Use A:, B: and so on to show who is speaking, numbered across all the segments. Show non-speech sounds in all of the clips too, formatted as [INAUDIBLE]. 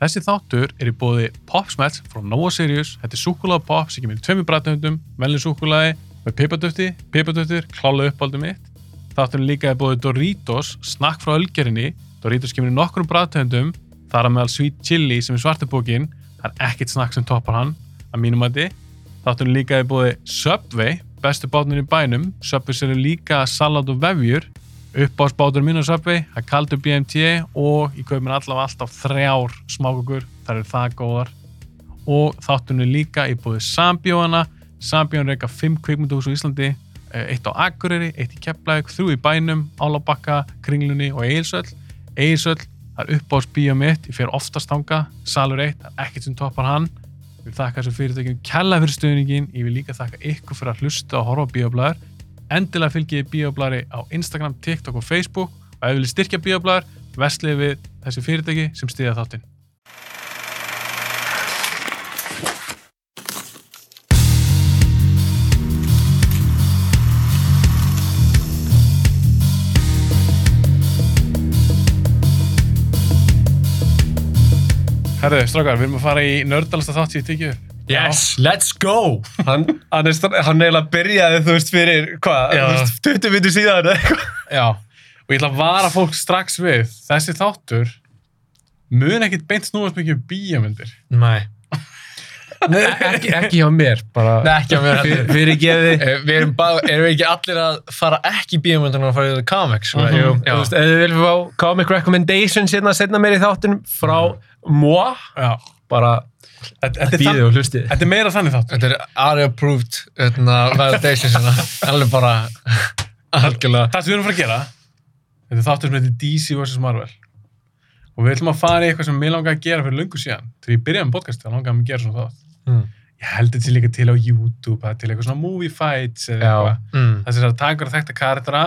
A: Þessi þáttur er í bóði Popsmets frá Nova Sirius. Þetta er súkulega pop sem kemur í tveimur brætnöfndum, velin súkulaði með pipadöfti, pipadöftir, klála uppáldum mitt. Þátturinn líka er bóði Doritos, snakk frá ölgerinni. Doritos kemur í nokkrum brætnöfndum, þar að meðal Sweet Chili sem er svartabókin. Það er ekkert snakk sem toppar hann, að mínum að þið. Þátturinn líka er bóði Subway, bestu bátnir í bænum. Subway sem líka salat og vefjur uppáðsbátur mín á Subway, það er kaldur BMT og ég kaup mér allavega alltaf þrjár smákukur, það eru það góðar og þáttunni líka í búið Sambjóana, Sambjón reyka 5 kvikmyndahús á Íslandi eh, eitt á Akureyri, eitt í Keflavík, þrjú í bænum Álabakka, Kringlunni og Egilsöll Egilsöll, það er uppáðsbíja mitt ég fer oftast þanga, Salur 1 það er ekkert sem toppar hann ég vil þakka þessu fyrirtökjum kella fyrir stöðningin ég vil líka þakka ykkur fyrir að hlusta og horfa á bíoblæður endilega fylgjið Bíoblari á Instagram, TikTok og Facebook og ef við viljið styrkja Bíoblar, vestlið við þessi fyrirtæki sem stiðja þáttinn. Herðu, strákar, við erum að fara í nördalasta þátt sem ég tekið upp.
B: Yes, let's go
C: hann, hann, er, stra- hann eiginlega byrjaði þú veist fyrir hvað,
A: Já.
C: þú veist, 20 minnur síðan eða eitthvað.
A: Já, og ég ætla að vara fólk strax við þessi þáttur mun ekkit beint snúast mikið um bíjamyndir.
B: Nei, E-
C: Nei,
B: ekki, ekki hjá mér bara
C: Nei, ekki að vera
B: Fyr-
C: fyrir geði
B: Eh, Við erum, bá, erum við ekki allir að fara ekki í bíómyndunum og fara í comics right?
C: Jú,
B: Mhm, Já.
C: þú veist, ef þið viljum fá comic recommendations hérna setna mér í þáttunum frá moi,
A: Já,
C: bara
A: þetta, þetta, er,
C: býðið
A: þann,
C: og hlustið
A: þetta er meira þannig þáttur.
B: Þetta er Ari approved hérna, validation [LAUGHS] sinna alveg bara algjörlega
A: Það sem við erum að fara að gera, þetta er þáttur sem heitir DC vs. Marvel. Og við ætlum að fara í eitthvað sem mér langaði að gera fyrir lungu síðan. Þegar ég byrjaði með podcastið, þá langaði mig að gera svona þátt.
B: mm.
A: Ég held þetta líka til á YouTube, það er til eitthvað svona movie fights eða
C: Já.
A: eitthvað.
B: Mm.
A: Það sem það taka að þekta karaktera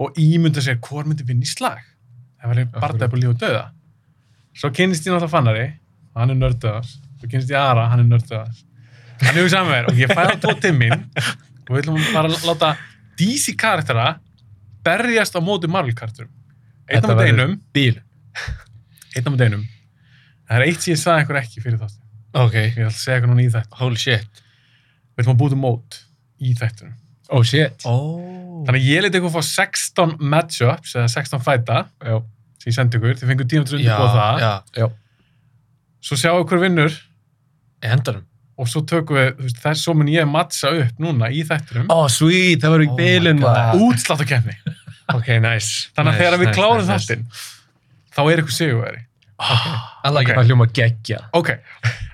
A: og ímynda sér hvort myndi vinna í slag. Það var einn barndæp og líf og döða. Svo kynist ég náttúrulega Fannari og hann er nördöðars. Svo kynist ég Ara, hann er nördöðars. Hann er við saman með þér og ég fæði á tvo timminn og við ætlum bara að láta DC karaktera berjast á móti Marvel karakterum. Einn á
C: Þetta
A: móti
C: verður
A: einum,
C: bíl
A: einn á móti einum. Það er eitt sem ég sagði ykkur ekki fyrir þáttu.
B: Ok,
A: Ég ætla að segja ykkur núna í þetta.
B: holy shit
A: Við ætlum að búið mót í þættunum.
C: oh shit
B: oh.
A: Þannig að ég leti ykkur fá 16 matchups eða 16 fæta
C: já,
A: sem ég sendi ykkur. Þið fengur tíma til að
B: Já,
A: undirbúa það.
B: já,
C: já,
A: Svo sjáum við hver vinnur
B: í hendanum
A: og svo tökum við, þú veist, þess svo mun ég matcha upp núna í þættinum.
C: oh sweet, það
B: Oh
C: verður í
B: my
C: bílinn
B: God.
C: maður.
A: Útsláttakefni.
C: ok, nice
A: Þannig að
B: Nice,
A: þegar við
B: nice,
A: klárum
B: nice, nice.
A: þáttinn, þá er ykkur sigurveri.
B: I like
A: Ok.
B: it
C: það hljóma geggja
A: Ok,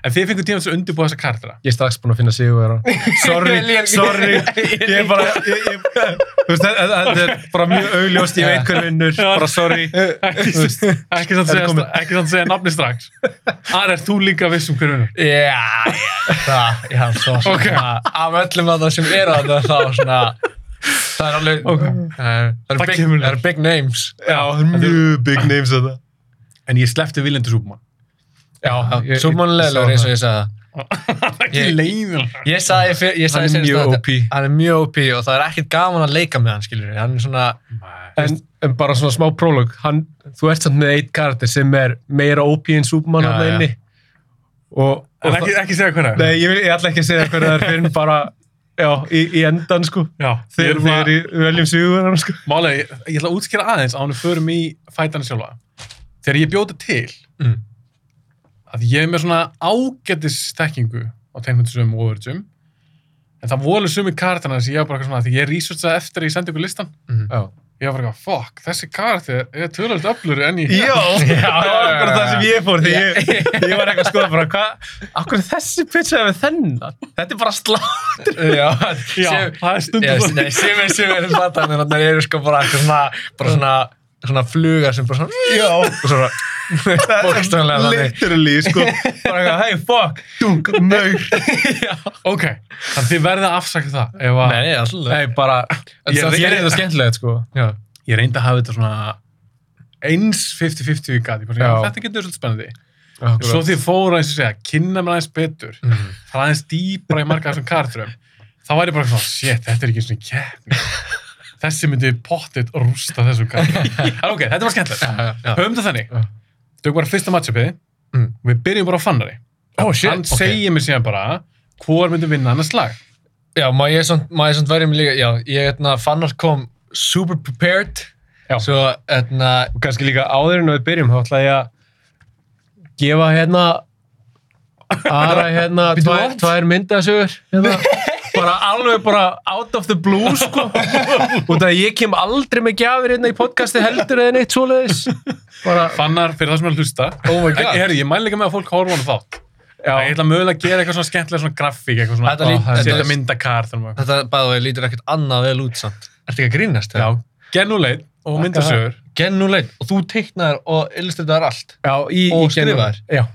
A: en þið fengur tíma til að undirbúa þessa kartra.
C: ég er strax búinn að finna
B: [LAUGHS]
C: sigurvera sorry,
B: Ég-
C: sorry ég er bara ég, ég, þú veist, þetta- þetta þetta er bara mjög augljóst, ég veit hver vinnur bara sorry
A: Ekki,
C: Þú veist.
A: ekki sann
C: Það er
A: segja,
C: komið.
A: ekki sann segja nafni strax. Ar, er þú líka viss um hver vinnur?
B: Já, já, það, já, svo
C: [LAUGHS]
B: svona,
A: Ok.
B: af öllum að það sem eru að það, þá svona, það er alveg,
A: Ok.
B: það er-
A: Það
B: það eru big,
A: kemur
B: það eru big names.
C: já, það er mjög big names að það
A: En ég sleppti Viljandi Súbmann.
B: Já,
C: ég-
B: svo
C: sá
B: mannlegur eins og ég sagði það.
A: ekki
B: Ég-
A: leiðilega.
B: Ég sagði, fyr, ég sagði
C: Hann er
B: seinast
C: mjög
B: að þetta-
C: OP.
B: Hann er mjög OP og það er ekkert gaman að leika með hann, skilur við. Hann er svona,
C: en, en bara svona smá prólog hann, þú ert samt með eitt karakter sem er meira OP en Superman
B: Já,
C: hann
B: já.
C: inni og, og
A: En ekki, ekki segja hver það er.
C: nei, ég, vil, ég ætla ekki að segja hvernig það er fyrir en bara já, í, í endan sko
A: Já,
C: þegar
A: ég-
C: þeir eru veljum sigurverðan sko
A: Málega, ég, ég ætla að útskýra aðeins á hann við förum í fætana sjálfa. Þegar ég bjóta til,
B: Mm.
A: að ég er með svona ágætis þekkingu á tegnmyndisum og öðrjum, en það voru sumi kartana sem ég var bara eitthvað svona, því ég researchaði eftir að ég sendi ykkur listan,
C: já,
A: ég var bara eitthvað, fuck, þessi karti er tölvöld öflur en ég...
C: já, það var akkur það sem ég fór því
B: Já.
C: ég, ég var eitthvað að skoða bara hvað, akkur er þessi pitch hefur þennan þetta er bara slá
B: já,
A: Já,
B: sem-
A: það er stundum
B: já,
A: þannig.
B: nei, sem er, sem er flatanir, þannig eru sko bara eitthvað svona, bara svona, svona flugar sem bara svona,
C: já,
B: og svona, bókstofnlega þannig.
C: literally sko bara eitthvað, hey fuck, dunk, maur
A: Ok, þannig þið verðið að afsaka það, ef að...
B: Nei, alltaf.
C: nei, bara,
B: Ég-
C: það
B: ég-
C: er þetta skemmtilegt sko já
A: Ég reyndi að hafa þetta svona eins 50-50 í gati,
C: Já.
A: þetta getur svolítið spennandi. Svo því fóru eins og segja, kynna mér aðeins betur,
B: Mhm.
A: fara aðeins dýbra í marga af þessum karturum, þá væri bara svona, shit, þetta er ekki svona keppni. Þessi myndi pottit
B: [LAUGHS]
A: rústa þessum karturum. en ok, þetta var skemmtilegt.
B: Já, já, já.
A: Höfum þetta þannig.
C: Já.
A: Þau bara fyrsta matchupið,
B: Mm.
A: og við byrjum bara á fannari
B: Ó, shit,
A: hann
B: ok.
A: segir mér síðan bara hvor myndi vinna hann að slag
B: Já, má ég samt, má ég samt verja mig líka, já, ég etna, fannar kom super prepared,
A: Já.
B: svo hérna- etna,
C: og kannski líka áður en við byrjum þá ætla ég að gefa hérna aðra hérna
B: Býttu,
C: tvær,
B: what?
C: tvær myndasögur hérna. bara alveg bara out of the blue sko út af að ég kem aldrei með gjafir hérna í podcasti heldur eða neitt svoleiðis bara
A: fannar fyrir það sem er að hlusta
B: oh my
A: Ég,
B: god,
A: herri, ég mæl líka með að fólk horfa á hann þátt
C: já,
A: ég ætla mögulega að gera eitthvað svona skemmtilega svona grafík eitthvað svona
B: Þetta lít-
A: Ó,
B: þetta
A: setja
B: er-
A: myndakar þannig að-
B: þetta bæði við lítur ekkert annað vel út samt. Ertu ekki að grínast
A: já, genuleit og myndasögur
B: Gennuleg, og þú teiknaðir og illustratar allt.
C: já, í,
B: Og
C: í genum.
B: skrifaðar.
C: já,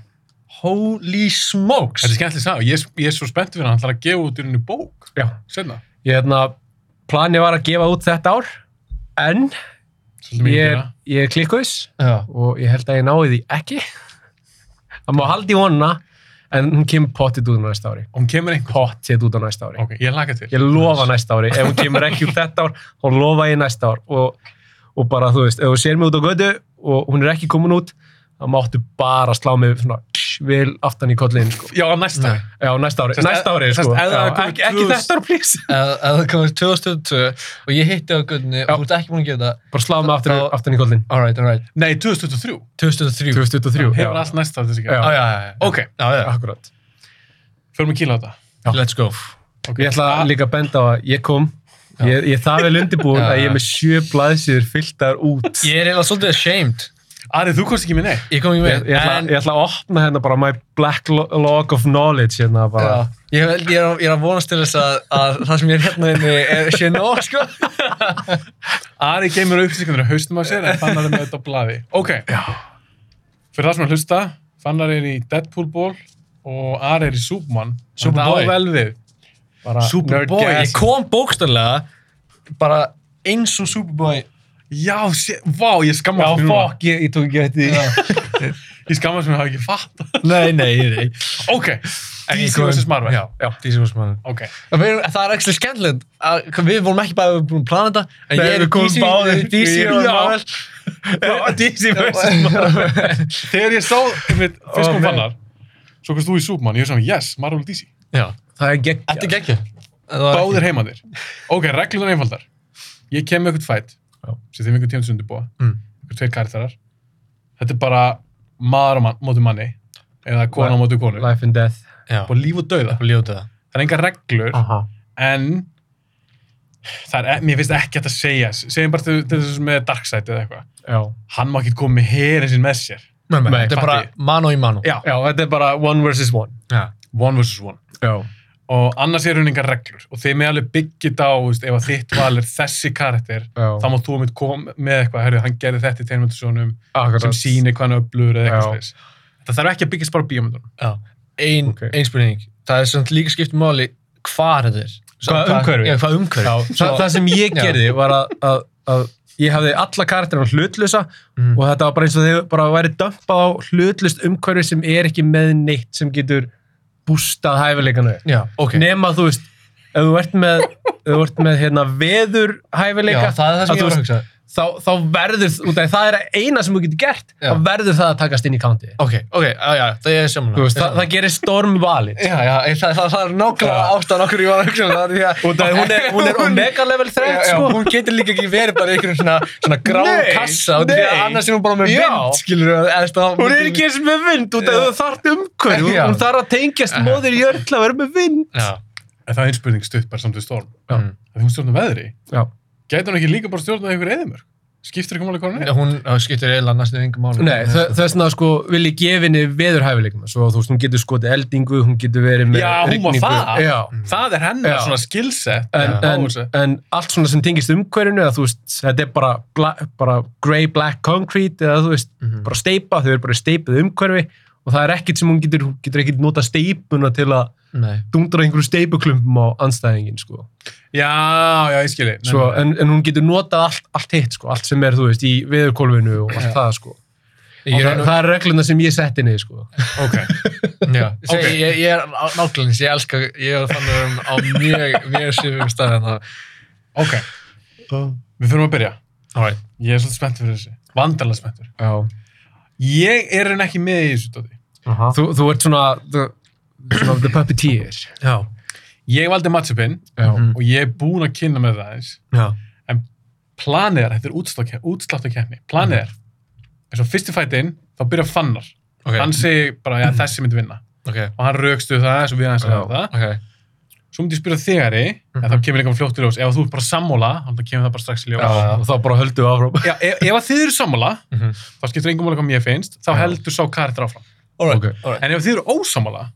B: Holy smokes!
A: þetta er skemmtilega sá ég, ég er svo spennt fyrir hann, hann ætlar að gefa út í henni bók
C: já,
A: senna
C: ég hérna planið var að gefa út þetta ár en
A: svolítið mikið
C: ég,
A: gera.
C: ég er klikkuðs
B: Já,
C: og ég held að ég náði því ekki það má haldi vonna en hún kemur pottit út á næsta ári
A: og hún kemur einhver
C: pottit út á næsta ári
A: ok, ég laka til
C: ég lofa næsta ári, ef hún kemur ekki út þetta ár þá lofa ég næsta ár og, og bara þú veist, ef hún sér mig út á götu og hún er ekki komin út þá máttu bara slá mig svona vil aftan í kollin sko.
A: já, næsta
B: Nei.
C: já, næsta ári,
A: Sest,
C: næsta ári
A: sest,
C: sko.
A: ef það
C: já,
A: er komið
C: ekki, ekki
A: 2000
C: þetta ár, please
B: eða eða það komið 2022 og ég hitti á guttunni og þú ert ekki búin að gera það.
C: bara slá mig aftan,
B: Þá-
C: aftan í kollin
B: Alright, alright.
A: nei, 2023
B: 2003.
C: 2023,
A: hefur
C: já,
A: allt næsta þessi
C: Já.
A: ekki
B: Já, já, já.
A: ok,
B: Já, já.
C: akkurat
A: förum að kýla á þetta
C: Já.
B: Let's go.
A: okay.
C: Ég ætla líka að benda á að ég kom ég, ég er það vel undirbúin
B: Já,
C: að ég
B: já.
C: er með sjö blaðsýður fylltar út
B: Ég er eiginlega svolítið ashamed.
A: Ari, þú komst ekki með neitt
B: Ég kom ekki
C: [LAUGHS] Ég,
B: með.
C: ég, ætla,
B: en-
C: ég ætla að opna hérna bara my black lo- log of knowledge hérna bara
B: Já, ég, held- ég, er, að- ég er að vonast til þess að, að það sem ég er hérna inni er sé nóg, sko.
A: Ari geymur upplýsingarnir að haustum á sér en fannar er með þetta á blaði ok,
C: Já.
A: fyrir það sem að hlusta fannar er í Deadpool ból og Ari er í Superman
B: Superboy.
A: það á vel við bara
B: Superboy. Ég
A: nerdgasm.
B: kom bókstallega bara eins og Superboy.
A: já, sé, vá, ég skammast mér núna
C: ég, ég tók ekki eftir
A: ég skammast mér að hafa ekki fatt
B: Nei, nei, nei.
A: ok, DC vs. Marvel
B: Já, já. DC vs. Marvel.
A: ok,
B: Það er, það er ekki skemmtilegt. að- Við vorum ekki bara búin að plana þetta. En
C: Nei,
B: ég er
C: við komum
B: DC,
C: báðir.
B: DC og
A: Já.
B: Marvel.
C: [LAUGHS] DC
A: þegar ég sá einmitt, fyrst
C: Ó,
A: kom
C: man.
A: fannar svo komst þú í Superman, ég er svona yes, Marvel DC
B: Já.
C: Það er gegn
B: Þetta er geggjum.
A: báðir heimandir ok, reglunar einfaldar ég kem með eitthvað fætt
C: Já.
A: sem þeim einhvern tíum sem undirbúa
B: Mm.
A: einhver tveir karakterar þetta er bara maður á mann, móti manni eða kona á móti konu
C: Life and Death
B: Já.
A: og líf og dauða
B: Og ljóta það.
A: það er engar reglur
C: Aha.
A: en það er, e- mér finnst ekki hægt að segja segjum bara til til þessu með Darkseid eða eitthvað
C: Já.
A: hann má ekki koma með herin sinn með sér
B: Nei,
C: Nei,
B: þetta er
A: fatti.
B: bara mano í mano.
A: já,
C: Já, þetta er bara one versus one
B: Já.
A: one versus one
C: Já,
A: og annars er hún engar reglur og þeim er alveg byggjit á, veist, ef að þitt val er þessi karakter þá
C: já
A: má þú mitt koma með eitthvað, herru, hann gerði þetta í tegnmyndasjónum
C: Akkurat
A: sem sýnir hvað hann öflur eða eitthvað
C: Já.
A: slags. Það þarf ekki að byggja spara bíómyndunum.
B: Já. Ein,
C: Ok.
B: ein spurning. Það er samt líka skipt máli hvað þetta er.
C: Hvað umhverfi?
B: Já, hvað umhverfi.
C: Já, það, það sem ég
B: Já.
C: gerði var að, að, að ég hafði alla karakterina hlutlösa
B: Mm.
C: og þetta var bara eins og þau bara væri dömpað á hlutlust umhverfi sem er ekki með neitt sem getur bústað hæfileikana upp.
B: Já, ok.
C: Nema þú veist, ef þú ert með, ef þú ert með hérna, veður
B: Já,
C: hæfileika,
B: það er það sem ég
C: þú
B: var að
C: veist,
B: hugsa.
C: þá, þá verður, út af það er eina sem þú getur gert,
B: Já.
C: þá verður það að takast inn í countið.
B: Ok, ok, já, já, það er samanlega.
C: Þú veist, það, það gerir storm
B: [LAUGHS]
C: valið.
B: Já, já, ég- það, það, það er nákvæmlega ástæðan okkur ég var að hugsa um það, því að
C: Út af hún er, hún er omega level
B: Já,
C: 3,
B: já,
C: sko.
B: hún getur líka ekki verið bara í einhverjum svona, svona grá
C: Nei,
B: kassa og því að
C: nei.
B: annars er hún bara með
C: Já.
B: vind, skilur við, eða þú
C: Hún er ekki eins með vind út af
B: Já.
C: það þarf umhverju. Hún,
B: Já.
C: hún þarf að tengjast móðir jörg til að vera með vind.
B: Já,
A: En það er einspurning stutt bara samt við storm.
C: Já.
B: Mm.
A: Þegar hún stjórnar veðri,
C: Já.
A: gæti hún ekki líka bara stjórnað einhver eðimörk? Skiptir ekki máli hvað hún er?
B: hún þá skiptir eiginlega næstu yngum máli.
C: Nei, þa- þess vegna sko vil ég gefa henni veðurhæfileikum. Svo þú veist, hún getur skotið eldingu, hún getur verið með
A: Já, hún var
C: rigningu.
A: það.
C: Já.
A: Það er hennar
C: Já.
A: svona skillset.
C: En,
A: Já.
C: en,
A: Óvissu.
C: en allt svona sem tengist umhverjunu, eða þú veist, þetta er bara, bla, bara grey black concrete eða þú veist,
B: Mhm.
C: bara steipa, þau eru bara steipið umhverfi og það er ekkert sem hún getur, hún getur ekkert nota steipuna til að
B: Nei.
C: dundra einhverju steipuklumpum á anstæðingin, sko.
A: já, já, ég skilji.
C: Svo, en, en hún getur notað allt, allt hitt, sko, allt sem er, þú veist, í veðurkólfinu og allt
A: Já.
C: það, sko.
B: Ég er,
C: það, það er regluna sem ég setti niður, sko. [LAUGHS]
A: Ok.
B: já, seg,
A: Ok.
B: ég, ég er á- nákvæmlega, eins, ég elska, ég er þannig um á mjög, mjög hérna. sifum staði en það.
A: Ok. Við fyrir að byrja.
B: Alright.
A: Ég er svolítið spenntur fyrir þessi. Vandarlega spenntur.
C: Já.
A: Ég er henni ekki með í þessu dóti.
C: Aha.
B: Þú, þú ert svona, þú,
C: Svona the puppeteer.
B: já,
A: Ég valdi matsupin
C: Já.
B: Mhm.
A: og ég er búinn að kynna með það eins.
B: já,
A: Planið er, þetta er útsláttakefni,
B: Mhm.
A: planið er, eins og fyrsti fætinn, þá byrja fannar.
B: ok, Mhm.
A: Hann segi bara, já, þessi myndi vinna.
B: ok,
A: Og hann raukstu það, eins og við aðeins að
C: Já.
A: það.
B: ok,
A: Svo myndi ég spyrja þigari, en þá
B: Mhm.
A: kemur líka fljótt í ljós. Ef þú ert bara sammála, þá kemur það bara strax í ljós.
B: já, og þá bara höldum við áfram.
A: Já, e- ef, ef að þið eru sammála,
B: Mhm.
A: þá skiptir engum máli hvað mér finnst, þá
B: Já.
A: heldur sá karakter áfram.
B: Alright, alright.
A: En ef þið eru ósammála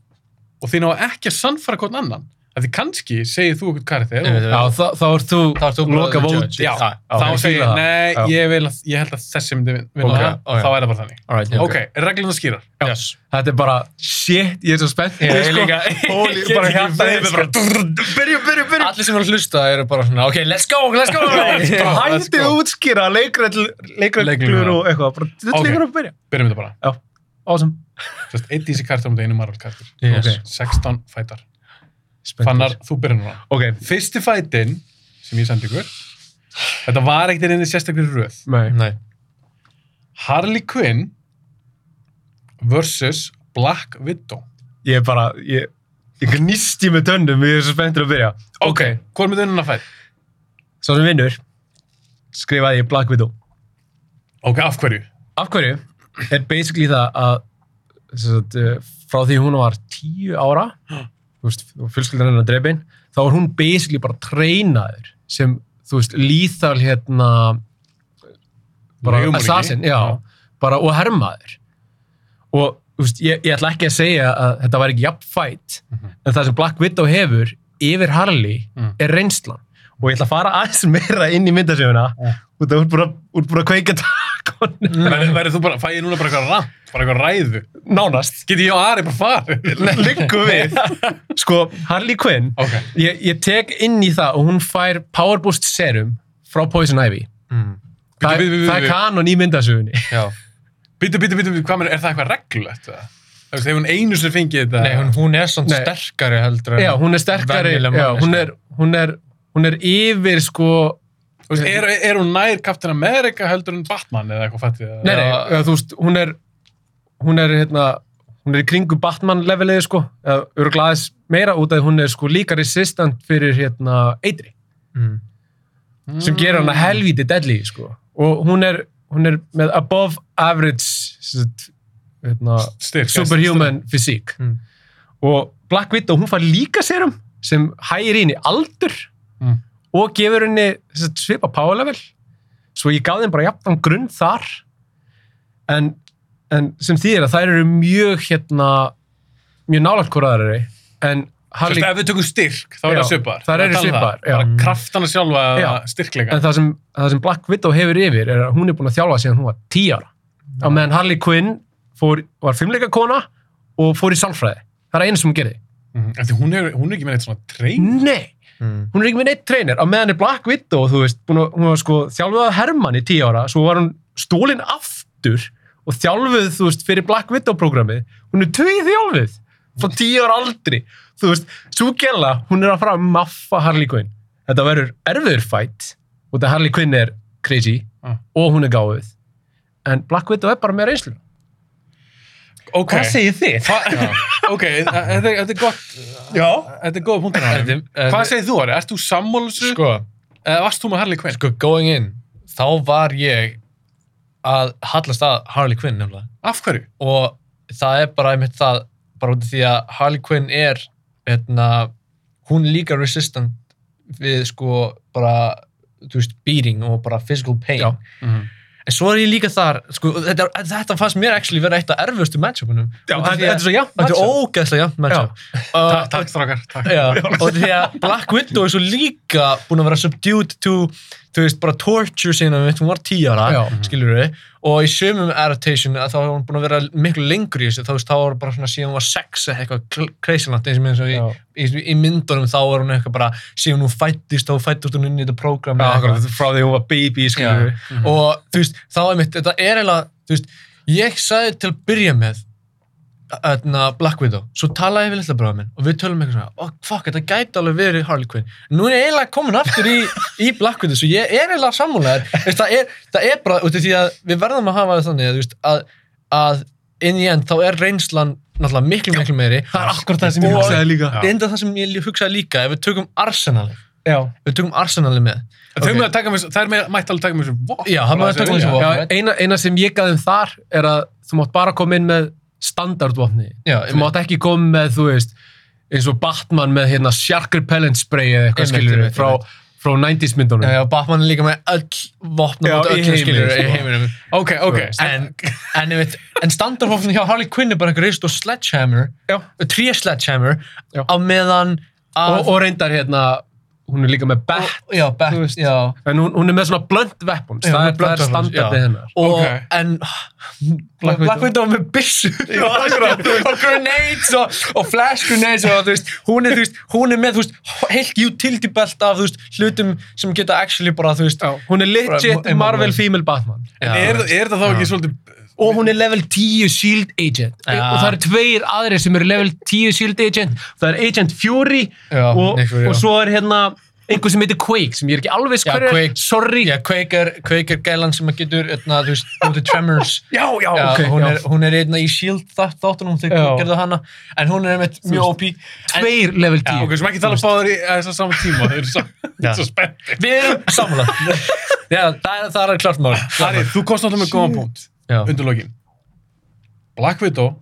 A: og þið ná ekki að sannfara hvern annan, að því kannski segir þú eitthvað karakter og
B: Einmitt,
C: Já, þá, þá ert þú
B: Þá ert þú bara
C: loka
B: the
C: vóti.
B: judge.
A: Já,
B: Já,
A: þá
C: ok,
A: segir
C: fíla
A: ég,
C: það.
A: nei,
C: Já.
A: ég, vil, að- ég held að þessi myndi vin- vinna
B: Ok,
A: það,
B: ok.
A: þá er það bara þannig.
B: Alright,
A: Ok, okay reglum það skýrar. Já.
B: Yes.
C: Þetta er bara, shit, ég er svo spennt.
B: Ég er
C: sko.
B: líka- [LAUGHS]
C: Óli,
B: ég get
C: bara
B: ekki
C: hjarta
B: verið,
C: eins.
B: sko.
C: Byrju, byrju, byrju.
B: Allir sem eru að hlusta eru bara svona, ok, let's go, let's
C: [LAUGHS]
B: go. Let's
C: sko, Hætti
B: go.
C: útskýra leikreglur
A: Leiklínur.
C: og eitthvað. Bara, þetta
A: Ok.
C: leikur að byrja.
A: Byrjum þetta bara.
C: Awesome.
A: Þú veist, eitt í þessi karakter um þetta einu Marvel karakter.
B: Yes.
A: Ok, 16 fætar.
C: Spenntur.
A: Fannar, þú byrjar núna.
C: Ok,
A: Fyrsti fætin sem ég sendi ykkur, þetta var ekkert einnig sérstaklega röð.
C: nei.
B: Nei,
A: Harley Quinn versus Black Widow
C: Ég er bara, ég, ég gnýsti með tönnum, ég er svo spenntur að byrja.
A: ok, hvað er með dönuna fætt?
C: Svo sem vinnur, skrifaði ég Black Widow.
A: ok, af hverju?
C: Af hverju er basically það að sem sagt, eh, frá því hún var tíu ára, þú veist, og fjölskyldan hennar dreipin, þá er hún basically bara treynaður sem, þú veist, lýþal hérna, bara
A: Leigumorðingi.
C: assassin, já,
A: Já.
C: bara og hermaður. Og, þú veist, ég, ég ætla ekki að segja að þetta væri ekki jafn fætt,
A: Mhm.
C: en það sem Black Widow hefur yfir Harley
A: Mm.
C: er reynslan. Og ég ætla að fara aðeins meira inn í myndasöfuna,
A: Mm.
C: út af úr búin að kveika takkonu.
A: Verður- verður þú bara, fæ ég núna bara eitthvað rand, bara eitthvað ræðu [LAUGHS]
C: Nánast.
A: get ég og Ari bara farið?
C: Liggu við. Sko, Harley Quinn,
A: ok,
C: ég, ég tek inn í það og hún fær Power Boost serum frá Poison Ivy. Þa,
A: Bíddu, bíddu, bíddu,
C: það er
A: bíddu.
C: kanon í myndasögunni.
B: já.
A: býtu, býtu, býtu, hvað með, er það eitthvað reglulegt? eða? Þú veist, hefur hún einu sem fengið þetta
B: Nei, hún, hún er svona
C: Nei.
B: sterkari heldur en...
C: Já, hún er sterkari,
B: Venjuleg
C: já,
B: manneskja.
C: hún, er, hún, er, hún er yfir sko...
A: Þú veist, er, er hún nær Captain America heldur en Batman eða eitthvað fættið?
C: Nei, nei,
B: Já.
C: eða, þú veist, hún er, hún er hérna... Hún er í kringu Batman-levelið sko, eða örglaðis meira út af því hún er sko líka resistant fyrir hérna eitri.
B: Mm.
C: sem gerir
A: Mm.
C: hana helvíti deadly sko. og hún er, hún er með above average sem sagt, hérna,
A: Styrk,
C: superhuman fysík
B: Mm.
C: og Black Widow hún fær líka sérum sem hægir inn í aldur
A: Mm.
C: og gefur henni sem sagt, svipa power level svo ég gaf þeim bara jafnan grunn þar en, en sem þýðir að þær eru mjög hérna mjög nálagt hvoraðari en
A: Þú
C: Harley
A: veist, ef við tökum styrk, þá er
C: Já,
A: það svipaðar.
C: þær eru
A: Við erum að tala um
C: svipaðar,
A: það.
C: já.
A: Bara kraftana sjálfa
C: Já.
A: eða styrkleika.
C: en það sem, það sem Black Widow hefur yfir er að hún er búin að þjálfa síðan hún var 10 ára á meðan Harley Quinn fór, var fimmleika kona og fór í sálfræði það er einu sem hún gerði
A: Mm, af því hún er, hún er ekki með neitt svona treyn
C: nei,
B: Mm.
C: hún er ekki með neitt treynir á meðan er Black Widow þú veist, búin að, hún var sko þjálfuð af Herman í 10 ára svo var hún stólin aftur og þjálfuð þú veist, fyrir Black Widow programmið hún er tvið þjálfuð frá 10 ára aldri þú veist, svo gæla, hún er að fara að maffa Harley Quinn þetta verður erfiður fætt út að Harley Quinn er crazy
A: Ah.
C: og hún er gáðuð en Black Widow er bara með reynslu
A: Ok,
C: segir þið?
A: Hva, ok, þa- þetta er, þetta er gott,
C: Já.
A: þetta er góða punktur hann.
B: Þetta- þetta-
A: Hvað segir þú, Ari? Erst þú sammálusu?
B: Sko,
A: Eða varst þú með Harley Quinn?
B: sko, going in, þá var ég að hallast að Harley Quinn nefnilega.
A: Af hverju?
B: Og það er bara einmitt það, bara út af því að Harley Quinn er, hérna, hún er líka resistant við, sko, bara, þú veist, beating og bara physical pain.
C: Já.
A: Mhm.
B: En svo er ég líka þar, sko, þetta, þetta fannst mér actually vera eitt af erfustu matchupunum.
C: Já,
B: Út af
C: þetta
B: því
C: þetta
B: að-
C: er svo jafn
B: Þetta er
C: matchup.
B: ógeðslega jafn matchup.
A: Ta
B: Uh,
A: takk, strákar, takk.
C: [LAUGHS]
B: Já, og því að Black Widow er svo líka búin að vera subdued to, þú veist, bara torture sinna mitt, hún var 10 ára,
C: Já.
B: skilur við, og í sömum adaptation að þá var hún búin að vera miklu lengur í þessu, þá veist, þá var bara svona síðan hún var 6 eða eitthvað cl- crazy langt, eins og eins og í,
C: Já.
B: í, í myndunum þá var hún eitthvað bara, síðan hún fættist, þá fættist hún inn í þetta prógram.
C: Já, akkurat, frá því hún var baby,
B: Já.
C: skilur við.
B: og þú veist, þá er mitt, þetta er eiginlega, þú veist, ég sagði til að byrja með öðna, Black Widow, svo talaði ég við litla bráða minn og við tölum eitthvað svona, oh fuck, þetta gæti alveg verið Harley Quinn, nú er ég eiginlega komin aftur í, í Black Widow, svo ég er eiginlega sammálaður, það er, það er bara, út af því að við verðum að hafa það þannig, að, þú veist, að, að in the end þá er reynslan náttúrulega miklu, miklu meiri
C: Það er akkurat það sem ég
B: Og-
C: hugsaði líka.
A: Já.
B: Það er enda það sem ég hugsaði líka ef við tökum Arsenal
C: Já.
B: við tökum Arsenal með
A: Okay.
B: Ok.
A: Með að taka með, það er með, mætti alveg taka með þessu vopn.
B: Já, það má taka með þessu vopn.
C: Já, eina, eina sem ég gaf þeim þar er að þú mátt bara koma inn með standardvopni.
B: Já,
C: Þú mátt ekki koma með, þú veist, eins og Batman með hérna shark repellent spray eða eitthvað
B: Einmitt,
C: skilur
B: einmitt,
C: frá, frá 90s myndunum.
B: Já, Batman er líka með öll vopna
C: Já,
B: mót
C: í
B: öllum
C: heiminum,
B: skilur í
C: sko.
B: heiminum.
A: Ok, ok.
B: En, en, ég veit, en standardvopnin hjá Harley Quinn er bara einhver rist og sledgehammer,
C: Já.
B: tré sledgehammer,
C: Já.
B: á meðan að...
C: og, og reyndar hérna, hún er líka með bat,
B: já,
C: þú
B: back,
C: veist.
B: já.
C: en hún, hún er með svona blunt weapons,
B: Já,
C: það
B: með
C: er,
B: blunt
C: það er
B: weapons, já.
C: standardið hennar.
B: Og,
A: Ok.
B: en
C: Black
B: Black,
C: Widow.
B: Black Widow með byssu
C: [LAUGHS]
B: og grenades og, og flash grenades og þú veist, hún er, þú veist, hún er með þú veist, heilt utility belt af þú veist, hlutum sem geta actually bara þú veist,
C: Hún er legit
B: Bara-
C: Marvel female Batman.
A: En
B: Já,
A: er,
B: veist.
A: er það þá ekki svolítið...
C: Og hún er level 10 shield agent.
B: Já.
C: Og það eru tveir aðri sem eru level 10 shield agent. Það er Agent Fury
B: Já,
C: og,
B: Nick Fury, já.
C: og svo er hérna einhver sem heitir Quake sem ég er ekki alveg
B: Já,
C: skurður.
B: Quake.
C: Sorry.
B: Já, Quake er, Quake er gælan sem að getur eitna, þú veist, hún er Tremors
C: Já,
B: [LAUGHS]
C: já,
B: Já,
C: ok.
B: hún,
C: já.
B: er, hún er einna í S.H.I.E.L.D. þátt- þáttunum
C: Já.
B: þegar gerðu hana en hún er einmitt mjög OP en
C: tveir level 10.
A: Ok, sem ekki tala báður í þess að sama tíma. Þau eru svo, [LAUGHS]
B: Já.
A: svo spenntir.
B: við erum [LAUGHS] sammála Já, það, er- það er klart mál
A: Ari, þú komst náttúrulega með góðan punkt.
B: Já,
A: Undir lokin. Black Widow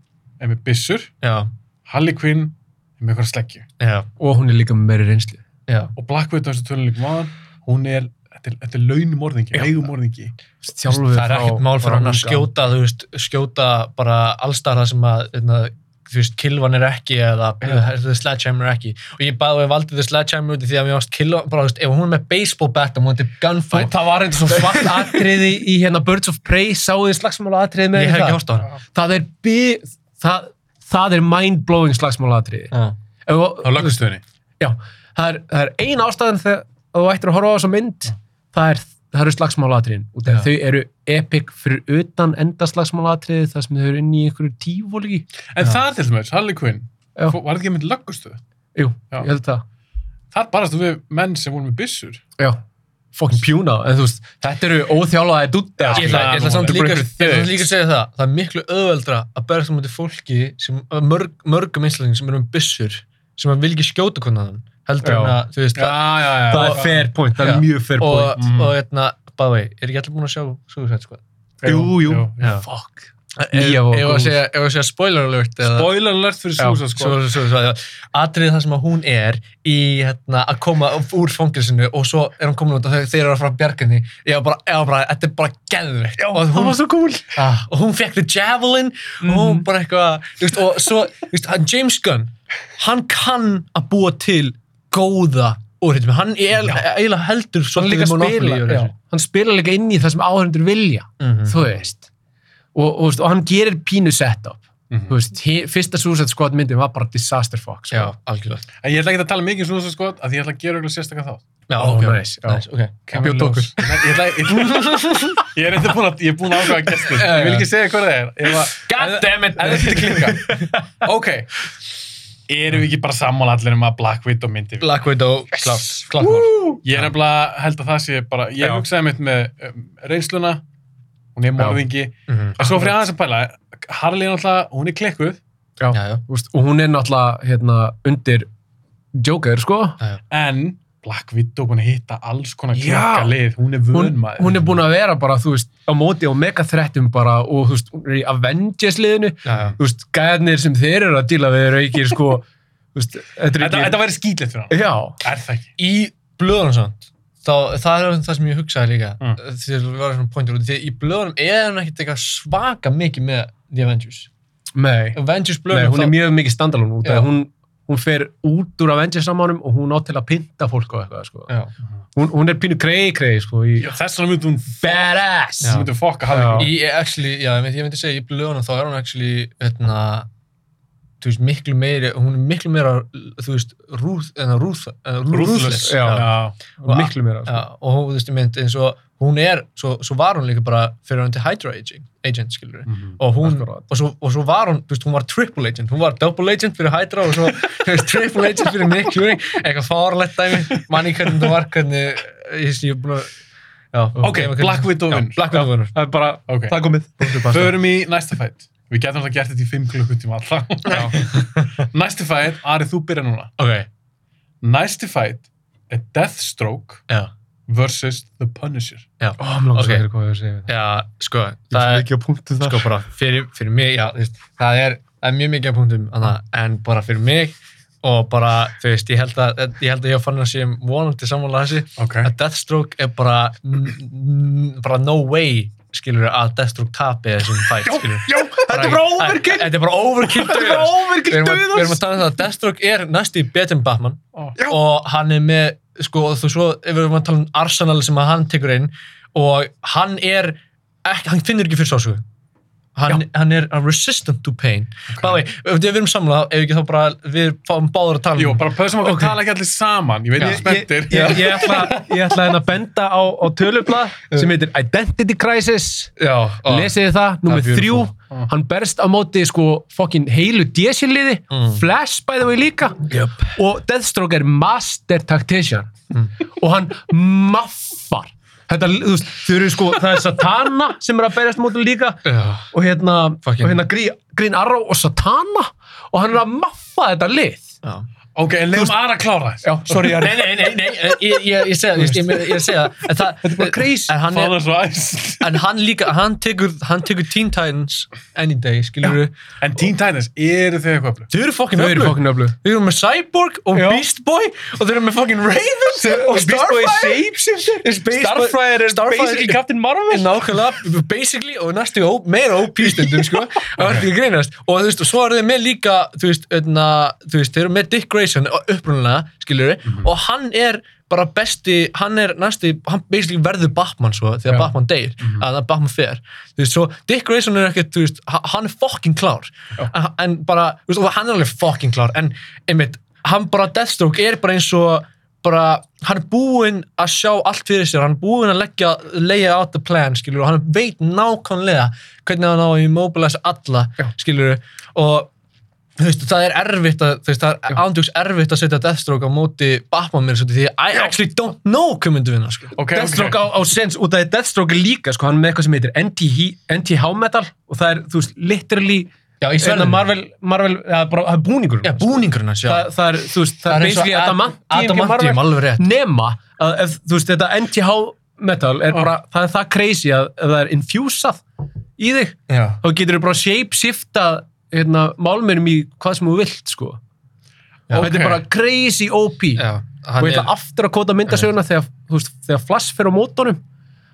A: er með byssur,
B: já,
A: Harley Quinn er með eitthvað sleggju.
B: já,
C: Og hún er líka með meiri reynslu.
B: já.
A: Og Black Widow, eins og tölum líka maður, hún er, þetta er, þetta er launumorðingi, leigumorðingi.
C: Sjálfur
B: það er ekkert mál fyrir hann að skjóta þú veist, skjóta bara allstarða sem að einna, þú veist, kilvan er ekki eða eða the sledgehammer er ekki og ég bæði og ég valdi the sledgehammer út af því að mér varst kilvan bara, þú veist, ef hún er með baseball bat og hún er gunfight
C: Það var einhvers svona svart atriði í hérna Birds of Prey, sáðu þið slagsmála atriði með
B: ég hef
C: það?
B: ekki hórst á hana
C: það er bi, það, það er mind-blowing slagsmálatriði
B: Já.
C: og,
A: Á lögustöðinni.
C: já, það er, það er ein ástæðan þegar þú ættir að horfa á þessa mynd það, er, það eru slagsmálatriðin út af
B: Já.
C: þau eru epic fyrir utan enda slagsmálatriði þar sem þau eru inn í einhverju tífólki
A: En þar til dæmis, Harley Quinn,
C: Já.
A: fó- var ekki með lögustöð.
C: jú,
A: Já.
C: ég held það
A: Þar barast þú við menn sem voru með byssur.
C: já, fokkin pjúna en þú veist, þetta eru sko. óþjálaðið dutta
A: Já,
B: Ég ætla, ég ætla samt
A: Það er
B: líka,
A: bara
B: ég
A: einhver
B: ætla
A: þögn.
B: samt líka að segja það það er miklu auðveldra að berða það mútið fólki sem, mörg, mörgum einstaklingum sem eru með byssur sem að vil ekki skjóta konan heldur
C: Já.
B: en að þú veist
A: Já, já, já.
C: það er fair point, það
B: Já.
C: er mjög fair
B: og,
C: point
A: Mm.
B: og hérna, by the way, er ekki allir búin að sjá Suicide Squad?
C: jú, jú,
B: Já. Eh,
C: fuck Nýja
B: Ef
C: og
B: ef
C: góð.
B: að segja, ef að segja spoiler alert eða
A: Spoiler alert fyrir Suicide Squad.
B: svo, svo, svo, atrið það sem að hún er í hérna, að koma úr fangilsinu og svo er hún komin út og þau- þeir eru að fara að bjarga henni ég var bara, ég var bara, þetta er bara geðvikt Já, og hún,
C: svo cool
B: ah, og hún fekk the javelin og hún
C: Mhm.
B: bara eitthvað þú veist, og svo, þú veist, hann James Gunn hann kann að búa til góða úrhitum hann er eiginlega heldur
C: hann
B: svolítið
C: líka
B: um Monopoly
C: spila
B: yfir
C: já,
B: þessu.
C: hann spila líka inn í það sem áhendur vilja
B: Mhm.
C: þú veist og, og, veist, og hann gerir pínu setup
A: Mhm.
C: þú veist, hi- fyrsta Suicide Squad myndin var bara disaster fuck sko.
B: Já, algjörlega
A: En ég ætla ekki að tala mikið um Suicide Squad að því ég ætla að gera eitthvað sérstakka þátt.
B: Já,
C: Ó,
B: ok,
C: nice, já.
B: nice, ok.
A: Kemur
C: Bjóddu
A: í ljós.
C: okkur.
A: Ég ætla- ég ætla- Ég [LAUGHS] ég er eitthvað búin að, ég er búin að ákvæða gestin.
B: Já, já.
A: Ég vil ekki segja hvað það er. Ég var,
C: god damn it
A: en þetta er klinga. Ok. Erum við ekki bara sammála allir um að Black Widow myndi?
B: [LAUGHS] Black Widow, klart, klart mál.
C: Woo!
A: Ég er nefnilega, held að það sé bara, ég
C: Já.
A: hugsaði mitt með um, reynsluna, hún er morðingi.
B: Mhm.
A: En svo fyrir aðeins að pæla, Harley er náttúrulega, hún er klikkuð,
C: Já.
B: Já, já,
C: Þú veist, og hún er náttúrulega hérna, undir Joker sko
A: en Black Widow búin að hitta alls konar
C: Já.
A: klikkalið. Hún er vön
C: hún,
A: maður.
C: hún er búin að vera bara þú veist, á móti og megathrettum bara og þú veist, hún er í Avengers liðinu
B: já, já.
C: þú veist, gæðnir sem þeir eru að díla við eru ekki sko þú veist, þetta er
A: Þetta,
C: ekki
A: þetta væri skýtlegt fyrir hann.
C: já,
A: Er það ekki?
B: Í blöðunum samt, þá, það er það sem ég hugsaði líka,
A: Mm.
B: mm. því að það var svona pointur út, því að í blöðunum er hann ekkert eitthvað svaka mikið með The Avengers.
C: nei
B: Avengers
C: Nei,
B: blöðunum,
C: hún er mjög mikið standalone út af
B: Já.
C: því hún, hún fer út úr Avengers samánum og hún á til að pynta fólk og eitthvað sko.
B: Já.
C: hún, hún er pínu krei krei sko, í
A: Já, Þess vegna myndi hún
C: badass
A: sem myndi fokka Harley
C: Já.
A: Quinn.
B: Í, actually, já, ég myndi, ég myndi segja, í blöðunum þá er hún actually, hérna, þú veist, miklu meiri, hún er miklu meira, þú veist, hérna, rúð, en rúð,
A: Ruthless.
C: Já.
A: Já.
C: og miklu meira
B: eh, Já,
C: sko.
B: og hún, þú veist, ég mynd, eins og hún er, svo, svo var hún líka bara fyrir hann til Hydra Agent, agent skilur og hún,
C: Akkurat.
B: og svo, og svo var hún, þú veist, hún var triple agent, hún var double agent fyrir Hydra og svo [LAUGHS] þú veist, triple agent fyrir Nick Fury, eitthvað fárlegt dæmi, manni hvernig þú var, hvernig, eh, ég sé, ég er búin að, já.
A: Ok, Black Widow
B: Já,
A: vinnur.
B: Black Widow vinnur.
C: það er bara,
A: Ok,
C: það er komið
A: förum í næsta fætt. Við getum alltaf gert þetta í 5 klukkutíma alltaf. [LAUGHS] Næsti fætt, Ari þú byrja núna.
B: Ok,
A: Næsti fætt er Deathstroke
B: já.
A: versus The Punisher.
C: Ó, mér langar
B: Ok.
C: svo að hérna hvað við segja við það.
B: Já, sko,
C: Ég
B: það
C: er
B: er,
C: ekki á punktu þar.
B: sko bara fyrir, fyrir mig, já, þú veist, það er, það er mjög mikið af punktum, annað, en bara fyrir mig og bara, þú veist, ég held að, ég held að ég og fann að séum vonandi sammála þessi,
A: Ok.
B: að Deathstroke er bara, n- n- bara no way, skilur að Deathstroke tapi þessum fætt, skilur
C: Já, þetta er bara overkill.
B: Þetta er bara overkill
C: Þetta er bara
B: dauðans. Við
C: overkill
B: erum að- við erum
C: döðans.
B: að tala um það að Deathstroke er næstu í betur en Batman
C: Já.
B: og hann er með sko, og þú svo, ef við erum að tala um Arsenal sem að hann tekur inn og hann er ekki, hann finnur ekki fyrir sásugu hann, hann er resistant to pain okay. Bæði, ef við erum samlað, ef ekki þá bara við fáum báður að tala um
A: Jú, bara pössum okkur
B: Ok.
A: tala ekki allir saman. Ég veit
B: Já.
A: ég er spenntir.
C: Ég, ég, ég ætla, ég ætla hérna að benda á, á tölublað sem heitir Identity Crisis
B: Já, og,
C: lesið þið það, nummið
B: beautiful.
C: þrjú
A: Ah.
C: hann berst á móti sko fokkin heilu DC-liði,
B: Mm.
C: Flash by the way líka
B: Jöp.
C: og Deathstroke er master tactician
B: Mm.
C: og hann maffar þetta, þú veist, þau eru sko það er Satana sem er að berjast á móti líka
B: Já.
C: og hérna, og
B: Fucking-
C: hérna Green, Green Arrow og Satana og hann er að maffa þetta lið
B: Já.
A: Ok, en leiðum Ari að klára þess.
C: já, sorry, ég er
B: Nei, nei, nei, nei, ég, ég, ég segja, ég, ég, ég segja en það,
C: Þetta er bara crazy.
B: en hann er,
A: Fáðar svo æst.
B: en hann líka, hann tekur, hann tekur Teen Titans any day, skilur við
A: En Teen Titans, eru þau eitthvað öflug?
B: Þau eru fokkin
C: þau eru
B: öflug
C: fokkin öflug
B: Þau eru með Cyborg og
C: Já.
B: Beast Boy og þau eru með fokkin Raven og Starfire
C: shapeshifter
B: Starfire er basically
C: Captain
B: En
C: Marvel
B: sko, Nákvæmlega, basically, og næstu ó, meira OP stundum, sko, það var ekki að greinast. Og þú veist, og svo eru þau með líka, þú veist, öðna, þú veist, þau eru með Dick Grayson upprunalega, skiljur við, og hann er bara besti, hann er næstu, hann basically verður Batman svo, þegar
C: Já.
B: Batman deyr, að það Batman fer. Þú veist, svo Dick Grayson er ekkert, þú veist, ha- hann er fucking klár, en, en bara, þú veist, og hann er alveg fucking klár, en einmitt, hann bara, Deathstroke er bara eins og, bara, hann er búinn að sjá allt fyrir sér, hann er búinn að leggja lay out the plan, skilur, og hann veit nákvæmlega hvernig hann á að immobilize alla,
C: Já.
B: skilur, og þú veist, það er erfitt að, þú veist, það er ándjóks erfitt að setja Deathstroke á móti Batman mér, svolítið, því að I actually don't know hvað myndi vinna, sko.
A: Ok,
C: Deathstroke á, á sens út af því Deathstroke er líka sko, hann er með eitthvað sem heitir anti-he- anti-há-metal og það er, þú veist, literally
B: Já, í
C: Sverna
B: sverðinu.
C: Marvel, Marvel, það er bara það er búningurinn
B: Já,
C: hans.
B: búningurinn hans, já.
C: það, það er, þú veist, það,
B: Það
C: er
B: er eins og
C: basically
B: Ad-
C: adamantium hjá
B: Adamantium,
C: Marvel.
B: alveg rétt.
C: nema að ef, þú veist, þetta anti-há-metal er
A: Ah.
C: bara, það er það crazy að ef það er infjúsað í þig
B: Já.
C: þá getur þau bara shape-shifta hérna, málmennum í hvað sem þú vilt sko.
B: Já.
C: þetta
A: Ok.
C: er bara crazy OP
B: Já,
C: og
B: hann
C: ég ætla
B: er,
C: aftur að kóta myndasöguna þegar, þú veist, þegar Flash fer á mótunum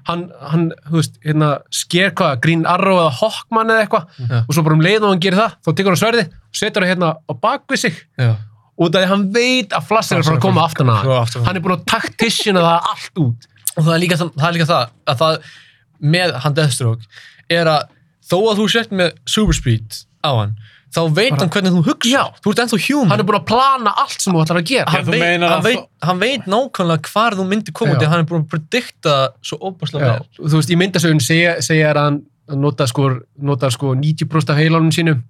C: hann, hann, þú veist, hérna sker hvað, Green Arrow eða Hawkman eða eitthvað
B: Já.
C: og svo bara um leið og hann gerir það þá tekur hann sverði og setur það hérna á bakvið sig
B: já.
C: út af því að hann veit að Flash er að fara að koma aftan að
B: Svo
C: hann.
B: aftur-
C: hann er búin að taktisjuna það allt út
B: og það er líka það, það, er líka það að það með hann Deathstroke er að þó að þú sért með super speed á hann þá veit hann hvernig þú hugsa
C: Já.
B: þú ert ennþá human
C: hann er búin að plana allt sem þú ætlar að gera
A: Já,
B: hann,
A: þú
B: veit,
A: meinar
B: hann,
A: að
B: veit, hann veit nákvæmlega hvar þú myndir koma
C: Já.
B: út því að hann er búin að predikta svo óbærslega
C: Já,
B: vel
C: þú veist, í myndasögun segja, segja er að hann hann notar sko, notar sko 90% af heilanum sínum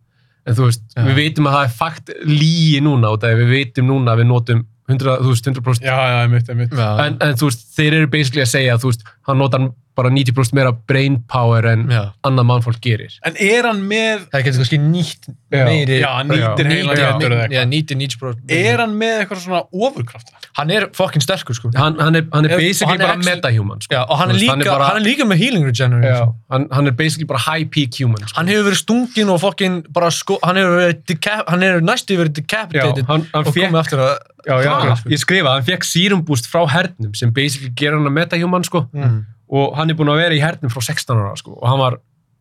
C: en þú veist,
B: Já.
C: við veitum að það er fakt líi núna og við veitum núna að við notum 100, þú veist, 100%
A: Já, já, einmitt, einmitt.
C: en, en þú veist, þeir eru basically að segja að þú veist, hann notar bara 90% meira brain power en
B: Já.
C: annað mannfólk gerir
A: En er hann með,
B: það getur kannski nýtt
C: Já.
B: meiri
A: já, hann nýtir
B: nýtir-
A: heila
B: já,
A: getur eða eitthvað.
B: já, nýtir 90%
A: Er hann með eitthvað svona ofurkrafta?
B: hann er fokkin sterkur sko
C: hann, hann, er, hann er
B: Og
C: basically
B: hann er
C: bara
B: actually-
C: metahuman sko.
B: já, og hann
C: Þú
B: er,
C: veist,
B: líka,
C: hann
B: hann,
C: er bara-
B: er líka með healing regeneration
C: Já. hann, hann er basically bara high peak human sko.
B: hann hefur verið stungin og fokkin bara sko, hann hefur verið decap, hann hefur næstu verið decapitated
C: hann, hann sko.
B: og komið aftur að
C: já, já,
B: Dvala,
C: ég skrifa, hann fekk serum boost frá hernum sem basically gerir hann að metahuman sko.
B: Mm.
C: og hann er búinn að vera í hernum frá 16 ára sko, og hann var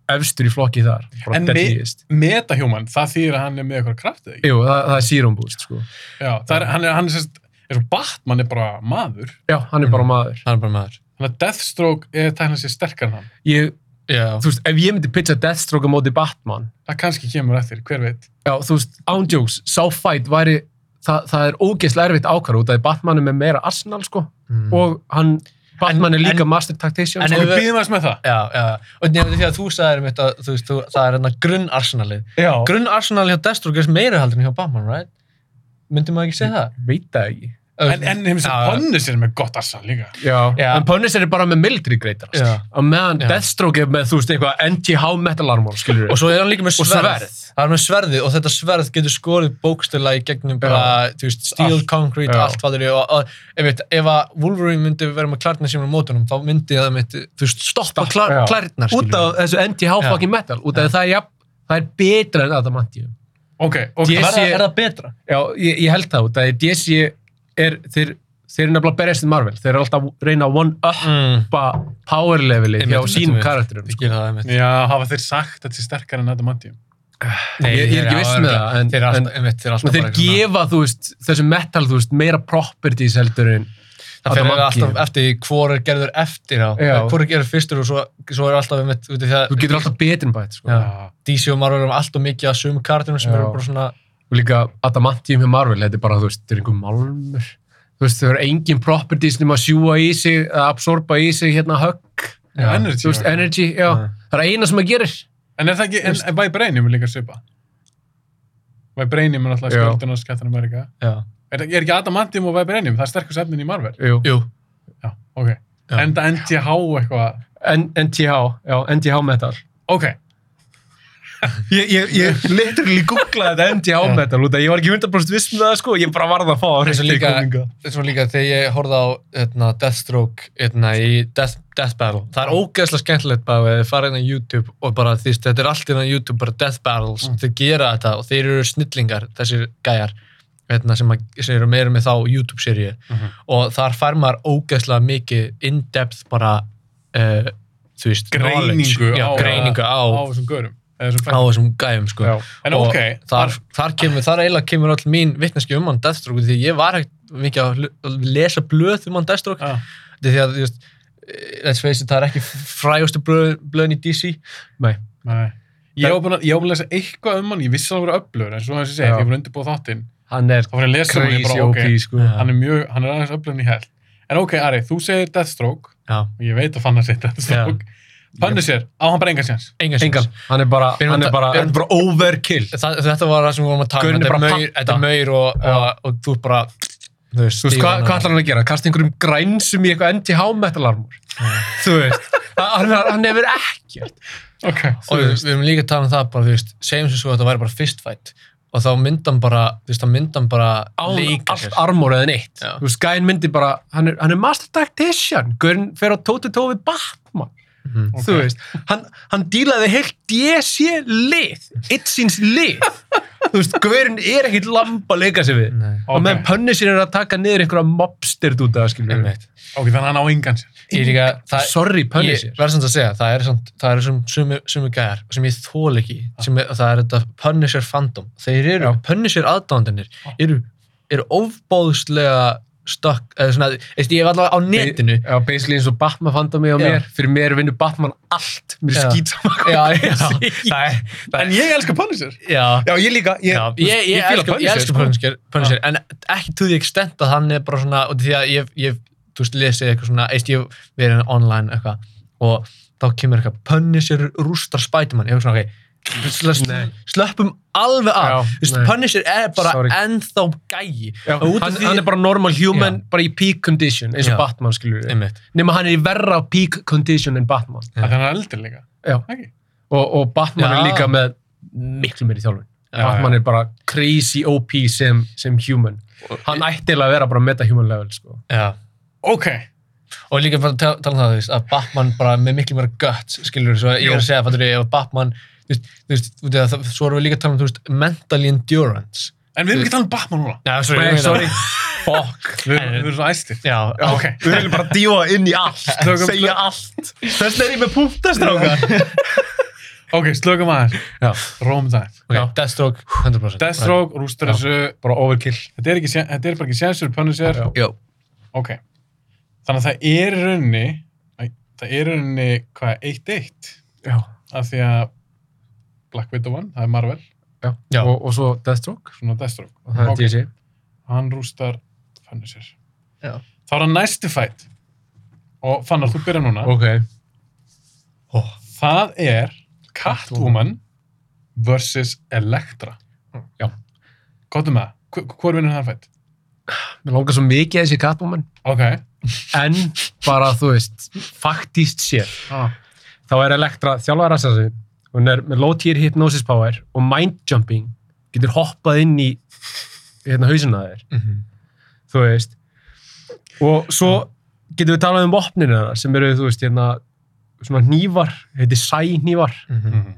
C: efstur í flokki þar bara
A: En
C: deadliest
A: Metahuman, það þýðir að hann er með eitthvað kraft eða ekki?
C: Jú, það, það er serum boost sko.
A: Já, það er, hann er, hann er sérst, eins og Batman er bara maður.
C: já, hann er bara
B: Mhm.
C: maður
B: hann er bara maður
A: Þannig að Deathstroke er tæknað sér sterkar en hann.
C: ég,
B: já,
C: þú veist, ef ég myndi pitcha Deathstroke á móti Batman
A: Það kannski kemur eftir, hver veit.
C: já, þú veist, ándjóks, sá fight væri það, það er ógeðslega erfitt ákvar út af því Batman er með meira arsenal sko,
B: Mm.
C: og hann Batman er líka
B: en-
C: master tactician
B: en
C: sko.
A: Og við
B: ef-
A: býðum aðeins með það.
B: já, já, og nefnir því að þú sagðir mitt að þú veist, þú, það er hérna grunnarsenalið
C: já,
B: grunnarsenalið hjá Deathstroke er meira heldur en hjá Batman, right? myndi maður ekki segja það?
C: veit það ekki
A: En, en hefum sem
B: Já, já.
A: Punisher er með gott assa líka.
C: Já.
B: Já.
C: En Punisher er bara með military greitar.
B: Já.
C: Á meðan
B: Já.
C: Deathstroke er með, þú veist, eitthvað NTH metal armor, skilur
B: Og svo er hann líka með
C: Og
B: sverð.
C: sverð.
B: Hann er með sverðið og þetta sverð getur skorið bókstila í gegnum bara, þú veist, steel,
A: Allt.
B: concrete,
C: Já.
B: allt hvað þeir eru. Og, og ef, veit, ef að Wolverine myndi vera með klærnar sem er á mótunum, þá myndi það myndi, þú veist, stoppa
C: Stopp,
B: klær,
C: já.
B: klærnar,
C: Út af þessu NTH
B: Já.
C: fucking metal, út af það er jafn, það er betra en Adamantium.
A: Ok, ok.
C: Ég-
B: Er, það-
C: sé-
B: er það betra?
C: Já, ég, ég held það út, að DC er, þeir, þeir eru nefnilega berjast í Marvel, þeir eru alltaf að reyna að one-uppa
B: Mm.
C: power levelið hjá
B: Einmitt,
C: sínum
B: einmitt.
C: karakterum. sko.
B: Ég skil það, einmitt.
A: Já, hafa þeir sagt að þetta er sterkar en Adamantium?
C: Ah, Ég, ég er ekki viss með það, en,
B: Þeir eru
C: en,
B: alltaf, einmitt, þeir eru
C: en
B: alltaf
C: þeir gefa, þú veist, þessu metal, þú veist, meira properties heldur en
B: Það fyrir
C: Adamantium.
B: alltaf eftir því hvor er gerður eftir á,
C: Já.
B: hvor er gerður fyrstur og svo, svo er alltaf einmitt, þú veit
C: Þú
B: það,
C: getur alltaf betur en bætt, sko.
B: Já. DC og Marvel eru allt og mikið að sumum kartunum sem
C: Já.
B: eru bara svona,
C: og líka Adamantium hjá Marvel, þetta er bara, þú veist, þetta er einhver malmur. Þú veist, það eru engin properties nema að sjúa í sig, að absorba í sig hérna högg,
A: Já,
B: Já,
A: energy.
C: þú veist,
A: já.
C: energy, já.
B: Já.
C: Það er eina sem það gerir.
A: En er það ekki, en, en Vibranium er líka svipa? Vibranium er alltaf
C: Já.
A: skjöldun og skjöldan Amerika.
B: já,
A: Er, er ekki Adamantium og Vibranium, það er sterkust efnin í Marvel?
C: Jú.
B: jú,
A: Já, ok.
B: Já.
A: En það NTH eitthvað.
C: N- NTH, já, NTH metal.
A: Ok,
C: Ég, ég, [LAUGHS] ég literally googlaði þetta NTH metal út að ég var ekki 100% viss með það, sko, ég bara varð að fá að
B: Eins og líka- svo líka þegar ég horfði á hérna, Deathstroke hérna, í Death, Death Battle það er ógeðslega skemmtilegt bara að fara inn á YouTube og bara því þetta er allt inn á YouTube bara Death Battles,
A: Mm.
B: þeir gera þetta og þeir eru snillingar, þessir gæjar hérna, sem, að, sem eru meira með þá YouTube-seríu
A: Mhm.
B: og þar fær maður ógeðslega mikið in-depth bara uh, þú veist,
A: greiningu
B: knowledge. já,
A: á,
B: greiningu á,
A: á
B: á,
A: þessum görum. eða þessum fæ-
B: þessum gæjum sko.
C: Já.
A: En
B: Og
A: ok,
B: þar, þar, kemur, þar eiginlega kemur all mín vitneski um hann Deathstroke því ég var ekkert mikið að lu- að lesa blöð um hann Deathstroke
A: Ah,
B: því að þú veist, eh, let's face it, það er ekki frægustu blöð, blöðin í DC
A: nei. Ég var búin að ég var búin að lesa eitthvað um hann, ég vissi að það voru öflur, en svo eins og ég segi,
C: Já.
A: þegar ég var undirbúið þáttinn,
C: Hann er
A: þá var ég að lesa um hann og ég
C: crazy
A: bara,
C: OP,
A: ok,
C: sko.
B: Já.
A: hann er mjög, hann er aðeins öflun í hell. En ok, Ari, þú segir Deathstroke,
B: já,
A: og ég veit að fann að segja Deathstroke. Punisher, á hann bara enga séns.
B: engan
C: Engan,
B: sens
C: hann er bara,
B: Byrjum
C: hann
B: að
C: er
B: ta-
C: bara,
B: byrjum-
C: hann er bara overkill.
B: Það, þetta var það sem við vorum að tala um
C: Gaurinn er
B: þetta er
C: bara
B: maur-
C: patta.
B: þetta er maur og, og, og, þú er bara þú veist,
C: Þú veist,
B: stígur
C: Sko, hvað hva
B: hana.
C: ætlar hann að gera? Kasta einhverjum grænsum í eitthvað NTH metal armor? Þú veist, hann- hann, hann hefur ekkert.
A: Ok,
B: og við, við erum líka að tala um það bara, þú veist, segjum sem svo að þetta væri bara fist fight og þá myndan bara, þú veist, þá myndan bara
C: Án
B: leika
C: allt
B: sér.
C: armor eða neitt.
B: Já.
C: Þú veist, Skæn myndi bara, hann er, hann er master tactician, Gurn fer á tóti tófi Batman.
B: Mhm.
A: Ok.
C: Þú veist, hann, hann dílaði heilt DC lið, it síns lið. Þú veist, Gurn er ekkit lamb að leika sér við.
B: Nei.
C: Og
A: Ok.
C: meðan Punisher er að taka niður einhverja mobstyrd út af það, skilur við.
B: Einmitt.
A: ok, þannig að hann á engan séns.
B: Ég líka, það,
C: Sorry,
B: ég
C: Punisher.
B: verður samt að segja, það er, samt, það er sem, sumu, sumu gæjar sem ég þól ekki, sem er, það er þetta Punisher fandom. Þeir eru, Punisher aðdándinir,
A: Já.
B: eru, eru ofbóðslega stökk, eða svona, veist, ég er allavega á netinu.
C: Já, basically eins og Batman fanda mig á
B: Já.
C: mér. Fyrir mér vinnur Batman allt. Mér er
B: Já.
C: skýt saman.
B: Já,
C: [LAUGHS]
B: já, [LAUGHS] það er, það
A: En
B: er,
A: ég elska Punisher.
B: já.
C: Já, ég líka. Ég, sko.
B: Já, ég, ég, ég, elska, ég elska Punisher, sko. Punisher en ekki to the extent að hann er bara svona og því að ég, ég þú veist, lesið eitthvað svona eist ég verið online eitthvað og þá kemur eitthvað Punisher rústar Spiderman, ég hugsa svona, ok sl-
C: Nei.
B: sl- slöppum alveg
C: Já,
B: af Þú veist,
C: nei.
B: Punisher er bara
C: Sorry.
B: ennþá gæi
C: Já,
B: Og út af
C: hann,
B: því-
C: hann er bara normal human,
B: Já.
C: bara í peak condition, eins og
B: Já.
C: Batman, skilur við.
B: Einmitt.
C: Nema hann er í verra peak condition en Batman.
B: Já.
A: Þannig að hann er eldur líka.
C: Já.
A: Ekki?
C: Og, og Batman
B: Já.
C: er líka með miklu meiri þjálfun.
A: Já,
C: Batman
A: já.
C: er bara crazy OP sem, sem human. Hann ætti eiginlega að vera bara meta-human level, sko.
B: Já.
A: Ok,
B: og líka bara tala, tala um það þú veist, að Batman bara með miklu meira guts skilur svo ég er að segja fattur, ef Batman þú veist, þú veist, þú veist, það- svo erum við líka að tala um þú veist, mental endurance
A: en við erum ekki að tala um Batman núna.
B: Já,
C: Nei, sorry.
B: Fuck.
A: Við erum, við erum svo æstir.
B: Já, [LAUGHS]
A: Ok.
C: Við viljum bara dífa inn í allt,
A: Tökum-
C: segja allt. Þess er ég með punktastráka.
A: Ok, slökum aðeins.
B: Já.
A: Róm það.
B: ok,
C: Já.
B: Deathstroke 100%
A: Deathstroke, rústur
C: Já.
A: þessu.
C: Bara overkill.
A: Þetta er, ekki, sé- þetta er bara ekki sénsur, Punisher.
C: Já.
B: Já,
A: Ok. Þannig að það er í rauninni, æ, það er í rauninni, hvað, 1-1?
C: Já.
A: Af því að Black Widow vann, það er Marvel,
C: Já.
B: Já.
C: Og, og svo Deathstroke
A: svona Deathstroke.
C: og það er
A: Ok.
C: DC.
A: Hann rústar Punisher.
B: Já.
A: Þá er hann næstu fætt. Og Fannar, þú byrjar núna.
C: Ok.
A: Það er Catwoman versus Elektra. um
C: Já.
A: Gottum með það. Hvor vinnur það fætt?
C: Mér langar svo mikið að þessi Catwoman.
A: Ok.
C: En bara, þú veist, faktíst sér.
A: Ah.
C: Þá er Elektra þjálfað rassarsu. Hún er með low-tier hypnosis power og mind-jumping. Getur hoppað inn í hérna hausina þér.
A: Mhm.
C: þú veist og svo getum við talað um vopninu þeirra sem eru, þú veist, hérna svona hnívar, heiti sæhnívar
A: Mm. Mhm.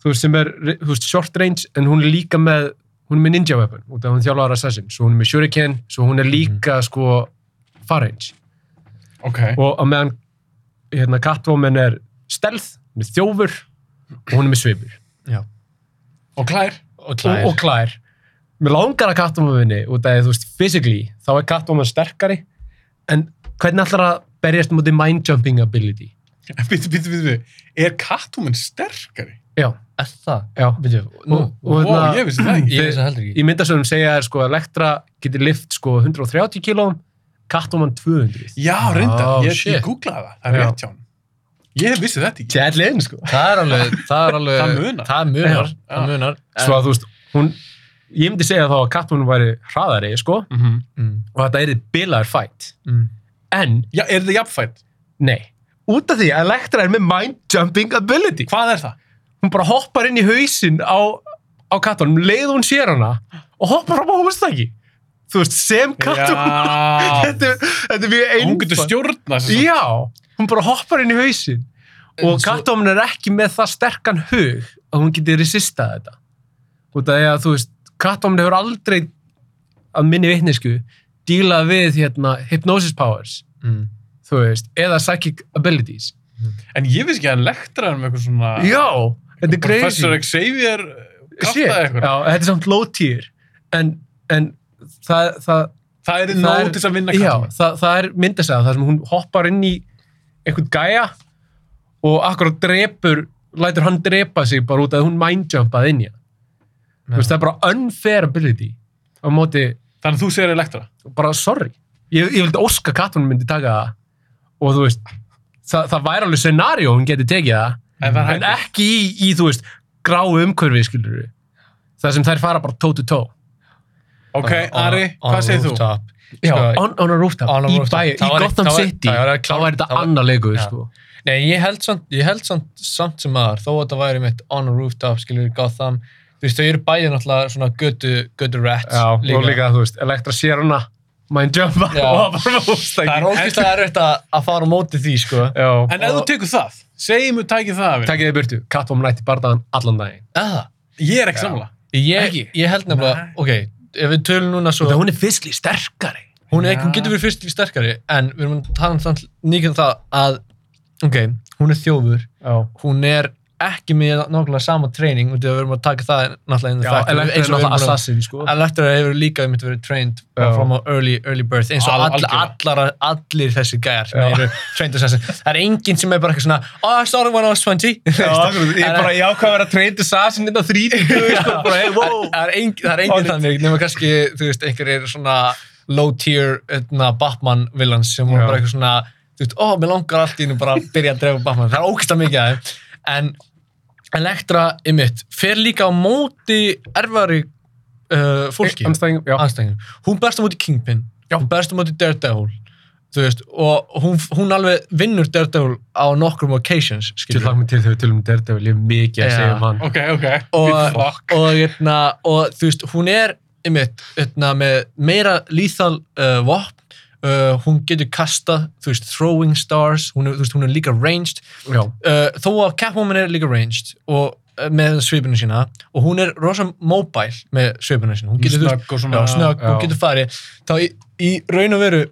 C: þú veist, sem er, þú veist, short range en hún er líka með, hún er með ninja weapon út af að hún þjálfar assassin, svo hún er með shuriken svo hún er líka, sko far range,
A: Ok.
C: og að meðan hérna, Catwoman er stealth, hún er þjófur og hún er með svipur,
A: Og [LAUGHS] klær.
B: Og
C: og, og klær mér langar að Catwomaninni, út af, þú veist, physically, þá er Catwoman sterkari en hvernig ætlar að berjast mútið mindjumping ability
A: Býttu, býttu, býttu, býttu. Er Catwoman sterkari?
C: Já,
B: Er það?
C: já.
B: Býtu, nú,
C: Og, og
A: Ó,
C: hérna,
A: ég vissi það ekki.
B: ég veist það heldur
C: í
B: ekki.
C: myndasögnum segja er sko að Elektra getur lift sko 130 kílóum, Catwoman 200.
A: Já, reyndar.
B: Ó,
A: Ég,
B: shit.
A: ég googlaði það. Það er
C: Já.
A: rétt hjá hann. Ég vissi þetta ekki.
C: Kjærlegin sko.
B: Það er alveg, það er alveg,
A: Það munar.
B: Það munar, það
A: Já.
B: munar.
C: Svo að þú veist, hún, ég myndi segja þá að Catwoman væri hraðari sko
A: Mm -hmm.
B: Mm,
C: og þetta er bilaður fight.
B: mm.
C: En,
A: Já, er þetta jafnfætt?
C: nei, út af því að Elektra er með mind jumping ability.
A: Hvað er það?
C: Hún bara hoppar inn í hausinn á, á Catwoman, um leið og hún sér hana og hoppar á hófustæki. Þú veist, sem Catwoman.
A: Já.
C: [LAUGHS] Þetta, er- þetta er mjög
A: Hún getur
C: einfalt.
A: stjórna þess að...
C: Já, hún bara hoppar inn í hausin
B: En
C: og
B: svo-
C: Catwoman er ekki með það sterkan hug að hún geti resistað þetta og það er að þú veist Catwoman hefur aldrei að minni vitnisku dílað við hérna hypnosis powers
B: Mm.
C: þú veist, eða psychic abilities
A: En ég vissi ekki að hann lektra hann með eitthvað svona...
C: Já, þetta er crazy
A: Professor Xavier
C: Shit,
A: kraftaði
C: já,
A: eitthvað.
C: þetta er samt low tier en, en það, það
A: Það er
C: Það
A: nóg
C: er-
A: til þess að vinna
C: Já,
A: Catwoman.
C: það, það er myndasæða þar sem hún hoppar inn í einhvern gæja og akkurat drepur, lætur hann drepa sig bara út af að hún mindjumpaði inn í hann. Þú veist, það er bara unfair ability á móti,
A: Þannig að þú segir Elektra.
C: bara sorry. Ég, ég vildi óska að Katun myndi taka það og þú veist, það, það væri alveg scenario hún geti tekið það,
A: En það er
C: en
A: hægt.
C: ekki í, í þú veist, gráu umhverfi, skilur við. Það sem þær fara bara toe to toe.
A: Ok,
B: On- on-
A: Ari,
B: on
A: hvað segir þú?
B: rooftop.
C: Já,
B: Sko,
C: on, on a rooftop,
B: on a
C: í
B: rooftop.
C: bæju,
B: Það
C: í
B: var-
C: Gotham
B: það var-
C: City,
B: það var að
C: þá
B: klára-
C: væri
B: það
C: þetta
B: var-
C: annar leikur,
B: Já.
C: sko.
B: Nei, ég held samt, ég held samt, samt sem aðar, þó að það væri mitt on a rooftop, skilur við Gotham, þú veist, þau eru bæði náttúrulega svona götu, götu rats
C: Já, og líka, þú veist, Elektra sér hana, mind [LAUGHS] jumpa
B: Já.
C: og það bara
B: Það
C: fóstæki.
B: er ógeðslega erfitt að, að fara á móti því, sko.
C: Já,
A: En ef þú tekur það, segjum við tækið það af
C: takkið þið burtu, Catwoman nætti bardaðan allan daginn.
B: Eða,
A: Ég er ekki samla.
B: Ah, ég,
A: Ekki?
B: ég held nefnilega,
A: Nei.
B: ok, ef við tölum núna svo,
C: Það
B: hún,
C: hún er fyrstli sterkari.
B: er, hún
A: Já.
B: getur verið fyrst sterkari, en við erum að tala um þannig líka um það að, ok, hún er þjófur,
C: Já,
B: hún er ekki með nákvæmlega sama treyning, út af að við erum að taka það náttúrulega inn í
C: Já
B: þakka.
C: Elektra er náttúrulega assassin, sko.
B: Elektra hefur líka einmitt verið trained uh,
C: Já.
B: from a early, early birth eins og
A: Al-
B: all, allar, allir þessi gæjar sem
C: Já.
B: eru trained assassin það er enginn sem er bara eitthvað svona oh I started when I was 20
C: Já, akkurat, ég bara, ég ákvað að vera trained assassin þetta þrítugu, [LAUGHS] sko, bara, hey,
B: það,
C: wow.
B: það er enginn það er engin
C: Honest.
B: þannig nema kannski þú veist einhverjir svona low tier etna, Batman villans sem voru
C: Já.
B: bara eitthvað svona þú veist ó oh, mér langar allt í hennu bara að byrja að drefa Batman það er ógæsta mikið að þeim en Elektra ymmit fer líka á móti erfari uh, fólki
C: Anstæðing, já.
B: anstæðingum. Hún berst á móti Kingpin,
C: Já.
B: hún berst á móti Daredevil, þú veist, og hún, hún alveg vinnur Daredevil á nokkrum occasions,
C: Ég
B: skilur.
C: hlakka mig til þegar við tölum um Daredevil, ég hef mikið að
B: Já.
C: segja um hann.
A: Ok, ok.
B: Og,
A: Fuck.
B: og, eitna, og þú veist, hún er einmitt, eitna, með meira lethal uh, vopn, uh, hún getur kasta, þú veist, throwing stars, hún er, þú veist, hún er líka ranged,
C: Já,
B: uh, þó að Catwoman er líka ranged og uh, með svipinu sína og hún er rosa mobile með svipinu sína hún getur, þú veist,
A: Snögg og svona.
B: já, snögg,
C: já.
B: hún getur farið þá í, í raun og veru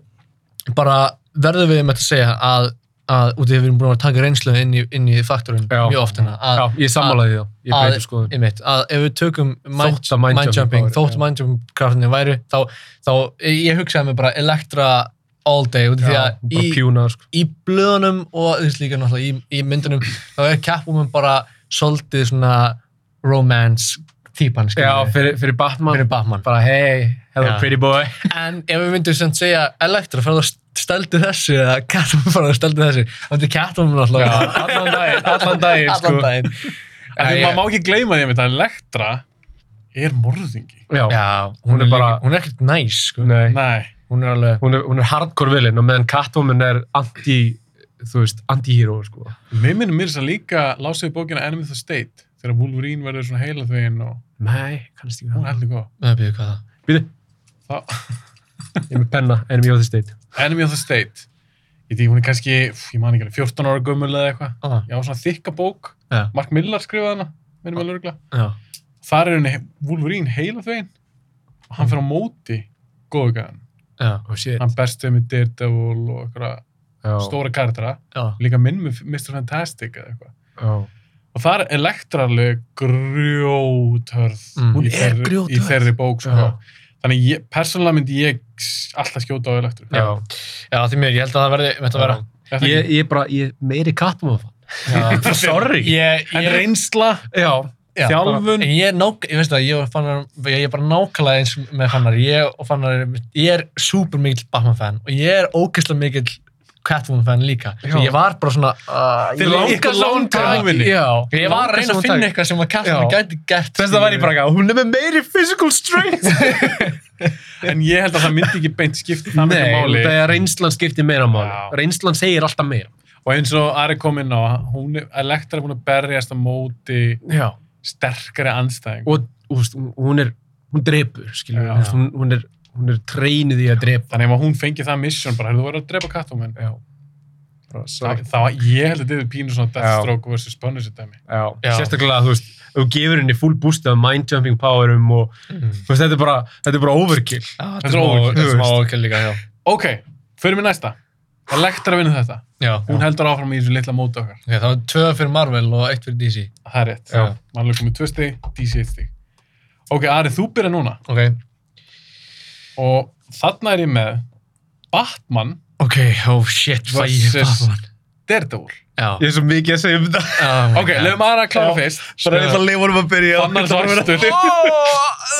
B: bara verður við með að segja að, að út af því að við erum búin að taka reynslu inn í, inn í faktorinn
C: Já.
B: mjög oft hérna að,
C: já, ég sammálaði það, ég sko.
B: að-
C: breytir skoðun.
B: einmitt, að ef við tökum mind,
C: Þótt að mind jumping
B: mindjumping,
C: power,
B: þótt
C: já.
B: mindjumping kraftinni væri, þá, þá ég hugsaði mig bara Elektra all day út af því
C: Já,
B: að
C: bara
B: í,
C: pjúnað, sko.
B: í blöðunum og þú veist líka náttúrulega í, í myndunum þá er Catwoman bara svolítið svona romance típan
C: Já,
B: skilurðu,
C: fyrir, fyrir Batman,
B: fyrir Batman
C: bara, hey, hello
B: Já.
C: pretty boy.
B: en ef við myndum sem segja Elektra farðu að steldu þessu eða Catwoman farðu að steldu þessu þá myndi Catwoman
C: Já,
B: náttúrulega
C: allan daginn, allan daginn,
B: [LAUGHS]
C: sko.
B: allan daginn
A: En
B: Já,
A: því
B: ég-
A: maður má ekki gleyma því að Elektra er morðingi.
C: Já,
B: já,
C: Hún
B: hún
C: er
B: er
C: bara-
B: líka- hún er ekkert næs sko.
C: nei.
A: Nei.
B: Hún er alveg
C: hún er, hún er hardcore vilin og meðan Catwoman er anti þú veist, anti-hero sko.
A: Mér minnum mér þess að líka lásiði bókina Enemy of the State þegar Wolverine verður svona heila þveginn og
C: nei, kannski
A: hún er
C: ekki
A: heldur góð.
B: Nei, býðu hvað það
C: býðu,
A: Þá-
C: ég er með penna, enemy of the state
A: Enemy of the State. Ég veit, hún er kannski, pff, ég man ekki alveg, 14 ára gömul eða eitthvað.
B: ah,
A: Já, svona þykka bók.
B: Já.
A: Mark Millar skrifaði hana, minnum
C: Ah.
A: alveg örgla.
B: Já,
A: Þar er henni Wolverine heila þveginn og hann fyrir á móti góðu gæðan.
B: já,
C: oh shit
A: Hann berst við með Daredevil og eitthvað
C: já,
A: stóra kartra.
B: já,
A: Líka minn með Mr. Fantastic eða eitthvað.
C: já.
A: Og þar er Elektra alveg grjóthörð
B: Mm.
C: Hún
A: í,
C: er
A: þeirri, í
C: grjóthörð.
A: þeirri bók. Sko.
C: Já.
A: Þannig ég, persónulega myndi ég s- alltaf skjóta á Elektru.
C: Já.
B: já, því mér, ég held að það verði, veit að vera
A: Er það
C: Ég,
A: ekki?
C: ég er bara, ég er meiri Catwoman fan.
B: Já,
A: [LAUGHS]
C: sorry
B: ég,
A: En
B: ég,
A: reynsla,
C: já,
B: já,
A: þjálfun.
B: bara- en ég er nák, ég veist það, ég, og fannar, ég er bara nákvæmlega eins með fannar, ég og fannar, ég er super mikill Batman fan og ég er ógeðslega mikill Catwoman fan líka,
C: Já.
B: svo ég var bara svona,
C: ah,
B: uh,
A: Þið
B: ég
A: langar
B: ykkur
A: svo hún
B: langar-
A: Catwoman-i.
B: já, ég var að reyna að finna eitthvað sem að Catwoman
C: Já.
B: gæti gert,
C: þess að var ég bara ekki, hún er með meiri physical strength
A: en ég held að það myndi ekki beint skipta það miklu
C: nei,
A: máli.
C: það er reynslan skiptir meira
A: Já.
C: máli reynslan segir alltaf meira
A: Og eins og Ari kom inn á, hún er, Elektra er búin að berjast á móti
C: já,
A: sterkari anstæðing.
C: og þú veist, hún- hún er hún drepur, skilur
A: Já.
C: við, hún, hún er hún er treynuð í að drepa
A: Þannig ef hún fengi það mission, bara, "Heyrðu, þú verður að drepa Catwoman.
C: já, bara,
A: Þá,
C: sorry
A: þá, ég held að þetta er pínu svona Deathstroke versus Punisher dæmi.
C: Já.
B: Já.
C: sérstaklega, þú veist, ef þú gefur henni full boost af mind-jumping powerum og
B: Mm.
C: þú veist, þetta er bara, þetta er bara overkill
B: Já,
A: Þetta er ógeð,
B: þetta er smá
C: þú
B: ókjöld líka, já.
A: Ok, fyrir mig næsta. Elektra vinnur þetta.
B: Já,
A: Hún heldur áfram í þessu litla móti okkar.
B: ok, það var tvö fyrir Marvel og eitt fyrir DC.
A: Það er rétt.
B: Já.
A: Mannlega komið tvö stig, DC eitt stig. Ok, Ari, þú byrja núna.
B: Ok.
A: Og þarna er ég með Batman
B: Ok, oh shit, fæ ég
A: Versus-
B: Batman.
A: Daredevil.
B: Já.
C: ég er svo mikið að segja um það
B: Oh my
A: Ok,
B: God.
A: lögum aðra að klára
C: Já.
A: fyrst.
C: bara ég ætla að lifa honum að byrja
A: Fannar
C: [LAUGHS]
A: svartur.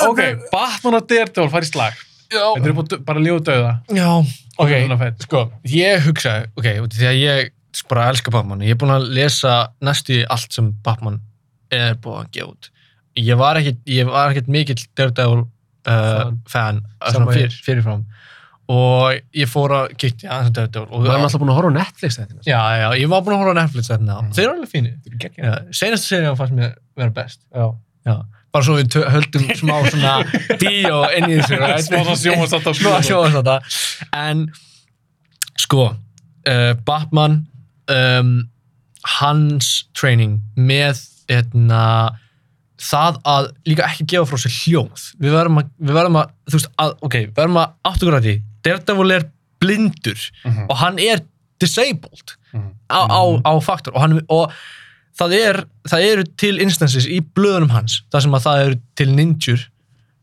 A: Ok, Batman og Daredevil fari í slag. Þetta
B: Já.
A: er bara, bara líf og dauða.
B: Já, ok,
A: Núna fætt.
B: sko, ég hugsaði, ok, út af því að ég bara elska Batman, ég er búinn að lesa næstu í allt sem Batman er búinn að gefa út. Ég var ekkert, ég var ekkert mikill Daredevil uh,
C: Fan.
B: fan, uh,
C: Sama
B: svona fyrir,
C: hér.
B: fyrirfram og ég fór að kíkti aðeins að Daredevil og
C: maður er alltaf búin að horfa á Netflix þetta
B: Já, já, ég var búinn að horfa á Netflix þarna.
C: Mm.
B: Þeir eru alveg fínir.
C: já,
B: Já, senastu serían fannst mér vera best.
C: já,
B: Bara svo við tö- höldum smá svona díó inn í þessu. right?
A: [LAUGHS] Smá svona sjónvarpsþátt á
B: [LAUGHS] Smá
A: bíó.
B: sjóast þetta. En, sko, uh, Batman, um, hans training með, hérna, það að líka ekki gefa frá sér hljóð. Við verðum að, við verðum að, þú veist, að, ok, við verðum að áttuguræti. Daredevil er blindur
A: Mhm.
B: og hann er disabled
A: Mhm.
B: á, á, á faktor og, hann, og það, er, það eru til instances í blöðunum hans þar sem að það eru til ninjur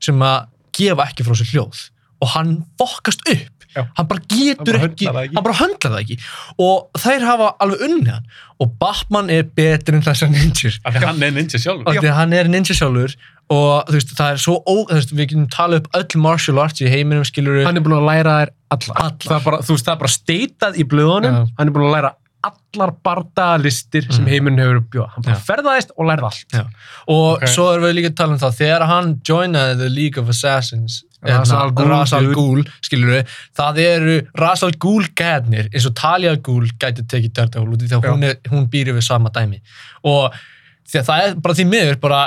B: sem að gefa ekki frá sér hljóð og hann fokkast upp
C: Já.
B: hann bara getur
C: Hann bara
B: ekki,
C: höndlar það ekki.
B: hann bara höndlar það ekki og þær hafa alveg unnið hann og Batman er betur en þessar ninjur
A: Af því að hann er ninja sjálfur.
B: af því að hann er ninja sjálfur og þú veist, það er svo ó, þú veist, við getum talað upp öll martial arts í heiminum skilur
C: hann er búin að læra þær allar
B: Allar.
C: Það er bara, þú veist, það er bara steitað í blöðunum
B: Já.
C: hann er búin að læra allar bardalistir
B: Mm.
C: sem heiminn hefur að bjóða hann bara
B: Já.
C: ferðaðist og lærði allt
B: Já. og
A: Ok.
B: svo erum við líka að tala um það þegar hann joinaði The League of Assassins hérna,
C: Ra's al Ghul,
B: Rasal
C: dude.
B: Gúl, skilur við það eru Rasal Gúl gæðnir eins og Talia Gúl gæti tekið Daredevil út í því að
C: Já.
B: hún, er, hún býr yfir sama dæmi og því að það er bara því miður bara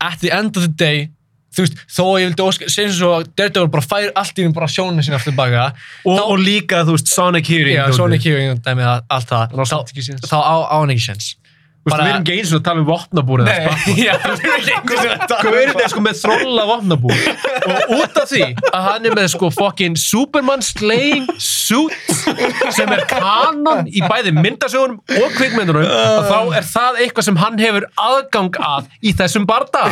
B: at the end of the day þú veist, þó að ég vildi óska segjum svo að Daredevil bara fær allt í hún bara sjónu sína aftur baka
C: og,
B: Þá-
C: og líka, þú veist, Sonic Hearing
B: já, svona ekki og dæmi að- allt það
C: Ná,
B: þá,
C: samt ekki séns.
B: þá á, á hann ekki sens
C: Þú veist,
B: bara-
C: við erum ekki eins og að tala um vopnabúrið
B: Nei, [LAUGHS] já, við erum ekki einhvers veginn að tala um
C: Hvað er þetta sko með þrolla vopnabúr? Og út af því að hann er með sko fucking Superman slaying suit sem er kanon í bæði myndasögunum og kvikmyndunum og þá er það eitthvað sem hann hefur aðgang að í þessum barda.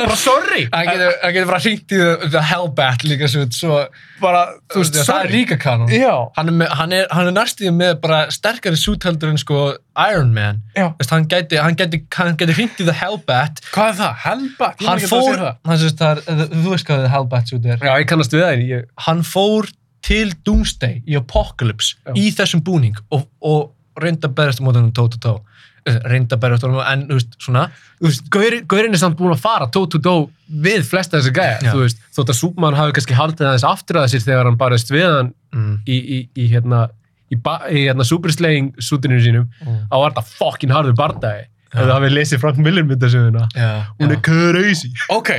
C: Bara sorry.
B: Hann getur, hann getur bara hringt í The, the Hellbat líka svo, svo
C: Bara,
B: þú veist, það er ríka kanon.
C: Já.
B: Hann er, með- hann er, hann er næstíð með bara sterkari sútheldur en sko Iron Man.
C: Já.
B: Þú Veist, hann gæti, hann gæti, hann gæti hringt í The Hellbat.
A: Hvað er það? Hellbat?
B: Hann fór, hann sést það, er- þú veist hvað The Hellbat sút er.
C: Já, ég kannast við það en ég...
B: Hann fór til Doomsday í Apocalypse
C: Já.
B: í þessum búning og, og reynda að berjast á mótunum tó-tó-tó. reynda Eh, að berja eftir honum en, þú veist, svona
C: þú veist, gaurinn gaurin er samt búin að fara toe-to-toe við flesta þessi
B: Já.
C: gæja, þú veist, þótt að Súpmann hafi kannski haldið aðeins aftur að sér þegar hann barist við hann
B: mm,
C: í, í, í hérna, í, ba- í hérna superslaying sútunum sínum,
B: mm,
C: þá var þetta fokkin harður bardagi,
B: Já.
C: ef það hafið lesið Frank Miller myndasöguna,
B: já,
C: hún
B: já.
C: er körausi
A: Ok,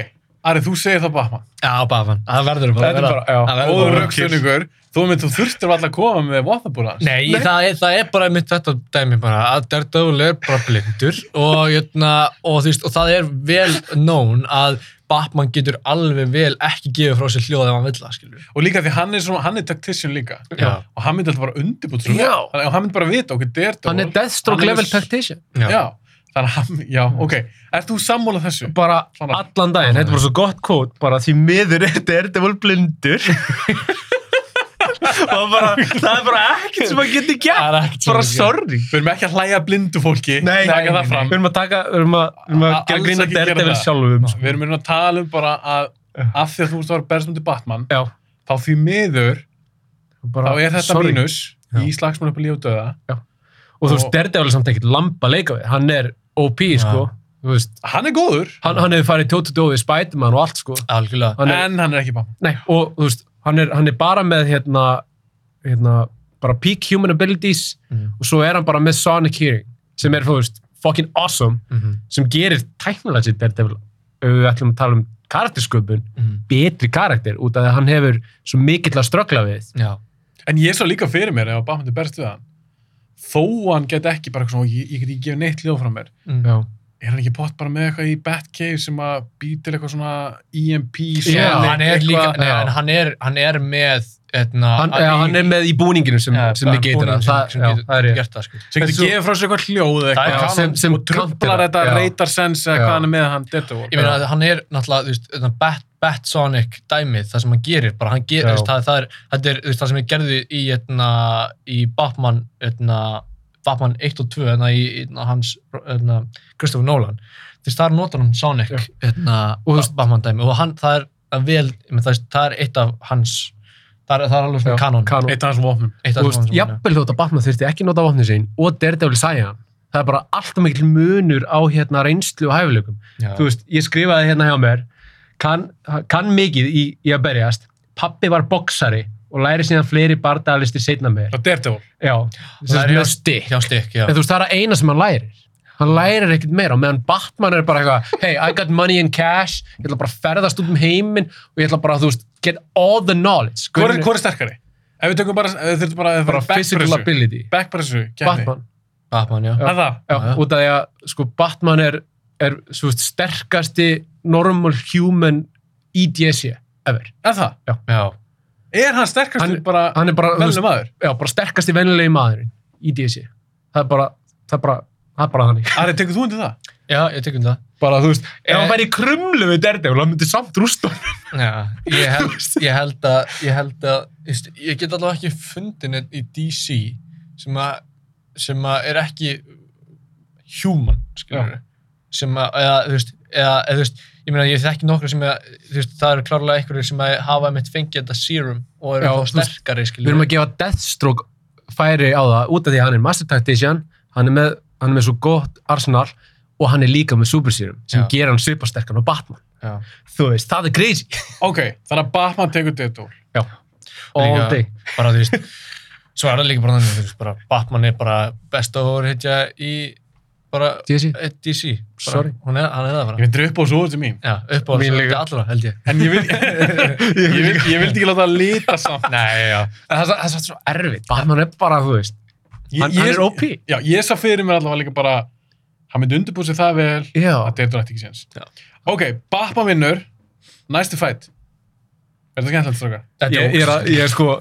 A: Ari, þú segir það Batman.
B: já, bafan, það verður bara að
C: Þetta er
B: vera-
C: bara, já.
B: það verður
A: Óður
B: bara-
A: raukstunningur. Þú, mynd, þú þurftir alltaf að koma með vopnabúra hans.
B: Nei, Það, er, það er bara mitt þetta dæmi bara að Daredevil er bara blindur og, jötna, og, þú veist, og það er vel known að Batman getur alveg vel ekki gefið frá sér hljóð ef hann vill það, skilur.
A: Og líka því hann er, svona, hann er tactician líka.
B: Já.
A: Og hann myndi alltaf bara undirbútt svo.
C: Já.
A: Þannig að hann myndi bara vita okkur Daredevil.
C: hann er Deathstroke
A: Hann er
C: level
A: s-
C: tactician
A: Já. Þannig að hann, já, ok. Ert þú sammálað þessu?
C: bara
A: Svona.
C: allan daginn, þetta er bara svo gott kót bara því miður þetta er þetta
A: [LAUGHS]
C: blindur og bara, það er bara ekkert sem að geti gert,
B: Það er ekkert sem
C: bara
B: að gera.
C: sorry
A: Við erum ekki að hlæja blindu fólki.
C: Nei, nei,
A: taka
C: nei,
A: það fram.
C: Við erum að taka, við erum að, við erum að
A: A-
C: gera
A: alls
C: grína
A: ekki gera
C: Daredevil
A: það.
C: sjálfum. sko.
A: Við erum einhvern veginn að tala um bara að af því að þú ert að vera berðsum til Batman,
C: Já,
A: þá því miður,
C: bara,
A: þá er þetta
C: sorry.
A: mínus
C: Já.
A: í slagsmál upp að lífa og döða.
C: Og þú veist,
A: Og-
C: Daredevil er samt ekkert lampa að leika við. Hann er OP, sko. Þú veist,
A: Hann er góður,
C: hann, hann hefur farið tóttu við Spiderman og allt, sko.
B: Algjörlega.
C: Hann er,
A: en hann er ekki Batman.
C: nei, og þú veist, hann er, hann er bara með, hérna, hérna, bara peak human abilities
B: Mm.
C: og svo er hann bara með Sonic Hearing, sem er, þú veist, fucking awesome,
B: Mm
C: sem gerir tæknilega sér Daredevil. Ef Við ætlum að tala um karaktersköpun,
B: -hmm.
C: betri karakter, út af því að hann hefur svo mikill að ströggla við.
B: Já.
A: En ég svo líka fyrir mér ef að Batman er berðst við hann. Þó hann get ekki bara eitthvað svona, ég, ég get ekki gefið neitt ljóð frá mér.
B: Mm.
C: Já.
A: Er hann ekki pott bara með eitthvað í Batcave sem að býr til eitthvað svona E EMP?
C: Já,
B: Já,
A: sonic,
B: hann er
A: eitthvað-
B: líka, nei,
C: já.
B: en hann er, hann er með, hérna, etna,
C: hann, já, hann er með í búninginu sem, sem þið getur það.
B: sem,
C: Það-
B: sem
C: já,
B: getur,
C: það er ég.
B: gert það, sko.
A: sem
C: En
A: getur
C: svo-
A: gefið frá sér eitthvað hljóð eða
B: Það er
A: eitthvað
B: kanon
C: sem- sem
A: og trublar
C: counterar.
A: þetta
C: Já.
A: reytar sens eða
C: Já.
A: hvað hann er með hann Daredevil
B: Ég meina að hann er náttúrulega, þú veist, þarna Bat, Bat Sonic dæmið, það sem hann gerir, bara hann gerir,
C: Já.
B: þú veist, það, það er, þetta er, þú veist, það sem ég gerði í, etna, í Batman, etna, Batman 1 og 2, etna, í etna, hans, etna, Christopher Nolan, þú veist, þar notar hann Sonic,
C: Já.
B: etna,
C: Og þú
B: og
C: veist-
B: Batman dæmið, og hann, það er að vel, ég meina, það er- það er eitt af hans, það er, það er alveg
C: Já,
B: svona kanon,
C: kanon.
A: eitt af hans vopnum
B: eitt
C: Þú
B: af
C: veist,
B: hans,
C: jafnvel þótt að Batman þurfti ekki nota vopnið sín og Daredevil sæja hann. Það er bara alltaf mikil munur á hérna reynslu og hæfileikum.
B: já,
C: Þú veist, ég skrifaði hérna hjá mér, kann, kann mikið í, í að berjast, pappi var boksari og læri síðan fleiri bardagalistir seinna mér.
A: og Daredevil
C: Já,
B: Það er
C: það er
B: hjá-
C: mjög stikk.
B: hjá Stikk, já.
C: En þú veist, það er að eina sem hann lærir. Hann lærir ekkert meira og meðan Batman er bara eitthvað hey, I got money and cash, ég ætla bara að ferðast út um heiminn og ég ætla bara að, þú veist, get all the knowledge.
A: hvað er, hvor er sterkari? ef við tökum bara, ef þurfum bara, ef
C: bara
A: bara
C: physical ability
A: backpressu
C: Batman,
B: Batman, já.
A: er það?
C: já,
B: Já, já.
C: út af því að sko, Batman er, er svo veist, sterkasti normal human í DC ever,
A: er það?
B: Já.
A: er hann sterkast
C: Hann-
A: bara
C: hann er bara, þú
A: velnum aður?
C: já, bara sterkasti venlilegi maðurinn í DC, það er bara það er bara, það er bara þannig
A: Ari, tekur þú undir það?
B: Já, ég tekum það.
C: bara, þú veist,
B: Eh.
C: ef hann væri í krumlu við Daredevil, hann myndi samt rústa hann.
B: Já, ég held, ég held að, ég held að, þú veist, ég get allavega ekki fundin einn í DC sem að, sem að er ekki human, skilur við, sem að, eða, þú veist, eða, eða, þú veist, ég meina, ég þekki nokkru sem að, þú veist, það eru klárlega einhverju sem að hafa mitt fengið þetta serum og eru
C: Já,
B: þá
C: þú veist,
B: sterkari,
C: við
B: skilur
C: erum að gefa Deathstroke færi á það, út af því að hann er master tactician, hann er með, hann er með svo gott arsenal og hann er líka með super serum sem
B: Já.
C: gerir hann supersterkan og Batman
B: Já.
C: þú veist, það er crazy
A: ok, þannig að Batman tekur Daredevil
C: all
B: Líka-
C: day
B: bara, þú veist, svo er það líka bara þannig, þú veist, bara, Batman er bara best overhitja í, bara,
C: DC,
B: eh, DC. Bara,
C: Sorry.
B: Hún er, hann er það bara.
A: ég myndir upp á svo til mín
B: Já, upp á
C: Mín
B: þessu
C: líka.
B: allra, held ég.
A: en
C: [LAUGHS]
A: ég vil [LAUGHS] ég, vil, ég vildi ekki láta það lita samt
B: Nei, já.
C: En það, það er samt svo erfitt Batman er bara, þú veist
A: ég,
C: Hann-
A: ég,
C: hann er OP.
A: já, ég sá fyrir mér allavega líka bara hann myndi undirbúið sér það vel
C: já.
A: að Daredevil ætti ekki séns
B: Já.
A: ok, Batman vinnur næstu fætt er það skemmtilegt strókar?
B: Þetta
C: ég, ég, er að, ég er sko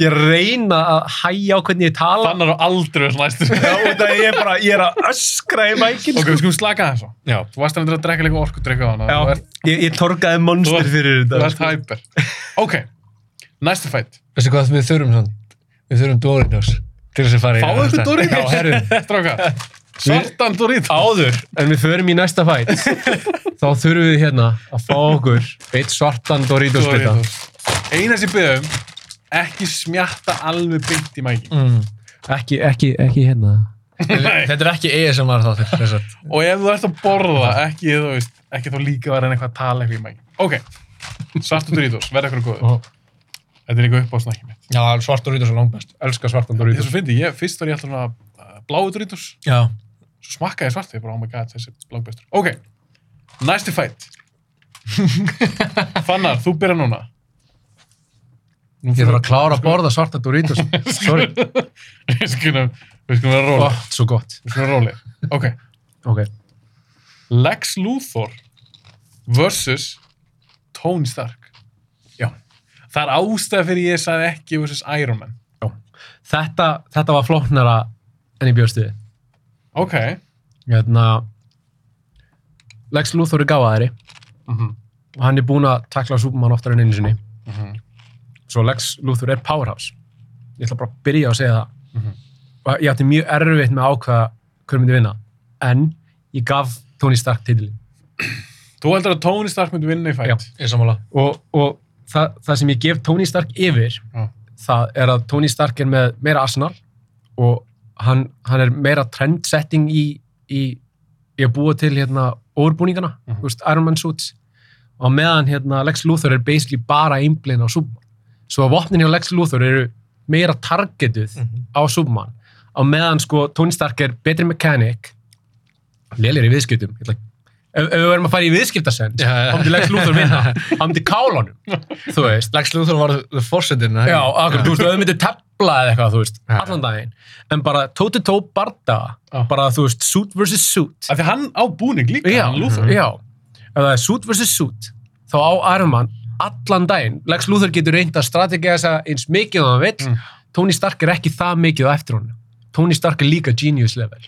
C: ég er að reyna að hæja á hvernig ég tala
A: Fannar á aldrei þessu næstu
C: Já, út af því ég er bara, ég er að öskra í mækin sko.
A: ok, við skulum slaka það svo
B: Já.
A: þú varst að mynda að drekka líka orku drekka á hana
C: Já,
A: þú ert,
C: ég, ég torkaði monster fyrir
A: þú
C: þetta
A: ert hæper ok, næstu fætt
B: Veistu hvað við þurfum sann? Við þurfum Doritos til þess að fara í
A: fáðu ykkur
B: Já, herru.
A: Doritos [LAUGHS] strókar svartan Doritos
C: áður en við förum í næsta [LAUGHS] fæt þá þurfum við hérna að fá okkur eitt svartan Doritos bita
A: Doritos eina sem byggðum ekki smjatta alveg byggt í mæki
B: Mm.
C: ekki, ekki, ekki hérna
B: Þetta er ekki ASMR þáttir, þess að.
A: og ef þú ert að borða ekki þú veist, ekki þá líka að reyna eitthvað að tala eitthvað í mæki ok, svartu Doritos, verða eitthvað góður þetta er eitthvað upp á snakki mitt
B: Já, svartur út og svo langt best.
C: Elskar svartan
A: þetta er
C: Doritos.
A: svo fyndi, ég, fyrst var ég alltaf svona uh, bláu Doritos,
B: Já.
A: svo smakkaði ég svartu ég bara, oh my god, þessi er langbestur ok, næsti
C: [LAUGHS]
A: fætt Fannar, þú byrja núna Nú
C: Ég þarf að klára að borða svartan Doritos. Sorry.
A: við skulum, við skulum vera
C: Ó,
A: róli
C: svo gott.
A: við skulum vera róli, ok
C: Ok.
A: Lex Luthor versus Tony Stark já það er ástæða fyrir ég sagði ekki versus Iron Man
C: Þetta, þetta var flóknara enn ég bjóst við.
A: ok
C: Hérna, Lex Luthor er gáðaðari Mhm. og hann er búinn að takla Superman oftar enn einu sinni.
A: Mhm.
C: Svo Lex Luthor er powerhouse. Ég ætla bara að byrja að segja það.
A: Mhm.
C: Og ég átti mjög erfitt með að ákvaða hver myndi vinna. En ég gaf Tony Stark titilin.
A: þú heldur að Tony Stark myndi vinna í fætt
C: Já.
B: Ég er sammála.
C: og, og það, það sem ég gef Tony Stark yfir
A: Já.
C: það er að Tony Stark er með meira arsenal og hann, hann er meira trendsetting í, í, í að búa til hérna órbúningana,
A: Mhm.
C: þú veist, Iron Man suits og á meðan hérna Lex Luthor er basically bara einblinn á Superman svo að vopnin hjá Lex Luthor eru meira targetuð
B: Mhm.
C: á Superman á meðan sko Tony Stark er betri mechanic lélir í viðskiptum Ég ætla, ef, ef við verðum að fara í viðskiptasend
B: Já, já.
C: þá myndi Lex
B: [LAUGHS]
C: Luthor
A: [LAUGHS]
C: vinna þá hérna. myndi kála honum þú veist
B: Lex Luthor var the forsetin.
C: já, akkur, þú veist, þau myndi tepla eða eitthvað þú veist,
B: Já.
C: allan daginn en bara toe-to-toe barda
A: Já.
C: bara þú veist, suit versus suit
A: af því hann á búning líka
C: já,
A: hann Luthor
C: já, ef það er suit versus suit þá á Iron Man allan daginn Lex Luthor getur reynd að strategja þessa eins mikið og hann vill
A: Mm.
C: Tony Stark er ekki það mikið á eftir honum Tony Stark er líka genius level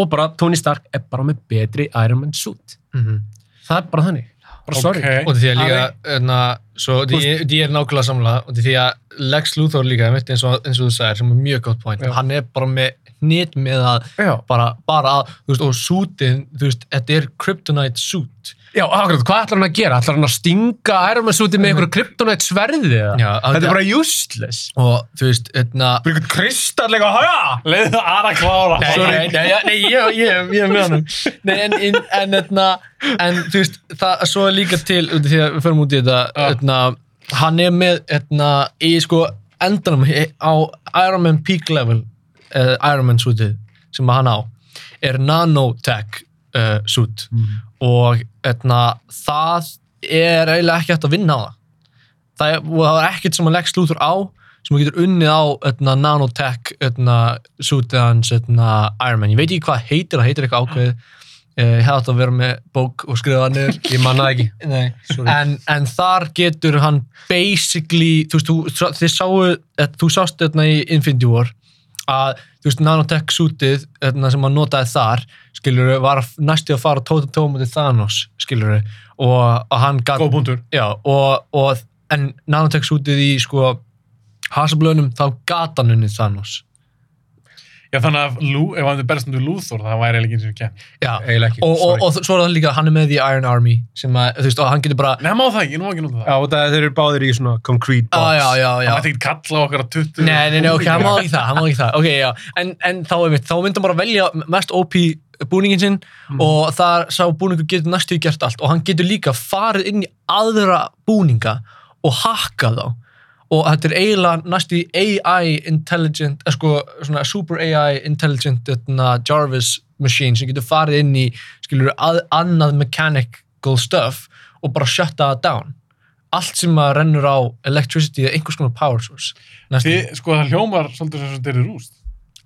C: og bara Tony Stark er bara með betri Iron Man suit það er bara þannig, bara sorry
A: Ok.
B: Mhm. Og því að líka,
C: Ari?
B: hérna, svo, því ég því ég er nákvæmlega sammála, og því að Lex Luthor líka, einmitt eins og, eins og þú sagðir, sem er mjög gott point,
C: Já.
B: hann er bara með hnit með að,
C: já,
B: bara, bara að, þú veist, og sútin, þú veist, þetta er kryptonite suit.
C: já, akkurat, hvað ætlar hann að gera? ætlar hann að stinga Iron Man suitið með einhverju kryptonætt sverði eða?
B: Já,
C: þetta
B: að-
C: er bara useless
B: Og, þú veist, hérna,
C: bara einhvern kristallega hæja
A: leiði það aðra klára
B: Nei,
A: Sorry.
B: nei, nei, nei, ég, ég, ég er með honum Nei, en, en, en, etna, en þú veist, það svo er líka til út af því að við förum út í þetta
A: Já.
B: etna, hann er með etna, í sko endanum í- á Iron Man Peak level uh, Iron Man suitið sem hann á er nanotech uh, suit
A: Mhm.
B: og etna, það er eiginlega ekki hægt að vinna á það það er, og það er ekkert sem að Lex Luthor á sem þú getur unnið á etna, nanotech etna, suitið hans etna, Iron Man, ég veit ekki hvað það heitir það heitir eitthvað ákveðið eh, ég hefði átt að vera með bók og skrifa það niður
C: ég manna það ekki
B: Nei.
C: Sorry.
B: en, en þar getur hann basically þú veist, þú, þið sáu, eh, þú sást etna, í Infinity War að þú veist, nanotech suitið etna, sem hann notaði þar, skilur var næstu að fara tóta tómandi Thanos skilur og, og hann gat
A: góð búndur
B: Já, og, og en Nanotex útið í sko Hasselblönum, þá gata hann unnið Thanos.
A: já þannig að Lú, ef hann er berst undir Luthor það væri eiginlega ekki eins og kemd
B: Já,
C: eiginlega ekki,
B: og, og,
C: Eh, sorry
B: og svo er það líka, hann er með í Iron Army sem að, þú veist, og hann getur bara
A: nema á það ekki, ég má ekki nota það
C: já, og það þeir eru báðir í svona
B: Já,
C: concrete box
B: já, já, já.
A: hann mætti ekki kalla okkar að tuttu
B: Nei, nei, nei, ok, hann má ekki það, hann má ekki það, ok, já, en, en þá er mitt, þá myndi hann bara velja mest OP búningin sinn og þar sá búningur getur næstu í gert allt og hann getur líka farið inn í aðra búninga og hakka þá og þetta er eiginlega næstu í AI intelligent, eh, sko, svona super AI intelligent etna, Jarvis machine sem getur farið inn í, skilur, að, annað mechanical stuff og bara shutta það down allt sem að rennur á electricity eða einhvers konar power source næstum því.
A: Þið, sko það hljómar svolítið sem þetta er rúst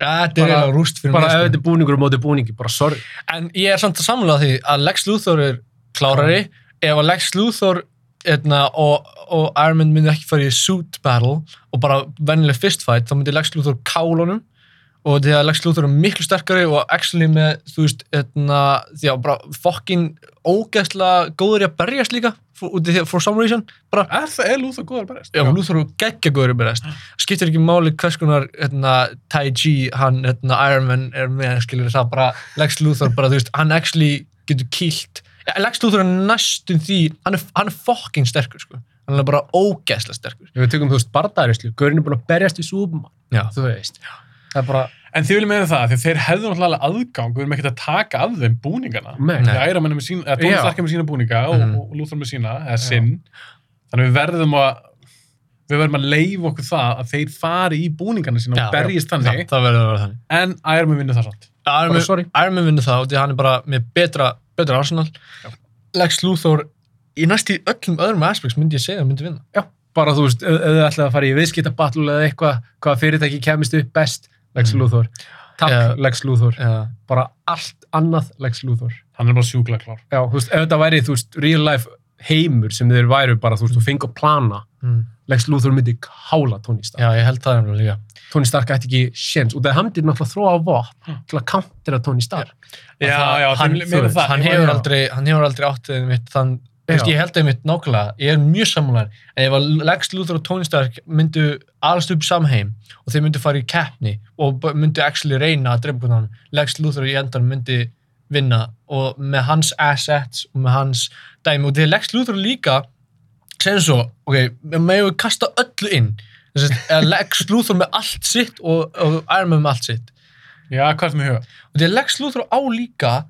B: Ja, Þetta er
C: Bara-
B: eiginlega rúst fyrir
C: bara ef
B: mér
C: þetta er búningur og móti búningi, bara sorry
B: sko. En ég er samt að samlega því að Lex Luthor er klárari Ef að Lex Luthor etna, og, og Iron Man myndi ekki fara í suit battle og bara vennileg fistfight þá myndi Lex Luthor kála honum og því að Lex Luthor er miklu sterkari og actually með, þú veist, etna, því að bara fokkin ógeðslega góður í að berjast líka for, út í því að- for some reason, bara
A: er það, er Luthor góðar berst
B: Já, Luthor er geggja góður í berjast. Skiptir ekki máli hvers konar hérna, Tai Chi, hann, hérna, Iron Man er með, skilur það bara, Lex Luthor bara, þú veist, hann actually getur kýlt. Ja, Lex Luthor er næstum því, hann er, hann er fucking sterkur, sko. Hann er bara ógeðslega sterkur.
C: ef við tökum þú veist bardaðarislu, Gaurin er búin að berjast við Superman
B: Já.
C: þú veist, það er bara
A: En þið viljum meina það, af því að þeir hefðu náttúrulega aðgang, við erum ekkert að taka af þeim búningana.
C: Nei.
A: Því Æra mann er með sína, eða Tómas
C: Já.
A: Larkin er með sína búninga og,
B: Mm. Mhm.
A: og Lúþór með sína, eða
C: Já.
A: sinn. Þannig við verðum að, við verðum að leifa okkur það að þeir fari í búningana sína og berjist þannig,
B: það, það verður að vera þannig
A: en Æra mann vinnur það samt.
B: Iron
C: Bara
B: Man-
C: sorry.
B: Iron Man vinnur það og því hann er bara með betra, betra Arsenal Lex Luthor í næst í öllum öðrum aspects myndi ég segja að myndi vinna
C: bara þú veist, ef ef þið ætlaði að fara í viðskiptabattle eða eitthvað, hvað fyrirtæki kemist upp best, Lex
B: Mm.
C: Luthor takk,
B: Já.
C: Lex Luthor,
B: Já,
C: bara allt annað Lex Luthor
A: Hann er bara sjúklega klár.
C: já, þú veist, ef þetta væri, þú veist, real life heimur sem þeir væru bara, þú veist, þú fengur plana
B: mm.
C: Lex Luthor myndi kála Tony Stark
B: Já ég held það nefnilega líka
C: Tony Stark ætti ekki séns, og það hann myndi náttúrulega þróa á vopn til að countera Tony Stark
A: Já,
B: Að það-
A: já,
B: hann,
A: þið
B: þú
A: meina
B: veist,
A: það.
B: hann,
A: Já,
B: hefur
A: já.
B: aldrei, hann hefur aldrei áttið mitt, þann,
C: Já.
B: veist, ég held það mitt nákvæmlega, ég er mjög sammálar en ef að Lex Luthor og Tony Stark myndu alast upp samheim og þeir myndu fara í keppni og b- myndu actually reyna að drepa hvernig hann, Lex Luthor í endan myndi vinna og með hans assets og með hans dæmi og þegar Lex Luthor líka segjum svo, ok, maður hefur kasta öllu inn Þess að- eða Lex Luthor með allt sitt og, og Iron Man með allt sitt
A: Já, hvað er það með huga?
B: og því að Lex Luthor á líka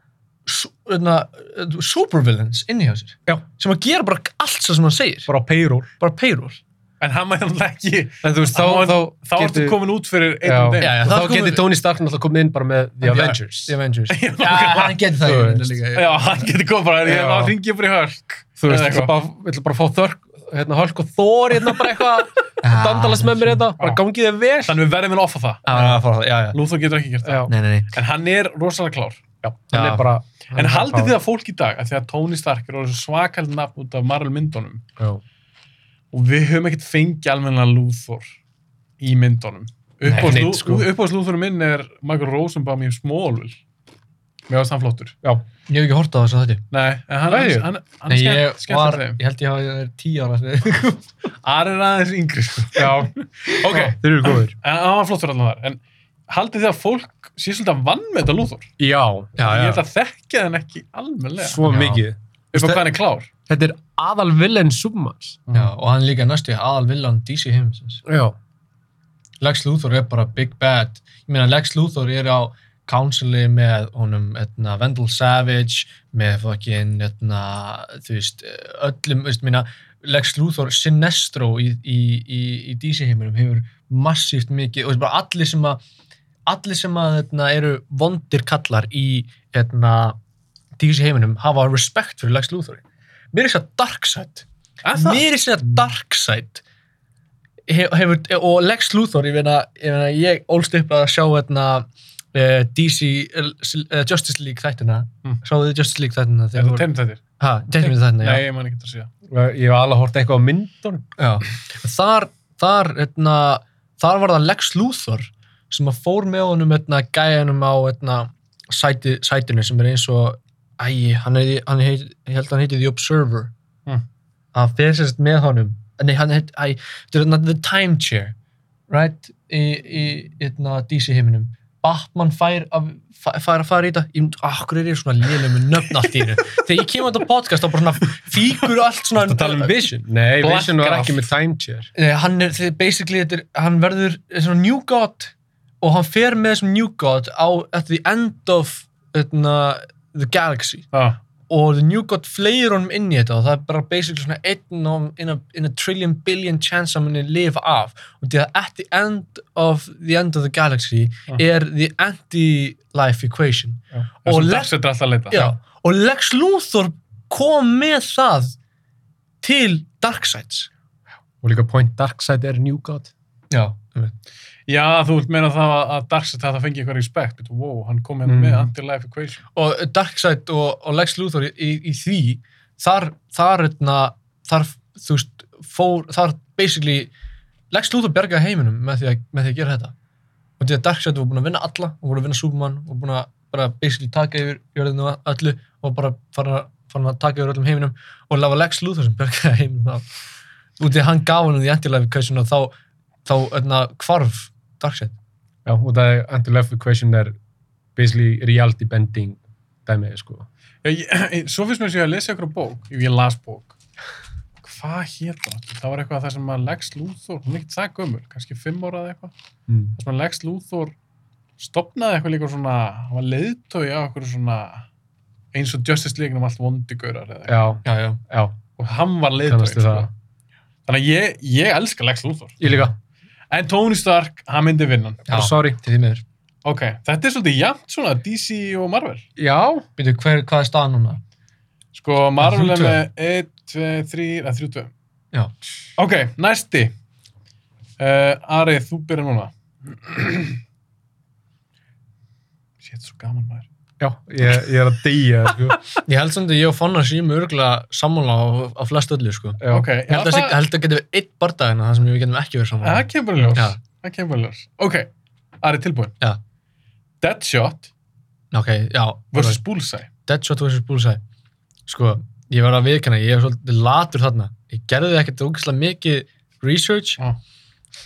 B: su- hérna, eh, supervillains inni hjá sér
C: Já.
B: sem að gera bara allt sem hann segir
C: bara á payroll,
B: bara payroll
A: En hann mætti náttúrulega ekki,
C: en þú veist,
A: Þá-
C: þá, þá,
A: þá ertu komin út fyrir
C: Já.
A: einn
B: Já,
A: dag.
B: já.
C: og
B: það
C: þá
B: komið-
C: geti Tony Stark náttúrulega komin inn bara með The
B: Já.
C: Avengers
B: The Avengers
A: Já,
B: hann getur það
C: Þú
B: í rauninni
C: veist.
B: líka
A: Já, hann getur komið bara, ég
C: Já.
A: var að ringja fyrir hölk.
C: þú veist,
A: Eða
C: ég ætla
A: eitthvað.
C: bara, ég ætla bara að fá þörk hérna, hölk og þór, hérna bara eitthvað
B: Já,
C: dandalast með mér þetta, bara
A: Já.
C: gangið þið vel
A: Þannig við verðum að offa það.
B: Já, já, fara það, já, já.
A: Lúþór getur ekki gert það.
C: já,
B: nei, nei, nei
A: En hann er rosalega klár.
C: hann
B: Já.
C: er bara hann
A: En
C: er
A: haldið
C: bara-
A: þið að fólk í dag, að því að Tony Stark er orðið svakald nafn út af Marvel myndunum
C: Já.
A: og við höfum ekkert fengið almenna Lúþór í myndunum. Uppáhalds
C: Nei,
A: Lú-
C: sko.
A: uppáhalds Lúþórum minn er Michael Rosenbaum í Smallville. Mér finnst hann flottur.
B: ég hef ekki hort á þessu þetta
A: Nei, en hann,
C: Nei.
A: hann, hann
B: nei,
A: er
B: ég
A: skemmt-
B: var,
A: skemmtilegum.
B: ég held ég hafa verið tíu ára þegar-
A: Ari er aðeins yngri, sko. Já. [LAUGHS] ok,
C: þeir eru góðir
A: en hann var flottur allan þar. En haldið þið að fólk sé svolítið að vann með þetta Lúþór?
C: já,
B: já,
A: Ég
B: já,
A: held að þekkja þenn ekki almenlega.
C: svo
B: Já.
C: mikið
A: Upp á hvað hann er klár.
C: þetta er aðal villen summas
B: já og hann líka næstu aðal villan DC heimsins
C: já,
B: Lex Luthor er bara big bad ég meina Lex Luthor er á councili með honum etna, Vendel Savage með fokkin etna, þú veist öllum, veist, minna, Lex Luthor Sinestro í, í, í, í DC heiminum hefur massíft mikið og veist, bara allir sem að allir sem að etna, eru vondir kallar í etna, DC heiminum hafa respekt fyrir Lex Luthor mér er þess að Darkseid
A: Er það?
B: mér er þess að Darkseid he- hefur, og Lex Luthor ég veina, ég, veina, ég ólst upp að sjá hérna eh, DC eh, Justice League þættina
A: Mm.
B: sáðu þið Justice League þættina
A: Er það
B: þegar
A: tegn þetta?
B: tegnum við þættina,
A: Nei,
B: já,
A: ég man ekki þetta að segja.
C: ég hef alveg hort eitthvað á myndunum
B: já. þar þar, hérna, þar var það Lex Luthor sem að fór með honum hérna, gæjanum á hérna, sæti, sætinu sem er eins og æ, hann, er, í- hann heit, ég held að hann heiti The Observer
C: Hmm.
A: Mm.
B: hann fyrir sérst með honum nei, hann heit, æ, þetta er hérna The Time Chair right, í, í hérna, DC heiminum Batman fær að, fær fær að fara í þetta ég myndi, ah, hverju er ég svona lélega með nöfn allt í þetta þegar ég kemur þetta podcast þá bara svona fíkur allt svona
C: að tala um Vision nei,
A: Black
C: Vision var
A: Graph.
C: ekki með Time Chair
B: Nei, Eh, hann er, þið- basically, þetta er, hann verður eh, svona new god og hann fer með þessum new god á, at the end of etna, the galaxy
A: Já.
B: og the new god fleir honum inn í þetta og það er bara basically svona einn og in a, in a trillion billion chance að muni lifa af og því að at the end of the end of the galaxy
A: Ah.
B: er the anti-life equation
A: Það er
B: Og
A: sem
B: le-
A: Darkseid er alltaf að leita.
B: Já, og Lex Luthor kom með það til Darksides
C: og líka Point Darkseid er New God
B: Já, um
A: Já, þú vilt meina það að- að Darkseid þetta fengi eitthvað respekt. But, wow, hann kom hérna
C: Mm.
A: með anti-life equation.
B: og Darkseid og, og Lex Luthor í, í, í því þar, þar, etna, þar þú veist, fór, þar basically Lex Luthor bjargaði heiminum með því að, með því að gera þetta og því að Darkseid var búin að vinna alla og voru að vinna Superman og búin að bara basically taka yfir jörðinu og öllu og bara fara, fara að taka yfir öllum heiminum og það var Lex Luthor sem bjargaði heiminum þá og því að hann gaf hann því antilæfi kvæsuna þá, þá öðna, hvarf Darkseid
C: já, og það er Anti-Life Equation er basically reality bending dæmið, sko
A: Já, ég, [CLEARS THROAT] ég- svo finnst mér sem ég að lesa ykkur bók, ef ég las bók. Hvað hétt það? Það var eitthvað það sem að Lex Luthor, hún er ekkert það gömur, kannski fimm ára eða eitthvað.
C: mm.
A: Það sem að Lex Luthor stopnaði eitthvað líka svona, hann var leiðtói á eitthvað svona eins og Justice League um allt vondigaurar eða eitthvað.
C: já,
B: Já, já.
C: já,
A: og hann var leiðtói
C: kannastu það
A: þannig að ég, ég elska Lex Luthor
C: ég líka,
A: en Tony Stark, hann myndi vinna hann.
B: Já.
C: bara sorry
B: Til því miður.
A: ok, þetta er svolítið jafnt svona DC og Marvel
C: já,
B: Býtu, hver, hvað er staðan núna?
A: sko Marvel er
B: Þrjú tvö.
A: með 1, 2, 3, eða 3, 2
B: Já.
A: ok, næsti uh, Ari, þú byrjar
B: [CLEARS THROAT]
A: núna sétt svo gaman maður
C: já, ég, ég er að deyja sko.
B: Ég held samt að ég og Fannar séum örgulega sammála á, á flest öllu, sko.
C: já,
A: ok,
B: Ég held að það held að geta við eitt bardagina það hérna sem við getum ekki verið
A: Ja,
B: sammála.
A: Það kemur bara í ljós.
B: Já.
A: Það kemur bara í ljós. Ok, Ari tilbúin.
B: Já.
A: Deadshot
B: Ok, já.
A: versus Bullseye.
B: Deadshot vs. Bullseye sko, ég var að viðkjanna, ég er svolítið latur þarna ég gerði ekkert ógeðslega mikið research
A: Já.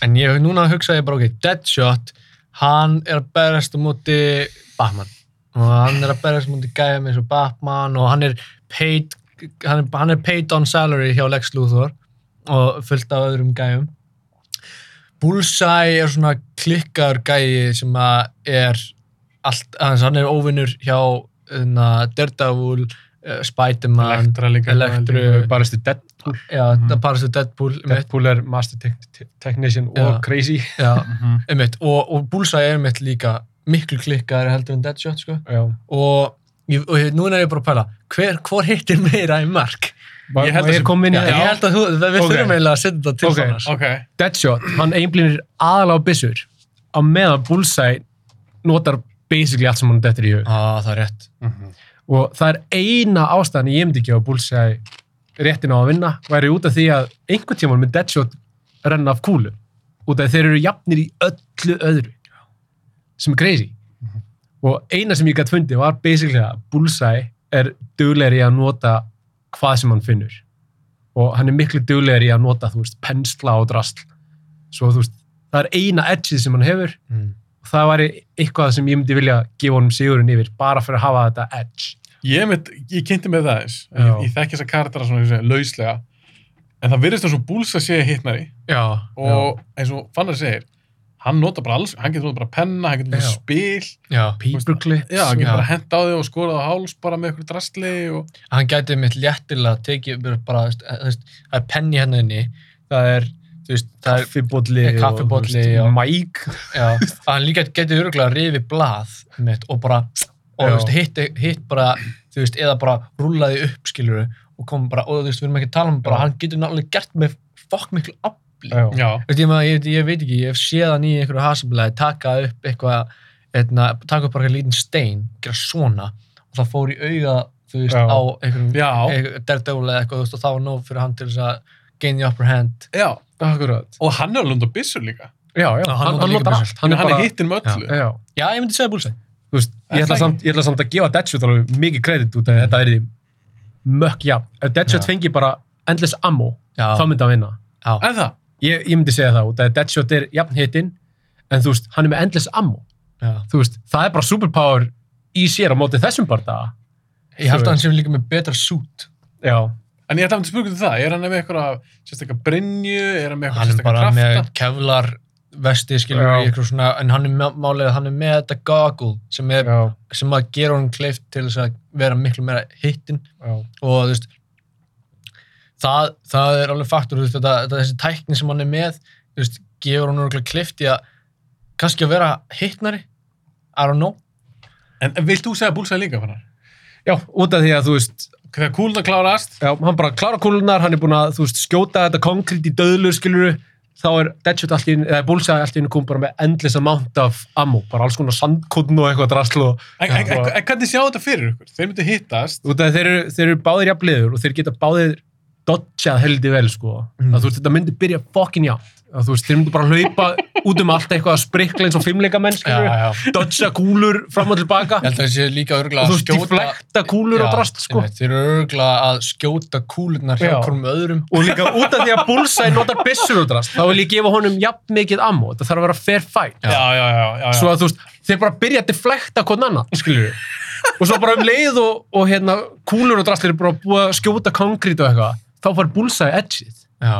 B: en ég núna hugsaði ég bara, ok, Deadshot hann er að berjast á móti Batman og hann er að berjast á móti gæja með svo Batman og hann er paid hann er, hann er paid on salary hjá Lex Luthor og fullt af öðrum gæjum Bullseye er svona klikkar gæi sem að er allt, hans, hann er óvinnur hjá hérna, Daredevil, uh, Spiderman
A: Elektra líka.
B: Elektru.
C: baristu Deadpool
B: já,
A: Mhm.
B: mm. bara svo Deadpool einmitt,
C: Deadpool er master tech- te- technician
B: Já.
C: og crazy
B: já,
A: [LAUGHS] Mhm.
B: einmitt, og, og Bullseye er einmitt líka miklu klikkar heldur en Deadshot sko.
C: já,
B: og, ég, og ég, núna er ég bara að pæla hver, hvor hittir meira í mark
C: Má-
A: Ég held
C: má
A: að
C: ég
A: sem-
C: kom inn í
B: já, ég
C: þetta
B: held að þú, við
C: Ok.
B: þurfum eiginlega að setja þetta til
C: Ok.
B: okay.
A: Ok,
C: Deadshot, hann einblýnir aðalega á byssur á meðan Bullseye notar basically allt sem hann dettur í hug
B: ah, það er rétt
A: Mhm.
C: og það er eina ástæðan ég myndi ekki á Bullseye réttin á að vinna væri út af því að einhvern tímann með Deadshot renna af kúlu út af því þeir eru jafnir í öllu öðru sem er crazy og eina sem ég gætt fundið var basically að Bullseye er duglegri að nota hvað sem hann finnur og hann er miklu duglegri að nota þú veist, pensla og drasl svo þú veist, það er eina edgið sem hann hefur
B: mm.
C: og það væri eitthvað sem ég myndi vilja gefa honum sigurinn yfir bara fyrir að hafa þetta edge
A: Ég, mynd, ég kynnti með það eins.
C: Já.
A: Ég, ég þekki þess að kardara svona ég segi, lauslega. En það virðist eins og Bullseye sé hittnari
B: já,
A: og eins og Fannar segir, hann nota bara alls, hann getur nota bara penna, hann getur nota
C: Já.
A: spil,
B: já.
C: Paperclips.
A: já, hann getur
B: Já.
A: bara hent á þig og skorað á háls bara með ykkur drastli og
B: hann gæti mitt léttilega tekið bara, bara þú veist, þú veist, það er penni hérna inni það er, þú veist, það er
C: kaffibolli
B: Eh, kaffibolli, já.
C: og mæk.
B: já, að hann líka gæti öruglega að rifi blað mitt og bara og
C: Já.
B: þú veist, hitt, hitt bara, þú veist, eða bara rúllaði upp, skilur og kom bara, og þú veist, við erum ekki að tala um bara,
C: Já.
B: hann getur náttúrulega gert með fokk miklu afli
C: Já.
A: já,
B: Þú veist, ég, maður, ég, ég veit ekki, ég hef séð hann í einhverju hasablaði taka upp eitthvað, eitna, taka upp bara eitthvað lítinn stein, gera svona og það fór í auga, þú veist, á
C: Já.
B: einhverjum
A: já,
B: derdögulega eða eitthvað, þú veist, og það var nóg fyrir hann til þess að gain the upper hand.
A: já.
C: Akkurat.
A: Og hann er alveg undan byssur líka.
C: Já, já,
B: Já, hann notar
C: hann, hann
B: líka
C: notar
B: byssur.
C: allt.
A: Hann er, hann
C: bara-
A: er hittin með öllu.
C: Já,
B: Já, ég myndi segja búlsæn.
C: þú veist,
A: Er
C: ég ætla,
A: það
C: samt, ég ætla samt að gefa Deadshot alveg mikið kredit út af þetta er því mökk, já. Ef Deadshot
B: Já.
C: fengi bara endless ammo,
B: Já,
C: þá myndi hann vinna.
B: já,
A: En það,
C: Ég, ég myndi segja það út af að Deadshot er jafn hitinn, en þú veist, hann er með endless ammo.
B: já.
C: Þú veist, það er bara superpower í sér á móti þessum bardaga.
B: Ég held að hann sé líka með betra sút.
C: Já,
A: En ég ætla að spyrja um það, er hann með eitthvað sérstaklega brinju, er hann með eitthvað
B: Hann er
A: sérstaklega
B: bara
A: krafta?
B: með kevlar vesti, skilur
C: Já.
B: við, eitthvað svona, en hann er með- málið, að hann er með þetta goggle sem, er,
C: já,
B: sem að gera honum kleift til þess að vera miklu meira hittinn
C: já.
B: og þú veist, það, það er alveg faktur, þú veist, þetta, þetta, þessi tækni sem hann er með, þú veist, gefur hann örgulega kleift í að kannski að vera hittnari, I don't know,
A: En, en vilt þú segja búlsæði líka fannar?
C: Já, út af því að þú veist,
A: Þegar kúlna klárast,
C: Já, hann bara klára kúlunar, hann er búin að þú veist, skjóta þetta konkrétt í döðlur, skiluru þá er Deadshot allt í einu, eða Bullseye allt í einu kom bara með endless amount af ammo, bara alls konar sandkotn og eitthvað drasl og
A: en, en, en,
C: og-
A: en hvernig sjá þetta fyrir ykkur? Þeir myndu hittast,
C: út af þeir eru, þeir eru báðir jafnliður og þeir geta báðir dodgjað heldi vel, sko
B: Mm.
C: að þú veist, þetta myndi byrja fokkin jafn að þú veist, þeir myndi bara hlaupa út um allt eitthvað að sprikla eins og fimmleikamenn, skiluru
B: já.
C: dodgja kúlur fram og tilbaka
B: Ég held að það sé líka örgulega
C: og
B: að
C: þú veist,
B: skjóta
C: deflekta kúlur og drast, sko
B: einmitt, Þeir eru örgulega að skjóta kúlurnar hjá
C: Já.
B: hverjum öðrum
C: og líka út af því að Bullseye notar byssur og drast, þá vil ég gefa honum jafn mikið ammo, þetta þarf að vera fair fight
A: já, já, já, já, já.
C: svo að þú veist, þeir bara byrja að deflekta hvern annan, skilur við og svo bara um leið og, og hérna kúlur og drast er bara búið að skjóta konkrít og eitthvað, þá fær Bullseye edgeið
B: Já,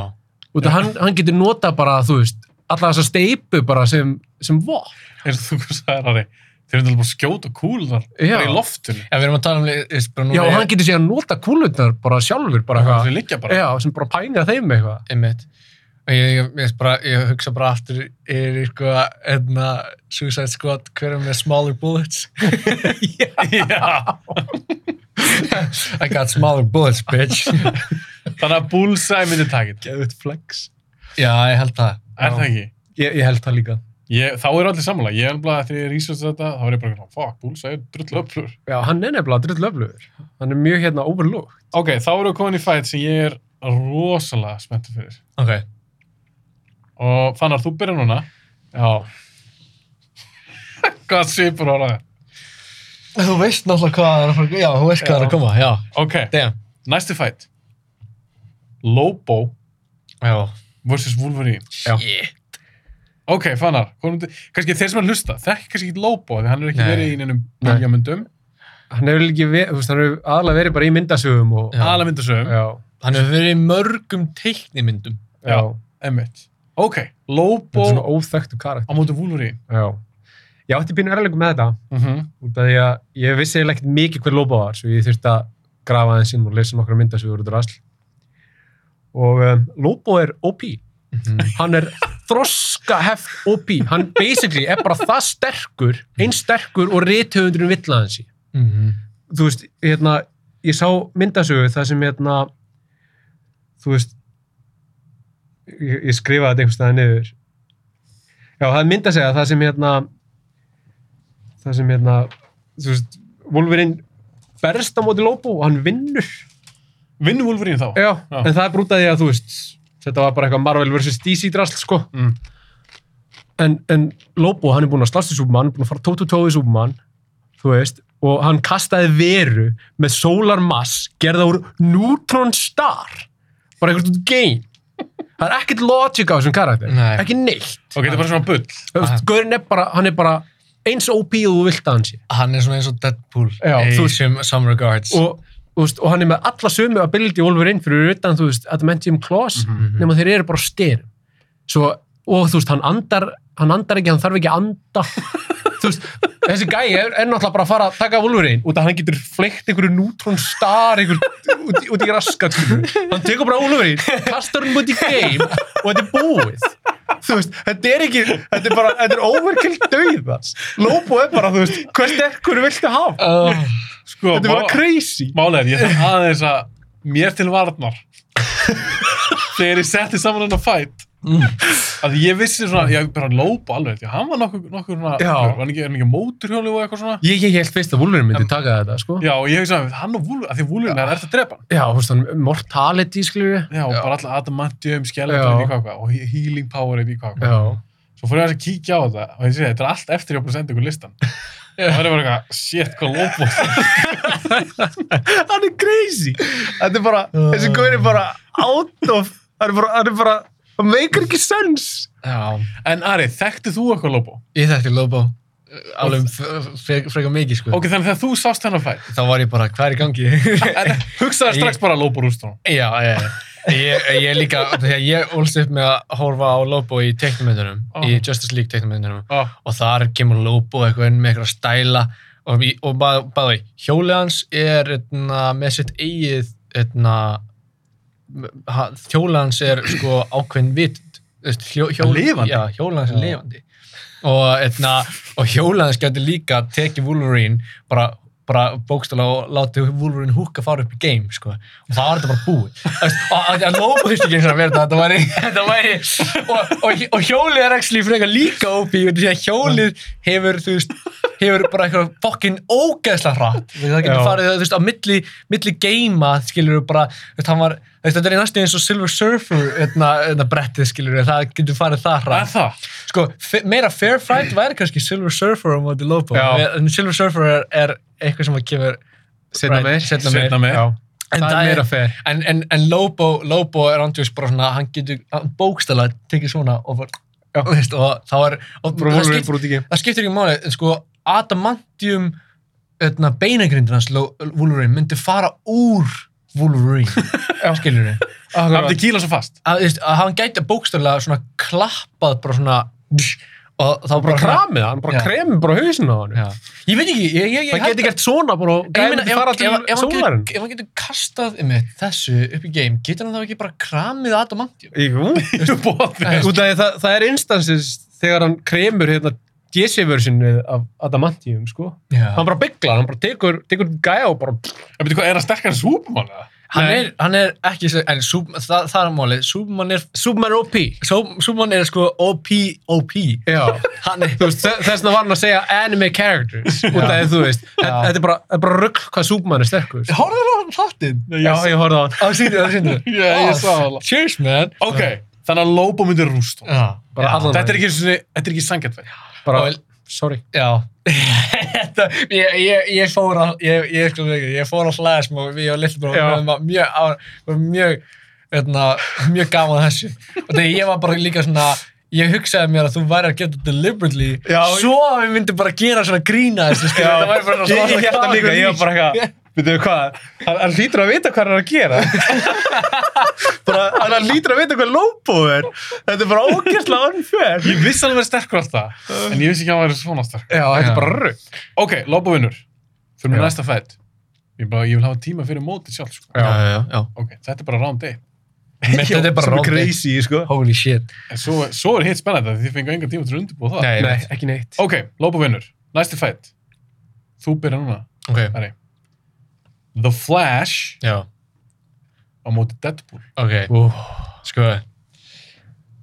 C: út af hann, hann getur nota bara, þú veist alla þessa steipu bara sem sem vop.
A: eins og þú hvað sagðir Ari þeir eru bara að skjóta kúlunar
C: Já.
A: bara í loftunni
B: Já, við erum að tala um list bara núna.
C: Já, og hann getur sér að nota kúlutnar bara sjálfur, bara
A: þeir
C: eitthvað.
A: liggja bara
C: Já, sem bara pænja þeim eitthvað.
B: Einmitt. Og ég, ég, ég, bara, ég hugsa bara aftur er eitthvað, hérna, Suicide Squad, hver er með smaller bullets?
A: [LAUGHS] Já.
B: I got smaller bullets, [LAUGHS] bitch.
A: þannig að Bullseye myndi takin
C: Geðut flex.
B: Já, ég held það.
A: er það ekki?
C: Ég, ég held það líka.
A: Ég, þá eru allir sammála, ég er bara þegar ég research þetta þá er ég bara svona, fuck, Bullseye er drullu öflur
C: Já, hann er nefnilega drulllöflugur. Hann er mjög hérna overlooked.
A: ok, þá eru við komin í fætt sem ég er rosalega spenntur fyrir
B: Ok.
A: og Fannar, þú byrjar núna
C: Já.
A: [LAUGHS] hvað svipur á ræða
B: Þú veist náttúrulega hvað það er að fara, já, þú veist hvað það er að koma, já.
A: ok,
B: Damn.
A: næsti fætt Lobo
B: Já.
A: vs. Wolverine
C: Já.
B: Shit.
A: ok, Fannar, komum til- kannski þeir sem er að hlusta þekk kannski ekki Lobo, því hann er ekki
B: Nei.
A: verið í neinum
C: Nei.
A: bíljamöndum,
C: Hann hefur ekki, verið- þú veist, hann hefur aðalega verið bara í myndasögum og...
B: Já.
A: aðla myndasögum
C: Já.
B: Hann hefur verið í mörgum teiknimyndum.
A: Já.
C: Já.
A: Emmett. Ok,
C: Þetta er svona
A: Lobo
C: óþökktu
A: á
C: karakter.
A: móti Wolverine.
C: Já. Ég átti pínu erlegum með þetta.
A: Mm -hmm.
C: út af því að ég vissi eiginlega ekkert mikið hver Lobo var svo ég þurfti að grafa aðeins inn og lesa nokkra mynda sem voru út rasl og um, Lobo er OP hann er þroska hef OP hann basically er bara það sterkur eins sterkur og rithöfundurinn vill að hans í
B: Mhm.
C: þú veist, hérna ég sá myndasögu það sem hérna þú veist ég, ég skrifaði þetta einhvers staðar niður já, það er myndasega það sem hérna það sem hérna þú veist, Wolverine berst á móti Lobo og hann vinnur
A: Vinnur Wolverine þá?
C: já,
A: Já.
C: en það er brútaði að þú veist þetta var bara eitthvað Marvel vs. DC drasl sko
A: Mm.
C: en, en Lobo, hann er búinn að slást í Superman, búinn að fara tótu-tói í Superman, þú veist, og hann kastaði veru með Solar Mass gerða úr Neutron Star. Bara eitthvað út game. Það er ekkert logic á þessum karakter.
B: Nei.
C: Ekki neitt.
A: Ok, þetta er bara svona bull.
C: Þú veist, Gaurinn er bara, hann er bara eins OP og þú vilt að hann sé.
B: Hann er svona eins og Deadpool.
C: Já,
B: í
C: þú-
B: sem some regards.
C: Og, þú veist, og hann er með alla sömu ability Wolverine fyrir utan, þú veist, Adamantium Claws, nema þeir eru bara styr. Svo, og þú veist, hann andar, hann andar ekki, hann þarf ekki að anda. þú veist, þessi gæi er, er náttúrulega bara að fara að taka Wolverine út af hann getur fleikt einhverju Neutron Star einhver, út, í- út í raskat. Hann tekur bara Wolverine, kastar hann út í game og þetta er búið. Þú veist, þetta er ekki, þetta er bara, þetta er overkill döiðast. Lobo er bara, þú veist, hvað sterkur viltu hafa?
B: Uh,
A: Sko,
C: Ah. Þetta er bara crazy.
A: Málið er, ég þarf aðeins að mér til varnar þegar ég setti saman hennar fætt
C: Mm.
A: að ég vissi svona, ég bara Lobo alveg, því hann var nokkur, nokkur svona,
C: Já.
A: var hann ekki, er hann ekki móturhjóli og eitthvað svona?
C: Ég, ég held fyrst að Wolverine myndi taka þetta, sko.
A: Já, og ég hugsaði, hann og Wolverine, að því Wolverine er eftir að drepa hann.
C: Já, þú veist, hann- mortality, skilur við.
A: Já, og
B: Já.
A: bara alltaf adamantium,
C: Já.
A: skeletum, eitthvað, eitthvað, og he- healing power, eitthvað, eitthvað.
C: Já.
A: Svo fór ég aðeins að kíkja á þetta og ég segi, þetta er allt eftir ég var búin að senda ykkur listan. Það er bara eitthvað, shit, hvað Lobo
C: Hann er crazy. Þetta er bara,
B: Uh.
C: þessi góður er bara out of, hann er bara, hann er bara, hann meikar ekki sens.
B: já.
A: En Ari, þekktu þú eitthvað Lobo?
B: Ég þekkti Lobo uh, alveg frekar fre mikið sko.
A: Ok, þannig þegar þú sást hennar
C: [LAUGHS]
A: fætt,
B: Þá var ég bara, hvað er í gangi? [LAUGHS]
A: en hugsaði strax bara Lobo rústunum.
B: já, já, já. Ég, ég líka, þegar ég ólst upp með að horfa á Lobo í teknumyndunum, í
A: Ó.
B: Justice League teknumyndunum
A: Oh.
B: og þar kemur Lobo eitthvað inn með eitthvað stæla og, í- og bæði, hjólið hans er eitna, með sitt eigið hérna, eitna, hjólið hans er sko ákveðin vitund hjó, hjó,
A: Lifandi?
B: já, hjólið hans
A: Já.
B: er lifandi og, eitna, og hjólið hans getur líka tekið Wolverine bara bara bókstala og láti Wolverine húka fara upp í game, sko. Og það var þetta bara búið. Þú veist, og- og- En Lobo þurfti ekki eins og að vera þetta, þetta væri, [LAUGHS] þetta væri, og, og, og hjólið er actually frekar líka OP, út af því að hjólið hefur, þú veist, hefur bara eitthvað fokkin ógeðsla hratt. Þú veist, Það getur
C: Já.
B: farið, þú veist, á milli, milli geima, skilur við bara, þú veist, hann var, þú veist, þetta er í næstu eins og Silver Surfer, þetta, þetta brettið, skilur við, það getur farið það hratt.
A: Er það?
B: Sko, fe- meira fair fight væri kannski Silver Surfer á móti Lobo
C: Já.
B: en Silver Surfer er, er eitthvað sem að kemur
C: Seinna meir.
B: setna meir.
A: Setna með.
C: Já,
B: En
C: það
B: það
C: er
B: er-
C: meira fer.
B: En, en, en Lobo, Lobo er andjós bara svona, hann getur hann bókstala tekið svona og, bara, og, veist, og þá er og
C: Bara
B: það,
C: Wolverine
B: skip,
C: bara út í geim.
B: það skiptir ekki máli, en sko Adamantium öðna, beinagrindir hans Lo- Wolverine myndi fara úr Wolverine skilur við
C: [LAUGHS]
A: Það myndi kýla svo fast.
B: að, þú veist, að hann gæti bókstaflega svona klappað bara svona og þá
C: bara
B: bara
C: kramið það, hann bara
B: Já.
C: kremið bara hausin á hann
B: Já. Ég veit ekki, ég, ég, ég
C: það geti gert svona bara og
B: Ég
C: gæði
B: meina,
C: myndi fara
B: ef, ef,
C: til
B: ef, hann getur,
C: sólarinn
B: ef hann getur kastað einmitt, þessu upp í game, getur hann þá ekki bara kramið adamantium?
C: Jú, [LAUGHS]
B: Nei,
C: út af því það, það er instansis þegar hann kremur hérna DC-versinu af Adamantium sko.
B: Já.
C: hann bara bygglar, hann bara tekur, tekur gæja og bara
A: En veitu hvað, er það sterkar en Superman eða?
B: Hann,
C: Nei.
B: er, hann er ekki, svo- en Súp- það, það er málið, Súbmann er,
C: Superman er OP
B: Sú- Superman er sko OP, OP.
C: Já,
B: Hann er,
C: þú veist, þe- þess vegna var hann að segja anime characters út af því þú veist, þetta þetta er bara, þetta er bara rugg hvað Superman er sterkur sko.
B: horfður á hann þáttinn?
C: Já, ég horfði á hann
B: Á síndu, á síndu.
A: Já, ég sá það.
B: Cheers, man.
A: Ok, þannig að Lobo myndir rúst hún.
B: Já,
C: Bara
B: já,
C: allan-
A: Þetta er ekki, einu sinni- þetta er ekki sangjantverð.
C: bara,
B: Og-
C: sorry
B: Já. Þetta, ég, ég, ég fór að, ég, ég sko ekki, ég fór að hlæða smá við og Lillbró,
C: Já.
B: við varum mjög, á- við varum mjög, veitna, mjög gaman að þessu. Og þegar ég var bara líka svona, ég hugsaði mér að þú væri að gera þetta deliberately,
A: Já.
B: svo að við myndum bara gera svona grína þessu, sko, þetta væri bara svona
C: Ég hérta líka, ég var bara [LAUGHS] eitthvað Við þau hvað, hann, hann lítur að vita hvað hann er að gera bara, hann, hann lítur að vita hvað lópo er Þetta er bara ógæslega unfair
A: Ég vissi að hann verið sterkur alltaf,
C: Uh.
A: en ég vissi ekki að hann verið svona sterkur.
C: Já, þetta
B: Já.
C: er bara rugg
A: Ok, Lobo vinnur. Fyrir mig
C: Já.
A: næsta fætt. Ég, bara, ég vil hafa tíma fyrir mótið sjálf. Sko.
C: Já.
B: já, já.
A: Ok, þetta er bara round 1. [LAUGHS]
B: Mitt, þetta er bara
C: Sem
B: round eight.
C: crazy, sko
B: Holy shit.
A: En svo, svo er hitt spennandi að þið fengu engan tíma til að undirbúa það.
B: Nei,
C: Nei, ekki neitt
A: Ok, Lobo vinnur. Næsti fætt. Þú byrja núna.
B: ok,
A: The Flash
B: já,
A: á móti Deadpool.
B: ok.
C: Ó.
B: Sko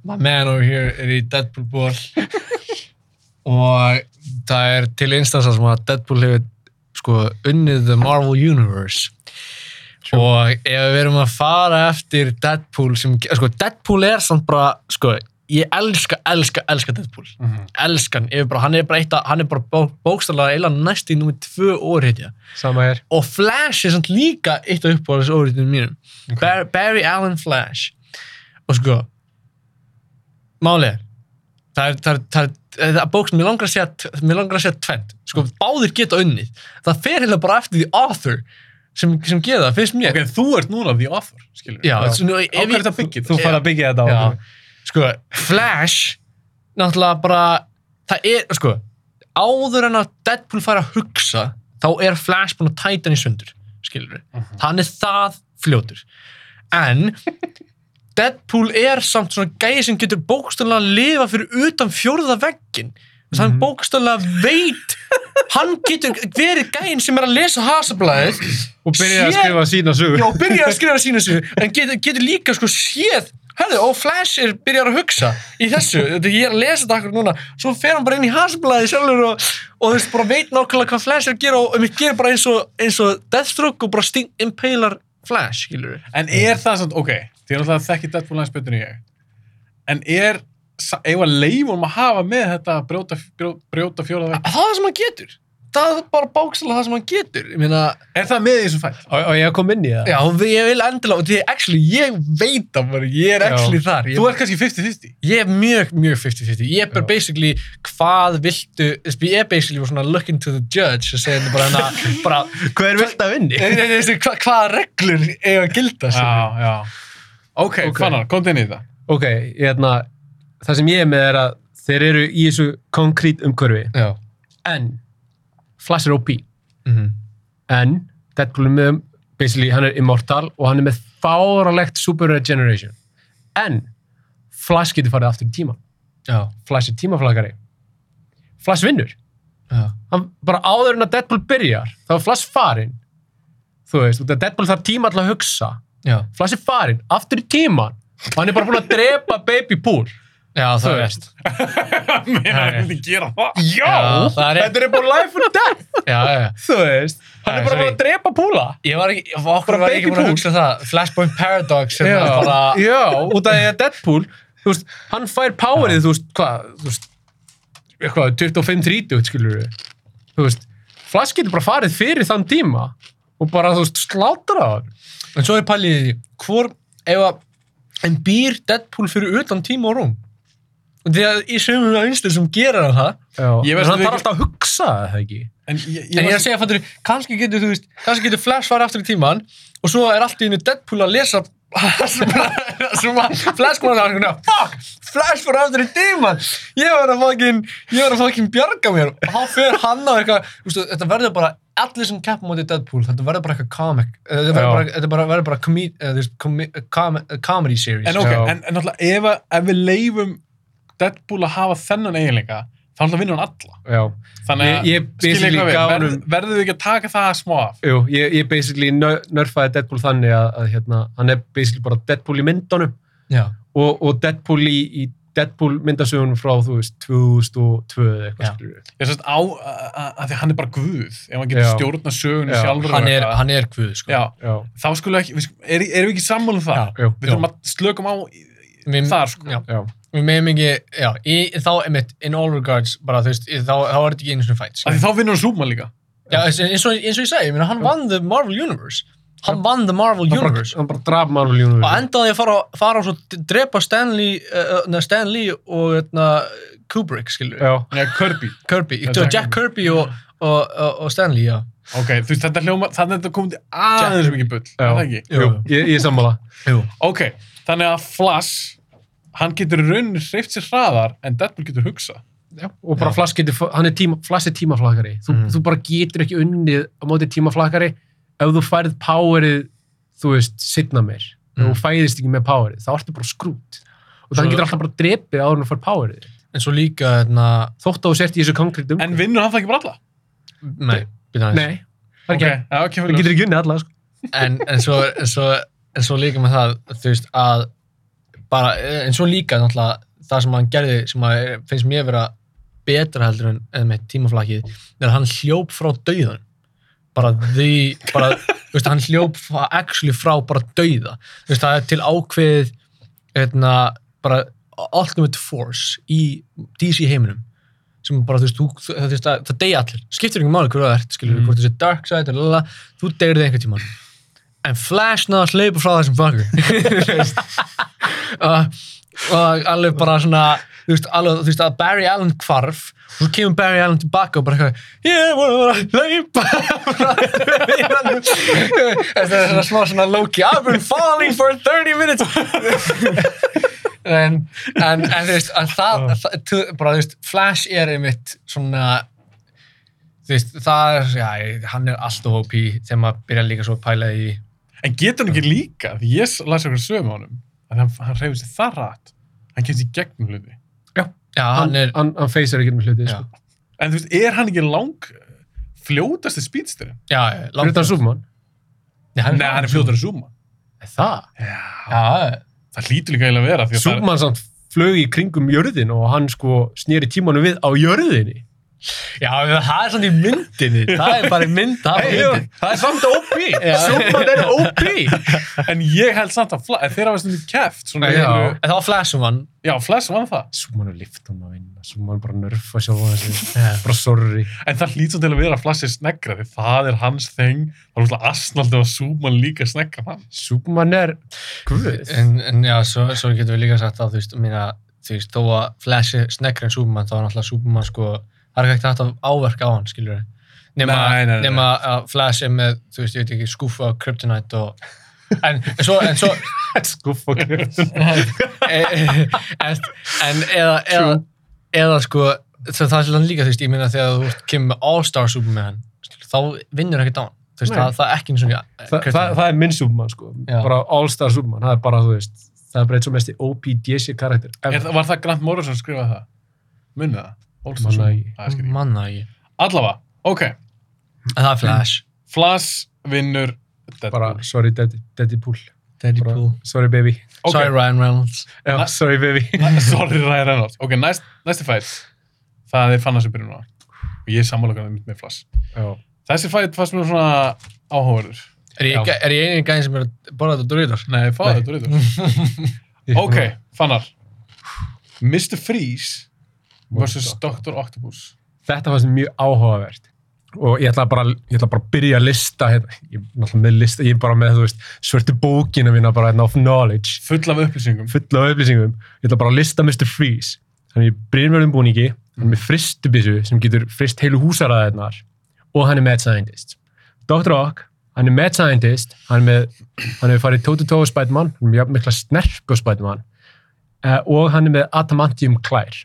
B: My man over here er í Deadpool
C: [LAUGHS]
B: ból og það er til einstansa sem að Deadpool hefur sko unnið the Marvel Universe og ef við erum að fara eftir Deadpool sem, sko Deadpool er samt bara, sko ég elska, elska, elska Deadpool
C: Mhm.
B: elskan, ég er bara, hann er bara eitt að, hann er bara bó, bókstallega eiginlega næst í númið tvö orð heitja
C: Sama er
B: og Flash er samt líka eitt af uppáhaldsóriðinu mínum Bar Barry Allen Flash og sko málið er það er, það er, það er, það er bókst, mér langar að segja t- mér langar að segja tvent, sko báðir geta unnið, það fer heila bara eftir því author sem, sem gera það, finnst mér
A: Ok, þú ert núna the author, skilur.
B: já,
C: já.
B: Svona, ef
A: Á hverju
B: ég-
A: þetta byggir?
C: Þú fara að byggja þetta á
B: Já. Sko, Flash náttúrulega bara það er, sko, áður en að Deadpool fær að hugsa þá er Flash búin að tæta hann í sundur skilur við, hann er það fljótur en [LAUGHS] Deadpool er samt svona gæi sem getur bókstöðlega að lifa fyrir utan fjórða veggin þess að hann bókstöðlega veit hann getur verið gæin sem er að lesa hasablaðið
C: Og byrja að
B: Sér-
C: skrifa sína sög
B: Já, byrjar að skrifa sína sig en getur, getur líka sko séð Hörðu, og Flash er byrjar að hugsa í þessu, þetta ég er að lesa þetta akkur núna svo fer hann bara inn í hasblaði sjálfur og, og þú veist, bara veit nákvæmlega hvað Flash er að gera og um ég gerir bara eins og, eins og Deathstroke og bara sting impalar Flash, skilur við
A: En er það samt, ok, því er alltaf að þekki Deadpool aðeins betur en ég. En er, sa- eigum að leifum að hafa með þetta að brjóta, brjó- brjóta fjóraða veginn?
B: Það er það sem hann getur það er bara bókslega það sem hann getur ég meina,
A: Er það með í þessum fætt?
C: Og og ég kom inn í það
B: já, við- ég vil endilega og því, actually, ég veit það bara ég er
C: Já.
B: actually þar ég,
A: Þú ert kannski 50-50.
B: Ég er mjög, mjög 50-50. Ég er bara
C: Já.
B: basically, hvað viltu, ég er basically bara svona looking to the judge og segja henni bara hana, [LAUGHS] bara,
C: Hver vilt að vinni?
B: Nei, nei, nei, veistu, hva, hvaða reglur eiga að
A: Já,
B: gilda sem?
A: já. Ok,
C: Ok.
A: fannar, komdu inn í það.
C: Ok, ég hefna, það sem ég er með er að þeir eru í þessu konkrét umhverfi
B: Já.
C: en Flash er OP
B: Mm
C: en Deadpool er með basically hann er immortal og hann er með fáralegt super regeneration en Flash getur farið aftur í tíma
B: Já.
C: Flash er tímaflakari Flash vinnur
B: Já.
C: hann bara áður en að Deadpool byrjar þá er Flash farinn þú veist, út af Deadpool þarf tíma alltaf að hugsa
B: Já.
C: Flash er farinn, aftur í tíman og hann er bara búin að drepa Baby Pool
B: Já, það
C: Þú
B: er
C: veist.
B: veist.
A: Mér er
B: Já, já.
A: ekki að gera það.
B: Já, það er rétt.
C: þetta er bara life and death [LAUGHS]
B: Já, já, já.
C: þú veist, hann
B: Nei,
C: er bara
B: sorry.
C: búin að drepa púla
B: Ég var ekki, okkur
C: Bara
B: var ég ekki
C: baby
B: búin að
C: pool.
B: hugsa um það. Flashpoint Paradox, sem er bara,
C: [LAUGHS] já, út af því að Deadpool þú veist, hann fær powerið, þú veist, hvað þú veist, eitthvað, 25-30 skilur við, þú veist Flash getur bara farið fyrir þann tíma og bara, þú veist, slátra hann
B: en svo er pælið í því, hvor, ef að, en býr Deadpool fyrir utan tíma og rúm? Og því að í sömum einstum sem gerir hann það,
C: já,
A: Ég
C: en
A: veist
C: hann
A: að
C: þarf
A: við-
C: alltaf að hugsa það ekki
A: En ég,
B: En
A: ég,
B: ég er
A: var,
B: að segja, fattur, kannski getur, þú veist, kannski getur Flash farið aftur í tíman og svo er allt í einu Deadpool að lesa [LAUGHS] sem að Flash kom að það og fuck, Flash farið aftur í tíman ég var að fokkin, ég var að fokkin bjarga mér og þá fer hann á eitthvað, þú veist, þetta verður bara allir sem keppum móti Deadpool, þetta verður bara eitthvað comic, eh, þetta verður
C: Já.
B: bara, þetta bara, verður bara komí, eh, þú veist, komí, eh, com, eh, comedy series
A: en ok,
C: Já.
A: en, en náttúrulega ef, að- ef við leifum Deadpool að hafa þennan eiginleika, þá náttúrulega vinnur hann alla.
C: já.
A: Þannig að,
C: Ég- ég
A: skilja
C: basically
A: hvað við,
C: gaf
A: verð,
C: honum-
A: verðum við ekki að taka það smá af?
C: Jú, ég, ég basically nör- nörfaði Deadpool þannig að, að hérna, hann er basically bara Deadpool í myndunum
B: já,
C: og, og Deadpool í, í Deadpool myndasögunum frá, þú veist, 2002 eða
B: Já.
C: eitthvað skilur
A: Ég er sérst á, að- að að því hann er bara guð, ef hann getur
C: Já.
A: stjórna sögunni
C: Já.
A: sjálfur. og
B: hann er,
A: eitthvað.
B: hann er guð, sko
A: Já,
C: Já,
A: þá skulum við ekki, við, sk- er, erum við ekki sammála um það?
B: Já.
C: jú,
A: Við þurfum að slökum á í-
B: Mér-
A: þar, sko.
B: já.
C: já,
B: Við meðum ekki, já, í, þá, einmitt, in all regards, bara, þú veist, í- þá, þá er þetta ekki einu svona fætt,
A: Af
B: sko.
A: því þá vinnur hann Súma líka.
B: Já, eins eins og, eins og ég segi, ég meina, hann vann the Marvel Universe. Hann vann the Marvel
C: hann bara,
B: Universe.
C: hann bara draf Marvel Universe
B: Og endaði að fara, fara og svo d- drepa Stanley, uh, na, Stanley og na, Kubrick, skilur við.
C: Já,
A: Nei, Kirby.
B: Kirby,
A: Já,
B: Jack,
A: Jack
B: Jack Kirby og, og, og, og Stanley, já.
A: Ok, þú veist, þetta hljóma, þannig að þetta komið í aðeins mikið bull, er það ekki?
C: jú, ég, ég er sammála
B: Jú.
A: Ok, þannig að Flash, hann getur í rauninni hreift sér hraðar en Deadpool getur hugsa.
C: Já, Mm. og bara Flash getur, hann er tíma, Flash er tímaflakari þú,
B: Mhm.
C: þú bara getur ekki unnið á móti tímaflakari ef þú færið powerið þú veist, sitna meir ef
B: Mhm.
C: þú fæðist ekki með powerið, þá ertu bara skrút og
B: Svo-
C: þannig getur alltaf bara drepið áður en þú fær powerið
B: En svo líka, hérna, na,
C: þótt að þú sért í þessu konkrétt um
A: En vinnur hann það ekki bara alla?
B: nei, býta aðeins.
C: Nei, það er ekki,
A: já, ekki
C: það getur ekki unnið alla sko.
B: en, en, svo, en, svo, en svo líka með það þú veist að bara, en svo líka náttúrulega það sem hann gerði sem að er- finnst mér vera betra heldur en, en með tímaflakið er að hann hljóp frá dauðan bara því bara, þú veist, hann hljóp fa- actually frá bara dauða þú veist, það er til ákveðið eitna, bara ultimate force í DC heiminum sem bara, þú veist, þú, þú- þú veist það, það deyja allir, skiptir ekki máli hverju það ert skilur,
C: Mhm.
B: hvort þessi dark side, lalala, þú deyrið einhvern tímann en Flash náða að sleipa frá þessum [LAUGHS] fangur og alveg bara svona þú veist, alveg, þú veist að Barry Allen hvarf og svo kemur Barry Allen tilbaka og bara eitthvað, ég voru bara að leipa [LAUGHS] þetta er svona smá svona Loki I've been falling for 30 minutes [LAUGHS] en, en, en þú veist en það, það tu- bara þú veist Flash er einmitt svona þú veist, það er, já, ég- hann er alltaf OP þegar maður byrjar líka svo að pæla í
A: En getur hann ekki líka? Því ég las eitthvað sögum á honum, að hann, hann hreyfði sér það rætt. Hann kemst í gegnum hluti.
B: já, hann
C: hann,
B: er,
C: hann, hann feysar ekki með hluti
B: já,
C: sko.
A: En þú veist, er hann ekki lang eh, fljótasti speedsterinn?
B: já, já, langt-
C: fyrir þann Superman
B: Nei,
A: Nei, hann er fljótar að Súma.
C: Er það?
A: Já.
B: já,
A: Það hlýtur líka eiginlega að vera. því að það er-
C: Superman samt flög í kringum jörðin og hann sko snýri tímanum við á jörðinni
B: já, það er svona í [LAUGHS] myndinni það er bara í mynd, það er bara í myndinni
C: það er samt OP
B: Já.
C: Superman er OP
A: En ég held samt að Flash, þeirra var stundum keft, svona,
C: Já.
A: já.
B: en það var Flash um hann
A: já, Flash vann það.
C: Superman er liftum að vinna Superman bara nörfa sjálfa þessi bara sorry
A: En það hlýtur til að vera að Flash er snegra, því það er hans þeng, það er alltaf asnaldið að Súman líka snegra [LAUGHS] hann.
C: Superman er guð
B: en, en já, svo, svo getum við líka sagt að þú veist, minna, þú veist, þó að Flash er snekkri en Superman, þá er náttúrulega Superman sko, það er ekki hægt að áverka á hann, skilur við nema,
A: Nei, nei, nei.
B: nema að Flash er með, þú veist, ég veit ekki, skúfa og kryptonite og en, en svo, en svo
C: skuff
A: [LAUGHS]
C: og guð
B: en, en, Eh, en eða, eða, eða sko það, það er svona líka, þú veist, ég minna þegar þú ert- kemur með All-Star Superman skilur, þá vinnur ekkert á hann, þú veist,
C: Nei.
B: það, það er ekki eins og
C: Þa, það, það er minn Superman sko
B: Já.
C: bara all-star Superman það er bara þú veist það er bara eins og mest í OP DC karakter
A: Er,
C: ever.
A: það- var það Grant Morrison að skrifa það? Munið það? Olsen
C: Manna
A: Súman.
C: ekki.
A: Æ, ég skil ekki.
B: manna ekki,
A: Allavega, ok.
B: en það er Flash
A: Flash vinnur Deadpool.
C: bara sorry Daddy, daddy Pool
B: Daddy
C: bara,
B: Pool
C: sorry baby
A: Ok,
B: Sorry Ryan Reynolds
C: Já,
A: Na-
C: sorry
A: [LAUGHS]
C: baby
A: Sorry, Ryan Reynolds. Ok, næst, næsti fætt. Það er fannar sem byrjum núna. Og ég er sammálagan með, með Flash.
C: Já.
A: Þessi fætt fannst mér svona áhóður.
B: Er ég,
C: Já.
B: er ég einin gæðin sem er að borða þetta Doritos?
A: Nei, fáðu þetta
C: [LAUGHS]
A: reyður. Ok, fannar. Mr. Freeze versus Dr. Octopus.
C: þetta fannst mér mjög áhugavert og ég ætla bara, ég ætla bara að byrja að lista hérna, ég er náttúrulega með lista ég er bara með, þú veist, svörtu bókina mína bara hérna of knowledge,
A: Full af upplýsingum.
C: fulla af upplýsingum ég ætla bara að lista Mr. Freeze hann er í brinverðum búningi, hann er með fristubissu sem getur frist heilu húsaraðirnar og hann er mad scientist. Dr. Ock, hann er mad scientist, hann er með, hann hefur farið toe-to-toe á Spiderman, hann er með jafn mikla snerk á Spiderman uh, og hann er með adamantium klær.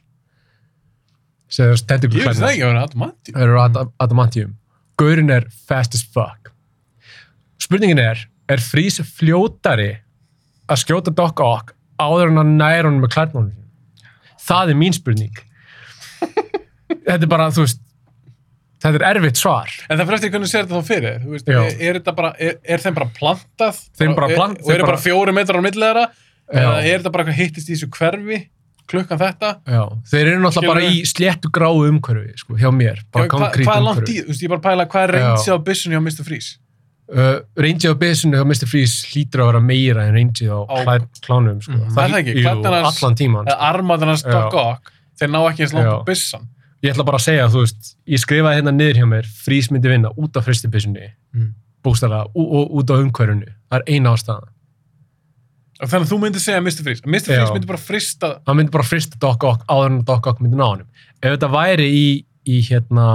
C: Sem er
A: Ég
C: tentacle
A: veist það
C: klær.
A: ekki að vera adamanti.
C: Það eru ad- adamantium. Gaurinn er fast as fuck. Spurningin er, er Freeze fljótari að skjóta Doc Ock áður en að næra honum með klærnónum? Það er mín
A: [LAUGHS]
C: spurning. þetta er bara, þú veist, þetta er erfitt svar.
A: En það fyrir eftir hvernig sér þetta þá fyrir þér, þú veist,
C: Já.
A: er, er, þetta bara, er, er þeim bara plantað?
C: Þeim bara
A: Er-
C: plant-
A: Og
C: þeim
A: eru bara
C: bara-
A: fjóri metrar á milli þeirra?
C: Já.
A: Eða er þetta bara eitthvað hittist í þessu hverfi, klukkan þetta?
C: Já, þeir eru náttúrulega bara í
A: Skilurðu?
C: sléttu gráu umhverfi, sko, hjá mér. Bara
A: Hvað hva
C: konkrét
A: hvað er langt
C: umhverfi.
A: í, þú veist, ég er bara að pæla hvað er
C: Já.
A: reynsið á byssunni á Mr. Freeze?
C: uh, reyndið á byssinu hjá Mr. Freeze hlýtur að vera meira en reyndið á
A: Á-
C: klær, klánum sko.
B: Mhm.
A: Er það ekki?
C: jú,
A: Klærnar hans-
C: allan tíman
A: Eða
C: sko.
A: armaðan hans
C: Já.
A: Doc Ock, þeir ná ekki eins langt á
C: Já.
A: byssan.
C: ég ætla bara að segja, þú veist, ég skrifaði hérna niður hjá mér Freeze myndi vinna út af fristibyssunni
B: Mm.
C: bókstæðlega, og út af umhverfinu það er eina ástæðan,
A: Og Þannig að þú myndir segja Mr. Freeze. Mr. Freeze
C: Já.
A: myndi bara frista,
C: hann myndi bara frista Doc Ock áður en Doc Ock myndi ná honum ef þetta væri í, í hérna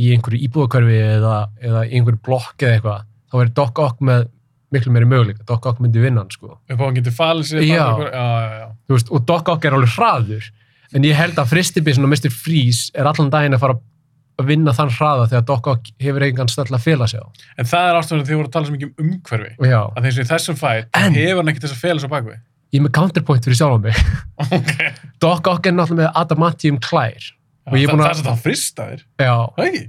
C: í einhverju íbúðakörfi eða, eða í einhverju blokk eða eitthvað þá væri Doc Ock með miklu meiri möguleika Doc Ock myndi vinna hann sko
A: upp á hann getur falið sér.
C: Já.
A: bara einhver- já, já, já.
C: þú veist, og Doc Ock er alveg hraður en ég held að fristibísin og Mr. Freeze er allan daginn að fara að vinna þann hraða þegar Doc Ock hefur engan stöll að fela sig á
A: En það er ástæðan að þið voru að tala svo mikið um umhverfi.
C: og já,
A: Að þeins og í þessum fæt,
C: En-
A: hefur hann ekkert þess að fela svo bakvið.
C: ég er með counterpoint fyrir sjálf á
B: [LAUGHS]
C: mig
A: Ok.
C: Doc Ock er náttúrulega með adamantium klær
A: Já,
C: Og ég
A: það,
C: er búin að-
A: það er svo það frista þér,
C: já,
A: það ekki?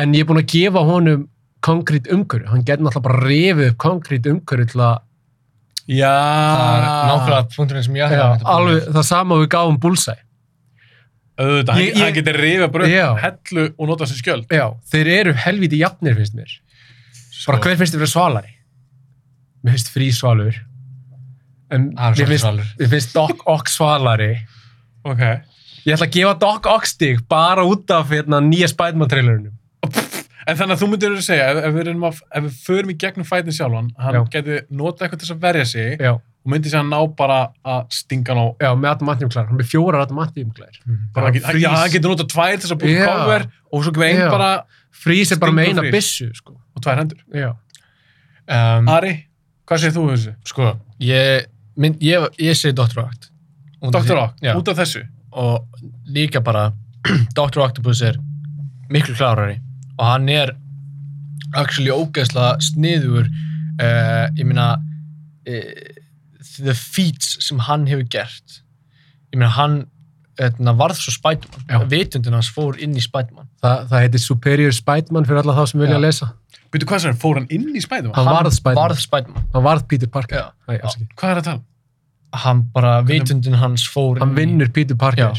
C: en ég er búin að gefa honum konkrétt umhverju, hann getur náttúrulega bara rifið upp konkrétt umhverju til að
A: Já,
B: Það er nákvæmlega punkturinn sem ég ætlaði
C: Ah. já,
B: að mynda
C: alveg, það sama og við gáum Bullseye
A: auðvitað,
C: Ég-
A: hann- hann
C: ég-
A: getur rifið bara
C: Já.
A: upp hellu og nota sem skjöld.
C: já, þeir eru helviti jafnir finnst mér bara hver finnst þið verið svalari mér finnst frí svalur en
B: Hann er
C: mér
B: svolítið
C: finnst,
B: svalur.
C: mér finnst Doc Ock svalari ég
A: Ok.
C: ætla að gefa Doc Ock stig bara út af hérna, nýja Spiderman trailerinum
A: En þannig að þú myndir að segja, ef, ef, við reynum að, ef við förum í gegnum fætin sjálfan, hann
C: Já.
A: geti nota eitthvað til þess að verja sig
C: já,
A: og myndi sér að ná bara að stinga hann á.
C: já með adamantium klær, hann er með fjórar adamantium klær
A: Bara, hann, get, já, hann getur nota tvær til þess að búið
C: Já.
A: cover og svo kemur einn
C: Já.
A: bara
C: frís er bara með
A: Stingur
C: eina
A: Freeze.
C: byssu sko.
A: og tvær hendur.
C: já,
B: um,
A: Ari, hvað segir þú um þessu?
B: Sko, ég, mynd, ég, ég segi Dr. Oct
A: Dr. Rock,
B: Já,
A: út af þessu.
B: og líka bara [CLEARS THROAT] Dr. Octopus er miklu klárari og hann er actually ógeðslega sniður uh, ég meina uh, the feats sem hann hefur gert ég meina hann etna, varð svo
C: Já.
B: Spiderman vitundin hans fór inn í Spiderman
C: Þa, það heitir Superior Spiderman fyrir alla þá sem vilja
B: Já.
C: lesa
A: Byrju, hvað segir hann? Fór hann inn í spæðum?
C: Hann varð Spiderman.
B: varð Spiderman.
C: hann varð Peter Parker
B: Já.
C: Æ, afsakið.
A: Hvað er að tala? um?
B: hann bara
A: Hvernig-
B: vitundin hans fór
C: hann
B: inn í-
C: vinnur Peter Parker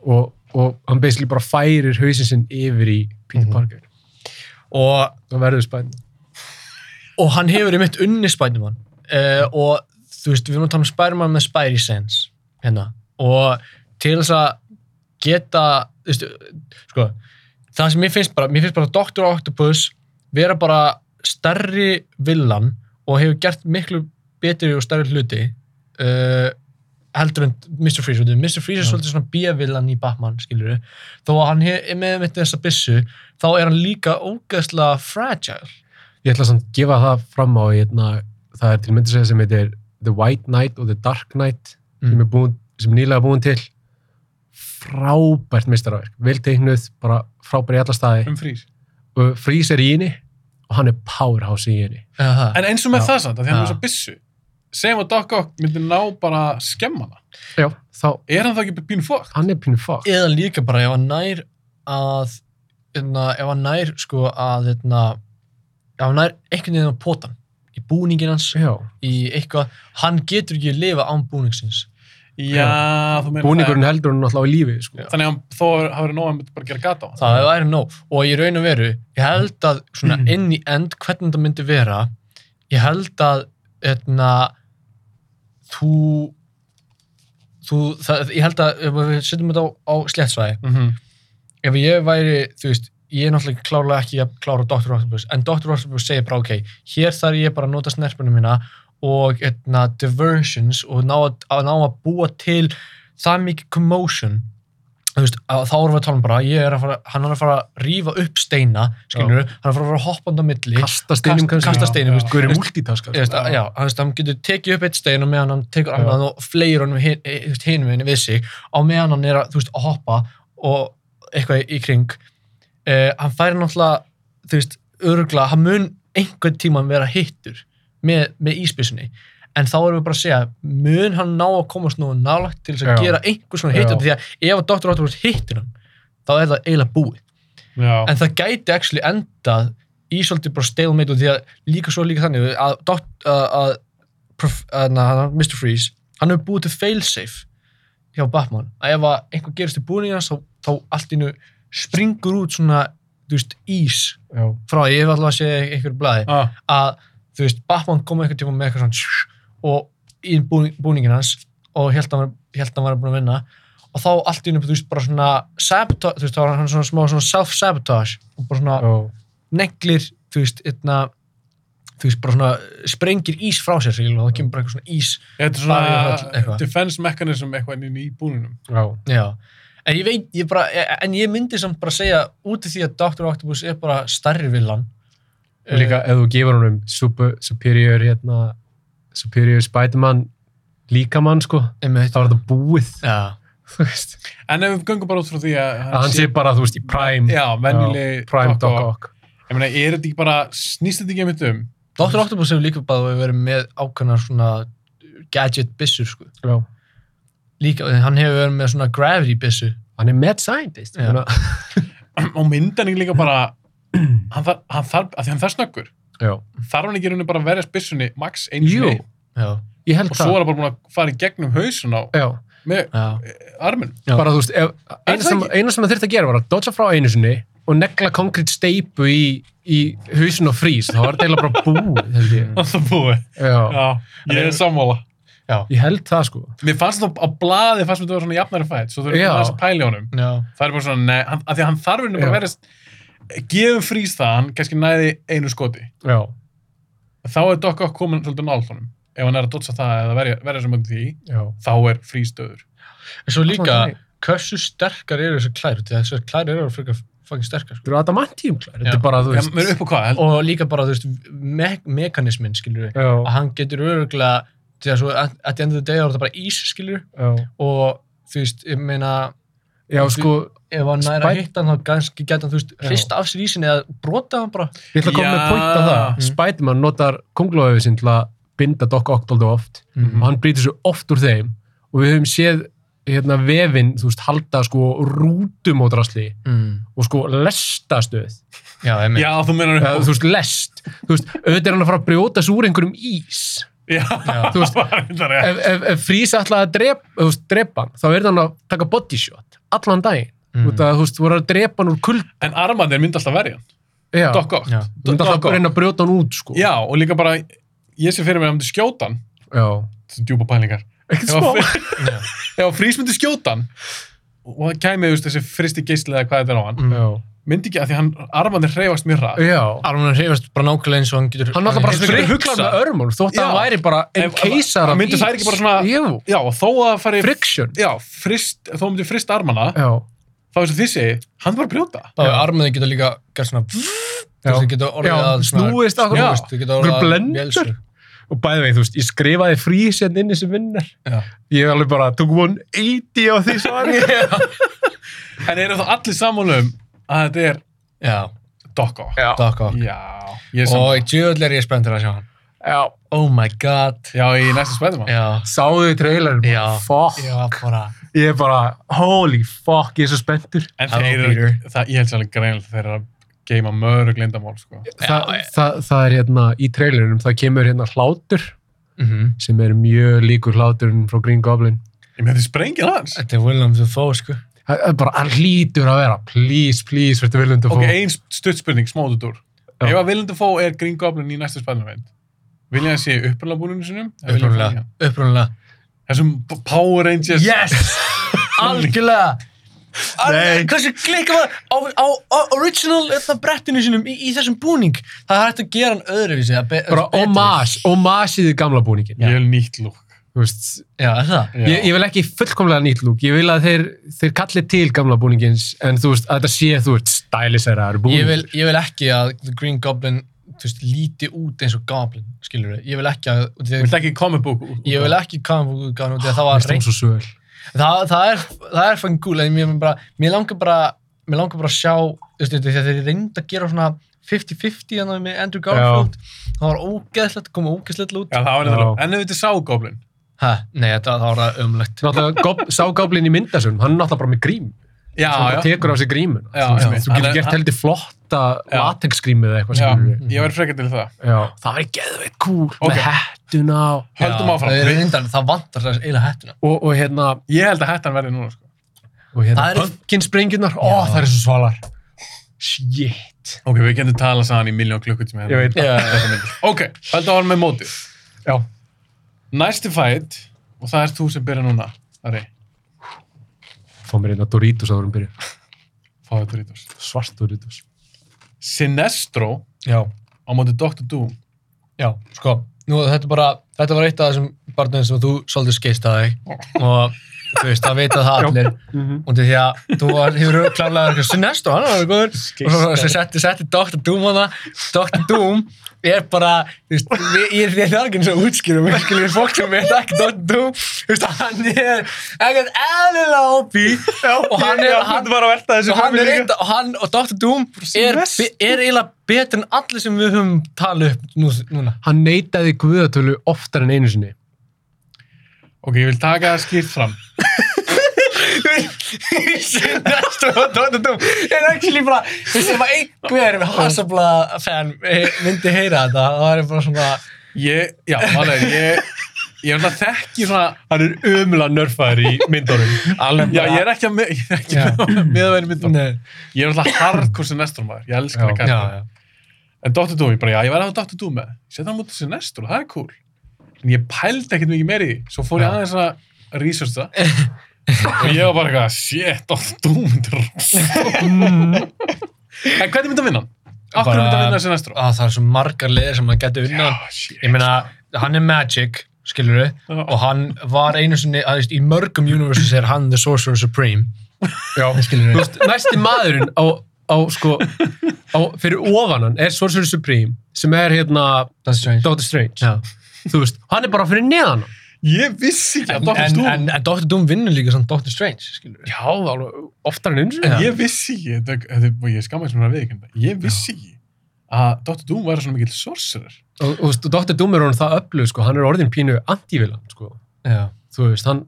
C: og, og hann basically bara færir hausin sinn yfir í Peter
B: Mhm.
C: Parker
B: og
C: hann verður Spiderman
B: og hann hefur einmitt unni Spiderman uh, og þú veist, við erum að tala um Spiderman með Spidey Sense hérna og til þess að geta þú veist, sko það sem mér finnst bara, mér finnst bara Dr. Octopus vera bara stærri villan og hefur gert miklu betri og stærri hluti uh, heldur en Mr. Freeze út af því. Mr. Freeze er
C: Já.
B: svolítið svona bíavillan í Batman, skilur við þó að hann hef, er með mitt þessa byssu þá er hann líka ógeðslega fragile
C: ég ætla samt að gefa það fram á hérna, það er til myndi segja sem heitir The White Knight og The Dark Knight
B: Mhm.
C: sem, er búin, sem er nýlega búin til frábært meistarverk vel teiknuð, bara frábært í alla
B: Mhm.
C: staði
A: Um frýs.
C: og Freeze er í henni og hann er powerhouse í henni
B: Já, það.
A: En eins og með
C: Já.
A: það samt, að því hann
B: Já.
A: er svo byssu segjum að Doc Ock myndi ná bara að skemma hana.
C: já, þá,
A: Er hann þá ekki pínu fokk?
C: hann er pínu fag
B: eða líka bara ef hann nær að einna, ef hann nær sko að einna, ef hann nær einhvern veginn á potan í búningin hans,
C: já,
B: í eitthvað hann getur ekki að lifa án búningsins
A: Já, þú meina
C: búningurinn heldur hann alltaf í lífi sko.
A: það. Þannig að hann- þó er- hafa verið nóg að hann myndi bara gera gata á hann.
B: það væri nóg og ég raun og veru, ég held að svona inn í end, hvernig það myndi vera ég held að einna, þú þú, það, ég held að ef við setjum þetta á, á sléttsvæði
A: Mhm.
B: ef ég væri, þú veist, ég er náttúrulega klárlega ekki að klára Dr. Octopus, en Dr. Octopus segir bara, ok, hér þarf ég bara að nota snerpunum mína og hérna, etna, diversions og ná að, að ná að búa til það mikið commotion þú veist, að þá erum við að tala um bara, ég er að fara, hann er að fara að rífa upp steina, skilur hann er að fara að fara hoppandi á milli,
C: Kasta steinum
B: Kast-
C: um kannski.
B: kasta steinum,
A: Já,
B: veist,
C: Guður multitaskar.
B: Ég veist, að, já, hann, veist, hann getur tekið upp eitt stein og meðan hann tekur annað og fleir honum hin- eh, þú veist, hinum minni við sig á meðan hann er að, þú veist, að hoppa og eitthvað í, í kring uh, hann færi náttúrulega þú veist, örugla, hann mun einhvern tíman vera hittur með, með ísbissunni en þá erum við bara að segja mun hann ná að komast nú nálægt til þess að
C: Já.
B: gera einhvers svona
C: Já.
B: hittur því að ef að Dr. Ottavars hittur hann þá er það eiginlega búið
A: Já,
B: en það gæti actually endað í svolítið bara stalemate og því að líka svo líka þannig að, dokt, að, að, prof, að na, hann- Mr. Freeze hann hefur búið til failsafe hjá Batman að ef að einhver gerist í búinu hans þá, þá allt innu springur út svona þú veist, ís
C: Já.
B: frá, ég hef alltaf að segja einhverju blaði
A: ah,
B: að þú veist, Batman kom einhvern tíma með eitthvað svona tss, og í búning, búningin hans og held að hann held að hann var búin að vinna og þá allt í einu, þú veist, bara svona sabotage, þú veist, þá var hann svona smá svona self-sabotage og bara svona
C: Já.
B: neglir, þú veist, einna þú veist, bara svona sprengir ís frá sér, skiljum, og það kemur bara eitthvað svona ís
A: þetta er
B: Bara í höll,
A: svona
B: eitthvað.
A: defense mechanism eitthvað inn í búninum.
C: Já.
B: Já, en ég veit, ég bara, e, en ég myndi samt bara segja út af því að Dr. Octopus er bara starri villan
C: Og líka
B: Eh.
C: ef þú gefur honum super, superior, hérna, superior Spiderman líkamann, sko,
B: einmitt,
C: þá er þetta búið,
B: já,
C: þú veist.
A: En ef við göngum bara út frá því að
C: Að hann sé bara, þú veist, í prime.
A: já, venjuleg
C: Prime
A: Doc
C: Doc
A: Ock.
C: Ock.
A: Ég meina, er þetta ekki bara, snýst þetta ekki einmitt um?
B: Dr. Octopus hefur líka bara verið með ákveðnar svona gadget byssur sko.
C: Já.
B: Líka, hann hefur verið með svona gravity byssu.
C: Hann er mad scientist.
B: Já.
C: Svona,
A: um, [CLEARS THROAT] Og myndan er líka bara, [CLEARS THROAT] hann þarf, hann þarf, að því hann þarf snöggur.
C: já.
A: Þarf hann ekki í rauninni bara að verja spissunni max einu
C: Jú,
A: sinni?
B: Já,
C: Ég held
A: Og svo
C: það.
A: er hann bara búin að fara í gegnum hausun á,
C: Já.
A: með
B: já,
A: arminn.
B: Já.
C: Bara, þú veist, ef, eina,
A: það
C: sem,
A: ekki?
C: eina sem það þurfti að gera var að dodja frá einu sinni og negla konkrétt steipu í, í hausin og frís. Það var þetta eiginlega bara búið, held ég.
A: Það er búið.
C: Já.
A: Mm. Já, ég er sammála.
C: Ég held það, sko.
A: Mér fannst það á blaði, fannst mér það var svona jafnari fætt, svo þurfum
C: Já.
A: við aðeins að pæla í honum.
B: já,
A: Það er bara svona, nei, hann, að því að hann þarf henni bara
C: Já.
A: að verja, gefum frýs það, hann kannski næði einu skoti.
C: Já.
A: Þá er Doc Ock komin svolítið nált honum. Ef hann er að dotsa það eða verja, verja sem mögum því,
C: Já.
A: þá er frýs döður.
B: En svo líka,
C: Þannig.
B: hversu sterkar eru þessar klær? Því að þessar klær eru fyrir fangin sterkar. Sko.
C: Þú eru adamantium klær. Þetta
B: Já.
C: er bara, þú
A: Já,
C: veist.
A: mér er upp á hvað, held,
B: Og líka bara, þú veist, me mekanismin, skilur við. Að
C: Já.
B: hann getur öruglega, því að svo, at, at the end of the day, þá er þetta bara ís, skilur við.
C: Já.
B: Og, þú veist, ég meina,
C: Já, sko,
B: ef hann næra
C: Spæ-
B: hitta hann, þá kannski geta hann, þú veist,
C: Já.
B: hrista af sér ísin eða brota hann bara.
C: ég ætla að koma með
A: Já.
C: point að það.
A: Mm.
C: Spiderman notar kongloðu sinn til að binda Doc Ock dálítið oft
A: Mhm.
C: og hann brýtur svo oft úr þeim og við höfum séð hérna vefinn, þú veist, halda sko rútum á drasli
B: Mm.
C: og sko lestastöð
B: Já, einmitt.
A: Já, þú meinar upp
C: eða, þú veist, lest þú veist, auðvitað er hann að fara að brjóta sig úr einhverjum ís
A: Já, [LAUGHS]
B: Já.
C: þú veist,
A: það er
C: ef, ef, ef Frís ætlaði að drep, þú veist, drepa hann þá verður hann að taka body shot allan daginn,
B: Mm.
C: út að þú veist, þú voru að drepa hann úr kuld
A: En armarnir myndi alltaf verja hann.
C: já,
A: Doc Ock.
B: Já.
C: þú myndi alltaf
A: Doc Ock.
C: að reyna að brjóta hann út sko.
A: Já, og líka bara, ég sé fyrir mér að hann myndi skjóta hann,
C: já.
A: þessu djúpa pælingar.
C: ekkert
A: Ef
C: smá
A: að- Ef að frýs myndi skjóta hann, og það kæmi, þú veist, þessi fristi geisli eða hvað þetta er á hann,
B: Mm.
C: já,
A: myndi ekki að því hann, armarnir hreyfast mjög ræð.
C: já
B: Armurinn hreyfast bara nákvæmlega eins og hann getur
C: hann um alltaf bara
B: getur
A: Friksa.
C: friklar með örmul þótt að
A: Já.
C: hann væri bara
A: Ef-
C: en keisar
A: myndu þær ekki bara svona-
C: jú,
A: Já, og þó að það fari...
C: friction
A: Já, frist, þó myndi frist armana,
C: já,
A: þá eins og þið segi, hann er bara að brjóta.
B: bara armurinn getur líka gert svona þú
C: já.
B: veist, þau getur orðið
C: Já,
B: að svona-
C: snúist akkur-
B: snúist, þau getur
C: Einhver
B: orðið að
C: blender.
B: vélsug.
C: og bæði veginn, þú veist, ég skrifaði frís hérna inn í sem vinnar
A: Já.
C: ég alveg bara, tók 180 á því svari [LAUGHS]
A: En eru þá allir sammála um að þetta er
B: já,
A: Doc Ock?
C: já,
B: Doc Ock
A: Já, ég er sammála.
B: og djöðl er ég spenntur að sjá hann
C: já,
B: oh my god
A: Já, í næsta spæðumann.
B: já,
C: sáðu þið trailerin
B: Já.
C: fuck,
B: já bara
C: ég er bara holy fuck, ég er svo spenntur
A: En
B: Hello,
A: þeir eru, það, ég held sérlega greinlega þeir eru að geima mörg lindamál, sko.
C: Þa,
B: Já, ég-
C: það, það er hérna, í trailerinum það kemur hérna hlátur
B: Mhm.
C: sem er mjög líkur hláturinn frá Green Goblin
A: Ég með því sprengir hans.
B: þetta er Willem Dafoe sko
C: það það er bara, hann hlýtur að vera please, please, verður viljum til að
A: Ok,
C: fá
A: ein stutt spurning, smá út úr.
C: Já.
A: Ef að Willem Dafoe er Green Goblin í næsta spæðumann, vilja hann sé upprunlega búinu sinum? eða vilja hann fara í
B: upprunlega
A: hann?
B: upprunlega
A: Þessum Power Rangers.
B: algjörlega
C: Nei.
B: Alveg, hversu klikka var á, á, á original eða brettinu sínum í, í þessum búning það er hægt að gera hann öðruvísi að be-
C: bara
B: betri.
C: homage, homage í því gamla búningin
A: Ég vil nýtt lúk.
C: Þú þú veist,
B: Já, er það?
A: Já.
C: ég, ég vil ekki fullkomlega nýtt lúk, ég vil að þeir, þeir kalli til gamla búningins, en þú veist, að þetta sé, þú veist, stælisærar búning.
B: Ég vil, ég vil ekki að The Green Goblin þú veist, líti út eins og Goblin, skilur við. Ég vil ekki að... út í
A: Þú
B: því-
A: vilt ekki comic book út-
B: Ég vil ekki kama út af því að það var
C: Mér
B: reynd.
C: finnst það var reynd.
B: Það, það er, það er fangin gúl, en mér, bara, mér, langar bara, mér langar bara að sjá, þú veist, þegar þeir reynda að gera svona 50-50 þannig með Andrew Garfield. Það var ógeðslegt, kom ógeðslegt út.
A: Já, það var
C: Já.
A: nefnilega. En ef þetta sá goblin.
B: Hæ, nei, það, það var það ömlegt.
C: Náttúrulega, gob- sá gáblinn í myndasunum, hann er náttúrulega bara með grím.
A: Já,
C: sem bara
A: já.
C: tekur af sig grímun
A: Já,
C: þú,
A: já.
C: veist, þú
A: Hann er-
C: getur gert heldur flotta
A: Já.
C: latexgrímu eða eitthvað
A: Já,
C: skilur við.
A: ég væri frekar til það.
C: já, það er geðveitt kúl
A: Ok.
C: með hettuna og,
A: Höldum
B: Já,
A: áfram.
B: Það,
A: Við-
B: reynda, það vantar þess eila hættuna.
C: og, og hérna,
A: Ég held að hættan verði núna, sko.
C: og hérna
B: Það er-
C: pumpkinsprengjurnar, ó
B: Já.
C: það er svo svalar shit
A: Ok, við getum talað saman í miljón klukkutíma. hérna.
C: Ég veit.
B: Já, já, já.
A: Ok, höldum áfram með mótið.
C: já,
A: Næsti fætt, og það er þú sem byrja núna, Ari.
C: fá mér einn að Doritos áður um byrju
A: Fáðu Doritos.
C: svart Doritos
A: Sinestro
B: Já.
A: á móti Dr. Doom.
B: Já, sko, nú þetta er bara, þetta var eitt af þessum barnum sem þú svolítið skeist að þig og þú veist, það veit að það allir og því að þú var, hefur klálega eitthvað sinnestu, hann var góður og svo- svo setti, setti Dr. Doom hana Dr. Doom er bara þú veist, við- ég ég þarf ekki eins og útskýrum við skiljum fólk sem veit ekki Dr. Doom þú veist, hann er ekkert eðlilega opi og hann er, hann,
A: var að velta þessu
B: og hann er enda, og hann og Dr. Doom er,
A: verst.
B: er eiginlega betur en allir sem við höfum talið upp nú, núna
C: hann neytaði guðatölu oftar en einu sinni
A: Ok, ég vil taka það skýrt fram.
B: Sinestro og Dr. Doom er actually bara, þessi var einhver hasabla fan eh, myndi heyra þetta, það er bara svona
A: Ég, já, alveg, ég, ég er alltaf þekki svona,
C: hann er umla nörfæður í myndorum [LAUGHS] alveg
A: já, ég er ekki að með, ég er ekki
B: Já.
A: með að vera myndum.
B: Nei,
A: Ég er alltaf hardcore Sinestro maður, ég elskar
C: Já.
A: það
B: já,
A: kæmur.
B: já.
A: En Dr. Doom, ég bara, já, ég væri að hafa Dr. Doom með. Ég setja hann mútið Sinestro, það er cool. En ég pældi ekkert mikið meir í því. Svo fór ég
C: Já.
A: aðeins að researcha. og ég var bara eitthvað, shit, Dr. Doom, þetta er rosa. En hvernig myndi að vinna hann? Akkur
B: Bara-
A: myndi að vinna Sinestro?
B: Á, það er svo margar leðir sem hann getur unna
A: shit.
B: ég meina, hann er magic skilur við,
A: Já.
B: og hann var einu sinni, að þú veist, í mörgum universes er hann the sorcerer supreme [LAUGHS]
C: Já,
B: skilur
C: Þú
B: við,
C: veist, næsti maðurinn á, á sko, á, fyrir ofan hann er Sorcerer Supreme, sem er hérna
B: that's strange
C: Doctor Strange.
B: Já.
C: Þú veist, hann er bara fyrir neðan hann.
A: Ég vissi ekki
B: En,
A: að Dr.
B: en,
A: Doom
B: en, en Dr. Doom vinnur líka samt Dr. Strange, skilur við.
C: Já, alveg, oftar en eins og
B: Já.
A: Ég vissi ekki, þetta, þetta, og ég skammaði sem hann að viðkynna, ég vissi ekki að Dr. Doom væri svona mikill sorcerer.
C: Og þú veist, og Dr. Doom er hann það öflug, sko, hann er orðin pínu antívilan, sko.
B: Já.
C: Þú veist, hann,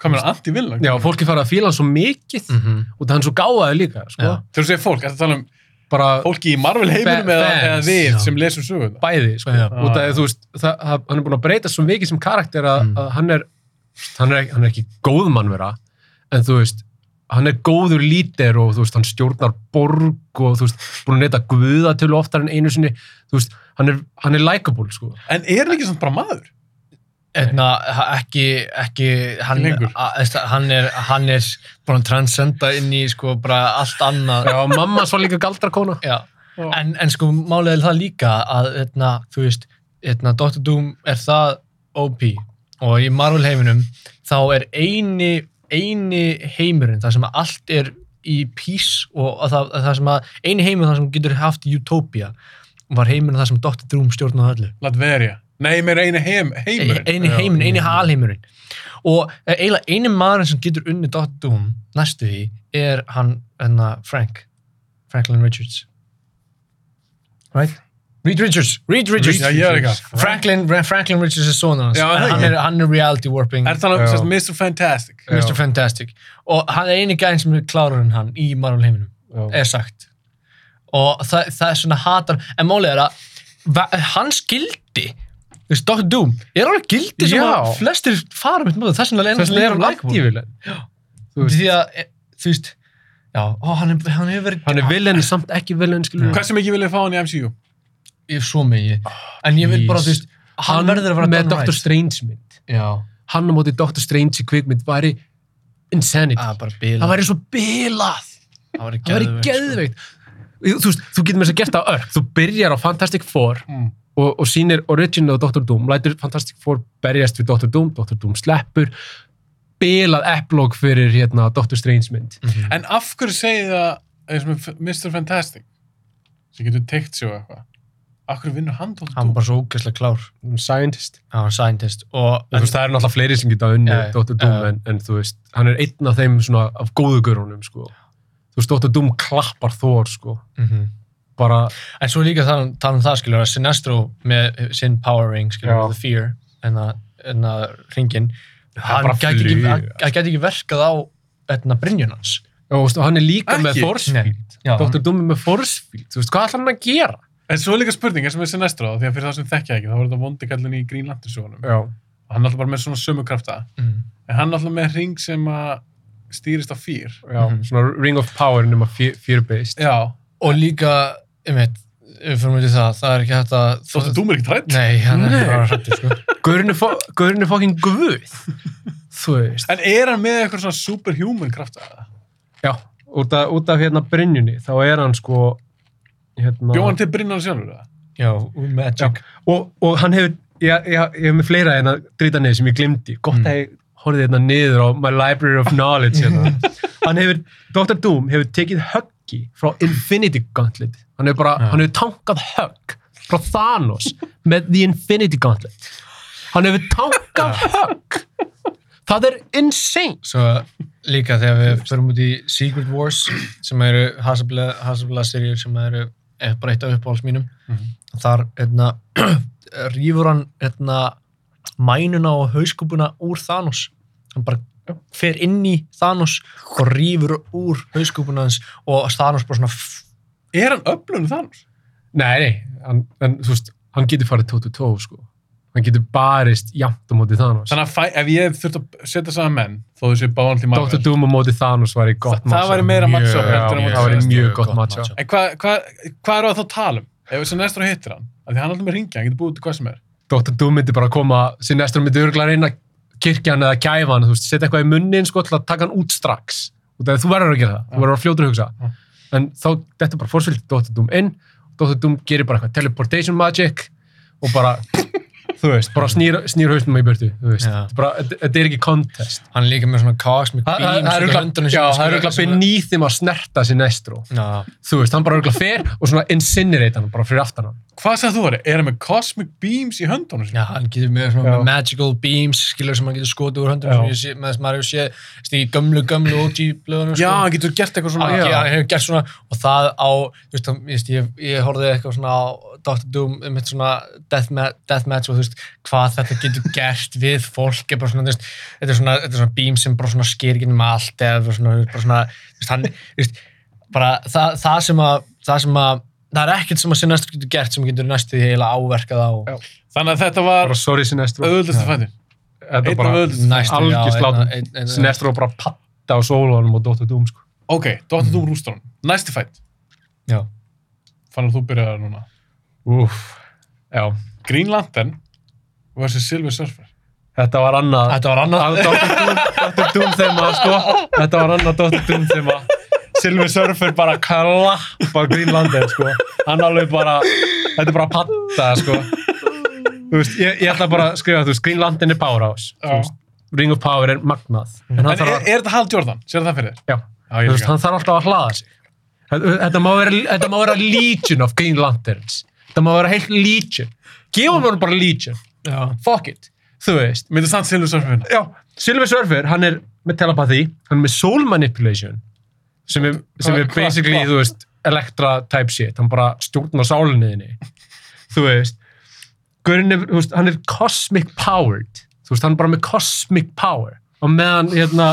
A: Hvað meina anti-villan?
C: já, fólki fara að fíla hann svo mikið
B: Mm -hmm.
C: og það hann svo gáðaði líka, sko.
B: Já.
A: Þegar þú segir fólk, þetta tala um
C: Bara
A: fólki í Marvel heiminum
C: Fa-
A: eða,
C: fans,
A: eða við
B: já.
A: sem lesum söguna.
C: bæði, sko.
B: Já.
C: Út af því, þú veist, það, það, hann er búin að breyta svo mikið sem karakter að,
B: Mm.
C: að hann er, hann er, ekki- hann er ekki góð mannvera, en þú veist, hann er góður lítir og þú veist, hann stjórnar borg og þú veist, búin að neyta guða til oftar en einu sinni, þú veist, hann er, hann er likeable, sko.
A: En er hann ekki svona bara maður?
B: Einna, ekki, ekki hann,
A: Lengur.
B: a- veist það, hann er, hann er búin að transcenda inn í sko bara allt annað
C: Já, mamma svo líka galdrakona.
B: Já.
A: Já.
B: En, en sko málið er það líka að einna, þú veist, einna, Dr. Doom er það OP og í Marvel heiminum þá er eini, eini heimurinn þar sem að allt er í peace og að það, að það sem að eini heimurinn þar sem getur haft utopia var heimurinn þar sem Dr. Doom stjórnaði öllu
A: Latveria. Nei, mér einu heim, heimurinn.
B: eini
C: Já.
B: heiminn, eini halheimurinn og eh, eiginlega eini maðurinn sem getur unni Dr. Doom næstu því er hann, hennar Frank Franklin Richards right? Reed Richards, Reed Richards
A: Já, ég er ekki.
B: Franklin, Franklin Richards er svona hans
A: Já, er það
B: En hann,
A: ekki?
B: er, hann er reality warping
A: Er það
C: Já.
A: um sérst Mr. Fantastic?
C: Já.
B: Mr. Fantastic og hann er eini gæðin sem er klárar en hann í Marvel heiminum
C: Já.
B: er sagt og það, það er svona hatar en málið er að va- hans gildi þú veist, Dr. Doom er alveg gildi sem
C: Já.
B: að flestir fara mitt múið þess vegna
C: Þess vegna er hann likeableinn. Þú veist,
B: því að, e, þú veist já, ó, hann, er, hann hefur verið
C: hann er viljan, samt ekki viljan,
B: Mm.
C: skilur.
A: Hversu mikið vil ég fá hann í MCU?
B: ég, svo mikið, en ég vil bara, þú veist hann, verður að vera
C: með
B: done
C: Dr. Strange mynd.
B: já,
C: hann á móti Dr. Strange í kvikmynd væri insanity.
B: að bara bila
C: það væri svo bilað.
B: það væri
C: Það væri
B: geðveikt, sko.
C: geðveikt. Þú, þú, veist, þú getur með þess að gert það á örk. Þú byrjar á Fantastic Four
A: Mm.
C: og og, og sýnir original Dr. Doom, lætur Fantastic Four berjast við Dr. Doom, Dr. Doom sleppur bilað eplog fyrir hérna Dr. Strange mynd
B: Mhm.
A: En af hverju segið þið það eins og með F- Mr. Fantastic sem getur teikt sig og eitthvað af hverju vinnur hann Dr.
B: hann var
A: Doom?
B: bara svo ógeðslega klár
C: Hún er scientist,
B: hann var scientist og
C: en, þú veist það eru náttúrulega fleiri sem geta unni
B: Já, já,
C: Dr. Doom
B: já.
C: en, en þú veist, hann er einn af þeim svona af góðu görunum sko þú veist, Dr. Doom klappar þor sko
B: Mhm.
C: bara,
B: En svo líka tala um, tala um það, skilur, að Sinestro með sinn power ring,
C: Já.
B: skilur, the fear, en að, en að ringin, hann
C: bara
B: gæti ekki,
C: flýgur.
B: hann hann gæti ekki verkað á etna Brynjun hans.
C: og þú veist, og hann er líka
A: Ekki?
C: með force
B: Nei.
C: field
B: Já,
C: Dr. Doom er með force field, þú veist, hvað ætlar hann að gera?
A: En svo er líka spurninga sem er sem næstur á því að fyrir það sem þekkja ekki þá var þetta vondi kallin í Green Lantern sögunum
C: Já,
A: og hann er alltaf bara með svona sömu krafta
B: Mm.
A: en hann er alltaf með ring sem að stýrist á fýr
C: já,
B: Mhm.
C: svona ring of power nema fear-based
A: Já,
B: Og líka, um eitt, við fyrir mjög það, það er ekki hægt að...
A: Dr. Doom er ekki trætt
B: Nei, hann er
C: Nei.
B: bara hrættur, sko.
C: Gaurinn er fo- gaurinn er fucking guð Þú veist
A: En er hann með eitthvað svona superhuman krafta?
C: Já, út af, út af hérna brynjunni þá er hann sko hérna,
A: Bjóð hann til Brynjan sjálfur það?
B: [LAUGHS] Já, magic.
C: og, og hann hefur ég, ég, ég hef með fleira hérna drita niður sem ég glimti gott
B: Mm.
C: að ég horfði hérna niður á my library of knowledge
B: [LAUGHS]
C: hérna. hann hefur, Dr. Doom hefur tekið höggi frá Infinity Gauntlet hann hefur bara,
B: Já.
C: hann hefur tankað högg frá Thanos með The Infinity Gauntlet hann hefur tankað högg það er insane
B: Svo líka þegar við fyrir út í Secret Wars, sem eru Hasabla-serjur sem eru eh, bara eitt af uppáhalds mínum,
C: Mhm.
B: þar [CLEARS THROAT] einna, rýfur hann einna, mænuna og hauskúpuna úr Thanos hann bara fer inn í Thanos og rýfur úr hauskúpuna hans og Thanos bara svona f-
A: Er hann öflunum þannig?
C: Nei, nei, hann, en þú veist, hann getur farið 22, sko. Hann getur barist jafnt á móti Thanos.
A: Þannig að fæ, ef ég þurft að setja saman menn þó þessi báðan til
C: Dr.
A: Marvel
C: Doom á móti Thanos var í gott
A: Það- það væri meira
C: Mjög-
A: matchup heldur en á
C: Já,
A: móti
C: það væri
A: Thanos.
C: mjög gott matchup.
A: En hvað hva, hva er það þá að tala um? Ef þessi næstur hittir hann af Því hann er alltaf með ringja, hann getur búið út í hvað sem er
C: Dr. Doom myndi bara koma, sér næstur myndi örgulega reyna að kirkja hann eða kæfa hann, þú veist, setja eitthvað í munnin, sko, til að taka hann út strax. Út af því þú verður að gera það,
A: Já.
C: þú verður að fljótur að hugsa.
A: Já.
C: En þá, þetta er bara fórsvöldið Dr. Doom inn, Dr. Doom gerir bara eitthvað teleportation magic og bara, þú veist, bara snýr, snýr hausnum í burtu, þú veist.
B: Já.
C: Þetta er bara- Þetta þetta er ekki contest.
B: hann er líka með svona cosmic
C: Það- það-
B: beam
C: það er
B: svona í
C: örugglega-
B: höndunum
C: já,
B: sínum,
C: það er
B: skilur,
A: sko.
C: auðvitað
B: sem-
C: beneath þeim að snerta sér næstró
B: Já.
C: þú veist, hann bara auðvitað fer og svona incinerate hann bara fyrir aftan hann
A: Hvað sagði þú Ari? Er hann með cosmic beams í höndunum sinni?
B: Já, hann getur með svona
C: Já.
B: með magical beams skilur sem hann getur skotið úr höndum
C: Já.
B: sem ég sé, með þess maður hefur séð þú veist, í gömlu, gömlu OG blöðunum
A: Já, hann getur gert eitthvað svona
B: hann,
C: Já.
B: hann hefur gert svona og það á, þú veist, hann- ég, veist, ég, ég horfði eitthvað svona á Dr. Doom um eitt svona deathmatch deathmatch og þú veist, hvað þetta getur gert við fólk er bara svona, þú veist, þetta er svona, þetta er svona beam sem bara svona sker ekki um allt eða bara svona, bara svona þú veist, hann, þú veist, bara það, það sem að það sem að, það er ekkert sem að sinna getur gert sem getur næstu því eiginlega áverkað á
C: Já.
A: Þannig að þetta var
C: bara sorry sér næstró
A: auðvöldast að fættir
C: þetta
A: einn
C: er bara
A: af öðrum.
B: næstu,
C: Algjör slátrun. sér
B: slátt
C: næstró bara patta á sólunum og Dr. Doom sko.
A: Ok, Dr. Doom rústur hann Næsti fætt
B: Já.
A: Fannig að þú byrjaði núna
C: Úff, já
A: Green Lantern versus Silver Surfer
C: þetta var annað
B: Þetta var annað
C: Að Dr. Doom, Dr. Doom þema sko. þetta var annað Dr. Doom þema Silver Surfer bara klappa Greenlandin sko. hann alveg bara, þetta er bara patta sko. þú veist, ég, ég ætla bara að skrifa, þú veist, Greenlandin er powerhouse Þú
A: Já.
C: veist, Ring of Power er magnað en hann
A: En er,
C: þarf að,
A: er þetta Hal Jordan? Sér það fyrir? þér?
C: já,
A: Já,
C: þú
A: ég
C: veist,
A: líka
C: hann þarf alltaf að hlaða sig þetta, þetta má vera, þetta má vera legion of Green Lanterns þetta má vera heilt legion gefum hann bara legion,
B: Já.
C: fuck it þú veist,
A: Myndu samt Silver Surfer hérna?
C: já, Silver Surfer, hann er með telepathy, hann er með soul manipulation sem er, sem er
A: Hvað- hvað-
C: basically,
A: hvað?
C: þú veist, Elektra type shit, hann bara stjórnar sálinniðinni þú veist Gurin er, þú veist, hann er cosmic powered þú veist, hann er bara með cosmic power og meðan, hérna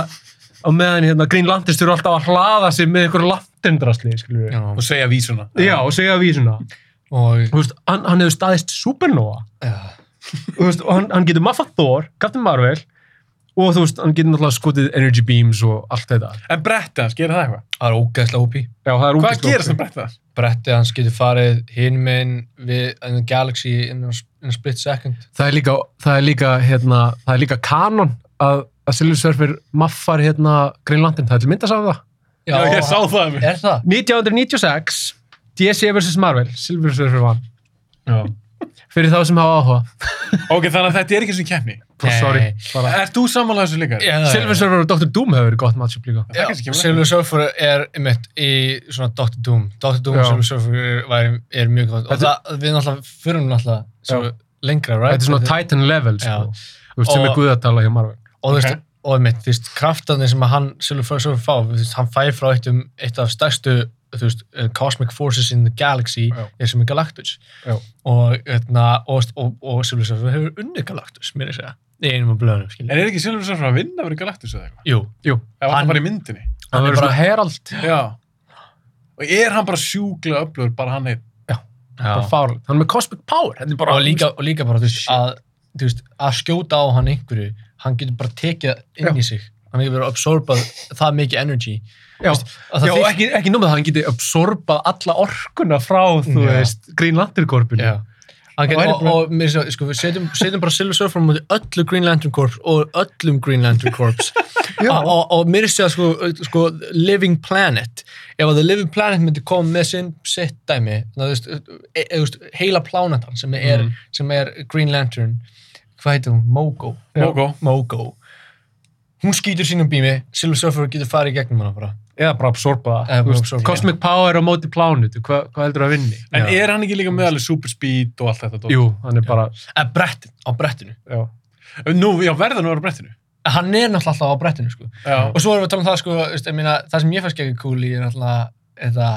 C: og meðan, hérna, Green Lanterns eru alltaf að hlaða sig með einhverju lantendrasli, skilur við
A: Og segja vísuna
C: já, og segja vísuna
B: og
C: þú veist, hann, hann hefur staðist supernova
B: já.
C: Þú veist, og hann, hann getur maffað Thor, Captain Marvel og þú veist, hann getur náttúrulega skotið energy beams og allt þetta já,
A: En bretti hans, gerir það eitthvað?
B: það er ógeðslega ópí
C: það er
A: Hvað
C: ógeðslega
A: gerir það
C: ógeð.
A: bretti hans?
B: brettið hans getur farið hinn minn við in the galaxy in a, in a split second
C: það er líka, það er líka, hérna, það er líka kanon að, að Silver Surfer maffar hérna Greenlandin, það er til myndast af það
A: Já, ég sá það að mig
B: er það?
C: E 1996, DC vs. Marvel Silver Surfer vann
B: Já.
C: fyrir þá sem hafa áhuga.
A: Ok, þannig að þetta er ekki sem keppni.
B: Nei.
C: Sorry. Bara.
A: Ert þú samanlega þessu líka?
B: Já,
C: Silver Surfer og Dr. Doom hefur verið gott matchup líka.
A: Það er kannski
B: Já,
A: kemur
B: Silver Surfer er einmitt í svona Dr. Doom Dr. Doom og
C: Já.
B: Silver Surfer er, væri- er mjög gott og
C: Þetta-
B: það, við náttúrulega fyrir náttúrulega svo
C: Já.
B: lengra, right?
C: Þetta er svona Titan level, sko. Þú veist, sem
B: Og-
C: er guðatala hjá Marvel.
B: og þú veist,
A: Ok.
B: og einmitt, þú veist, kraftarnir sem að hann Silver Surfer fá, þú veist, hann fær frá eitt, um, eitt af stærstu, þú veist, eh, cosmic forces in the galaxy
C: Já.
B: er sem er Galactus
C: Já.
B: og, eitna, og, og, og Silver Surfer hefur unnið Galactus, mér að segja í einum af blöðunum,
A: En
B: skilja
A: er ekki Silver Surfer að vinna fyrir Galactus eða eitthvað?
B: Jú,
C: Jú,
A: Ef
B: Hann-
A: hann bara í myndinni.
B: Hann er
C: það verður
B: bara-
C: svona herald.
A: Já. Og er hann bara sjúklega öflugur, bara hann einn?
C: Bara fárlegt. Hann er með cosmic power. Þetta er bara...
B: og líka, og líka bara, þú veist, að, þú veist, að skjóta á hann einhverju, hann getur bara tekið inn í sig, hann getur bara absorbað það mikið energy
C: Já,
B: að það
C: já og
B: þykir-
C: ekki, ekki nómið að hann geti absorbað alla orkuna frá, þú
B: Já.
C: veist, Green Lantern-korpinu.
B: Já. Hann
C: Og
B: Get,
C: væri
B: og, og mér svo, sko, við setjum, setjum bara Silver Surfer á móti öllu Green Lantern Corps og öllum Green Lantern Corps
C: [LAUGHS] Já.
B: og, og, og mér sé að sko, sko Living Planet ef að The Living Planet myndi koma með sinn sitt dæmi þannig að, þú veist, e, e, þú veist, heila plánetan sem er,
C: Mhm.
B: sem er Green Lantern hvað heitir hún? Mogo
A: Mogo.
B: Mogo hún skýtur sínum bími Silver Surfer getur farið í gegnum hana bara
C: Eða bara absorba
B: Eða bara
C: það. Þú veist,
B: absorba það.
C: Cosmic power á móti plánutu, hvað hva heldur að vinni?
A: En
B: Já.
A: er hann ekki líka með alveg super speed og allt þetta? dót?
C: Jú, hann er bara...
B: eða brettin, á brettinu
C: Já.
A: Nú, já, verða nú að vera á brettinu.
B: hann er náttúrulega alltaf á brettinu sko
A: Já.
B: og svo erum við að tala um það sko, þú veist, ég meina, það sem ég fannst ekki cool í er náttúrulega þetta,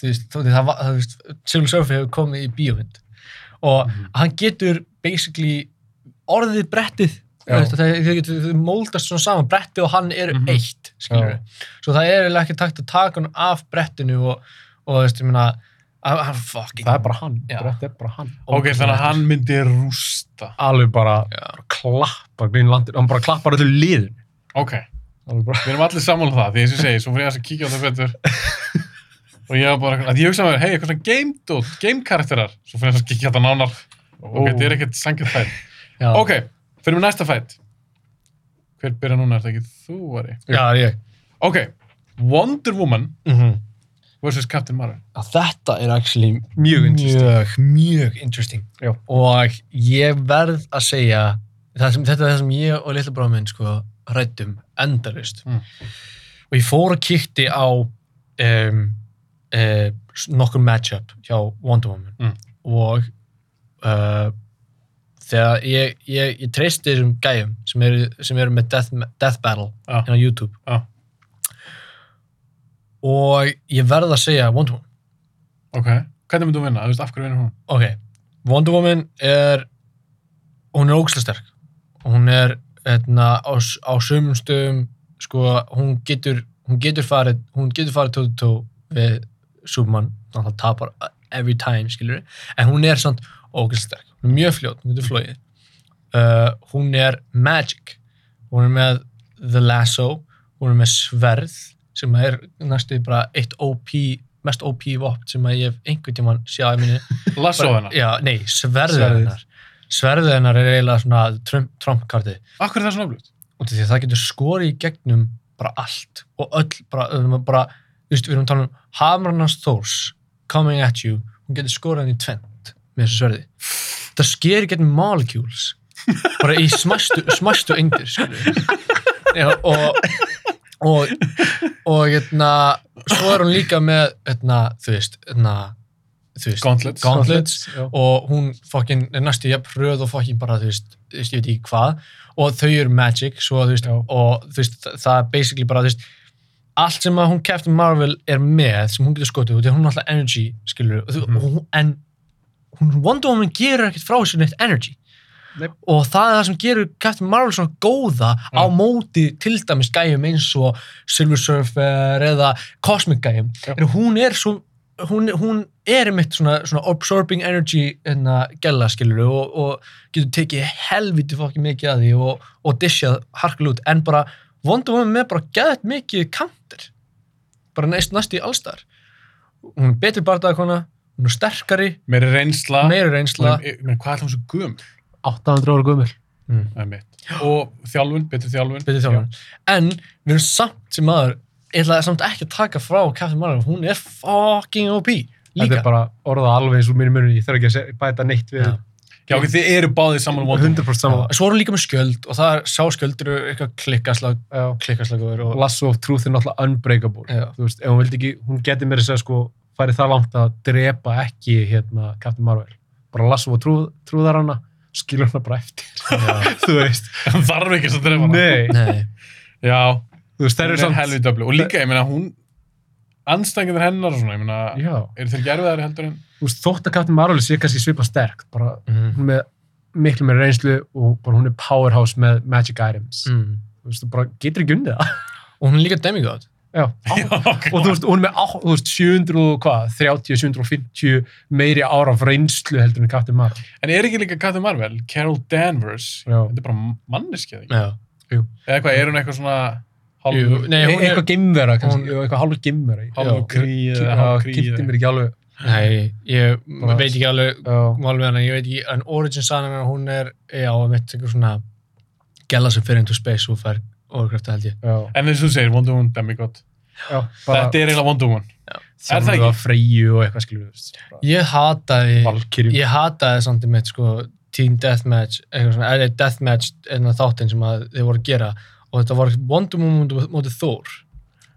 B: þú veist, þú veist, það, var- þú veist Silver Surfer hefur komið í bíómynd og
C: Mhm.
B: hann getur basically orðið brettið
C: Já.
B: Veist, það, þau, getur, þau moldast svona saman bretti og hann eru
A: Mhm.
B: eitt skilur við, svo það er eiginlega ekki takt að taka hann af brettinu og, og þú veist, ég meina hann hann fucking
C: Það er bara hann.
B: Já.
C: Þetta er bara hann.
A: Ok, þannig að hann myndi rústa.
C: Alveg bara,
B: Já.
C: bara klappa Green Lantern. Hann bara klappar öllu liðin.
A: Ok,
C: Alveg bara...
A: við erum allir sammála um það, því eins og ég segi, svo fyrir ég aðeins að kíkja á það betur. Og ég var bara, að ég hugsa með mér, hei, eitthvað svona game dot, game karakterar, svo fyrir ég aðeins að kíkja á það nánar.
C: Ó.
A: Ok, þetta er ekkert sangið fætt.
B: já,
A: Ok, fyrir með næsta fætt. Hver byrja núna, er það ekki þú, Ari?
B: já, ég
A: Ok, Wonder Woman
B: mm
A: vs. Captain Marvel.
B: að þetta er actually
C: Mjög interesting.
B: mjög, mjög interesting
C: Já.
B: og ég verð að segja það sem, þetta er það sem ég og litla bráminn sko rættum endarist
A: Mm.
B: og ég fór og kíkti á um, uh, nokkur matchup hjá Wonder Woman
A: Mm.
B: og uh, þegar ég, ég, ég treysti þessum gæjum sem eru, sem eru með Death, death Battle
A: Já.
B: hérna á YouTube
A: Já.
B: og ég verð að segja Wonder Woman
A: Ok, hvernig myndum vinna? Þú veist, af hverju vinnur hún?
B: Ok, Wonder Woman er hún er ógæslega sterk hún er eitna, á, s- á sumum stöðum sko, hún getur hún getur farið hún getur farið tóttu tó við Superman þannig að það tapar every time skilur en hún er samt ógæslega sterk hún er mjög fljót, hún getur flóið uh, hún er magic hún er með the lasso hún er með sverð sem er næstu bara eitt OP mest OP vopn sem að ég hef einhvern tímann séð á minni
A: Lasso hennar.
B: Já, nei, sverðið
C: Sverðið.
B: hennar. Sverðið hennar er eiginlega svona Trump- Trump-kartið.
A: Af hverju er það svona öflugt?
B: Út af því að það getur skorið í gegnum bara allt og öll bara, við erum bara þú veist, við erum að tala um Hamrannars Thors coming at you, hún getur skorið henni í tvent með þessu sverði. Það sker í gegnum molecules bara í [LAUGHS] smastu, smastu endir, skilur. Já, og og, og hérna, svo er hún líka með, hérna, þú veist, hérna, þú veist,
A: Gauntlets.
B: gauntlets
C: Já.
B: og hún fokkin er næstu jafn hröð og fokkin bara, þú veist, þú veist, ég veit ekki hvað og þau eru magic, svo þú veist
C: Já.
B: og þú veist, þa- það er basically bara, þú veist allt sem að hún Captain Marvel er með, sem hún getur skotið út, því að hún er alltaf energy, skilur, og, mm.
A: Mhm.
B: og, hún- en hún Wonder Woman gerur ekkert frá þessu neitt energy
C: Nei.
B: og það er það sem gerur Captain Marvel svona góða á móti til dæmis gæjum eins og Silver Surfer eða Cosmic gæjum
A: Já.
B: en hún er svo hún, hún er einmitt svona, svona absorbing energy hérna gæla skilur og, og getur tekið helviti fokkið mikið að því og, og dishjað harkulut en bara Wonder Woman með bara geðt mikið kantir bara næst næst í allstar hún er betri barndagakona hún er sterkari,
A: Meiri reynsla.
B: meiri reynsla
A: Hún er- Ég meina, hvað er það hún svo gum?
C: 800 ára gömur.
B: mm.
A: Það er mitt. Og þjálfun, betri þjálfun.
B: betri þjálfari en við erum samt sem maður ég ætla samt ekki að taka frá Captain Marvel hún er fucking OP
C: Þetta
B: líka
C: er bara orðað alveg eins og minni munni. Ég þarf ekki að se- bæta neitt við.
B: Já.
A: Já, ok, þið eru báðið saman um Wonder Woman.
C: 100% saman
B: Svo voru líka með skjöld og það er sá skjöldur eru eitthvað klikkaslag,
C: Já.
B: klikkaslagur og...
C: Lasso of Truth er náttúrulega unbreakable
B: Já.
C: þú veist, ef hún vildi ekki, hún geti mér þess að segja, sko farið það langt að drepa ekki hérna Captain Marvel bara Lasso of Truth, trúðar hana skilur hana bara [LAUGHS] eftir,
B: Já,
C: þú veist
A: Hann [LAUGHS] þarf ekki að drefa hana.
C: nei,
B: nei,
A: Já,
C: þú veist, það
A: hún
C: eru
A: er
C: samt
A: helvið döflu. Og líka, ég meina, hún, anstængir hennar og svona, ég meina,
C: já,
A: eru þeir gerfiðari heldur en...
C: þú veist, þótt að Captain Marvel sé kannski svipa sterk, bara
B: mm,
C: hún er með miklu meira reynslu og bara hún er powerhouse með magic items
B: mm.
C: þú veist, þú bara getur ekki unnið það
B: og hún er líka demigod.
C: já,
A: Já, ok.
C: [LAUGHS] og þú veist, hún er með á, þú veist, 700 og hvað, 30, 750 meiri ára af reynslu heldur en Captain Marvel
A: En er ekki líka Captain Marvel, Carol Danvers,
C: Já.
A: þetta er bara manneskið, ekki?
B: Já.
A: Eða hvað, er hún eitthvað svona
B: Jú,
A: hálfur,
B: nei,
C: E-
B: hún er...
C: eitthvað gimmvera
B: hún-
C: kannski, jú, eitthvað hálfur gimmvera
A: hálfur
B: já,
A: kríð eða hálfur kríð?
C: kýtti mér ekki alveg
B: Nei, ég
C: Bara-
B: veit ekki alveg
C: já,
B: mál við hana, ég veit ekki, en origin sagan hennar, hún er, já, mitt, eitthvað svona gæla sem fyrir into space og fær overkrafta held ég.
C: já,
A: En eins og þú segir, Wonder Woman, demigod.
C: já bara
A: Þetta er eiginlega Wonder Woman. er það
C: þjálfur
A: ekki?
C: að freyju og eitthvað skilur við bara
B: Ég hataði,
C: Valkyrie
B: ég hataði samt í mitt, sko, Team Deathmatch, eitthvað svona, eða Deathmatch, einna þáttinn sem að þið voru að gera og þetta var Wonder Woman móti- mótið Thor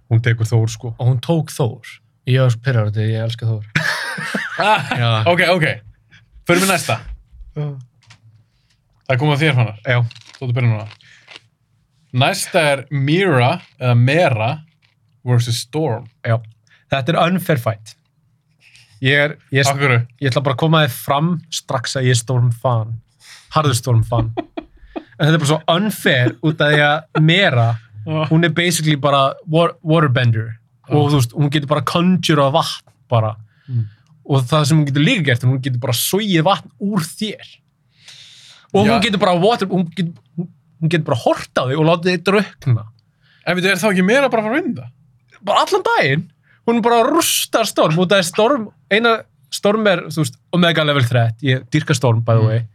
C: hún tekur Þór sko
B: og hún tók Þór. Ég var svo pyrrar þetta, ég elska
C: [LAUGHS]
B: Þór.
A: Ah,
B: Já.
A: ok, ok. Förum við næsta. Það er komið að þér, Fannar.
C: já,
A: Þú ert að byrja núna. Næsta er Mira, eða Mera, versus Storm.
C: já þetta er unfair fight ég er, ég,
A: Akkur,
C: ég ætla bara að koma þér fram strax að ég er Storm fan harður Storm fan en þetta er bara svo unfair út af því að Mera, hún er basically bara war, waterbender og þú veist, hún getur bara conjurað vatn bara
A: Mm.
C: og það sem hún getur líka gert er hún getur bara sóið vatn úr þér og
A: Já.
C: hún getur bara water, hún getur, hún- hún getur bara hort á þig og láta þig draukna
A: en við er þá ekki Mera bara að fara að vinna?
C: bara allan daginn hún bara rústar storm út af því storm eina storm er, þú veist, omega level 3 ég dyrka storm, by
A: Mm.
C: the way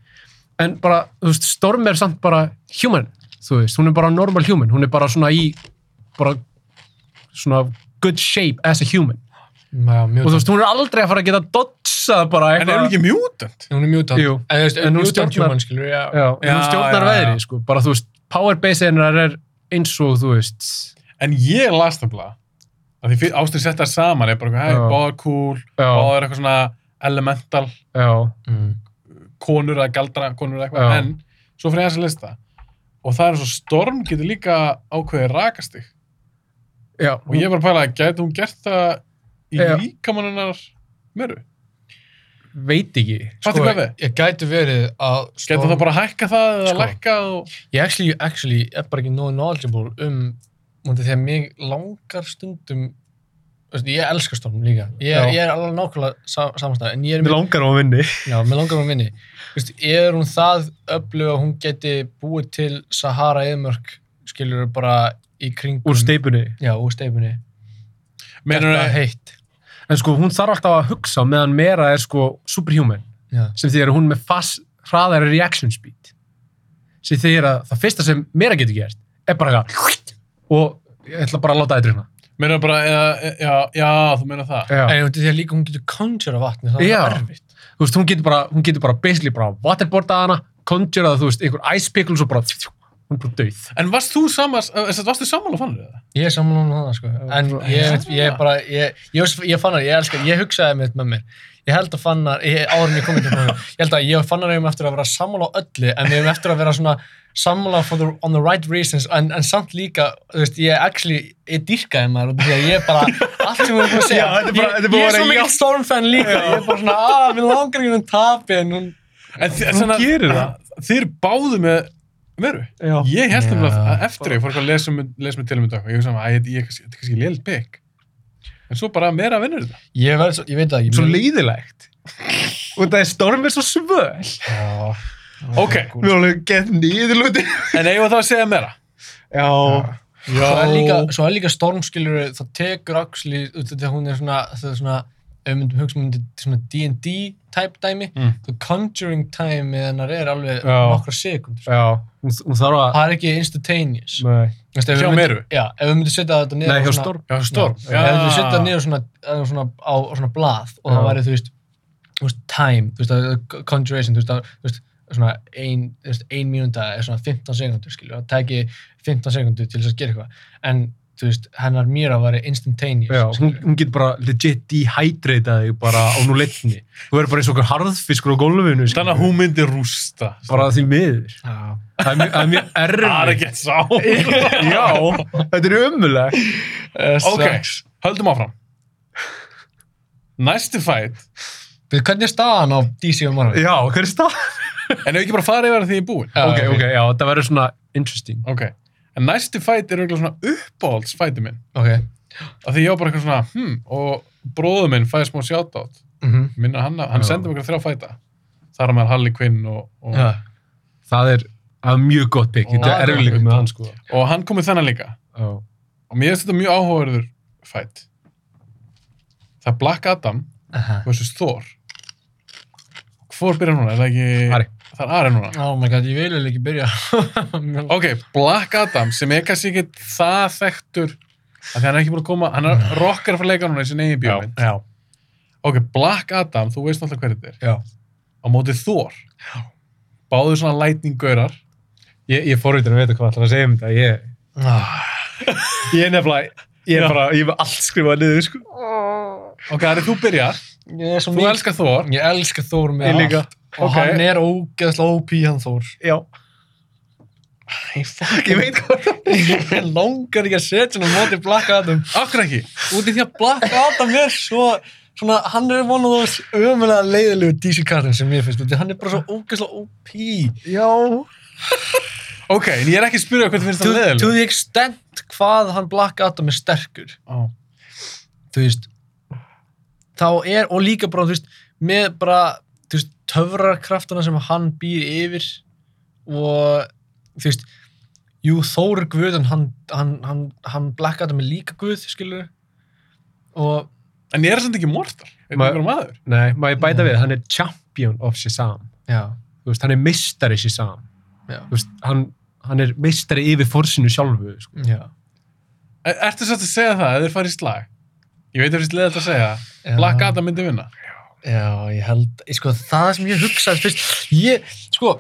C: en bara, þú veist, storm er samt bara human, þú veist, hún er bara normal human hún er bara svona í bara svona good shape as a human
B: Já, mjög
C: og þú veist, hún er aldrei að fara að geta dodsa bara
A: En er hún
C: eitthvað
A: ekki mutant?
B: Hún er mutant.
C: Jú.
B: En, þú veist,
C: En hún
B: mutant
C: stjórnar-
B: human, skilur, já.
C: já, en hún
A: Já,
C: stjórnar
A: já, já.
C: veðri, sko bara, þú veist, power base hennar er eins og, þú veist
A: En ég las það bara, að því ástur setja það saman, er bara eitthvað, hei,
C: Já.
A: báðar cool,
C: já,
A: báðar eitthvað svona elemental,
C: já,
B: Mm.
A: konur eða galdra konur eða eitthvað,
C: Já.
A: en svo fyrir þess að lista. Og það er eins og Storm getur líka ákveðið rakastig.
C: já
A: Og ég var að pæla, gæti hún gert það í
C: Já.
A: líkamannunar meru?
C: veit ekki
A: Fattu hvað við?
B: Sko, Ég gæti verið að...
A: Getur það bara að hækka það eða
B: Sko.
A: lækka og...
B: Ég actually, actually er bara ekki nóg knowledgeable um múndi, þegar mig langar stundum þú veist, ég elskar storm líka ég,
C: Já.
B: ég er alveg nákvæmlega sa, samanstæð en ég er
C: Mér
B: mér,
C: langar á að vinni
B: já, mér langar að vinni Vist, er hún það öflug að hún geti búið til Sahara eðmörk skilur bara í kringum
C: úr steipunni
B: já, úr steipunni
A: Menur
B: Þetta
A: það,
B: heitt
C: Hérna en sko hún þarf alltaf að hugsa á meðan Mera er sko superhuman
B: já.
C: sem því að hún er með fast hraðari reaction speed sem því að það fyrsta sem Mera getur gert er bara eitthvað og ég ætla bara að láta eitthvað
A: menur það bara, eða, e- já, já, þú meina það.
C: já.
B: en múndi, þegar líka hún getur conjura vatni það
C: Já.
B: er erfitt
C: þú veist hún getur bara hún getur bara basically bara waterboarda hana conjurað þú veist einhver ice pickles og bara hún er bara döið
A: En varst þú samans, þess að varst þú sammála fannir það?
B: ég er saman hún hana sko en ég, ég bara ég, ég, ég fannar, ég elskar, ég hugsaði mitt með mér ég held að fannar, ég, árin ég komið til fannar ég held að ég og fannar eigum eftir að vera sammála á öllu en við eigum eftir að vera svona sammála for the, on the right reasons en, en samt líka, þú veist, ég actually ég dýrkaði maður og því að ég bara allt sem við erum búin að segja
C: Já, þetta er bara- þetta er
B: ég,
C: bara
B: ég
C: að
B: er svo
C: vera
B: mikil stormfan líka ég er bara svona, að, við langar ekki um tapi en hún,
A: En þi-
C: Hún
A: svona-
C: gerir það.
A: Þeir báðu með meru.
C: já.
A: Ég held
B: Já.
A: nefnilega að eftir að ég fór eitthvað að lesa um- lesa með tilmyndu eitthvað. Ég hugsa að þetta er kannski- þetta er kannski lélitt bygg. En svo bara meira vinnur þetta.
B: ég verð, svo- ég veit það ekki
C: svo
B: mér-
C: leiðilegt og það er storm er svo svöl
B: Já.
A: Ok,
C: við erum gett nýðilúti
A: en eigum við þá að segja meira?
C: já
B: Já. Svo er líka, svo er líka stormskilur, það tekur axli, þegar hún er svona, það er svona, ef við myndum hugsa myndi svona D&D type dæmi,
A: Mm.
B: the conjuring time með hennar er alveg
C: Já.
B: nokkra sekundur.
C: já hún, hún þarf að
B: Það er ekki instantaneous.
C: nei,
B: Þú veist, ef við
A: Hjá
B: myndum-
A: Meru?
B: Já, ef við myndum setja þetta niður
C: nei
B: á
C: hjá
B: svona-
C: storm
A: Já, storm.
B: Já, ef við myndum setja þetta niður svona, eða svona á svona blað og það
C: Já.
B: væri, þú veist, þú veist, time, þú veist, að- uh, conjuration, þú veist, að, þú veist, svona ein, þú veist, ein mínúnda er svona 15 sekundur, skilju, það tæki 15 sekundur til þess að gera eitthvað, en, þú veist, hennar mýra var instantaneous,
C: Já, hún,
B: skilurðu.
C: hún getur bara legit dehydrata þig bara á núleitni. Þú verður bara eins og okkur harðfiskur á gólfinu. skilur.
A: Þannig að hún myndi rústa.
C: Bara því miður.
B: Já,
C: Það er mjög, það er mjög
A: Það er
C: erfið.
A: ekki sá.
C: Já, þetta er umulegt.
A: ok,
B: Sex.
A: höldum áfram. Næsti fight,
B: Við, hvernig er staðan á DC og Marvel?
C: Já, hver er stað?
A: en ef ekki bara farið yfir að því ég er búinn.
B: Já,
C: Ok, ok, já, það verður svona interesting.
A: Ok, en næsti fight er auðvitað svona uppáhaldsfæti minn.
B: Ok,
A: Af því ég var bara eitthvað svona, hm, og bróður minn fæði smá shoutout.
B: mhm,
A: Minna hann, hann
C: Já.
A: sendi mér þrjá fæta. Þar á maður Harley Quinn og, og,
B: já,
C: Það er, það er mjög gott pick. Þetta
B: Já,
C: er erfileikum með hann, sko.
A: og hann komið þennan líka.
C: Já.
A: Og mér finnst þetta mjög áhugaverður fight. Það er Black Adam
B: aha.
A: versus Thor. Hvor byrjar núna? Er það ekki...
C: Ari.
A: Það er Ari núna.
B: Oh my god, ég vil eiginlega ekki byrja. [LAUGHS]
A: Ok, Black Adam, sem er kannski ekki það þekktur, af því hann er ekki búin að koma, hann er rockar fyrir leika núna í sinni eigin bjóminn.
B: já,
A: Ok, Black Adam, þú veist alltaf hverju þetta er.
B: já.
A: Á móti Thor. Já. Báðu svona lightning gaurar.
C: Ég, ég fór utan að vita hvað ætlar að segja um þetta. Ég,
B: Ah,
C: ég er nefnilega, ég er bara, ég hef allt skrifað niður, sko.
A: Ok, Ari, þú byrjar.
B: Ég er svo
A: Þú elskar Thor.
B: Ég elska Þór með
C: Ég líka.
B: allt. Og
A: Ok.
B: hann er ógeðslega OP hann Þór.
C: Já.
B: Ég fucking
C: Ég veit hvað.
B: [LAUGHS] Ég langar ekki að setja hann á móti Black Adam.
A: Akkur ekki.
B: Út í því að Black Adam er svo... Svona, hann er one of those ömulega leiðilegu DC-kartin sem ég finnst. út í- Hann er bara svo ógeðslega OP.
C: Já.
A: Ok, en ég er ekki að spyrja hvað þið finnst
B: To,
A: það
B: to
A: leðilega.
B: the extent hvað hann Black Adam er sterkur. þú veist þá er, og líka bara, þú veist með bara, þú veist, töfrarkraftana sem hann býr yfir og, þú veist jú, Þór er guð en hann, hann, hann, hann Black Adam er líka guð, skilur og,
A: En ég er samt ekki mortal. Er
C: Ma-
A: það bara maður?
C: Nei, má ég bæta
B: Nei.
C: við, hann er champion of Shazam.
B: já,
C: Þú veist, hann er meistari Shazam.
B: já,
C: Þú veist, hann, hann er meistari yfir forsinu sjálfu, sko.
B: já,
A: Er, E, ertu satt að segja það ef þeir farið í slag? Ég veit að finnst leðilega að segja það.
B: já
A: Black Adam myndi vinna.
B: já, ég held, ég, sko, það sem ég hugsaði fyrst, ég, sko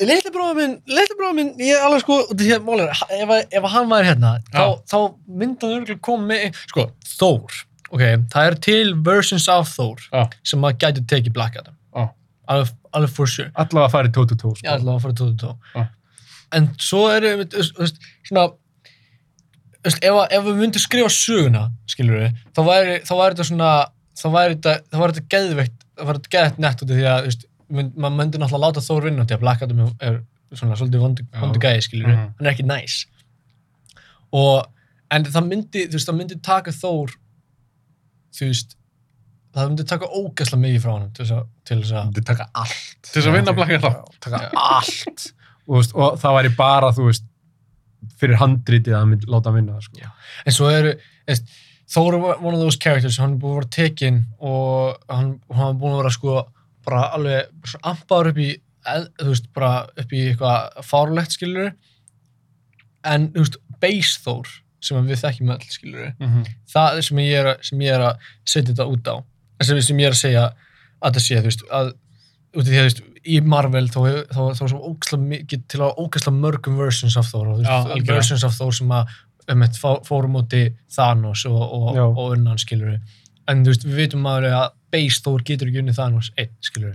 B: Leitli bróður minn, leitli bróður minn, ég er alveg sko, því að málið er, ef, að- ef að hann væri hérna, þá,
A: Já.
B: þá myndi hann örgulega koma með, sko, Þór, ok, það er til versions af Þór
A: Já.
B: sem maður gæti tekið Black Adam,
A: Já.
B: alveg, alveg for sure,
C: Allavega farið 2-2-2,
B: ég
C: sko.
B: ætla að fara 22,
A: Já.
B: en svo eru, einmitt, þú veist, þú veist, svona, þú veist, ef, að- ef við myndum skrifa söguna, skilur við, þá væri, þá væri þetta svona, þá væri þetta, þá væri þetta geðveikt, þá væri þetta geðveikt nett út af því að, þú veist, mynd, maður myndi náttúrulega láta Þór vinna út af því að Black Adam er- er svona svolítið vondu,
C: Já.
B: vondu gæði, skilur við,
A: Mhm.
B: hann er ekki næs og, en það myndi, þú veist, það myndi taka Þór, þú veist, það myndi taka ógæsla mikið frá hann til þess að, til þess að,
C: Þetta taka allt.
A: Til þess að vinna Black Adam.
C: Já, Taka allt. Og, þú veist, og það væri bara, þú veist, fyrir handritið að hann myndi láta hann vinna það, sko.
B: Já. en svo eru eist, Thor er one of those characters hann er búin að vera tekin og hann, hann er búin að vera sko bara alveg svona ampaður upp í eð- þú veist, bara upp í eitthvað fárlegt skilur en þú veist, base Thor sem við þekkjum öll skilur
A: Mhm.
B: það er sem ég er, að- sem ég er að setja þetta út á En sem, sem ég er að segja að það sé þú veist, að út af því að þú veist, í Marvel þá hefur- þá þá er svo ógæsla mikið til að ógæsla mörgum versions af Thor og
A: Já,
B: þú veist,
A: algjörlega.
B: versions af Thor sem að um, fórum úti Thanos og, og,
C: Já.
B: og unnan skilur en þú veist, við vitum alveg að base Thor getur ekki unni Thanos einn skilur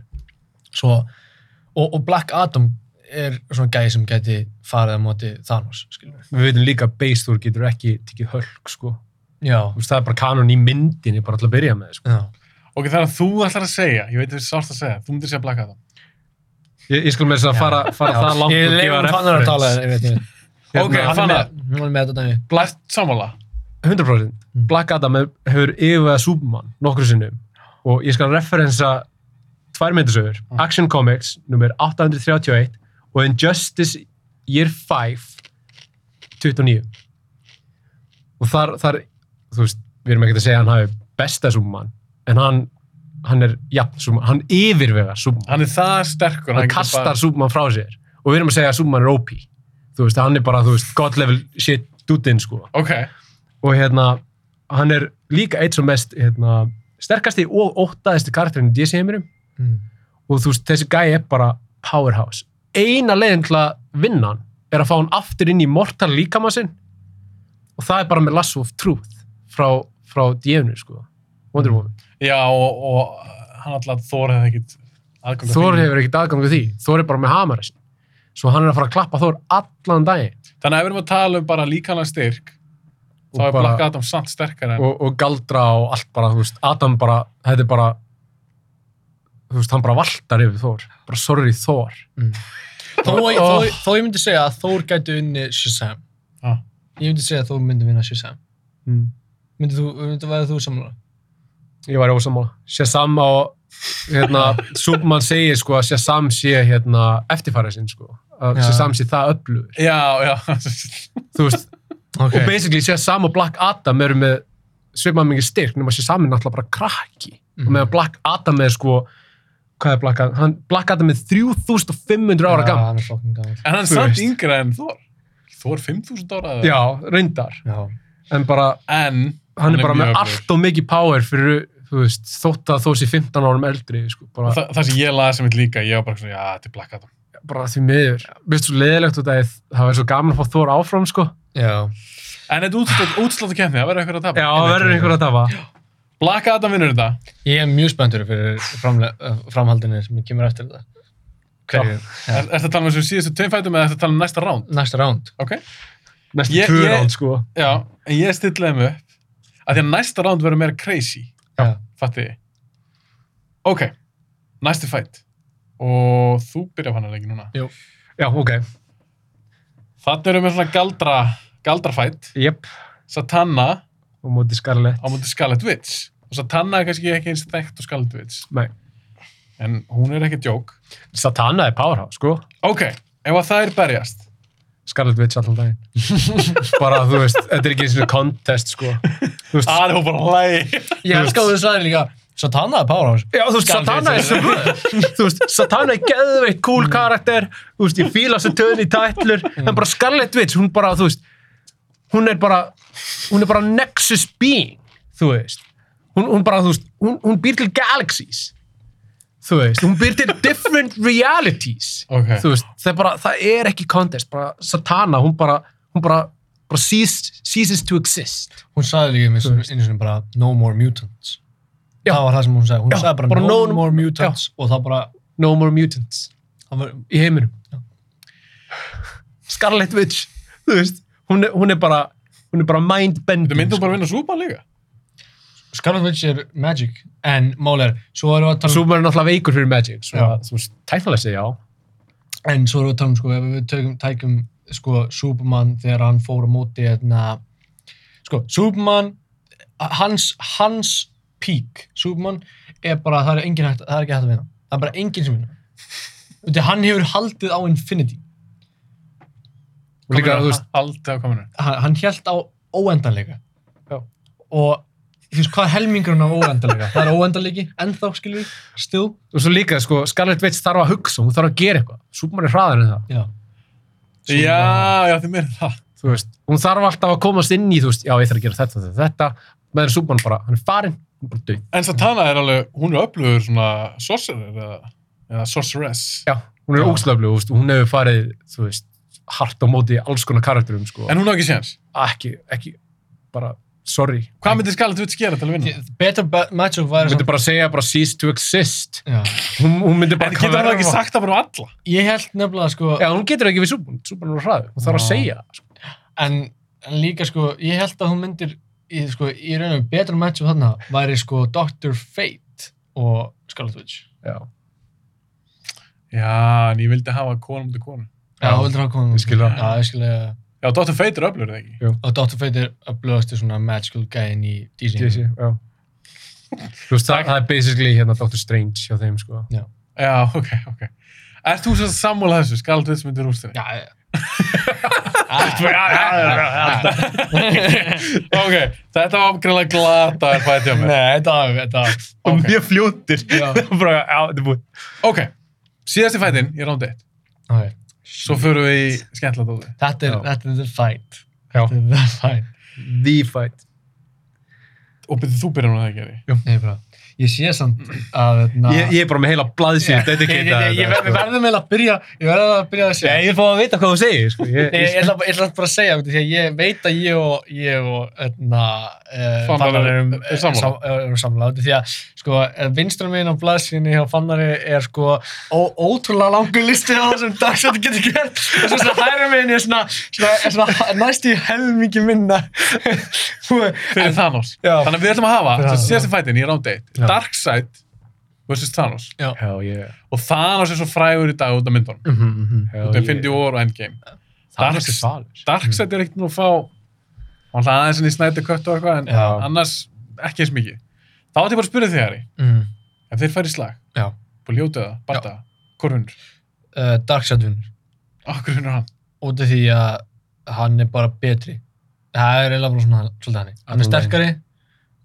B: svo, og, og Black Adam er svona gæði sem gæti farið á móti Thanos skilur
C: Við veitum líka að Beistur getur ekki tekið hölk, sko.
B: já,
C: Þú veist, það er bara kanon í myndinni, bara alltaf að byrja með, sko.
B: já,
A: Ok, það er að þú ætlar að segja, ég veit að það er sárt að segja, þú myndir segja Black Adam.
C: Ég, ég skal með þess að
B: Já.
C: fara, fara það langt
B: ég leifum fannar að tala ég veit, ég veit
C: Hérna,
A: Ok,
B: hann er
A: Fannar.
B: með- hann er með þetta dæmi
A: Black Samola.
C: 100%
B: Mm.
C: Black Adam hef- hefur yfirvega Superman nokkru sinnum og ég skal referensa tvær myndasögur
A: Mm.
C: Action Comics nummer 831 og Injustice Year 5 29 og þar, þar þú veist, við erum ekkert að segja að hann hafi besta Superman en hann, hann er jafn Superman, hann yfirvega Superman
A: Hann er það sterkur.
C: hann
A: getur
C: kastar
A: bara-
C: Superman frá sér og við erum að segja að Superman er OP þú veist, hann er bara, þú veist, god level shit dúdinn sko
A: Ok,
C: og hérna, hann er líka eitt sem mest hérna, sterkasti og óttaðasti karakterinn í DC heiminum
B: Mm.
C: og þú veist, þessi gæi er bara powerhouse. Eina leiðin til að vinna hann er að fá hann aftur inn í mortal líkamassinn og það er bara með lasso of truth frá, frá djöfnu, sko.
A: Mm,
C: Wonder Woman.
A: Já, og, og hann alltaf Þór hefði ekkit aðgang að
C: Þór
A: því.
C: hefur ekkert aðgang við því. Þór er bara með hamarinn. Svo hann er að fara að klappa Þór allan daginn
A: Þannig að ef við erum að tala um bara líkanlega styrk,
C: Og
A: þá er
C: bara-
A: Black Adam samt sterkar en...
C: og, og galdra og allt bara, þú veist, Adam bara, þetta er bara, þú veist, hann bara valtar yfir Þór. Bara sorry Þór.
B: Þó,
C: Oh.
B: þó, þó ég myndi segja að Þór gæti unni Shazam.
A: Já.
B: Ég myndi segja að Þór myndi vinna Shazam.
C: Mm.
B: Myndi þú, myndi væri þú samlega?
C: Ég var ósamála. Shazam og [LAUGHS] hérna, Superman segir sko að Shazam sé hérna, eftirfærið sinn sko. Að
B: Já.
C: Shazam sé það öflugur.
A: Já, já. [LAUGHS]
C: Þú [LAUGHS] veist,
B: Ok.
C: og basically Shazam og Black Adam eru með svipað mikið styrk, nema Shazam er náttúrulega bara krakki.
B: Mhm.
C: Og meðan Black Adam er sko, hvað er Black Adam? Hann, Black Adam er 3500 ára
B: Já,
C: gammal.
B: hann er fokkin gammal.
A: en hann er
C: Þú
A: samt
C: veist.
A: yngra en Þór. Þór er 5.000 ára eða?
C: Já, reyndar.
B: Já.
C: En bara,
A: En
C: hann,
A: Hann
C: er
A: er
C: bara
A: mjög
C: með
A: öflugur.
C: allt og mikið power fyrir, þú veist, þótt að þó sé 15 árum eldri, sko. Bara,
A: þa það sem ég laði sem mitt líka, ég var bara svona, já, þetta er Black Adam.
C: bara því miður. Veistu, svo leiðilegt út að það verður svo gaman að fá Þór áfram, sko.
B: Já.
A: En þetta er útsláttu kemni, það verður einhver að tapa.
C: Já, það verður einhver að tafa.
A: Black Adam vinnur þetta.
B: Ég er mjög spenntur fyrir framle- eh, framhaldinu sem kemur eftir þetta. Hverju? Já.
A: Er þetta að tala um þessu síðustu tveim fætum eða er þetta að tala um næsta ránd?
B: Næsta ránd.
A: Ok?
C: Næstu
A: Ég-
C: tvö
A: ég-
C: ránd, sko.
A: Já, en ég stillaði mig upp. Af því að næsta ránd verður meira crazy.
B: Já.
A: Fatti ég. Ok, næsti fætt. Og þú byrjar hann að leiki núna.
C: Já, ok.
A: Þannig erum við svona galdra, galdrafætt.
C: Jep.
A: Satana á
C: Og móti Scarlett.
A: móti Scarlet Witch. Og Satana er kannski ekki eins þekkt og Scarlet Witch.
C: Nei.
A: En hún er ekki djók.
C: Satana er powerhouse, sko.
A: Ok, ef að það er berjast.
C: Scarlett Witch allan daginn. [LAUGHS] bara, þú veist, þetta er ekki eins og contest, sko. Þú veist,
A: Það er hún bara hlæg.
B: Ég elska að þú sagði líka, Satana er Powerhouse.
C: Já, þú veist,
B: Scarlett
C: Satana er
B: Witch.
C: svo, þú veist, Satana er geðveitt cool karakter, þú veist, ég fíla þessu töðin í tætlur, en bara Scarlett Witch, hún bara, þú veist, hún er bara, hún er bara Nexus being, þú veist, hún, hún bara, þú veist, hún, hún býr til galaxies, þú veist, hún býr til different realities,
A: Ok.
C: þú veist, það er bara, það er ekki contest, bara Satana, hún bara, hún bara, bara cease, ceases to exist.
B: Hún sagði líka eins og einu sinni bara, no more mutants.
C: Já.
B: Það var það sem hún sagði. Hún
C: Já,
B: sagði bara,
C: bara
B: no,
C: no-
B: more mutants og það bara,
C: No more mutants.
B: það var,
C: í heiminum Scarlet Witch þú veist, hún er, hún er bara hún er bara
A: Þetta
C: mindbending sko.
A: myndi hún bara vinna súpa líka.
B: Scarlet Witch er magic, en mál er, svo erum við að tala um,
C: Súmer er náttúrulega veikur fyrir Magic svo,
B: Já.
C: að, þú veist, tæknilega segja já
B: en svo erum við að tala um, sko, ef við tökum, tækum, sko, Superman þegar hann fór á móti, hérna, sko, Superman, hans, hans peak, Superman, er bara, það er engin hægt, það er ekki hægt að vinna. Það er bara engin sem vinna. Þú veit, hann hefur haldið á Infinity.
C: og líka, þú veist,
A: Aldrei á kominu.
B: hann, hann held á óendanleika
C: Já.
B: og þú veist hvað er helmingurinn á óendanleika það er óendanleiki, ennþá skilur við, still
C: og svo líka, sko, Scarlet Witch þarf að hugsa hún þarf að gera eitthvað, Súmer er hraðar en það
B: já,
A: Já, já, þið meira það.
C: þú veist, hún þarf alltaf að komast inn í þú veist, já, ég þarf að gera þetta, þetta, þetta meðan Súmer bara, hann er farinn, hún er bara döið
A: En Satana er alveg, hún er öflugur svona sorcerer eða, eða sorceress.
C: já,
B: Já.
C: hún er ógslöflug, þú veist, hún hefur farið þú veist, hart á móti alls konar karakterum, sko,
A: En hún á ekki séns.
C: ekki, ekki bara, sorry
A: Hvað myndir Scarlet Witch gera til að vinna?
B: better ba- matchup
C: Hún
B: væri
C: myndi
B: samt-
C: bara segja bara cease to exist.
B: Já.
C: Hún, hún myndi bara
A: En getur hann ekki sagt það bara um alla?
B: ég held nefnilega sko
C: Já, hún getur ekki við Súbún. Súbún er hraður. Hún þarf að
B: Já.
C: segja. það, sko.
B: en, en líka sko, ég held að hún myndir í, sko, í raunum betra matchup þarna væri sko Dr. Fate og Scarlet Witch
C: Já.
A: Já, en ég vildi hafa konum til konum.
B: já,
C: Já,
B: þú vildir hafa komið
C: ég skil það.
B: já, ég skil það
A: Já, Dr. Fate er öflugur, eða ekki?
B: og Dr. Fate er að blöðastu svona magical gæin í DC
C: Jesse, já. Þú veist, það, það er basically hérna Dr. Strange hjá þeim, sko.
A: Já, ok, ok. Ert þú sem sagt sammála þessu? Scarlet Witch myndir [LAUGHS] úrstinni?
B: já, já [LAUGHS] Ah, já,
A: ok, þetta var greinlega glata að fæta hjá mér.
B: Nei, þetta var, þetta var,
A: Og Ok.
C: mjög fljóttir.
B: já.
C: bara, já, þetta er búið.
A: Ok, síðasti fætin í round 1.
B: Ok,
A: Svo förum við í skemmtla dóti.
B: Þetta er,
C: Já.
B: þetta er the fight.
C: Já.
B: Þetta er the fight.
C: The fight.
A: og byrðið þú byrjar núna það ekki, Ari.
B: Nei, bara, ég sé samt að hérna- na,
C: Ég, ég er bara með heila blaðsýr, þetta er
B: ég, ég, ég, ver- við verðum eiginlega að byrja ég verðum að byrja að segja
C: sko. Ég fóð að vita hvað þú segir, sko. Ég,
B: Nei,
C: ég,
B: ég ætla ég ætla bara að segja út af því að ég veit að ég og ég og etna, uh,
A: Fannar
B: erum,
A: er sammála.
B: sam- eh, erum sammála út af því að sko, vinsturum minn á blaðsynni hjá Fannari er sko ó, ótrúlega langur listi á það sem dagsættu getur gert og svo svona hæra minn er svona, svona, er svona næst í helmingi minna [LAUGHS]
A: fyrir
B: en,
A: Thanos
B: Já.
A: þannig að við ætlum að
B: Já.
A: hafa síðast í fætin í round 1
D: Já.
A: Darkseid vs. Thanos
B: já,
C: já, ég,
A: og Thanos er svo frægur í dag út af myndunum
C: Mhm,
D: Það
A: út af Infinity War og Endgame
C: Það
A: Dark-
C: er sko. svalur.
A: Darkseid er ekkert nú að fá hann hlaði aðeins henni í snæti kött og eitthvað en
D: Já.
A: annars ekki eins mikið þá ætti ég bara að spyrja þig Harry
D: mm.
A: ef þeir færi í slag
D: Já.
A: og ljóta það, barta það, hvor vinnur
B: uh, dagsættunur
A: okkur vinnur hann
B: út af því að hann er bara betri það er eiginlega bara svona svolítið hann hann er sterkari,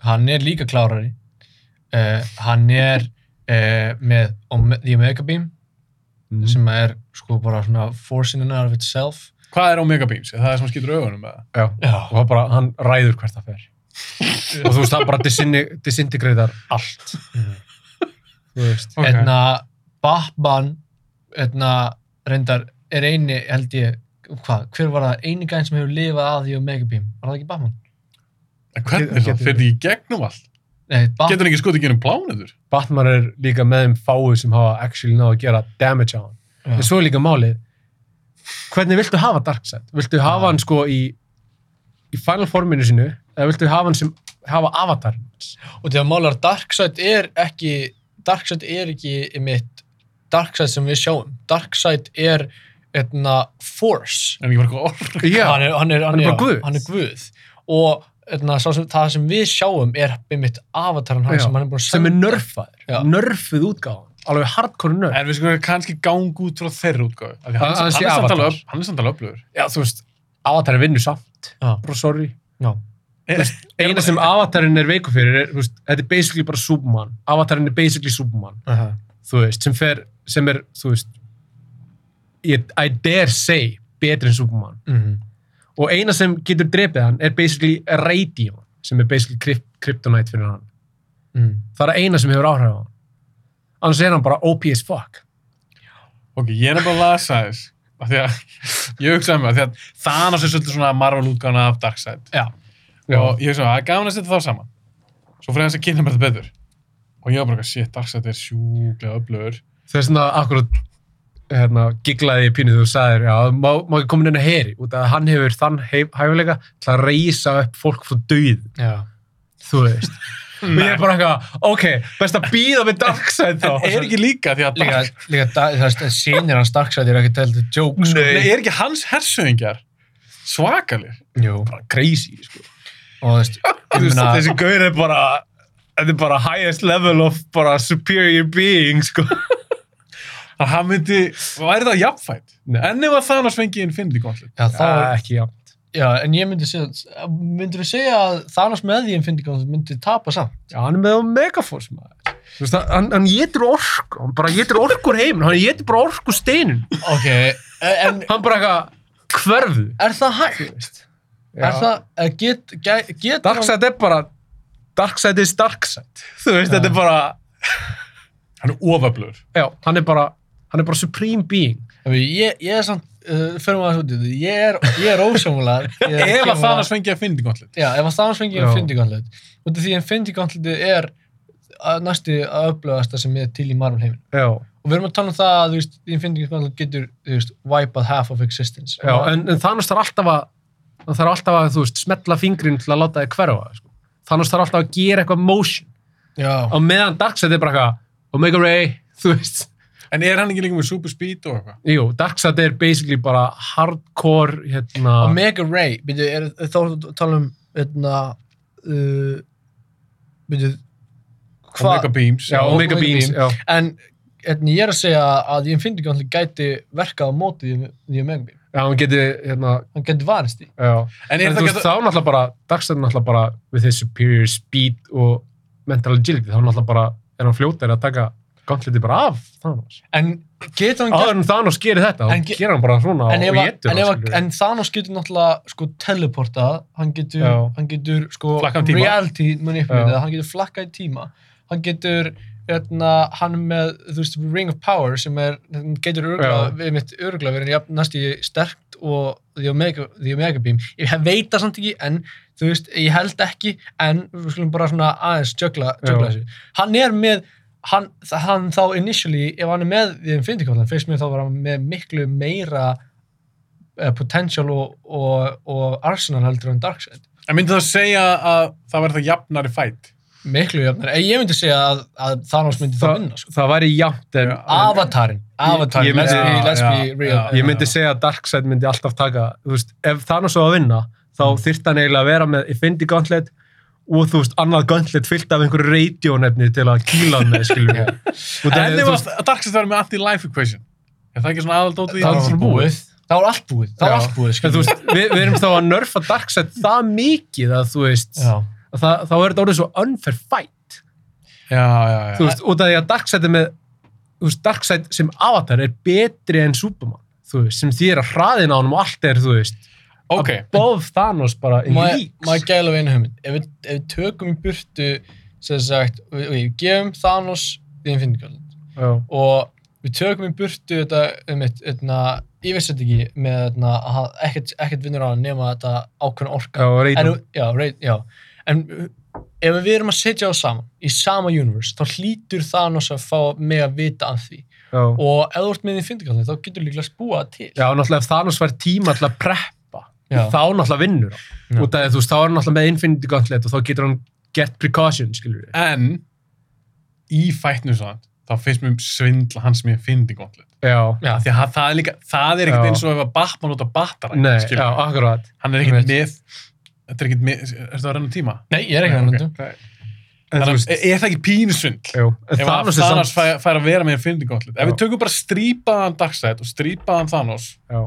B: hann er líka klárari uh, hann er uh, með Ome- The Omega Beam
C: Mm.
B: sem er sko bara svona force in and out of itself
A: hvað er Omega Beams, er það það sem skýtur augunum með það
C: Já.
B: Já.
C: Og það bara, hann ræður hvert það fer. og þú veist, það bara disinni- disintegreðar allt. Þú veist.
A: Ok.
B: Mm. einna Batman einna reyndar er eini held ég Hva? hver var það eini gæn sem hefur lifað að því Omega Beam? Var það ekki Batman?
A: en hvernig
C: Getur-
A: þá, fyrir því í gegnum allt
B: Nei, Batman
A: getur hann ekki skotið ekki um plánuður
C: Batman er líka með þeim fáið sem hafa actually náðu að gera damage á hann.
B: Já.
C: En svo er líka málið, hvernig viltu hafa Darkseid? Viltu hafa hann sko í, í final forminu sinu, eða viltu hafa hann sem hafa avatar?
B: og þegar málar Darkseid er ekki Darkseid er ekki mitt Darkseid sem við sjáum Darkseid er etna, force
A: en ekki bara eitthvað orð
C: Já,
B: hann er, hann er,
C: Hann er
B: já,
C: bara guð.
B: hann er guð og etna, sem, það sem við sjáum er mitt avatarinn hann
C: Já,
B: sem hann er búin að
C: sem er
B: senda.
C: nörfaður,
B: Já.
C: nörfuð útgáðan, alveg hardcore nörf.
A: En við skulum kannski ganga út frá þeirra útgáðu. Af því Hann,
C: Að- að
A: hann,
C: sé
A: hann, er samt
C: Avatar.
A: alveg öfl- hann er samt alveg öflugur.
C: Já, þú veist, avatar er vinnu samt,
B: Já.
C: bara sorry.
B: Já.
A: [LAUGHS]
C: Eina sem avatarinn er veiku fyrir er, þú veist, þetta er basically bara Superman. Avatarinn er basically Superman.
B: Aha.
C: þú veist, sem fer, sem er, þú veist, ég, I dare say, betri en Superman.
B: Mhm.
C: Og eina sem getur drepið hann er basically Radion, sem er basically kryp kryptonite fyrir hann.
B: mm.
C: Það er eina sem hefur áhrif á hann. Annars er hann bara OP as fuck.
A: Ok, ég er bara að lasa þess. Af því að [LAUGHS] ég hugsaði mig, af því að Thanos er svolítið svona Marvel útgáðan af Darkseid.
B: Já.
A: Og ég hugsaði mig, það er gaman að setja þá saman. Svo fyrir hans að kynna mér þetta betur. Og ég var bara, eitthvað, shit, Darkseid er sjúklega öflugur.
C: Það er svona akkurat, hérna, giglaði í pínu þú sagðir, já, má, má ekki komin inn að heri, út af að hann hefur þann heif, hæfuleika til að reysa upp fólk frá döið,
B: já
C: þú veist.
B: [LAUGHS]
C: og ég er bara eitthvað, ok, best að býða með Darkseid þá.
A: Er ekki líka því að
B: líka,
A: Dark...
B: líka da- það er sínir hans Darkseid er ekki tælt joke sko.
A: Nei, er ekki hans hersöðingjar svakalir?
B: Jú.
C: bara crazy, sko.
B: og þú veist ég
C: Þú veist,
B: meina-
C: þessi gaur er bara þetta er bara highest level of bara superior being sko.
A: Þannig að hann myndi, væri það jafnfætt?
C: Nei.
A: En ef að Thanos fengi Infinity Gauntlet?
B: já, þá,
C: ekki já
B: Já, en ég myndi segja, myndir þú segja að Thanos með því infindikann myndi tapa samt?
C: Já, hann er með megaforce maður Þú veist, hann, hann getur orku, hann bara getur orku úr heiminn, hann getur bara orku úr steinun
B: Ok, en
C: hann bara eitthvað hverfu
B: er það hægt? Er það, eh, get, get, get
C: Darkseid er bara Darkseid is Darkseid þú veist,
B: Já.
C: þetta er bara
A: Hann er oföflugur.
C: já, hann er bara, hann er bara supreme being
B: Ég, ég er samt, uh, fyrir maður svo til, ég er, ég er ósámulega.
A: [LAUGHS] Ef að Thanos fengi Infinity Gauntlet?
B: Já, ef að Thanos fengi
C: Já.
B: infindikann Út af því að infindikann er að næstu að upplöðasta sem er til í Marvel heiminn.
C: já,
B: Og við erum að tala um það að, þú veist, infindikann getur, þú veist, wipað half of existence.
C: já en, en Thanos þarf alltaf að hann þarf alltaf að, þú veist, smetla fingrin til að láta þig hverfa sko. Thanos þarf alltaf að gera eitthvað motion
B: Já.
C: á meðan Darkseid er bara eitthvað Omega Ray, [LAUGHS] þú veist
A: En er hann ekki líka með super speed og eitthvað?
C: Jú, Darkseid er basically bara hardcore hérna,
B: Omega Ray, byrju, er, er þá ertu að tala um einna uh, byrju
A: Omega
B: hvað,
A: Beams.
C: já, Omega,
B: Omega
C: Beams
B: Beam.
C: já.
B: en einna, ég er að segja að ég finnir ekki gæti verkað á móti því- því Omega Beam,
C: já, hann geti hérna,
B: hann gæti varist því
C: já.
A: En
C: En
A: er
C: þú
A: það
C: veist,
A: gæta...
C: þá náttúrulega bara Darkseid er náttúrulega bara with his superior speed og mental agility, þá náttúrulega bara er hann fljótari að taka gantliti bara af Thanos.
B: En getur hann
C: Áður en Thanos gerir þetta,
B: En
C: þá
B: ge-
C: gerir hann bara svona
B: en,
C: og
B: ef, að-
C: getur
B: en, ef, að-
C: hann.
B: en Thanos getur náttúrulega sko teleportað, hann getur,
C: Já.
B: hann getur sko
A: Flakkað um tíma.
B: reality manipulatað,
C: Já.
B: hann getur flakkað í tíma, hann getur hérna, hann er með, þú veist, Ring of Power sem er, hann getur
C: Já.
B: öruglega, mitt öruglega verið jafn næst í sterkt og The Omega, the Omega Beam, ég veit það samt ekki, en þú veist, ég held ekki, en við skulum bara svona aðeins jökla, jökla
C: Já.
B: þessu, hann er með hann, hann þá initially, ef hann er með við Infinity-kollan, fyrst mér þá var hann með miklu meira uh, potential og, og, og Arsenal heldur en Darkseid
A: En myndi það segja að það verður það jafnari fætt?
B: miklu jafnir, en ég myndi segja að, að Thanos myndi það vinna sko.
C: það væri jafnt en
B: Avatarinn,
C: Ég
B: Avatarinn, let's,
C: myndi-
B: be, let's
A: já,
B: be real
A: já.
C: ég myndi segja að Darkseid myndi alltaf taka þú veist, ef Thanos á að vinna þá mm. þyrft hann eiginlega að vera með Infinity Gauntlet og þú veist, annað Gauntlet fyllt af einhverju radionefni til að kýla hann með, skiljum við Út af-
A: En
C: þú
A: ef
C: veist,
A: að Darkseid verður með anti-life equation, er það ekki svona aðaldótið í
B: það var
A: Darkseid?
B: bara búið það var allt búið, það var
C: Já.
B: allt búið
C: en
B: skilur
C: þú
B: við.
C: veist, við, við erum þá að nörfa Darkseid það mikið að þú veist
B: Já.
C: að það, þá er þetta orðið svo unfair fight
A: Já, já, já.
C: þú veist, út af því að Darkseid er með þú veist, Darkseid sem avatar er betri en Superman, þú veist, sem því er að hraðin á honum og allt er, þú veist
A: ok,
C: above Thanos bara in
B: Má-
C: leagues.
B: má ég gæla við einu hugmynd ef við, ef við tökum í burtu sem sagt, og og ég gefum Thanos því Infinity Gauntlet
C: Já.
B: og við tökum í burtu þetta um eitt, eitna, ég veist þetta ekki með eitna, að hann- ekkert, ekkert vinnur á hann nema þetta ákveðna orka
C: Já, Raiden.
B: en, já, reit, já. en uh, ef við erum að setja á saman í sama universe, þá hlýtur það náttúrulega að fá mig að vita af því
C: Já.
B: og ef þú ert með því fyndikallin þá getur líklega spúað til
C: Já, náttúrulega ef Thanos fær tíma til að preppa,
B: Já.
C: þá náttúrulega vinnur
B: Já.
C: hann. Út af því, þú veist, þá er hann náttúrulega með Infinity Gauntlet og þá getur hann gett precaution, skilur við.
A: en í fættnum svona, þá finnst mér um svindla hans sem ég fyndi góndlega.
C: Já,
B: já,
A: Því að það er líka, það er ekkert
C: Já.
A: eins og ef að Batman út af Batman,
C: nei, já, akkurat.
A: hann er
B: Ég
A: ekkert með, þetta er ekkert með, er þetta að renna tíma?
B: nei, ég er ekki að reyndum
C: En þú
A: Þannig,
C: veist,
A: að- er það ekki pínsvindl?
C: jú, en
A: Ef að
C: Thanos er
A: Thanos
C: samt...
A: fær, fær að vera með Infinity Gauntlet. Ef
C: Já.
A: við tökum bara strípaðan Darkseid og strípaðan Thanos,
C: Já,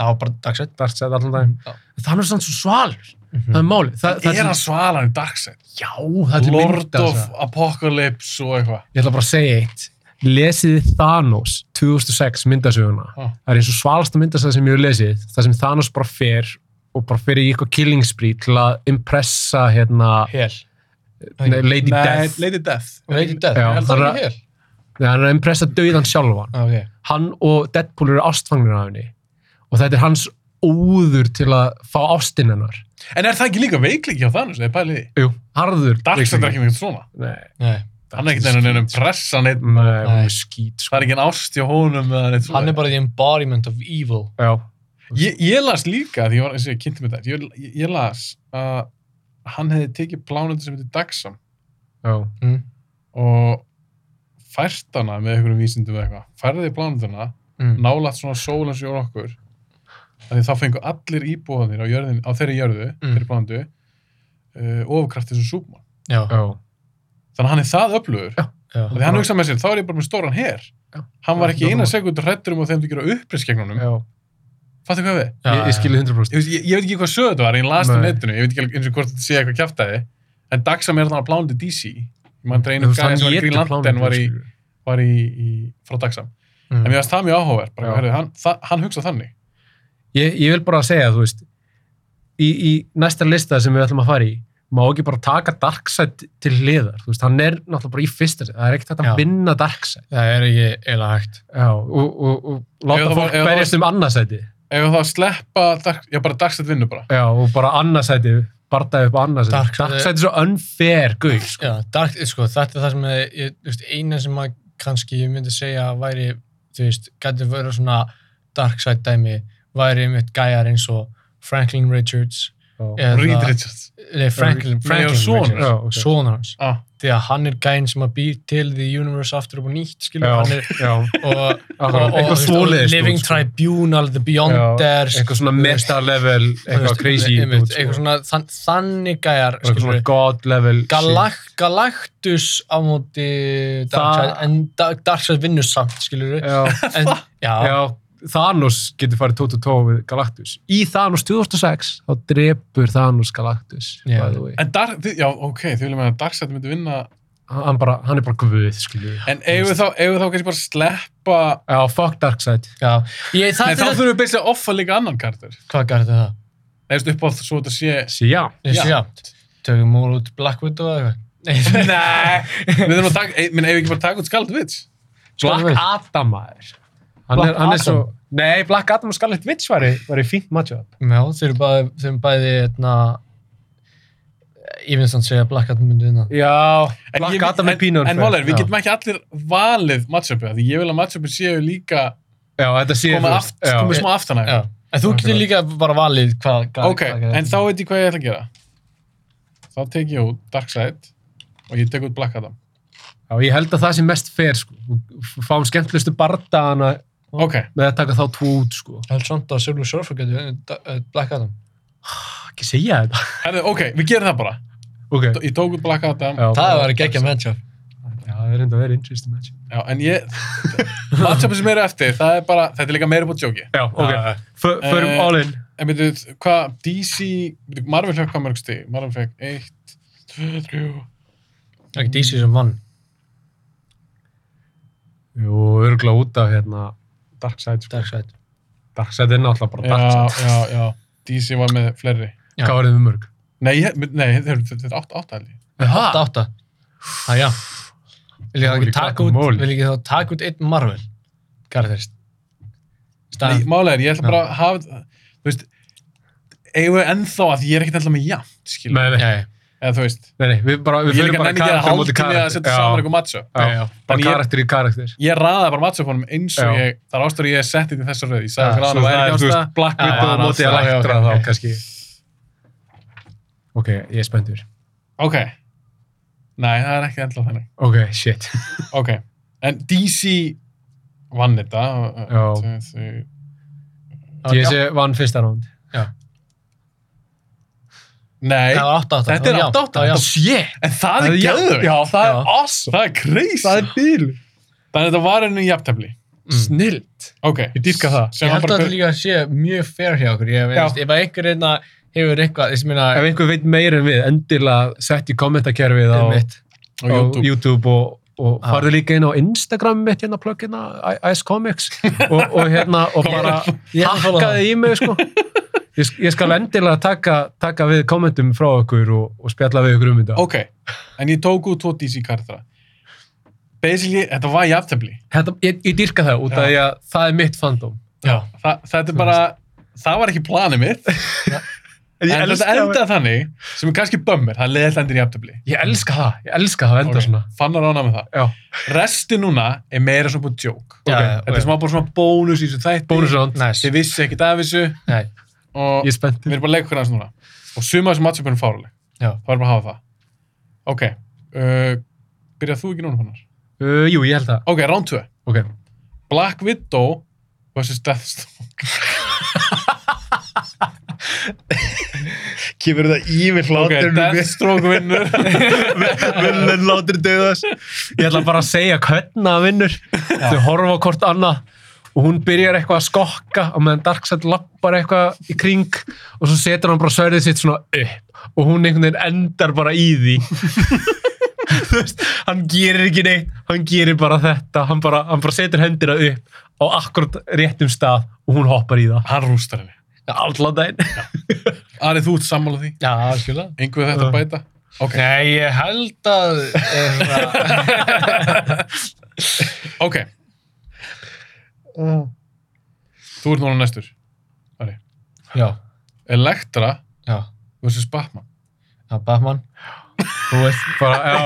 B: það var bara dagsett
C: Darkseid allan daginn.
B: Já.
C: En Thanos er samt svo svalur, það er málið. Þa, það
A: er
C: til-
A: hann svalan í Darkseid.
C: Já, það er til
A: Lord
C: mynda
A: of
C: þessa.
A: Apocalypse og eitthvað.
C: Ég ætla bara að segja eitt. Lesið þið Thanos 2006 myndasöguna.
A: Já.
C: Það er eins og svalasta myndasöguna sem ég hef lesið. Það sem Thanos bara fer og bara fer í eitthvað killing spree til að impressa hérna...
B: hel,
C: Nei, Lady
A: Nei,
C: Death
A: Lady Death.
B: veit í dag
C: Já,
B: er það
C: það er-
B: ekki hel
C: Nei, hann er að impressa döiðan sjálfan
B: Ah, ok.
C: hann og Deadpool eru ástfangnir af henni og þetta er hans óður til að fá ástinn hennar
A: En er það ekki líka veiklingi á Thanos? Það er pælið í.
C: Jú, harður
A: Darkseid er ekki mikið svona.
C: Nei,
B: Nei,
A: Hann er ekki nefnum pressa neitt.
C: Nei, hún
B: Nei.
C: er skýt
A: Það
C: sko.
A: er ekki en ást hjá honum eða neitt svona.
B: hann er bara the embodiment of evil
C: Já,
A: Ég, ég las líka, því ég var eins og ég kynnti mig þetta, ég, ég- ég las að hann hefði tekið plánundi sem heitir Dagsam
C: já,
B: mm.
A: og fært hana með einhverjum vísindum eða eitthvað, færði plánundina
B: Mm.
A: nálaðt svona sól eins og jól okkur af því þá fengu allir íbúðanir á, jörðin, á þeirri jörðu,
B: Mm.
A: þeirri plánundu uh, ofurkraftið sem súpmann
B: já,
C: já
A: þannig að hann er það öflugur
C: Já.
B: já.
A: því hann hugsa með sér, þá er ég bara með stóran her
C: Já.
A: hann var ekki
C: Já,
A: eina
C: nákvæmlega.
A: sekund hrættur um að þeim til að gera uppreist gegn honum
C: Já,
A: fattu hvað við?
C: ég, ég skilji 100%
A: Ég, veist, ég, ég veit ekki hvað sögðu þetta var, ég las þetta á
C: Nei.
A: netinu ég veit ekki alveg eins og hvort þetta sé eitthvað kjaftaði en Dagsam er þannig að plánundi DC ég mann
C: Þú
A: dreinu
C: veist,
A: gæði sem var í
C: étur
A: Green Lantern
C: plánetur,
A: var í,
C: skilurðu.
A: var í, í frá Dagsam
B: Mm.
A: en mér finnst það mjög áhugavert bara,
C: Já.
A: heyrðu, hann, það, hann hugsa þannig
C: ég, ég vil bara segja, þú veist í, í næsta lista sem við ætlum að fara í má ekki bara taka Darkseid til hliðar, þú veist, hann er náttúrulega bara í fyrsta set, það er ekkert hægt
B: Já.
C: að vinna Darkseid
B: það er ekki eiginlega hægt
C: Já, og, og, og
A: Ef
C: láta
A: það var-
C: fólk
A: ef það var-
C: berjast um annarsæti.
A: ef það sleppa, dark, já bara Dagsam vinnur bara
C: Já, og bara annarsæti, bardaði upp á annarsæti.
B: Dark-
C: Darksæti er svo unfair, guð. Sko.
B: Já, dark, sko, þetta er það sem ég, ég, þú veist, eina sem að kannski ég myndi segja að væri, þú veist, gæti verið svona dark side dæmi, væri mitt gæjar eins og Franklin Richards
C: Já.
B: eða,
A: Reed Richards
B: nei, Franklin,
A: Nei,
B: Franklin
A: og sonur.
B: Richards,
C: Já, ok.
B: son hans
A: ah,
B: því að hann er gæinn sem að býr til the universe aftur upp og nýtt, skilur
C: Já,
B: hann er,
C: já,
B: og, og, og,
C: akkurat, eitthvað
B: þú veist,
C: svoleiðis. dút,
B: Living
C: sko.
B: Tribunal, The
C: Já,
B: Beyonders
C: Eitthvað svona
B: þú veist,
C: meta-level, eitthvað
B: þú veist,
C: crazy.
B: einmitt,
C: dút, sko.
B: eitthvað svona þann, þannig gæjar,
C: Eitthvað
B: skilur
C: svona god-level. shit.
B: Galak Galactus á móti Darkseid,
C: Það-
B: en Da- Darkseid vinnur samt, skilur við.
C: Já,
B: En, já,
C: já, Thanos getur farið 2-2 við Galactus. Í Thanos 2006, þá drepur Thanos Galactus.
B: Já.
C: by the way.
A: en Dark, þið, já ok, þið viljum að Dagsam myndi vinna
C: hann, bara, hann er bara guð, skilju.
A: En eigum við þá, eigum við þá kannski bara að sleppa...
C: Já, fuck Darkseid.
B: Já,
A: Nei,
B: ég það
A: þá
B: er
A: þurfum við byrjað að offa líka annan karakter.
B: Hvað garði það?
A: Eða veist upp á svo þetta sé...
B: [LAUGHS]
C: Sí, já.
B: Ég sé
A: Já.
B: jafnt. Tökum úr út Black Widow eða eitthvað. Nei,
A: Nei, við þurfum að taka, minn, eigum við ekki bara að taka út Scarlet Witch?
B: Scarlet Witch.
C: Black Adam, maður. Hann,
B: Black
C: er, hann er
B: Adam.
C: svo... Nei, Black Adam og Scarlet Witch var í fínt matchup.
B: [LAUGHS] Já, þeir eru bæði, þeir eru bæði, eitna, ég finnst þannig að segja að Black Adam myndi vinna.
C: Já,
A: En
C: Black
A: ég-
C: Adam er
A: en-
C: pínur.
A: En málega, við
B: Já.
A: getum ekki allir valið matchupið, af því ég vil að matchupið séu líka
C: Já, þetta sé
A: komið aft, komið smá aftanæg.
B: Já, en þú getur líka bara valið hvað... hvað-
A: Ok,
B: hvað gerði.
A: en þá veit ég hvað ég ætla að gera. Þá tek ég út Darkseid og ég tek út Black Adam.
C: Já, ég held að það sem mest fer, sko. Við Fáum skemmtlustu bardagana
A: Ok,
C: með að taka þá tvo út, sko.
B: Ég held samt að Silver Surfer getur unnið Da- eh, Black Adam.
C: Ekki segja þetta.
A: herðu, ok, við gerum það bara.
C: Ok.
A: Ég tók út Black Adam, já.
C: Já,
B: Það var ekki ekki að matchup.
C: Já, það er enda verið interesting match.
A: en ég, matchupið sem eru eftir, það er bara, þetta er líka meira búið djóki.
C: Já, ok. Fö- Förum
A: Eh,
C: all in.
A: En veitu, hvað, DC, byrju, Marvel fekk hvað mörg stig? Marvel fekk 1, 2, 3,
B: Það er ekki DC sem vann.
C: Jú, örgulega út af hérna Darkseid, sko.
B: Darkseid.
C: Darkseid er náttúrulega bara
A: já,
C: Darkseid.
A: já, já, DC var með fleiri.
B: já.
C: Hvað var þið með mörg?
A: Nei, ég- nei þetta er- þetta er 8, 8 held ég.
B: Átta, átta. Það já. Vil ég þá
C: Holy
B: ekki taka út,
C: guacamole.
B: vil ég þá taka út einn Marvel? Garðist.
A: Nei,
B: Staðan.
A: málega er, ég ætla
B: Já.
A: bara að hafa, þú veist, eigum við ennþá að ég er ekkert ennþá með jafn, skilur.
C: Nei, nei,
B: Já, já.
A: Eða þú veist,
C: nei, nei, við bara, við
A: ég er
C: förum
A: líka
C: bara
A: nenni ekki að
C: karakter á móti
A: haldi með að setja saman
C: karakter.
A: eitthvað matchup.
C: Já, já, bara
A: Þannig ég-
C: karakter í karakter.
A: Ég raðaði bara matchup honum eins og
C: Já.
A: ég, það er ástæður ég er sett í þessar röð, ég
C: Já,
A: sagði
C: svo
A: hvað hann
C: það
A: væri
C: er, þú
A: ekki
C: veist,
A: ástæða.
C: Black
B: Já,
C: Widow
B: já,
C: á móti
B: já, já,
C: Elektra
B: ok,
C: þá
B: ok.
C: kannski. Ok, ég er spenntur.
A: Ok, nei, það er ekki ennþá þannig.
C: Ok, shit.
A: Ok, en DC vann þetta.
C: Já.
A: Tvö, þrjú.
B: Það var ekki-
C: DC vann fyrsta ránd.
A: Nei,
B: Það var átta, átta.
A: þetta er
B: Það
A: 8,
B: var já.
A: 8.
B: Það var já.
A: Shit! En það er
C: Það er jafn-
A: gæður.
C: já,
A: það
B: já.
A: er awesome. Það er crazy.
C: er bíl.
A: Þannig að þetta var henni jafntefli.
B: Mm.
C: Snilt.
A: Ok.
C: Ég dýrka það.
A: Sem
B: Ég
A: hann
B: held að
A: bara
B: þetta líka sé mjög fair hjá okkur. Ég
C: Já.
B: veist, ef að einhver einna hefur eitthvað, þess að minna,
C: Ef einhver veit meira en við, endilega sett í kommentarkerfið á,
B: mitt.
A: á
C: á
A: YouTube.
C: YouTube og, og
B: Já.
C: farðu líka inn á Instagram mitt hérna plugginna, I- Ice Comics og, og hérna, og
A: [LAUGHS]
C: bara
B: Ég ætla að fóla það.
C: hakkaði í mig, sko. Ég, sk- ég skal endilega taka, taka við kommentum frá okkur og, og spjalla við okkur um þetta.
A: Ok, en ég tók út tvo DC kartra. Basically, þetta var jafntefli.
C: Þetta, ég, ég dýrka það út af
A: Já.
C: því að það er mitt fandom.
B: Já.
A: Þa, þetta er bara, það var ekki planið mitt. en þetta endaði þannig, sem er kannski bömmir, það leiði þetta endur jafntefli.
C: Ég elska það, ég elska það að enda svona.
A: fannar ána með það.
C: Já,
A: Resti núna er meira svona búin joke.
B: Já, já,
A: Þetta er smá bara svona bónus í þessu þætti.
C: bónusrönd.
B: Næs.
A: Þið vissi ekkert af þessu
B: Nei.
A: og
C: Ég er spennt.
A: við erum bara að leika okkur aðeins núna. Og suma þessu matchupinu fáruleg.
B: Já.
A: Það er bara að hafa það. Ok, uh, byrjað þú ekki núna fannar?
C: Uh, jú, ég held það.
A: Ok, round 2.
C: Ok.
A: Black Widow vs. Deathstroke
C: Kifur það í mig
A: Ok, Deathstroke
C: [LAUGHS]
A: vinnur
C: vinnur látur döðast ég ætla bara að segja hvernig að vinnur þau horfa á hvort annað og hún byrjar eitthvað að skokka og meðan Darkseid lappar eitthvað í kring og svo setur hann bara sverðið sitt svona upp og hún einhvern veginn endar bara í því [LAUGHS] Þú veist, hann gerir ekki neitt hann gerir bara þetta hann bara, hann bara setur hendina upp á akkurat réttum stað og hún hoppar í það
A: Hann rústar henni
C: allan daginn
A: Ari, þú ert sammála því
B: Já, skilja.
A: Einhver þetta að bæta Ok,
B: Nei, ég held að, eh, svona-
C: [LAUGHS]
A: ok Þú ert núna næstur
B: já,
A: Elektra
B: já.
A: vs. Batman
B: Já, Batman. Þú veist.
C: [LAUGHS] bara, já,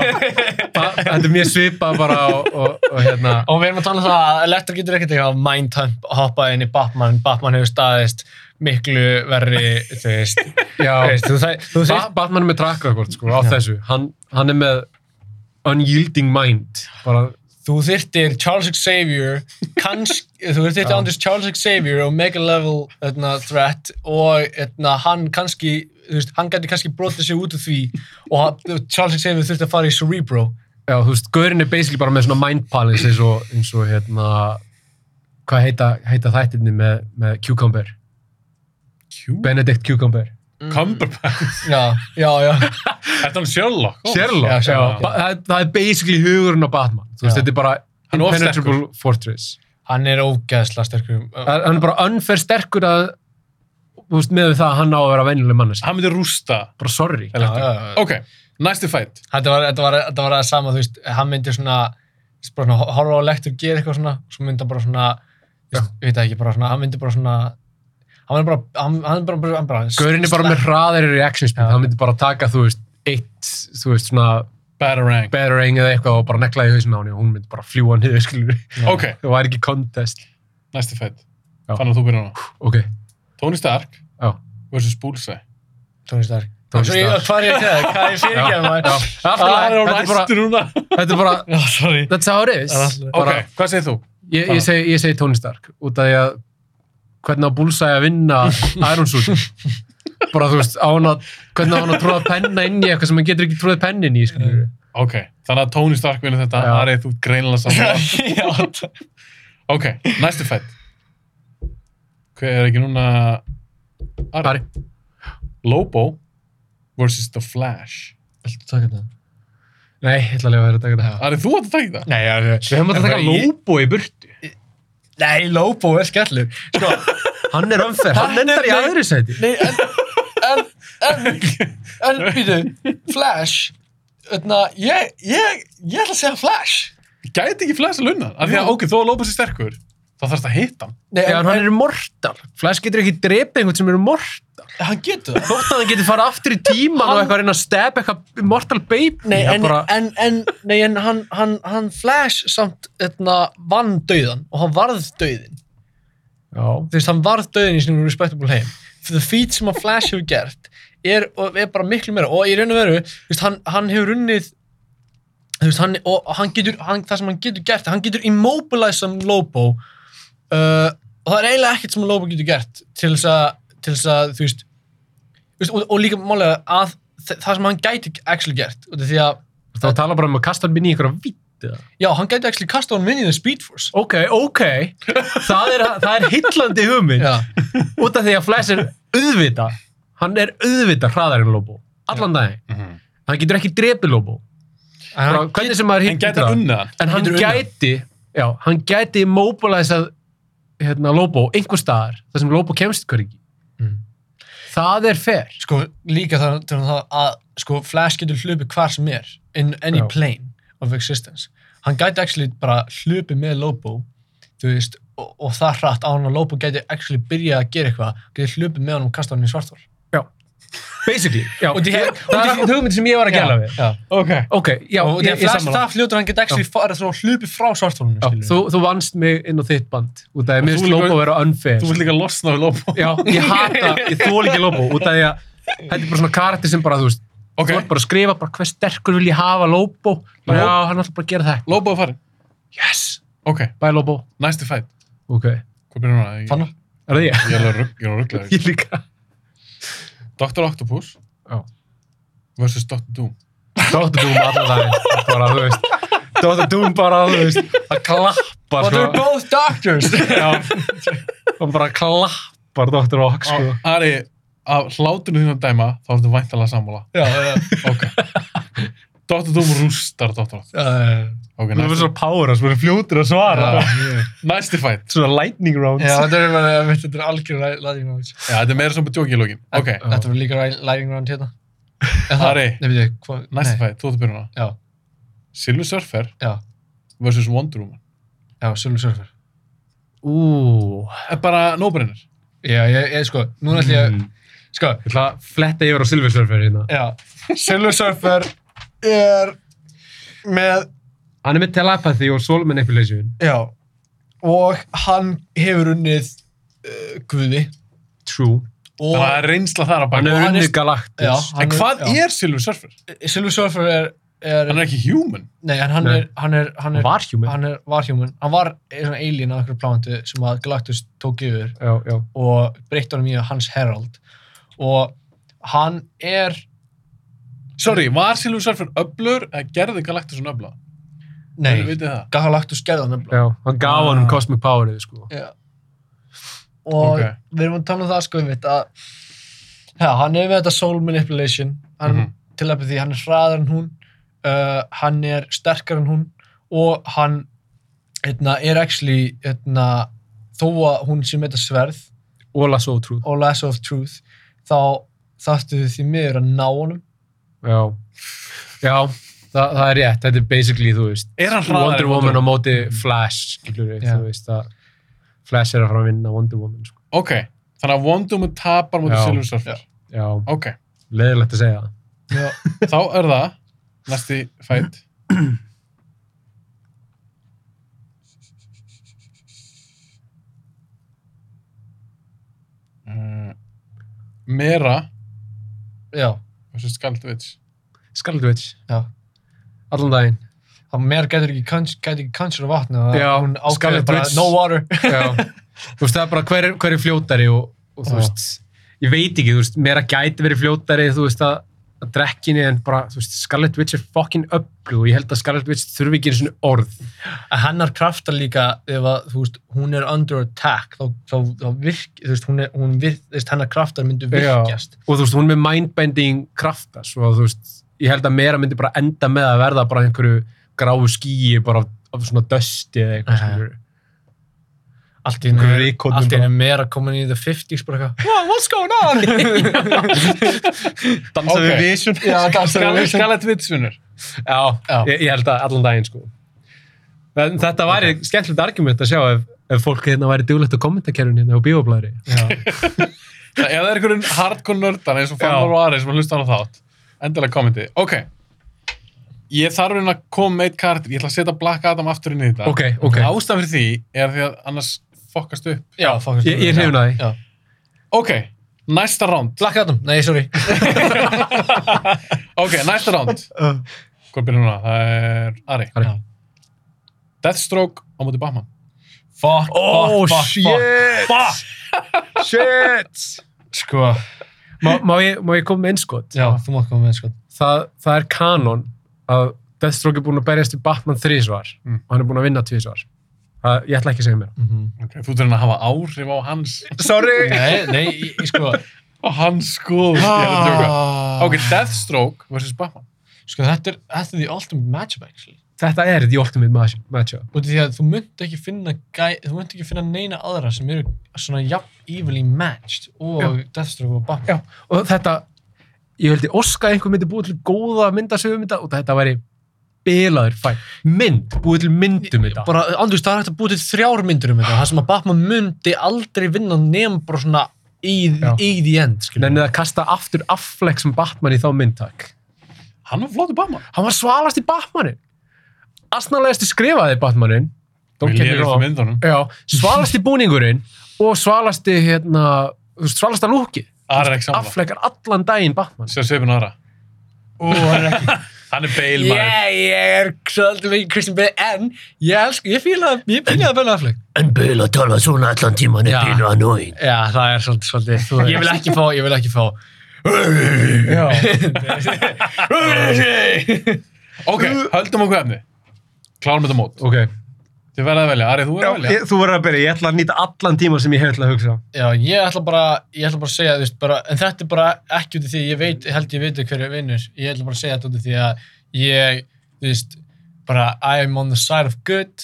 C: ba- þetta er mjög svipað bara og, og, og hérna
B: Og við erum að tala um það að Elektra getur ekkert eitthvað að mindhump hoppa inn í Batman. Batman hefur staðist miklu verri, þú veist. Þú
C: já,
B: veist, þú þa- þú
C: ba
B: þarft-
C: Batman er með track record sko, á þessu hann, hann er með unyielding mind bara,
B: þú þyrtir Charles Xavier, kannski, þú þyrtir
C: Já.
B: Anders Charles Xavier og Mega Level etna, Threat og etna, hann kannski, þú veist, hann gæti kannski brotið sig út úr því og hann, Charles Xavier þurfti að fara í Cerebro.
C: já, þú veist, Gaurin er basically bara með svona mind palace eins og, eins og hérna hvað heita, heita þættirni með, með Cucumber
A: Q?
C: Benedict Cucumber
A: Cumberbatch,
B: Já, já, já.
A: þetta er hann Oh. Sherlock Holmes.
C: Sherlock,
B: Já,
C: já,
B: Sherlock,
C: Ba- Það, það er basically hugurinn á Batman þú veist,
B: Já.
C: þetta er bara
A: Hann er of
C: impenetrable fortress
B: Hann er ógæðsla sterkur.
C: hann hann er bara unfair sterkur að þú veist, með það að hann á að vera venjuleg mannes
A: hann myndi rústa
C: bara sorry
A: Electro.
B: Já, já, já.
A: ok, næsti fætt
B: Þetta var, þetta var, þetta var að sama, þú veist, hann myndi svona, bara svona horfa á lektur, gera eitthvað svona, svo myndi hann bara svona, þú veist, ég veit það ekki, bara svona, hann myndi bara svona, hann myndi bara, hann, hann bara, bara, hann bara,
C: Gaurin er bara með hraðari reaction speed
B: Já.
C: hann myndi bara taka, þú veist, eitt þú veist, svona
A: Batarang
C: bearang eða eitthvað og bara negla í hausinu á henni og hún myndi bara fljúa niður, [LAUGHS] skilur
A: ok,
C: það var ekki contest
A: næsti fætt
C: Já.
A: fann að þú byrja núna
C: ok,
A: Tony Stark
C: já, Ah,
A: versus Bullseye
B: Tony [LAUGHS] Stark.
C: Tony
B: Svo ég-
C: Stark.
B: Hvað er ég að segja? Hvað er ég fyrir ekki að maður?
C: Allt í
A: það
C: lagi,
A: er á
C: þetta er bara,
A: næstu núna
C: þetta er bara
B: Já, sorry.
C: that's how it is
B: Það er allt í lagi.
A: ok,
C: bara,
A: hvað segir þú?
C: ég, ég, segi, ég segi Tony Stark út af því að hvernig á Bullseye að vinna Iron Suit bara þú veist, á hann að hvernig á hann að tróða penna inn í eitthvað sem hann getur ekki tróðið pennin í skilur.
A: ok, þannig að Tony Stark vinur þetta
C: Já.
A: Ari, þú ert greinilega
C: [LAUGHS]
A: saman
B: [LAUGHS] Já, t-
A: ok, næsti fætt hver er ekki núna
C: Ari.
A: Lobo versus The Flash
B: Viltu taka þetta?
C: nei, ég ætla að lega að vera að taka þetta
A: Ari, þú átt að taka það?
B: Nei, já, já.
C: við hefum átt að taka
B: En bara ég-
C: Lobo í burtu
B: Nei, Lobo er skellur. Sko,
C: hann er umferð, hann endar í aðri sæti
B: Nei, en, en, en, en, býtu, Flash, öðna, ég, ég, ég ætla að segja Flash.
A: gæti ekki Flash að lunna af því að,
B: Jú.
A: ok, þó að Lobo sé sterkur þá þarfst að hitta hann
B: Nei,
C: Já,
B: en,
C: en hann er mortal. Flash getur ekki drepið einhvern sem er mortal.
B: en, hann getur það.
C: Þótt að hann getur fara aftur í tíman og eitthvað að reyna að stab eitthvað mortal baby.
B: Nei,
C: Það
B: en,
C: bara,
B: en, en, nei, en hann, hann, hann Flash samt öðna, vann döðan og hann varð döðin.
C: já,
B: Þú veist, hann varð döðin í sinum respectable heim. The feat sem að Flash hefur gert er, og er bara miklu meira og í raun og veru, þú veist, hann, hann hefur runnið þú veist, hann, og hann getur, hann, það sem hann getur gert, hann getur immobilize um Lobo uh, og það er eiginlega ekkert sem Lobo getur gert til þess að, til þess að, þú veist, þú veist og, og líka málega að þa- það sem hann gæti actually gert, út af því að
C: þá tala bara um að kasta hann minni í eitthvað vitt.
B: já, hann gæti actually kasta honum inn í The Speed Force
C: Ok, ok. Það er, það er hillandi hugmynd.
B: já,
C: [LAUGHS] Út af því að Flash er auðvita. Hann er auðvita hraðar en Lobo. Allan daginn. Hann getur ekki drepið Lobo.
B: en
C: Bara,
B: hann,
C: hvernig sem maður
A: hann
C: hittir
A: gæti að unna hann
C: En hann
B: Getur unnið.
C: gæti, já, hann gæti mobilizað hérna, Lobo einhver staðar, þar sem Lobo kemst ykkur ekki.
B: Mm.
C: Það er fair.
B: sko, líka það, til það að sko, Flash getur hlupið hvar sem er in any
C: Já.
B: plane of existence hann gæti actually bara hlupið með Lobo þú veist, og, og það hratt á hann að Lobo gæti actually byrja að gera eitthvað gæti hlupið með hann og kasta hann í svartól
C: Basically, já.
B: Og því-
C: Ég-
B: [LAUGHS] og
C: það
B: því-
C: er akkur hugmynd sem ég var að gæla við.
B: já.
A: ok,
C: Ok, já,
B: og
C: ég,
B: þegar
C: ég
B: Flash
C: sammála.
B: það fljótur hann geti actually farið þrjá hlupið frá svartólunum
C: Já, þú, þú vannst mig inn á þitt band, út af því að mér
A: þú
C: finnst
A: líka-
C: Lobo vera unfair.
A: þú vilt líka losna við Lobo
C: Já, ég hata, ég þól ekki Lobo, út af því að þetta er bara svona karakter sem bara, þú veist,
A: Ok.
C: þú ert bara að skrifa bara hver sterkur vil ég hafa Lobo. Bara,
A: Lobo.
C: Já, hann ætla bara að gera það.
A: Lobo er farin
C: Yes!
A: ok,
C: Bye Lobo.
A: næsti fætt
C: Ok. Er
A: hvað byrjar núna? Ég-
B: Fannar?
C: það ég?
A: Ég er alveg rugg- ég er alveg rugglaður.
C: [LAUGHS] Ég líka.
A: Dr. Octopus
C: Já.
A: versus Dr. Doom
C: Dr. Doom alla daginn, bara, þú veist. Dr. Doom bara, þú veist, að klappa,
B: but they're
C: sko.
B: both
A: [LAUGHS]
B: doctors
C: Já. Og bara klappar Dr. Ock, sko.
A: Á- Ari, af hlátunum þínu að dæma þá ertu væntalega sammála
B: já, já,
C: [LAUGHS]
A: ok Dr. Doom rústar Dr. Oct
B: [LAUGHS] já, já,
A: ok,
C: Þú verður
A: næsti,
C: svona power að svona fljótur að svara.
A: næsti fætt
C: Svona lightning round.
B: já, þetta er bara þetta er algjör læring round
A: já, þetta er meira sem bara djóki í lókin ok,
B: þetta var líka læring
A: [LAUGHS]
B: round hérna En það-
A: Ari.
B: Nei, veitu, hvað-
A: næsti
B: nei,
A: fætt, þú ert að byrja núna
B: já,
A: Silver Surfer
B: já,
A: versus Wonder Woman
B: já, Silver Surfer
C: Ú,
A: Eh, bara nóbrennir
B: Já, ég, ég sko, núna ætlum ég
C: Mm.
B: að,
A: Mm.
B: sko,
C: Ég ætla að fletta yfir á Silver Surfer hérna.
B: já, Silver Surfer er með,
C: Hann er með telepathy og soul manipulation.
B: já, og hann hefur unnið uh, Guði
C: True.
B: og,
A: það er reynsla þar að
C: Hann
A: baka
C: er
B: hann er-
C: unnið Galactus.
A: en
B: Já. hann er-
A: hvað
B: já.
A: er Silver Surfer?
B: Silver Surfer er, er,
A: hann er ekki human
B: nei, en hann
C: Nei.
B: er, hann er, hann
C: Hann
B: er,
C: var human.
B: hann er, var human, hann var eh, svona alien af einhverju plántu sem að Galactus tók yfir
C: Já, já.
B: og breytti honum í hans Herald og hann er,
A: sorry, var Silver Surfer öblur eða gerði Galactus um öbla?
B: nei,
A: Vitið þið það?
B: Galactus gerði hann nefnilega.
C: Já, hann gaf
A: Ah.
C: hann um cosmic powerið, sko.
B: Já. og
A: Ok.
B: við erum að tala um það sko einmitt að Já, hann er með þetta soul manipulation hann, mm
C: Mhm.
B: telepathy, hann er hraðar en hún uh, hann er sterkar en hún og hann eitna, er actually eitna, þó að hún sé með þetta sverð
C: All I saw true.
B: og lasso of truth þá þarftu því miður að ná honum
C: Já, já það, það er rétt. Þetta er basically, þú veist,
A: Er hann hraðar
C: Wonder
A: en
C: Woman á móti Flash, skilur við,
B: Já.
C: þú veist að Flash er að fara að vinna Wonder Woman, sko.
A: Ok, þannig að Wonder Woman tapar mútið
C: Já.
A: Silver Surfer.
C: Já,
A: Ok,
C: leiðilegt að segja það.
A: þá er það næsti Mm. fætt. Uh, Mera
B: já,
A: versus Skaldvits.
C: Skaldvits.
B: Já.
C: Allan daginn.
B: það meir gætur ekki kans- gæti ekki kansur á vatni og
C: Já,
B: hún ákveður
C: Scarlet
B: bara
C: Witch.
B: no water [LAUGHS]
C: [LAUGHS] Já. þú veist, það er bara hver, er- hver er fljótari og, og þú
B: Já.
C: veist, ég veit ekki, þú veist, meira gæti verið fljótari, þú veist, að, að drekkinni en bara, þú veist, Scarlet Witch er fucking öflug og ég held að Scarlet Witch þurfi ekki einu svona orð.
B: að hennar kraftar líka ef að, þú veist, hún er under attack þá, þá, þá virk, þú veist, hún er, hún virk, þú veist, hennar kraftar myndu
C: Já.
B: virkjast
C: Og þú veist, hún er með mindbending krafta, svo að, þú veist, ég held að meira myndi bara enda með að verða bara einhverju gráu skýi, bara af, af svona dösti eða eitthvað,
B: Aha.
C: skilur.
B: allt í einu,
C: Einhverju rykkornum
B: allt í
C: bara.
B: einu meira komin í the 50s bara eitthvað
C: What's going on? Dansa
A: Ok.
C: við vision.
B: Já, dansa við vision.
A: Skaldvits vinnur.
C: Já,
B: Já.
C: Ég, ég held að allan daginn sko. En þetta væri skemmtilegt argument að sjá ef, ef fólk hérna væri duglegt á kommentakerfinu hérna á bíoblæri.
A: Ef það er einhverjum hardcore nördan eins og Fannar
C: Já.
A: og Ari sem að hlusta hann á þátt, endilega kommenti. Ok, ég þarf raunin að koma með eitt kartir, ég ætla að setja Black Adam aftur inn í þetta.
C: Ok, ok.
A: Ástæðan fyrir því er því að annars fokkast upp.
B: já, fokast
C: Ég, ég er hrifin að því.
B: já.
A: Ok, næsta round.
B: Black Adam, nei, sorry
A: Ok, næsta
B: [LAUGHS]
A: round.
B: Uh.
A: Hvað byrjar núna? Það er Ari.
C: Ari.
B: Já.
A: Deathstroke á móti Batman.
B: fuck,
C: Oh,
B: fuck, fuck, fuck
C: Fuck! Shit!
B: sko,
C: Má, má, ég, má ég koma með einskot?
B: já, þú mátt koma með sko
C: Það, það er kanon að Deathstroke er búin að berjast í Batman þrísvar
A: Mm.
C: og hann er búin að vinna tvísvar. Það, ég ætla ekki að segja mér.
B: mm
A: Ok, þú þurfir að hafa áhrif á hans,
C: Sorry!
B: nei, nei, ég, ég
C: [LAUGHS]
B: sko
A: á hans skoð.
B: Ah.
A: Ok, Deathstroke versus Batman.
B: sko, þetta er, þetta er the ultimate matchup actually
C: Þetta er the ultimate match- matchup.
B: út af því að þú myndi ekki finna gæ, þú myndi ekki finna neina aðra sem eru svona jafn evilly matched og Deathstroke og Batman
C: Já, og þetta ég held ég oska að einhver myndi búið til góða myndasögumynda og þetta væri bilaður fæn, mynd, búið til myndum þetta.
B: bara, Andrúst, það er hægt að búið til þrjár myndir um þetta það sem að Batman myndi aldrei vinna nefn bara svona í,
C: Já.
B: í the end skilur við.
C: Nennið að kasta aftur Affleck sem Batman í þá myndtak
A: Hann var flótið Batman.
C: hann var svalast í Batmanin asnalegasti skrifaði Batmanin Don't get me
A: Við
C: wrong.
A: lefum myndunum.
C: Já, svalasti búningurinn og svalasti hérna, þú veist, svalasta lúki
A: Ari er ekki
B: Ah,
A: saman.
C: Affleck er allan daginn Batman
A: Sér sveipin aðra.
B: Ó, hann er ekki-
A: [LAUGHS] Hann er Bale maður.
B: yeah, ég er svolítið mikið Christian Bale en ég elsku, ég fíla ég fíla að Ben Affleck
E: En Böla talar svona allan tíman er
B: Já.
E: pínu annoying.
B: já, það er svolítið, svolítið þú, ég vil ekki fá, ég vil ekki fá [LAUGHS]
A: Ok,
B: Uh.
A: höldum okkur efni. Klárum þetta mót.
C: Ok,
A: Þið verða að velja. Ari, þú verða að velja.
C: þú verður að byrja, ég ætla að nýta allan tíma sem ég hef til að hugsa
B: já, ég ætla bara, ég ætla bara að segja þú veist, bara, en þetta er bara ekki út af því ég veit,
C: Mm.
B: held ég veit hverju vinnur ég ætla bara að segja þetta út af því að ég, þú veist, bara I am on the side of good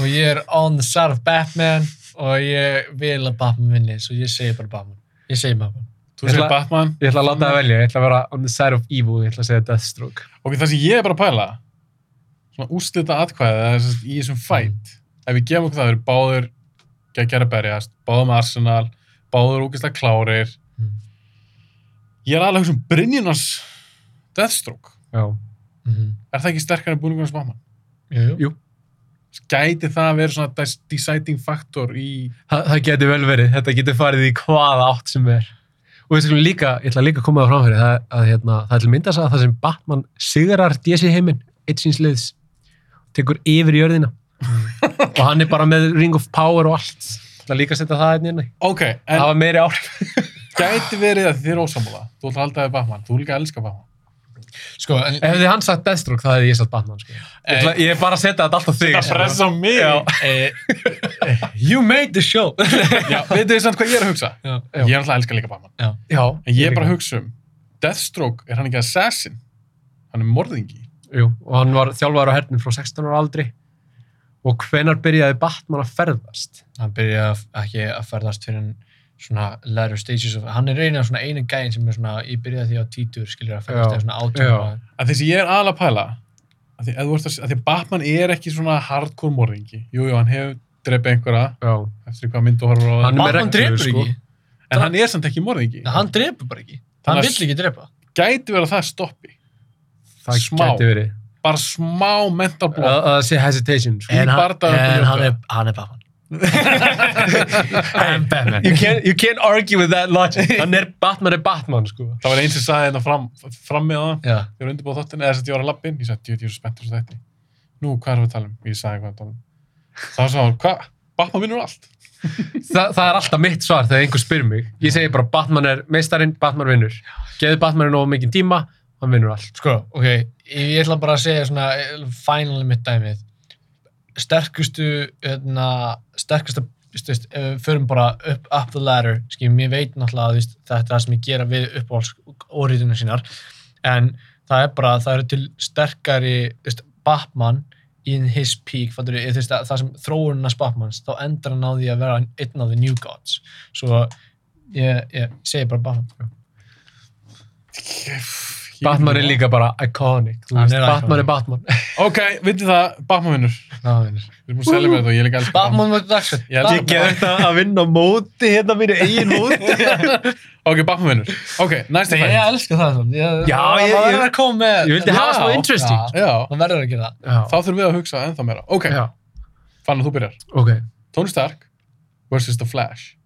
B: og ég er on the side of Batman og ég vil að Batman vinni svo ég segi bara Batman, ég segi Batman
A: Þú segir
C: ætla-
A: Batman.
C: Ég ætla að láta það velja, ég ætla að vera on the side of evil, ég ætla að segja Deathstroke.
A: Ok, það sem ég er bara að pæla, svona úrslita atkvæðið, það er sem sagt í þessum fætt, ef við gefum okkur það, það eru báður geggjara berjast, báður með Arsenal, báður úkislega klárir.
B: Mm.
A: Ég er aðlega að hugsa um Brynjunars Deathstroke.
C: Já.
B: mm -hmm.
A: Er það ekki sterkar en búningunars mamma?
B: jú, jú.
A: Gæti það að vera svona des- deciding factor í...
C: Þa, það getur vel verið, þetta getur farið í hvaða átt sem er. Og ég, líka, ég ætla líka að koma það framfyrir, það, að, hérna, það er til mynda að það sem Batman sigrar DC heiminn, eitt síns liðs, tekur yfir
A: [LAUGHS]
C: jörðina. og hann er bara með Ring of Power og allt. Það er líka að setja það hérna inn.
A: Ok, en [LAUGHS]
C: Það var meiri áhrif.
A: gæti verið að þið er ósamúla. Þú ætlar alltaf að halda þér Batman, þú líka að elska Batman.
B: Sko, en,
C: Ef þið hann sagt Deathstroke, það hefði ég sagt Batman, sko. Ég, ætla, ég er bara að setja þetta alltaf þig.
A: Það pressa á mig. Já.
B: e,
F: You made the show!
A: [LAUGHS] Já, veitu þið samt hvað ég er að hugsa?
F: Já.
A: Ég er alltaf að elska líka Batman.
C: Já.
A: En ég er bara að hugsa um, Deathstroke, er hann ekki assassin? Hann er morðingi.
C: Jú, og hann var þjálfaður á hernum frá 16 ára aldri. Og hvenar byrjaði Batman að ferðast?
B: hann byrja að- ekki að ferðast fyrir en svona latter stages of, hann er reynið svona einu gæðin sem er svona, ég byrjaði því á títur skilur að ferðast
C: Já.
B: eða svona
C: Já.
B: átjóma
A: að því sem ég er aðal að pæla að því, að, að, að því að Batman er ekki svona hardcore morðingi jújú, jú, hann hefur drepið einhverja
C: Já.
A: eftir hvað mynd og horfur á
C: Hann er með
B: Batman
C: reglur,
B: drepur
C: sko.
B: ekki,
A: en hann er samt ekki morðingi
B: hann drepur bara ekki hann
C: er
A: Annars-
B: vill ekki drepa
A: gæti verið að það stoppi
C: Það
A: Smá.
C: geti verið.
A: bara smá mental
C: Að
A: block
C: að það sé hesitation, sko.
A: í
E: En, hann,
A: bardaga-
E: en hann, er, hann er Batman.
C: I'm Batman. You can't, you can't argue with that logic. Hann er Batman er Batman, sko.
A: það var einn sem sagði þetta fram, fram með það
B: já,
A: ég var undirbúið þáttin eða þess að ég var að lappin ég sagði, djöð, ég er svo spenntur svo þetta nú, hvað erum við að tala um? ég sagði hvað við tala um þá sagði hann, hvað? Batman vinnur allt
C: Þa, það er alltaf mitt svar þegar einhver spyr mig. Ég segi bara Batman er meistarinn, Batman vinnur. Geðu Batmaninn of mikið tíma, hann vinnur allt.
B: sko, ok ég ég ætla bara að segja svona final mitt dæmið sterkustu hérna, sterkustu stust, ef við förum bara upp, up the ladder ským, ég veit náttúrulega að þú veist, þetta er það sem ég gera við uppáhalds orðinu sínar en það er bara, það eru til sterkari þú veist, Batman in his peak, fattur, ég, veist, það sem þróunarnas Batmans, þá endar hann á því að vera einn af the new gods svo ég, ég segi bara Batman sko.
A: Ég-
C: Batman er líka bara iconic. þú
B: Hann
C: veist,
B: er
C: Batman
B: iconic.
C: er Batman.
A: ok, vitið það, Batman vinnur
B: Ná, vinur.
A: við erum búin að selja með þetta og ég er líka að elska
B: Batman var dagsett
A: Ég held ég
B: Batman.
C: þetta að vinna móti hérna mínu eigin móti.
A: Ok, Batman vinnur. Ok, næsta
B: Ég
A: fætt.
B: elska það samt. Ég,
C: Já,
B: það
C: ég-
B: það
C: ég-
B: verður að koma með.
C: Ég vildi hafa
B: Já,
C: smá interesting.
B: Já,
A: Já,
B: það verður að gera það.
C: Já.
A: þá þurfum við að hugsa ennþá meira. Ok,
C: Já.
A: fann að þú byrjar.
C: Ok.
A: Tony Stark versus The Flash.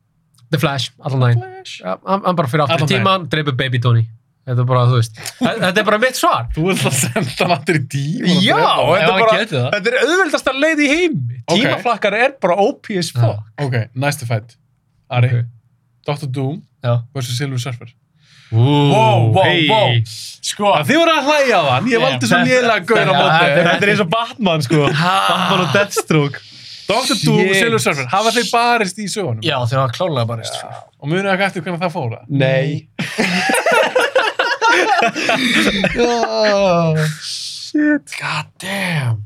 C: The Flash, allan daginn.
A: Flash.
C: Ja, Hann hann bara fyrir aftur
A: Allan
C: í tíman, dreipur Baby Tony. Þetta er bara, þú veist. Þa- Þetta er bara mitt svar. [LAUGHS]
A: Þú ert að senda hann aftur í díu.
C: Já,
B: Ef
C: þetta er
B: hann
C: bara,
B: getur það.
C: þetta er auðveldasta leið í heimi.
A: Ok.
C: Tímaflakkar er bara OP as fuck.
A: Ok, næsta fætt. Ari,
C: Ok.
A: Dr. Doom
B: Já.
A: versus Silver Surfer.
B: wow,
C: Wow,
B: wow. Sko,
A: Að þið voru að hlæja á hann. Ég
B: Yeah,
A: valdi svo
B: þetta-
A: lélega gauðir á
B: þetta-
A: móti.
B: þetta-
C: er eins og Batman, sko. Batman og Deathstroke.
A: Dr. Doom og
C: Shit.
A: Silver Surfer. Hafa þeir barist í sögunum?
B: já þeir hafa klálega bara reist.
A: Og munið ekki eftir hvernig það fóra?
C: Nei. Shit.
B: God damn.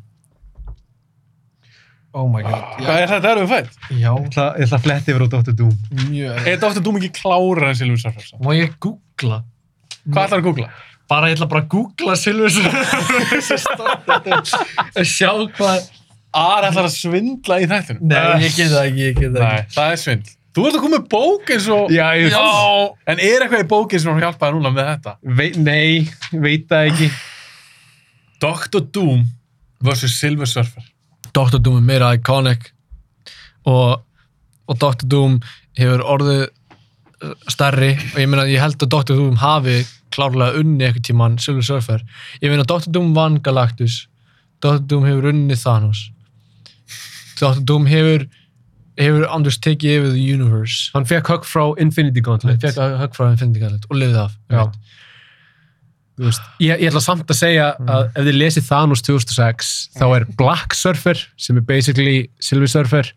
B: Oh my god.
A: Hvað er þetta erfið fætt?
B: Já,
C: Ah, Ég ætla, ég ætla að fletti yfir á Dr. Doom.
B: mjög.
A: Er Dr. Doom ekki klárar en Silver Surfer? samt?
B: Má ég googla?
A: Hvað ætlar að googla?
B: Bara, ég ætla bara að googla Silvus. Sjá hvað.
A: Ari ætlar að svindla í þættinum.
B: Nei, ég get það ekki, ég get það
A: Nei, það er svindl. Þú ert að koma með bók eins og...
C: Já, ég
A: Já. En er eitthvað í bókinn sem hann hjálpaði núna með þetta?
C: Ve nei, veit það ekki.
A: Dr. Doom vs. Silver Surfer.
B: Dr. Doom er meira iconic og, og Dr. Doom hefur orðið uh, stærri og ég meina ég held að Dr. Doom hafi klárlega unni eitthvað tíman Silver Surfer ég meina Dr. Doom vann Galactus Dr. Doom hefur unni Thanos Dr. Doom hefur hefur Anders tekið yfir the universe
C: Hann fekk högg frá Infinity
B: hann
C: Gauntlet.
B: fekk að högg frá Infinity Gauntlet og lifið af
C: Já. Þú veist, ég, ég ætla samt að segja
B: Mm.
C: að ef þið lesið Thanos 2006 þá er Black Surfer sem er basically Silver Surfer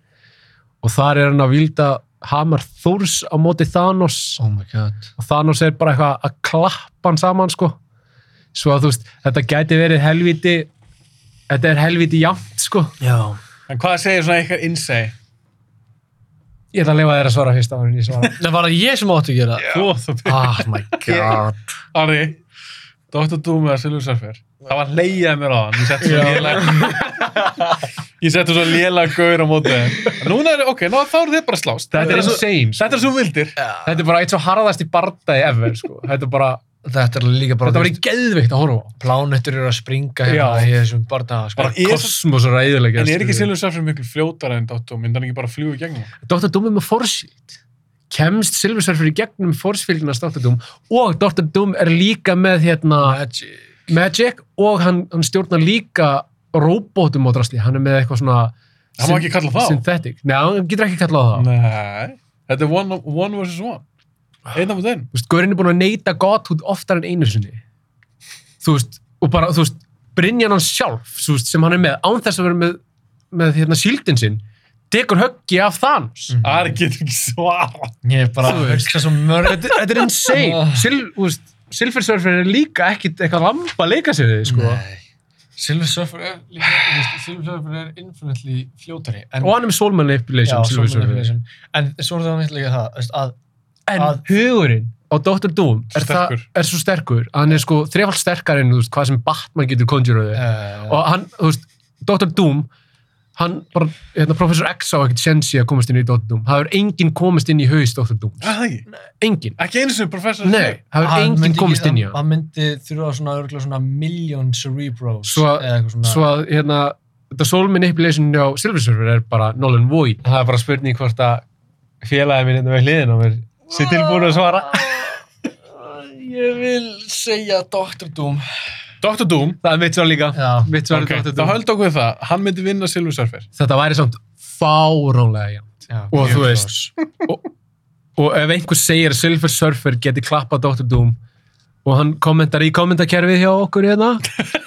C: og þar er hann að vilda Hamar Þórs á móti Thanos
B: oh my god
C: og Thanos er bara eitthvað að klappa hann saman sko svo að þú veist, þetta gæti verið helviti þetta er helviti jafnt sko
E: Já.
A: En hvað segir svona eitthvað innsæ?
C: ég ætla að leifa þér að svara fyrst áður en ég svara Ah,
B: það var að ég sem átti að gera
C: [LAUGHS]
B: það.
A: Þú, þú byrjar.
B: oh my god
A: Ari, Dr. Doom vs. Silver Surfer. Það var leiðið mér á hann. Ég setti svo lélega... Ég setti svo lélega gaur á móti þeim. Núna er, ok, ná, þá eru þið bara að slást.
C: þetta er
A: svo...
C: insane, sko.
A: Þetta er svo vildir.
C: þetta er bara eitt svo harðast í barndagi ever sko, þetta er bara
B: þetta er líka bara
C: þetta var í geðveikt að horfa á
B: plánettur eru að springa hérna
C: Já.
B: í þessum barndaga sko.
A: Bara er svo...
C: kosmos og ræðilega
A: En er ekki Silver Surfer miklu fljótar en Dr. Doom? Myndi hann ekki bara fljúi gegnum? hann?
C: Dr. Doom er með forsýld kemst Silver Surfer í gegnum forsfylgnast Dr. Doom og Dr. Doom er líka með hérna
B: Magic
C: Magic og hann, hann stjórnar líka róbótum á drasli, hann er með eitthvað svona
A: Hann má ekki kalla það á.
C: synthetic, neða, hann getur ekki kallað það á.
A: Nei. Þetta er one, one vs. one. Einn á móti einn.
C: Þú veist, Gaurinn er búin að neyta Godhood oftar en einu sinni þú veist, og bara, þú veist, Brynjan hann sjálf, þú veist, sem hann er með, án þess að vera með, með hérna síldin sinn, degur höggi af Thanos.
B: Mm.
A: Ari getur ekki svara.
B: Mhm. Ég er bara að hugsa svo mörg
C: Þetta, þetta er insane.
B: Ah.
C: Sil, þú veist, Silver Surfer er líka ekkit eitthvað lamba að leika sér við, sko.
B: Nei. Silver Surfer er líka, þú veist, Silver Surfer er infinitely fljótari en,
C: Og hann er með Soul Manipulation, Silver
B: Soul
C: Surfer.
B: Manipulation. en svo er það mitt líka það þú veist, að,
C: En
B: Að-
C: hugurinn á Dr. Doom er, það,
A: Sterkur.
C: er svo sterkur að hann er sko þrefald sterkar en þú veist, hvað sem Batman getur konjuröðu.
B: uh,
C: og hann, þú veist, Dr. Doom hann bara, hérna, Professor X á ekkert sensi að komast inn í Dr. Doom það hefur enginn komast inn í haus Dr. Doom
A: Æ,
C: enginn,
A: ekki einu sinni professor.
C: nei, það hefur enginn
B: myndi
C: komast
B: ekki-
C: inn í
B: hann,
C: hann
B: hann myndi þurfa svona, örgulega svona million cerebros
C: Svo að-
B: eða eitthvað svona
C: svo að, hérna, þetta soul manipulation á Silver Surfer er bara null and void
G: Það er bara spurning hvort að félagið minn hérna með hliðin á mér sé tilbúin að svara.
B: [LAUGHS] ég vil segja Dr. Doom
A: Dr. Doom.
C: það er mitt svar líka
B: já,
C: mitt svar
A: Ok,
C: okay. Dr.
A: þá
C: Doom
A: höldum okkur við það. Hann myndi vinna Silver Surfer.
C: þetta væri samt fáránlega já.
B: já
C: og
B: mjög
C: þú
B: klár.
C: veist og, og ef einhver segir að Silver Surfer geti klappað Dr. Doom og hann kommentar í kommentarkerfið hjá okkur hérna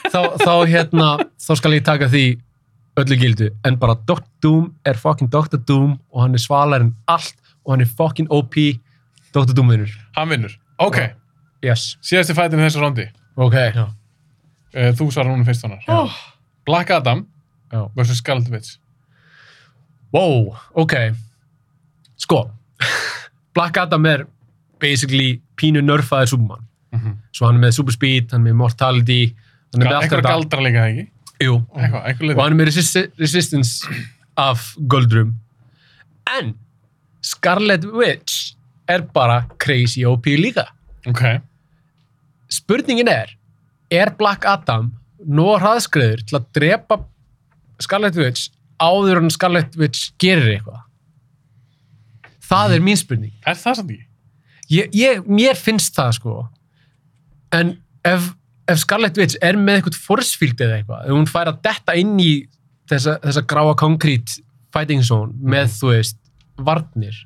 C: þá, þá hérna þá skal ég taka því öllu gildu en bara Dr. Doom er fucking Dr. Doom og hann er svalar en allt og hann er fucking OP Dr. Doom vinnur
A: Hann vinnur. Ok,
C: yes
A: síðasti fætin í þessu rondi.
C: ok
A: Eh, Þú svarar núna fyrst hannar.
C: Já.
A: Black Adam
C: Já.
A: versus Skaldvits.
C: wow ok sko [LAUGHS] Black Adam er basically pínu nörfaði Superman svo hann er með super speed, hann er með mortality hann er með allt
A: Eitthvað
C: þetta
A: galdra líka það ekki.
C: Jú,
G: Mm.
A: Eitthvað, eitthvað
C: og
A: liður.
C: hann er með resist resistance af Guldrum en Scarlet Witch er bara crazy OP líka
A: Ok,
C: spurningin er er Black Adam nóg hraðskriður til að drepa Scarlet Witch áður en Scarlet Witch gerir eitthvað það er mín spurning
A: er það samt ekki?
C: ég, ég, mér finnst það sko en ef, ef Scarlet Witch er með eitthvað forsfíld eða eitthvað, ef hún fær að detta inn í þessa, þessa gráa konkrít fighting zone með þú veist varnir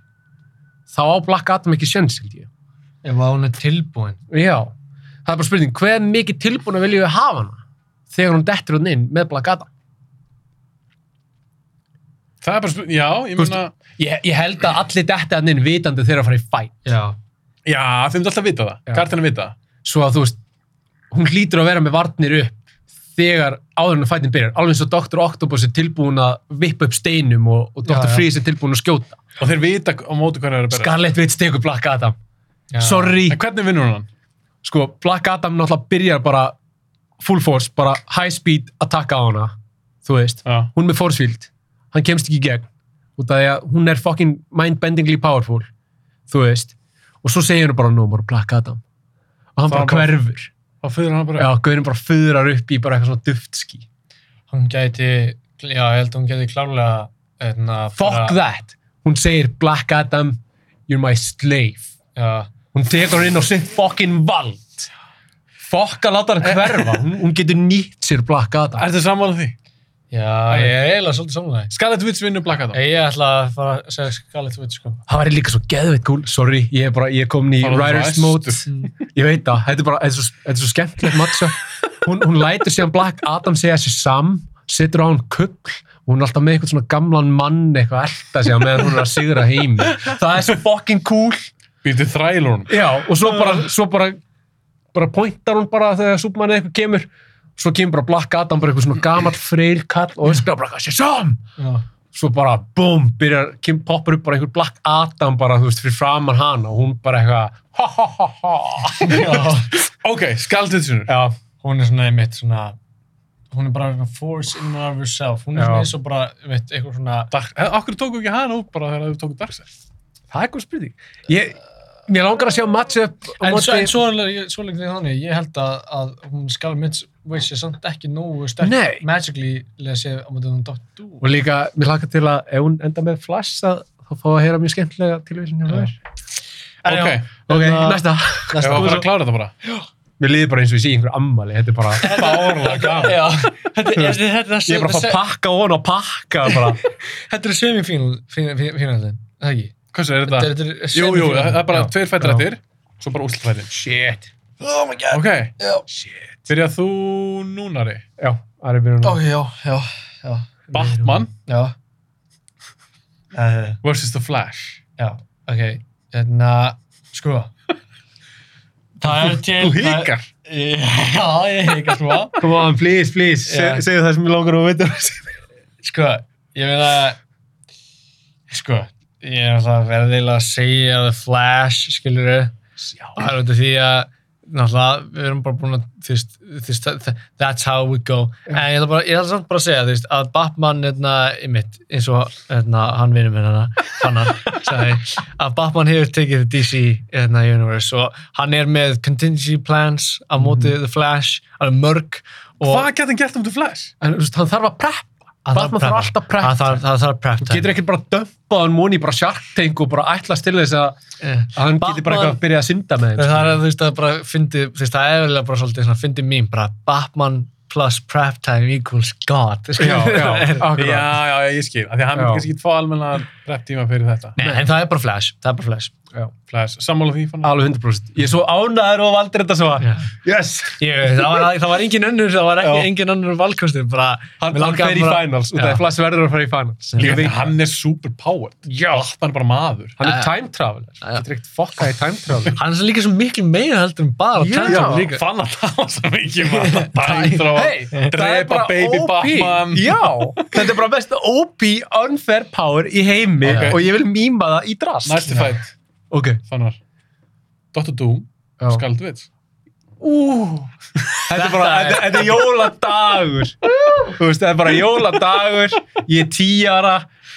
C: þá á Black Adam ekki sjöns held ég
B: ef að hún er tilbúin
C: já, það er bara spurning hver mikið tilbúin að vilja við hafa hana þegar hún dettur hún inn með Black Adam
A: Það er bara spurning, já, ég
C: Þú veist-
A: meina,
C: ég, ég held að allir detti hann inn vitandi þegar að fara í fight
B: já,
A: já, þeim er alltaf að vita það,
C: Já.
A: kartin að vita það.
C: svo að þú veist hún hlýtur að vera með varnir upp þegar áður en að fætin byrjar alveg eins og Dr. Octopus er tilbúin að vippa upp steinum og, og Dr.
B: Já, já.
C: Freeze er tilbúin að skjóta
A: Og þeir vita á móti hvernig það er að berja.
C: Scarlet Witch tekur Black Adam
B: já.
C: sorry,
A: En hvernig vinnur hún hann?
C: sko Black Adam náttúrulega byrjar bara full force, bara high speed attacka á hana, þú veist
A: Já,
C: hún er með force field, hann kemst ekki í gegn út af því að hún er fucking mind-bendingly powerful, þú veist og svo segir hún bara no more Black Adam og hann
A: Það
C: bara
A: er bara-
C: hverfur
A: þá fyrir hann bara,
C: Já, gaurin bara föðrar upp í bara eitthvað svona duftski.
B: hún gæti, já, ég held að hún gæti klárlega hérna, eitna,
C: Fuck that! Hún segir Black Adam, you're my slave.
B: já,
C: Hún tekur hann inn á sitt fucking vald. Fuck að láta hann hverfa. Hún, hún getur nýtt sér Black Adam.
A: ertu sammála því?
B: já, ég er eiginlega svolítið samanlega
A: Scarlet Witch vinnur Black Adam.
B: ég ætla að fara að segja Scarlet Witch sko.
C: Það væri líka svo geðveitt cool. Sorry, ég er bara, ég er komin í
A: Bara
C: writer's
A: ræstur.
C: mode. Ég veit það, þetta er bara, þetta er svo, þetta er svo skemmtilegt matcha. Hún, hún lætur síðan Black Adam segja sér sam, setur á hann kukl og hún er alltaf með eitthvað svona gamlan mann eitthvað elda sig á meðan hún er að sigra heim. Það er svo fucking cool.
A: Býtu þrælur hún.
C: Já, og svo bara, svo bara, bara pointar hún bara þegar Superman eða eitthvað kemur svo kemur bara Black Adam, bara eitthvað svona gamall freyr kall og öskar bara, Shazam!
B: já,
C: Svo bara, búm, byrjar, kem, poppar upp bara einhver Black Adam bara, þú veist, fyrir framan hana og hún bara eitthvað, ha ha ha ha
B: já
C: [LAUGHS]
A: Ok, Scarlet Witch vinnur.
C: Já,
B: hún er svona einmitt svona hún er bara svona force in and of herself hún er
C: Já.
B: svona eins og bara einmitt eitthvað svona
A: Dark, eh, okkur tóku ekki hann út bara þegar þau tóku Darkseid.
C: það er eitthvað spurning. Ég, mér langar að sjá matchup á
B: en, svo,
C: móti-
B: en svo, er ég- svo lengi því þannig ég held að, að hún skal mitt veist ég samt ekki nógu sterk
C: Nei.
B: magically lega séð á mótið hún dott dú
C: og líka, mér langar til að ef hún enda með flash að þá fá að heyra mjög skemmtilega tilvísin hjá
B: Já.
C: þér.
B: En já,
A: Ok,
C: Ok,
B: Hérna-
C: næsta.
A: ef
B: næsta
A: það bara að klára
B: [LAUGHS]
A: þetta bara.
C: Mér líður bara eins og ég sé einhver ammali, þetta er bara
A: Bárlega gaman.
C: [LAUGHS]
B: Já, þetta er- þetta er- þetta
C: Ég er bara að fá að
B: er
C: pakka ofan og pakka bara.
B: þetta er semifínaldin það ekki
A: Hversu er
B: Þetta
A: þetta?
B: er- þetta er
A: Ah. Jú, jú,
B: semifinal.
A: það er bara
B: Já.
A: tveir fættir
C: Já.
A: eftir, svo bara úslfættin.
C: Shit.
B: Oh my god.
A: Ok,
B: Já.
A: byrja þú núnari.
C: Já, Ari byrjum
B: Ok, já, já, já,
A: Batman
B: já. Uh,
A: vs. The Flash.
B: já, ok, hérna, sko. [LAUGHS] Það er til...
A: Þú hikar.
B: Já, ég sko. hika smá.
C: Come on, please, please,
B: Já.
C: se- segðu það sem ég langar að vita.
B: Sko, ég meina, sko, ég er náttúrulega verðilega að segja The Flash, skilur við.
A: Já.
B: Það er út af því að, náttúrulega, við erum bara búin að, þú veist, þú veist, þa- þa- that's how we go. En ég ætla bara, ég ætla samt bara að segja, þú veist, að Batman, hérna, í mitt, eins og, hérna, hann vinnur minn hana, fannar,
C: [LAUGHS]
B: sagði, að Batman hefur tekið DC, hérna, universe og hann er með contingency plans á
C: Mhm.
B: móti The Flash, hann er mörg. og-
A: Hvað getur hann gert um The Flash?
C: En þú veist, hann þarf að preppa.
B: Hann
C: Batman þarf
B: preppa.
C: alltaf prep
B: Hann þarf- Það þarf prep time.
C: Getur ekki bara dömpað hann moni bara shark tank og bara ætlast til þess að
B: Eh.
C: að hann geti
B: Batman-
C: bara eitthvað að byrja að synda með þeim.
B: Það er að þú veist að bara fyndi, þú veist það er eiginlega bara svolítið svona fyndi mín bara Batman plus prep time equals God. [LAUGHS]
C: Já, já,
A: Já,
C: akkurat.
A: já, já, ég skil. Af Því að hann
C: Já.
A: myndi kannski ekki fá almennan rep tíma fyrir þetta.
B: Nei, en það er bara flash, það er bara flash.
A: Flash, sammála því fann
C: Alveg 100%. Ég er svo ánæður og valdir þetta svo að,
B: Já.
C: yes,
B: Ég, það, var, það var engin önnur, það var ekki
C: Já.
B: engin önnur valkostur, bara...
C: hann,
B: mig
C: hann
B: langaði
C: fer í
B: bara-
C: finals. Út af
B: Já.
C: því Flash verður að fara í finals.
A: Líka því hann er super powered. Já. Batman er bara maður.
C: Hann
B: Já.
C: er time traveler.
B: Já.
C: Getur ekkert fokkað í time
B: [LAUGHS]
C: traveler.
B: Hann er svo líka svo miklu meira heldur en bara
C: Já.
B: time travel líka.
A: Fann að tala svo mikið um að dændra
C: Hey,
A: og drepa baby Batman.
C: Já, þetta er bara best OP unfair power í heimi
A: Ok.
C: og ég vil mýma það í drast.
A: Næstu fætt,
C: Ok.
A: fannar. Dr. Doom,
C: Já.
A: skaldvits.
C: Þetta er bara, þetta, þetta er jóladagur. Þú veist, þetta er bara jóladagur, ég er tíjara,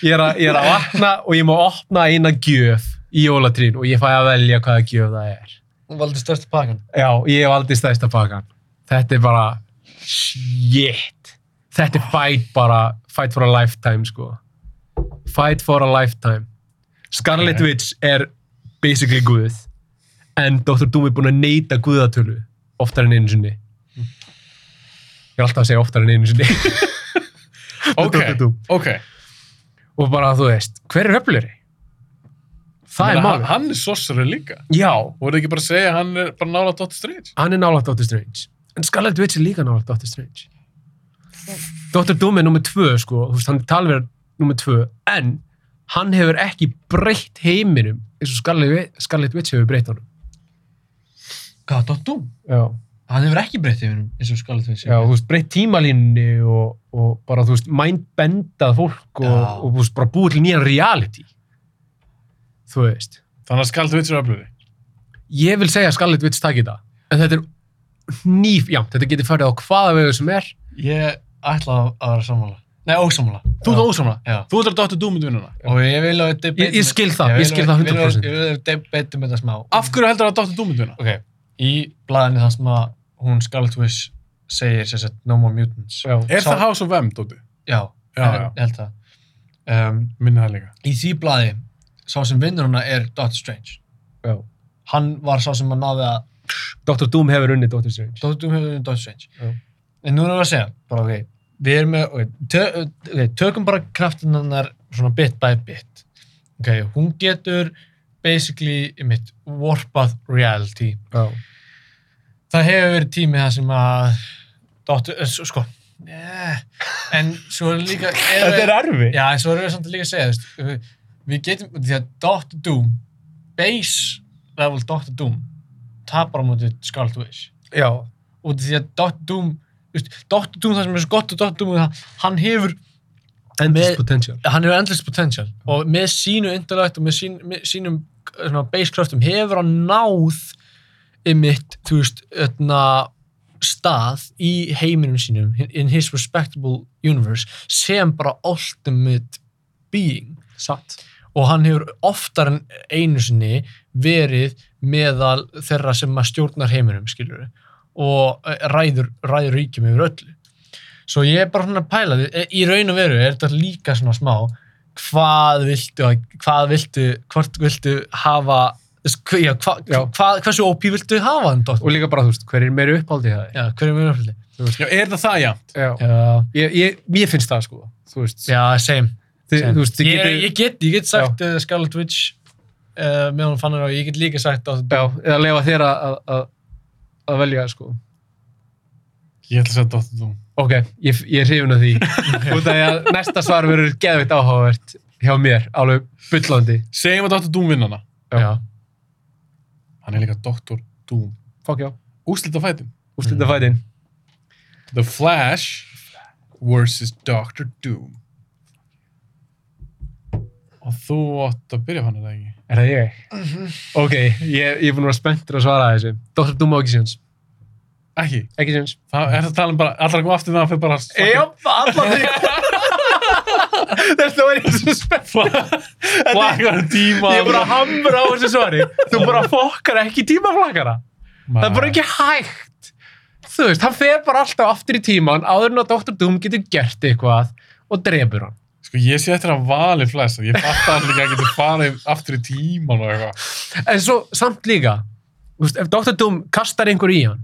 C: ég er, að, ég er að vakna og ég má opna eina gjöf í jólatrýn og ég fæ að velja hvaða gjöf það er.
B: Hún valdi størstu pakkan.
C: Já, ég hef aldrei stæsta pakkan. Þetta er bara, shit. Þetta er fight bara, fight for a lifetime, sko. Fight for a lifetime. Scarlet Witch er basically guð, en Dr. Doom er búinn að neyta guðatölu oftar en einu sinni. Mm. Ég er alltaf að segja oftar en einu sinni. [LAUGHS]
A: Ok,
C: Dr. Doom.
A: ok.
C: Og bara, þú veist, hver er öfluri? Það
A: Meina,
C: er
A: hann-
C: málið.
A: Hann er sorcerer líka.
C: Já,
A: Voruð þið ekki bara að segja að hann er bara nála Dr. Strange?
C: hann er nálægt Doctor Strange en Scarlet Witch er líka nálægt Doctor Strange Doctor Doom er nummer tvö sko, þú veist, hann er talverð nummer tvö, en hann hefur ekki breytt heiminum eins og Scarlet, Wi- Scarlet Witch hefur breytt honum
B: Hvað, Dott Doom?
C: já,
B: Hann hefur ekki breyttið hennum eins og Scarlet Witch.
C: já þú veist, breytt tímalínni og, og bara, þú veist, mindbendað fólk og,
B: Já.
C: og þú veist, bara búið til nýjan reality þú veist
A: Þannig að skaldvits er öflugri.
C: ég vil segja að Scarlet Witch takk í það en þetta er nýf, já, þetta getur farið á hvaða vegu sem er
B: Ég ætla að að vera sammála. Nei, ósammála.
A: Þú ert ósamlega.
B: Já.
A: Þú ert að Dr. Doom myndi vinna hana.
B: Og ég vil að við
C: ég, ég skil það, ég, skil það 100%
B: Ég vil að við debattum þetta smá.
A: Af hverju heldur að Dr. Doom myndi vinna?
B: ok, í blaðinu það sem að hún Scarlet Witch segir sem sagt No More Mutants
C: Já.
A: Er
B: Sá-
A: það House of M, Dóti?
B: já,
A: Já, já.
B: ég ég held það um,
A: Minni það líka.
B: í því blaði sá sem vinnur hana er Doctor Strange
C: Já.
B: hann var sá sem að náði að
C: Dr. Doom hefur unnið Dr. Strange.
B: Doctor Doom hefur verið Doctor Strange
C: Já.
B: en núna er að segja bara ok, við erum með ok, tö, ok, tökum bara kraftinannar svona bit by bit ok, hún getur basically, í mitt, warpað reality
C: Já.
B: það hefur verið tími það sem að dóttur, eh, sko yeah. en svo er líka er,
C: erfi.
B: já, en svo erum við samt að líka að segja þú veist, við- við getum, því að Dr. Doom base level Dr. Doom tapar á móti Scarlet Witch
C: Já.
B: og því að Dr. Doom þú veist, Dr. Doom, það sem er svo gott og Dr. Doom er það, hann hefur
C: Endless
B: Með-
C: potential.
B: hann hefur endless potential og með sínu intellect og með, sín, með sínum eh, svona, base kröftum hefur hann náð ymitt, þú veist, hérna, öðna, stað í heiminum sínum in his respectable universe sem bara ultimate being
C: Satt.
B: og hann hefur oftar en einu sinni verið meðal þeirra sem að stjórnar heiminum, skilur og eh, ræður, ræður ríkjum yfir öllu. Svo ég er bara svona að pæla því, í raun og veru er þetta líka svona smá, hvað viltu, að- hvað viltu, hvort viltu hafa, þess- hva, já, hva,
C: Já.
B: Hvað, hversu OP viltu hafa hann,
C: Og
B: dóttir?
C: líka bara, þú veist, hver er meiri uppáldið það er?
B: Já, hverju mjög uppfylgdi?
A: Já, er það það, já?
C: Já.
B: Já,
C: Ég, ég, mér finnst það, sko. Þú veist,
B: já, same.
C: þið,
B: same.
C: þú veist, þið
B: ég,
C: getur...
B: ég get, ég get sagt uh, Scarlet eh, Witch uh, meðan hún fann hann og ég get líka sagt á
C: Já, eða leifa þér að- að að að velja, sko.
A: Ég ætla að segja Dr. Doom.
C: Ok, ég, ég er hrifin af því. Út af því að næsta svar verður geðveikt áhugavert hjá mér, alveg bullandi.
A: Segjum að Dr. Doom vinna hana.
C: Já. Já.
A: Hann er líka Dr. Doom.
C: Fokk já,
A: Úslita fætum.
C: úrslita fætin.
A: The Flash versus Dr. Doom. Og þú átt að byrja hann að það ekki.
C: Er það ég? Ok, ég, ég er búin að vera spenntur að svara að þessu. Dr. Doom á ekki séns.
A: Ekki.
C: Ekki séns.
A: Það er það að tala um bara, allra kom aftur með hann fyrir bara að
C: allan [LAUGHS] því. Þetta var eins og spennt. [LAUGHS]
A: flakkar um tíma.
C: Ég er bara að hamra á þessu svari. Þú bara fokkar ekki tímaflakara. Það er bara ekki hægt. Þú veist, hann fer bara alltaf aftur í tíman áður en að Dr. Doom getur gert eitthvað og drefur hann.
A: Sko ég sé eftir að vali flest, ég fatt að hann líka getur farið aftur í tíman og eitthvað.
C: En svo samt líka, þú veist, ef Dr. Doom kastar einhver í hann,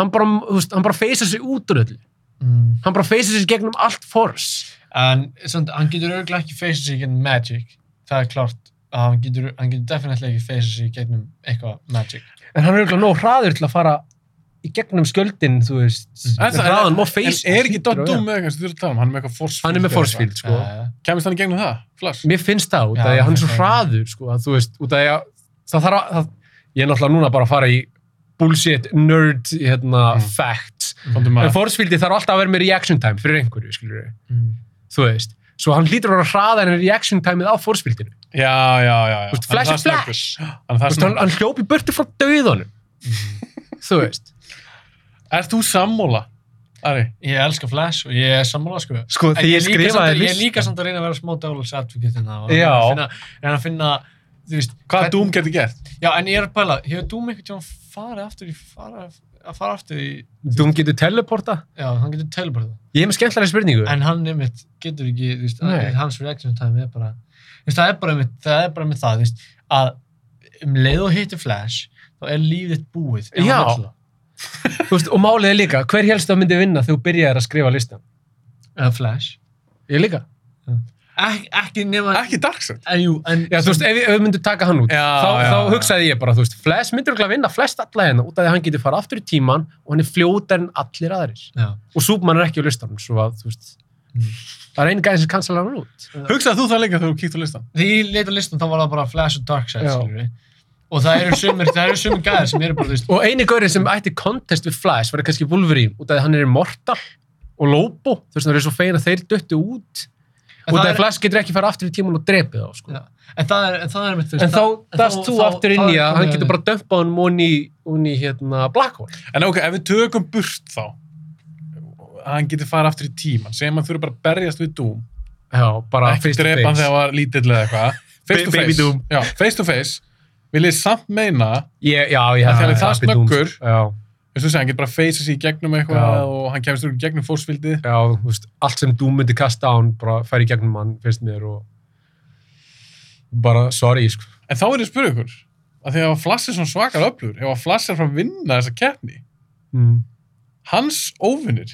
C: hann bara, þú veist, hann bara feysar sig út úr öllu.
B: Mm.
C: Hann bara feysar sig gegnum allt fors.
B: En samt, hann getur örgulega ekki feysið sig gegnum magic. Það er klart að hann getur, hann getur definitely ekki feysið sig gegnum eitthvað magic.
C: En hann er auðvitað nóg hraður til að fara í gegnum skjöldin, þú veist,
A: En það-
C: hraðan má
A: En
C: feysa.
A: er ekki Dr. Doom með eitthvað sem þú eru að tala um? Hann er með eitthvað force field.
C: Hann er með
A: eða
C: force
A: eitthvað.
C: field, sko.
B: Eh,
A: Kæmist hann í gegnum það? Flash?
C: Mér finnst það út af
B: Já,
C: því að hann er svo
B: það er það.
C: hraður, sko, að þú veist, út af því að það þarf að, það, ég er náttúrulega núna bara að fara í bullshit nerd, hérna,
A: Mm.
C: facts.
A: Fóndum
C: En
A: maður.
C: force fieldi þarf alltaf að vera með reaction time fyrir einhverju, skilur
B: mm.
C: þú veist. Svo hann lítur að vera hraðar en reaction timeið á force fieldinu.
A: Já, já, já. já.
C: Þú veist, Flash
A: Hann
C: er
A: það snöggur.
C: Flash.
A: Hann er
C: Þú
A: það
C: veist, hann,
A: snöggur.
C: hann hljópi burti frá dauðanum. þú veist.
A: Er þú sammóla? Ari?
B: Ég elska Flash og ég er sammála sko.
C: Sko,
B: En ég, líka samt að- ég er líka samt að reyna að vera smá dálurs advocate hérna og
C: Já.
B: reyna að finna, reyna að finna þú veist,
A: Hvað
B: hvern-
A: Doom getur gert?
B: já en ég er að pæla, hefur Doom einhvern tíma farið aftur í fara, að fara aftur í
C: Doom getur teleporta.
B: já, hann getur teleportað,
C: Ég hef með skemmtlæri spurningu.
B: en hann einmitt getur ekki, þú veist,
C: Nei.
B: að, hans reaction time er bara, þú veist, það er bara einmitt, það er bara einmitt það, þú veist, að um leið og hittir Flash, þá er lífið þitt búið, ef hann
C: Já.
B: vill það.
C: Þú veist, og málið er líka, hver helst að myndi vinna þegar þú byrjaðir að skrifa listan?
B: eða Flash
C: Ég líka.
B: Ek, ekki nema,
A: Ekki Darkseid.
B: en jú, en
C: Já, þú veist, ef, ef við myndum taka hann út,
A: Já,
C: þá,
A: já,
C: þá
A: já.
C: hugsaði ég bara, þú veist, flest myndur ekki að vinna flest alla hennar út af því að hann getur fara aftur í tíman og hann er fljótar en allir aðrir.
B: já,
C: Og Superman er ekki á listanum, svo að, þú veist,
B: Mm.
C: það er einu gæði sem kanslar hann út.
A: Hugsaði þú það líka þegar þú kíkt á listan?
B: þegar ég leit á listan þá var það bara Flash og Darkseid
C: Já.
B: skilur við og það eru sumir, það eru sumir gæðir sem eru bara þú veist
C: Og eini gaurið sem ætti kontest við Flash var kannski Wolverine, út af því að hann er mortal og Lobo, þú veist, það er svo fein að þeir döttu út.
B: En
C: Út af
B: það
C: því
B: er-
C: að Flash getur ekki fara aftur í tíman og drepið þá, sko.
B: Já. en það er, en það er mitt þú
C: En þá
B: en
C: dast þú
B: þá-
C: aftur
B: þá er
C: inn í að
B: komið
C: hann
B: að
C: getur
B: því.
C: bara dömpaðan monni hún í hérna Black Hole.
A: En ok, ef við tökum burt þá, hann getur farið aftur í tíman. Segjum hann þurfi bara að berjast við Doom.
C: Já, bara
A: Ekki drepa hann þegar hann var lítill eða
C: [LAUGHS]
A: eitthvað. Face to
C: Ba- baby
A: face.
C: Doom.
A: Já, face to face. Vil ég samt meina
C: Ég, já, ég
A: Af því hann er
C: já,
A: það
C: Happy Doom.
A: snöggur.
C: Já,
A: Þú veist, hann getur bara að feysa sig í gegnum eitthvað
C: Já.
A: og hann kemst úr í gegnum fórsfildið.
C: já, þú veist, allt sem Doom myndi kasta á hann, bara fær í gegnum hann, finnst mér og bara, sorry, sko.
A: En þá er ég að spyrja ykkur, að því að Flass er svona svakar öflur, ef að Flass er frá að vinna þessa keppni,
C: Mm.
A: hans óvinnir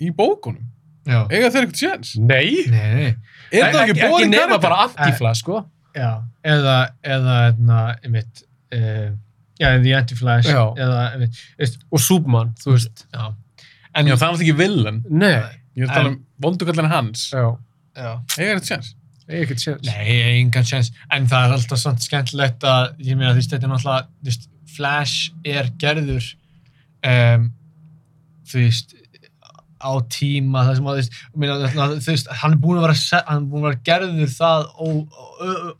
A: í bókunum,
B: já,
A: eiga þeir eitthvað séns?
C: Nei!
B: nei, nei,
A: Er það ekki
C: ekki
A: bóðin
C: nema bara antifla, sko.
B: já eða, eða, eða, einmitt uh, já, The Anti-Flash
C: Já.
B: eða, einmitt,
C: Og Superman, þú veist.
B: já
A: En já, það er alltaf ekki villan.
C: Nei.
A: Ég er að tala um vondukallin hans.
C: Já,
B: já
A: Eiga eitthvað séns?
C: ég ekkert séð.
B: Nei, engan sjans, en það er alltaf svona skemmtilegt að, ég meina, þú veist, þetta er náttúrulega, þú veist, Flash er gerður, um, þú veist, á tíma, það sem að, þú veist, ég meina, þarna, þú veist, hann er búin að vera, se- hann er búin að vera gerður það og, og, og,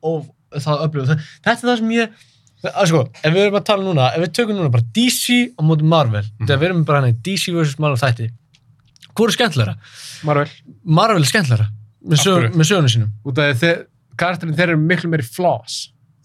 B: og það upplöfu, þetta er það sem ég, að sko, ef við erum að tala núna, ef við tökum núna bara DC á móti Marvel,
A: Mhm.
B: þegar við erum bara hann í DC vs. Marvel þætti, hvað er skemmtilegra?
C: Marvel.
B: Marvel er skemmtilegra, með,
A: Af
B: sög,
A: hverju?
B: með sögunu sínum.
C: Út af því þeir, karakterin þeir eru miklu meiri flaws,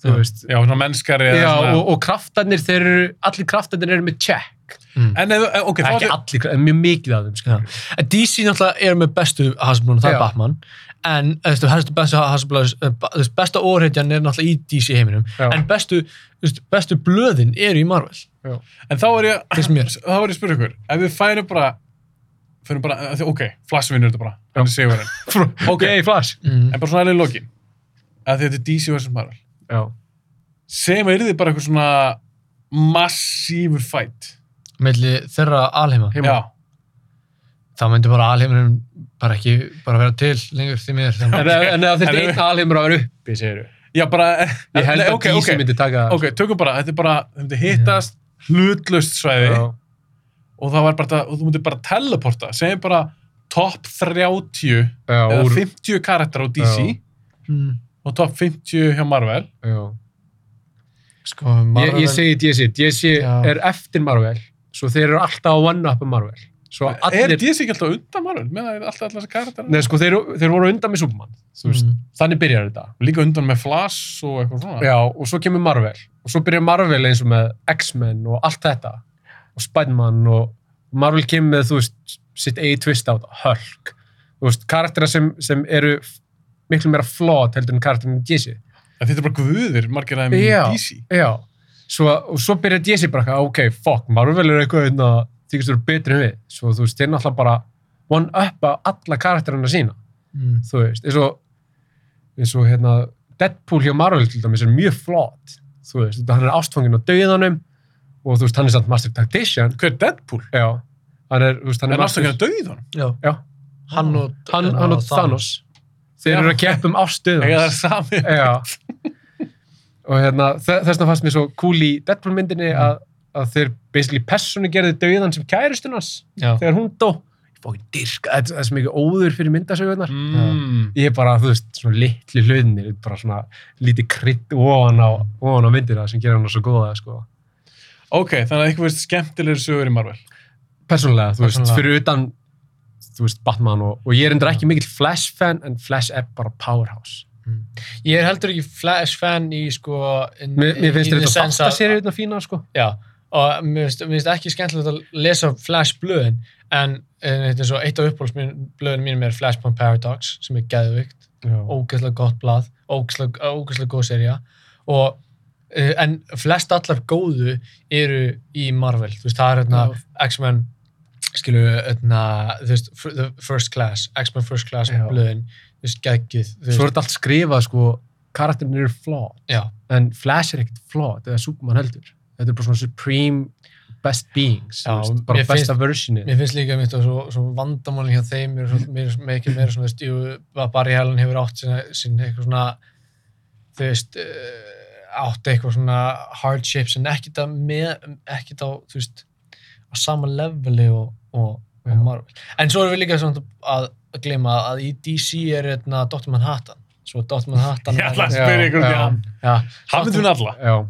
C: þú
B: Já.
C: veist.
A: Já, svona mennskari eða
C: Já,
A: svona.
C: og, og kraftarnir, þeir eru, allir kraftarnir eru með check.
A: En ef, eh, ok, þá
C: ekki
A: ætlum-
C: allir, en mjög mikið af þeim sko.
B: En DC náttúrulega er með bestu Hasbrónu, það
C: Já.
B: er Batman en eh, þú veist, helstu bestu eh, Hasbrónu besta orðhetjan er náttúrulega í DC heiminum
C: Já.
B: en bestu, þú veist, bestu blöðin eru í Marvel
A: en þá er ég,
B: finnst mér
A: [LAUGHS] þá er ég að spyrja ykkur, ef við færum bara, færum bara, af því- ok, Flass vinnur þetta bara, hann er sigurinn.
C: ok, flash
B: mm.
A: En bara svona alveg í lokin, að þetta er DC vs. Marvel.
C: já.
A: sem er þið bara eitthvað svona massífur fætt
B: milli þeirra alheima
A: Já,
B: þá myndi bara alheiminum bara ekki bara vera til lengur því miður þannig
C: En ef- en ef þetta
A: En ef-
C: einn alheimur að vera uppi, segir þú?
A: já bara
C: Ég held
A: Nei,
C: að
A: ok,
C: Dísi
A: ok.
C: myndi taka það.
A: Ok, tökum bara, þetta er bara, þau myndi hittast hlutlaust svæði
C: Já.
A: og það var bara, þetta- og þú myndi bara teleporta, segjum bara top 30
C: Já,
A: eða
C: úr,
A: 50 karakter á DC
C: Já.
B: mm.
A: og top 50 hjá Marvel.
C: já.
B: sko,
C: Ég, ég segi DC. DC
B: Já.
C: er eftir Marvel, svo þeir eru alltaf á one-up um Marvel. Svo
A: Er
C: allir...
A: DC ekki alltaf undan Marvel? Með það er alltaf alltaf þessi karakter?
C: Nei, sko, þeir, þeir voru undan með Superman. Þú veist,
B: Mm.
C: þannig byrjar þetta.
A: Líka undan með Flash og eitthvað svona.
C: Já, og svo kemur Marvel. Og svo byrjar Marvel eins og með X-Men og allt þetta. Og Spiderman og Marvel kemur með, þú veist, sitt eigi twist á þetta, Hulk. Þú veist, karaktera sem, sem eru f- miklu meira flawed heldur en karakterinu DC.
A: En Þetta er bara guðir, margir aðeins í
C: Já.
A: DC.
C: Já, svo, og svo byrjar DC bara eitthvað, ok, fuck, Marvel er eitthvað hérna, þykist þú eru betri en við. Svo, þú veist, þeir náttúrulega bara one-up að alla karakterina sína.
B: mm.
C: þú veist, eins og eins og hérna Deadpool hjá Marvel til dæmis er mjög flott þú veist, hann er ástfangin á dauðanum og þú veist, hann er samt Master Tactician
A: Hver er Deadpool?
C: já, hann er, þú veist, hann
A: Er
C: er
A: náttúrulega að dauða hann?
B: já.
C: Já.
B: hann og,
C: hann, hann og Thanos þeir
A: Já.
C: eru að keppa um
A: [LAUGHS]
C: ástuðum
A: Eða það er sami.
C: já og hérna, þe- þess vegna fannst mér svo cool í Deadpool myndinni
A: Mm.
C: að, að þeir basically personu gerði dauðan sem kærustunars
B: Já.
C: þegar hún dó ég fókin dirk, það það er svo mikið óður fyrir myndasögunar
A: Mm.
C: ég er bara, þú veist, svona litlu hlutinir bara svona lítið krydd ofan á, ofan á myndir sem gerir hana svo góða sko.
A: Ok, þannig að ykkur veist skemmtilegri sögur í Marvel.
C: persónulega, þú veist,
B: Persónulega.
C: fyrir utan þú veist, Batman og, og ég er endur ekki mikill Flash fan, en Flash er bara powerhouse
B: ég er heldur ekki Flash fan í sko in,
C: mér, mér finnst
B: in the
C: þetta
B: sense að-
C: þáttaserið þetta fína, sko
B: já, og mér finnst, mér finnst ekki skemmtilegt að lesa Flash blöðin en, en þetta er svo eitt af uppbólsblöðin mínum er Flashpoint Paradox sem er geðvikt
C: já,
B: ógeðslega gott blað, ógeðslega, ógeðslega góð serja og eh, en flest allar góðu eru í Marvel, þú veist, það er hérna X-Men, skilu hérna, þú veist, fr- the First Class X-Men First Class
C: Já.
B: blöðin, þú veist, geggið þú
C: svo er þetta allt skrifað, sko karakterin eru flawed,
B: já,
C: en Flash er ekkert flawed, eða Superman heldur þetta er bara svona supreme best beings,
B: Já,
C: þú veist, bara
B: mér
C: besta versionið
B: mér finnst líka mitt og svo, svo vandamálin hjá þeim er svo, mér, mér ekki meira svona, þú veist, jú, að Barry Allen hefur átt sinna, sinna eitthvað svona þú veist, eh, átt eitthvað svona hardships en ekkit að með, ekkit á, þú veist á sama leveli og, og,
C: Já.
B: og Marvel. En svo erum við líka svona að, að gleyma að í DC er hérna Dr. Manhattan. Svo Dr.
A: [LAUGHS]
B: Manhattan hérna-
A: Ég ætla að spyrja ykkur um
C: já.
A: það.
B: Já,
A: Hafið þú alla?
C: já,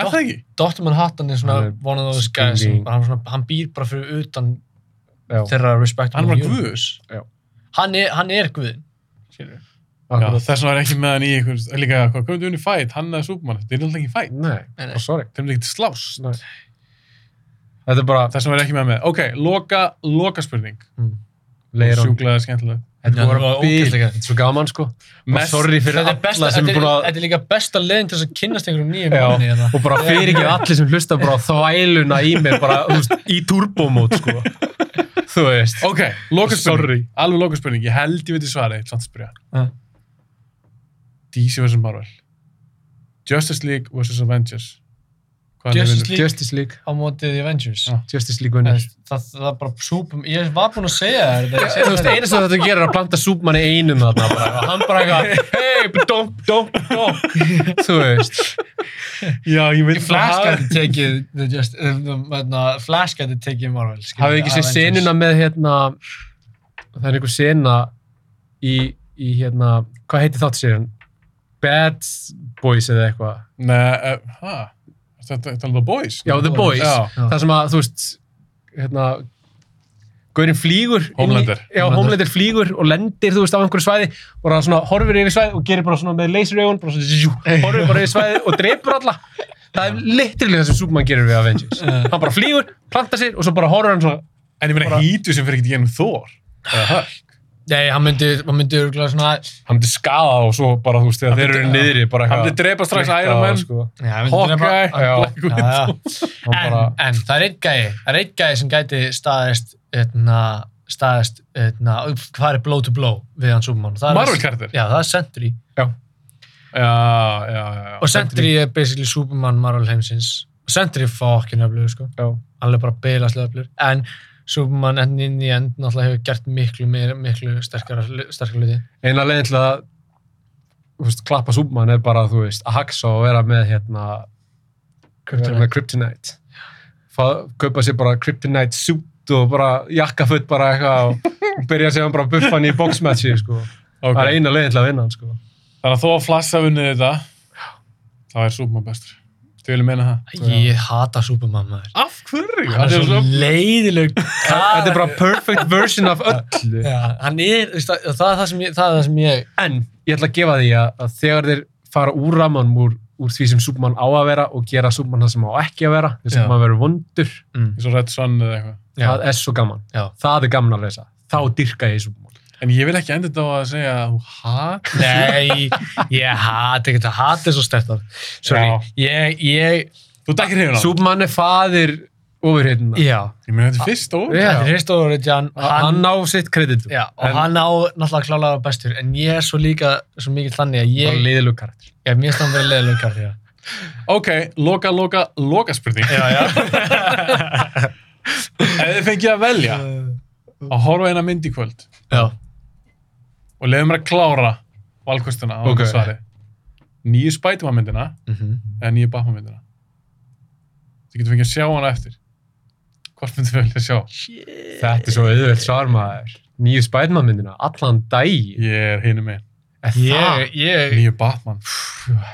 A: Er það ekki?
B: Dr. Manhattan er svona
C: Hann er
B: one of those guys sem
C: skilning.
B: hann, svona, hann býr bara fyrir utan
C: já,
B: þeirra
A: Hann
B: respectable
A: var
B: universe.
A: guðus.
B: Hann er, hann er guðin.
A: Já,
C: akkurat.
A: þess vegna er ekki með hann í ykkur. Líka, hvað komum við unni fætt? Hann eða Superman? Þetta er alltaf ekki fætt.
C: nei,
B: Nei, nei.
C: bara sorry
A: Þeim er ekki til slást.
C: Nei. Þetta er bara
A: Þess vegna er ekki með hann með. Ok, loka, loka spurning.
C: leir hún.
A: Sjúklaða skemmtilega.
C: Þetta
B: Já,
C: var
B: það var
C: bil.
B: ógeðslega.
C: Þetta er svo gaman sko. Bara
A: Mest-
C: sorry fyrir
B: Þetta er, besta,
C: alla sem
B: þetta,
C: er
B: er,
C: búin að...
B: þetta er líka besta leiðin til þess að kynnast einhverjum nýjum
C: Já,
B: manni, hérna eða-
C: og bara fyrir ekki allir sem hlusta bara á þvæluna í mér bara þú veist, í turbomót sko. Þú veist.
A: Ok, loka
C: Sorry.
A: spurning. Alveg loka spurning. Ég held ég veit í svari. Samt að spyrja.
B: Ja.
A: DC vs. Marvel. Justice League vs. Avengers. Hvað er
B: Justice
A: vinnur?
B: League
C: Justice League.
B: á mótið Avengers.
A: Já.
C: Justice League
B: Það,
C: vinnur.
B: það, það er bara súpum, ég var búinn að segja þér þetta.
C: Þú veist, eina sem þetta gerir er að blanda súpmann í einum þarna bara. og Hann bara
B: [LAUGHS]
C: eitthvað, hei, dom, dom, dom. Þú veist.
A: Já, ég vil
B: Flash gæti tekið the just, uh, the- the- Flash gæti tekið Marvel skilur
C: Hafið
B: við,
C: þið ekki séð
B: Avengers.
C: senuna með hérna það er einhver sena í, í hérna hvað heitir þátt sérin? Bad Boys eða eitthvað
A: Nei, uh, hæ? Þetta er alveg boys?
C: Já, The Boys
A: Já.
C: Það sem að, þú veist hérna Gaurinn flýgur inn í-
A: Homelander.
C: Já, Homelander flýgur og lendir, þú veist, á einhverju svæði og bara svona horfir yfir svæði og gerir bara svona með laseraugun bara svona zjú, horfir bara yfir svæði og drepur alla Það er litrilega það sem Superman gerir við Avengers Hann bara flýgur, plantar sér og svo bara horfir hann svona
A: En ég meina
C: Bara-
A: hýtu sem fyrir ekkert í ennum Thor. Eða Hulk.
B: Nei, hann myndi, hann myndi örgulega svona
C: hann myndi skaða og svo bara, þú veist, þegar þeir eru niðri bara
A: Hann myndi drepa strax
C: klikkað
A: Iron Man,
C: á, sko.
B: Já, hann myndi
A: Hawkeye,
B: drepa-
C: já.
A: Black
B: Já,
A: Widow.
B: já.
C: Hann
B: En,
C: bara,
B: en það er einn gæi, það er einn gæi sem gæti staðist, etna, staðist, etna, hvað er blow to blow við hann Superman? Það er-
A: Marvel karakter?
B: Já, það er Sentry.
A: Já, já, já. já.
B: Og Sentry er basically Superman Marvel heimsins. Og Sentry er fucking öflugur, sko.
C: já,
B: hann er bara beilaslega öflur en Superman enn inn í end náttúrulega hefur gert miklu, meira, miklu sterkara, sterkara hluti
C: eina leiðin til að þú veist, klappa súpmann er bara þú veist, að haxa og vera með hérna
B: Kryptonite.
C: kryptonite, kryptonite. Fá, kaupa sér bara kryptonite suit og bara jakkafutt bara eitthvað og,
A: [LAUGHS]
C: og byrja sér bara að buffa hann í boxmatchi sko.
A: Ok.
C: það er eina leiðin til að vinna hann sko.
A: Þannig að þó að flassa vunnið þetta, þá er Superman bestur. Þið viljum meina það?
B: ég hata Superman maður
A: Af hverju?
B: hann er svo
A: svo-
B: leiðileg
C: þetta er bara perfect version af öllu
B: [LAUGHS] Já, hann er, þú veist, það, það, er það, sem ég, það er það sem ég
C: en ég ætla að gefa því að, að þegar þeir fara úr ramanum úr, úr því sem súpmann á að vera og gera súpmann það sem á ekki að vera þess
B: Já.
C: að maður verður vondur
B: Mm.
A: eins og Red Sun eða eitthvað.
B: Já.
C: það er svo gaman,
B: Já.
C: það er gaman að lesa þá dyrka ég súpmann
A: En ég vil ekki enda þetta á að segja að þú hatt.
B: Nei, ég hati ekki það hati er svo stert orð. Sorry, ég, ég,
A: Þú dækir hefur nátt.
C: Súpmann er faðir ofurheitina
B: já
A: Ég meina þetta er fyrst og
C: Já.
B: Þetta er Hrist og Ritjan
C: hann á sitt kredit
B: Já, og hann á náttúrulega klálega bestur en ég er svo líka, svo mikið þannig að
C: bara
B: ég,
C: leiðilug karakter
B: ég er mjög stann verið leiðilegur já.
A: Ok, loka, loka, loka spurning. Já, já. [LAUGHS] Ef þið fengið að [LAUGHS] velja að horfa á eina mynd í kvöld
B: já,
A: og leiðum mér að klára valkostuna á
C: Ok.
A: okay. svari. Nýju Spiderman myndina
B: Mhm.
A: eða nýju Batman myndina. Þið getur fengið að sjá hana eftir. Hvort myndið við vilja sjá?
C: þetta er svo auðvöld svar maður nýju Spiderman myndina, allan dag
A: Ég er hinu megin.
B: ég, ég
A: Nýju Batman.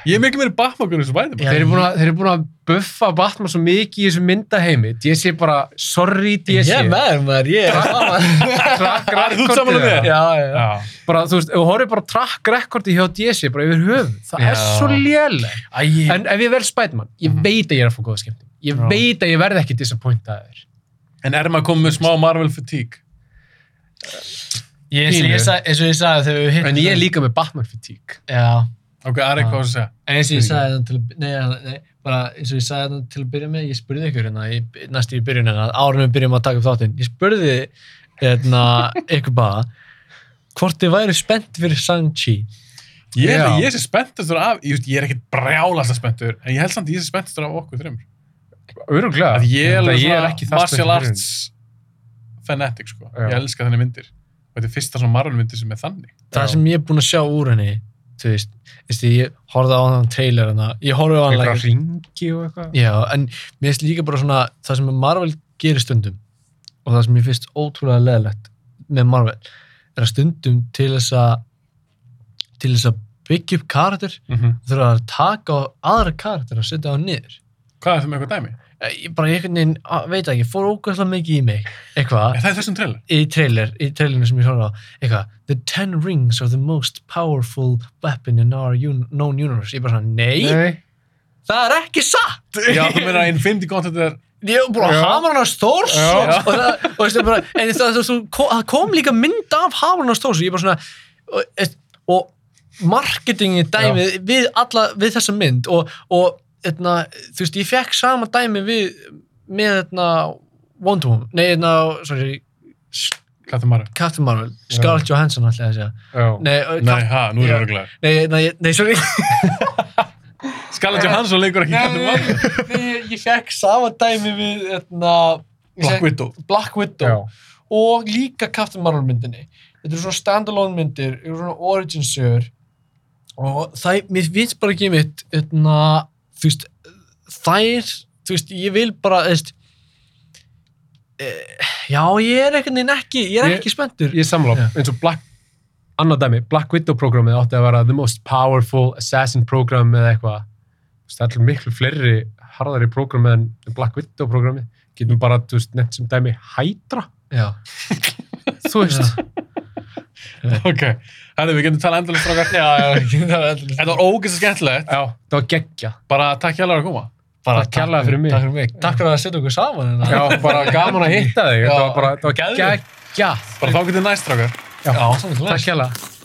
A: Ég er miklu meiri Batman en þessu Spiderman.
B: Já.
C: Þeir eru, búin að, þeir eru búin að buffa Batman svo mikið í þessu myndaheimi DC er bara, sorry E.
B: ég
C: DC
B: er með maður, ég [LAUGHS] er saman
C: [LAUGHS]
A: Það er þú saman með þér?
B: já, já, já.
A: Já.
C: bara, þú veist, ef þú horfir bara á track recordi hjá DC bara yfir höfuð, það er
B: Já.
C: svo léleg
B: Æ, ég,
C: en ef ég verð Spiderman, ég veit að ég er að fá góða skemmtum ég
A: Mhm. Já.
C: veit að ég verð ekki disappointaður
A: En er maður komið með smá Marvel fatigue?
B: ég, eins og ég,
C: Pínu.
B: sa- eins og ég sagði þegar við hittum
C: en ég er líka með Batman fatigue
B: já,
A: Ok, Ari,
B: Já.
A: hvað var það að segja?
B: En eins og ég sagði þannig til að, nei, nei, nei, bara eins og ég sagði þannig til að byrja með, ég spurði ykkur hérna, í- næst í byrjun hérna, árunum við byrjum að taka upp þáttinn, ég spurði hérna, [LAUGHS] ykkur bara, hvort þið væri spennt fyrir Shang-Chi.
A: Ég,
C: Já.
A: held að ég sé spenntastur af, ég, veist, ég er ekkert brjálasta spenntur, en ég held samt að ég sé spenntastur af okkur þreymur.
C: öruglega,
A: Að ég er alveg
C: ég er
A: svona
C: ekki það
A: martial
C: spenntur fyrir
A: arts fanatic, sko.
C: Já.
A: Ég elska þenni myndir. Og þetta er fyrsta svona Marvel myndir sem er þannig.
B: Það
C: Já.
B: sem ég er búinn að sjá úr henni, þú veist, veist ég horfði á hann trailer hérna, ég horfði á hann
C: einhverja ringi og eitthvað
B: Já, en mér finnst líka bara svona það sem Marvel gerir stundum og það sem ég finnst ótrúlega leðilegt með Marvel er að stundum til þess að til þess að byggja upp karakter
A: -hmm.
B: þurfa að taka á aðra karakter að setja á niður
A: Hvað er það með eitthvað dæmi?
B: Eh, ég bara einhvern veginn, á- veit ekki, fór ógæðslega mikið í mig eitthvað,
A: Er það í þessum trailer?
B: í trailer í trailerinu sem ég horfði á, eitthvað The ten rings are the most powerful weapon in our un known universe ég bara svona, nei,
C: Nei.
B: það er ekki satt
A: Já,
B: [LAUGHS]
A: þú meina að Infinity Gauntlet er...
B: ég var bara að
C: Já.
B: hamra hann á Stórs
C: Já.
B: og það, og veistu, bara, en það, það, það, kom, það kom líka mynd af hamra hann á Stórs og ég bara svona og, veist, og marketingi dæmið við, alla, við þessa mynd og, og eitna, þú veist, ég fekk sama dæmi við með eitna, Wonder Woman, nei, eitna, sorry
A: Hvað er Marvel?
B: Captain Marvel, Scarlett Johansson alltaf að segja
C: Já.
B: nei, eh,
A: Nei,
B: Cap-
A: ha, nú er
B: Já.
A: það örgulega.
B: nei, nei, ég- nei, sorry
A: Scarlett Johansson leikur ekki Captain Marvel.
B: nei, ég fekk sama dæmi við eitna,
A: Black Widow.
B: Black Widow
C: Já.
B: og líka Captain Marvel myndinni þetta eru svona standalone myndir eru svona origin sögur og það, mér finnst bara ekki mitt eitna, þú veist þær, þú veist, ég vil bara þú veist e, já, ég er ekkert neinn ekki ég er
C: Ég-
B: ekki spenntur
C: ég er sammála, eins og Black annað dæmi, Black Widow programmið átti að vera the most powerful assassin program eða eitthvað, Þú veist, það er miklu fleiri harðari programmið en Black Widow programmið, getum bara þú veist, nefnt sem dæmi Hydra
B: já,
C: þú veist,
A: Ok, hættu, við getum talað endalist frá hvert.
B: já, já [LAUGHS] það var allir
A: Þetta var ógeðslega skemmtilegt.
C: já, það var geggja
A: Bara takk hjá að koma.
B: bara
C: takk kærlega fyrir mig.
B: takk fyrir mig, takk fyrir að setja okkur saman hérna. [LAUGHS]
C: já, bara gaman að hitta þig,
B: Já.
C: þetta var bara þetta var geggja,
A: Bara þá getum við næst frá
B: já, já
C: takk hjá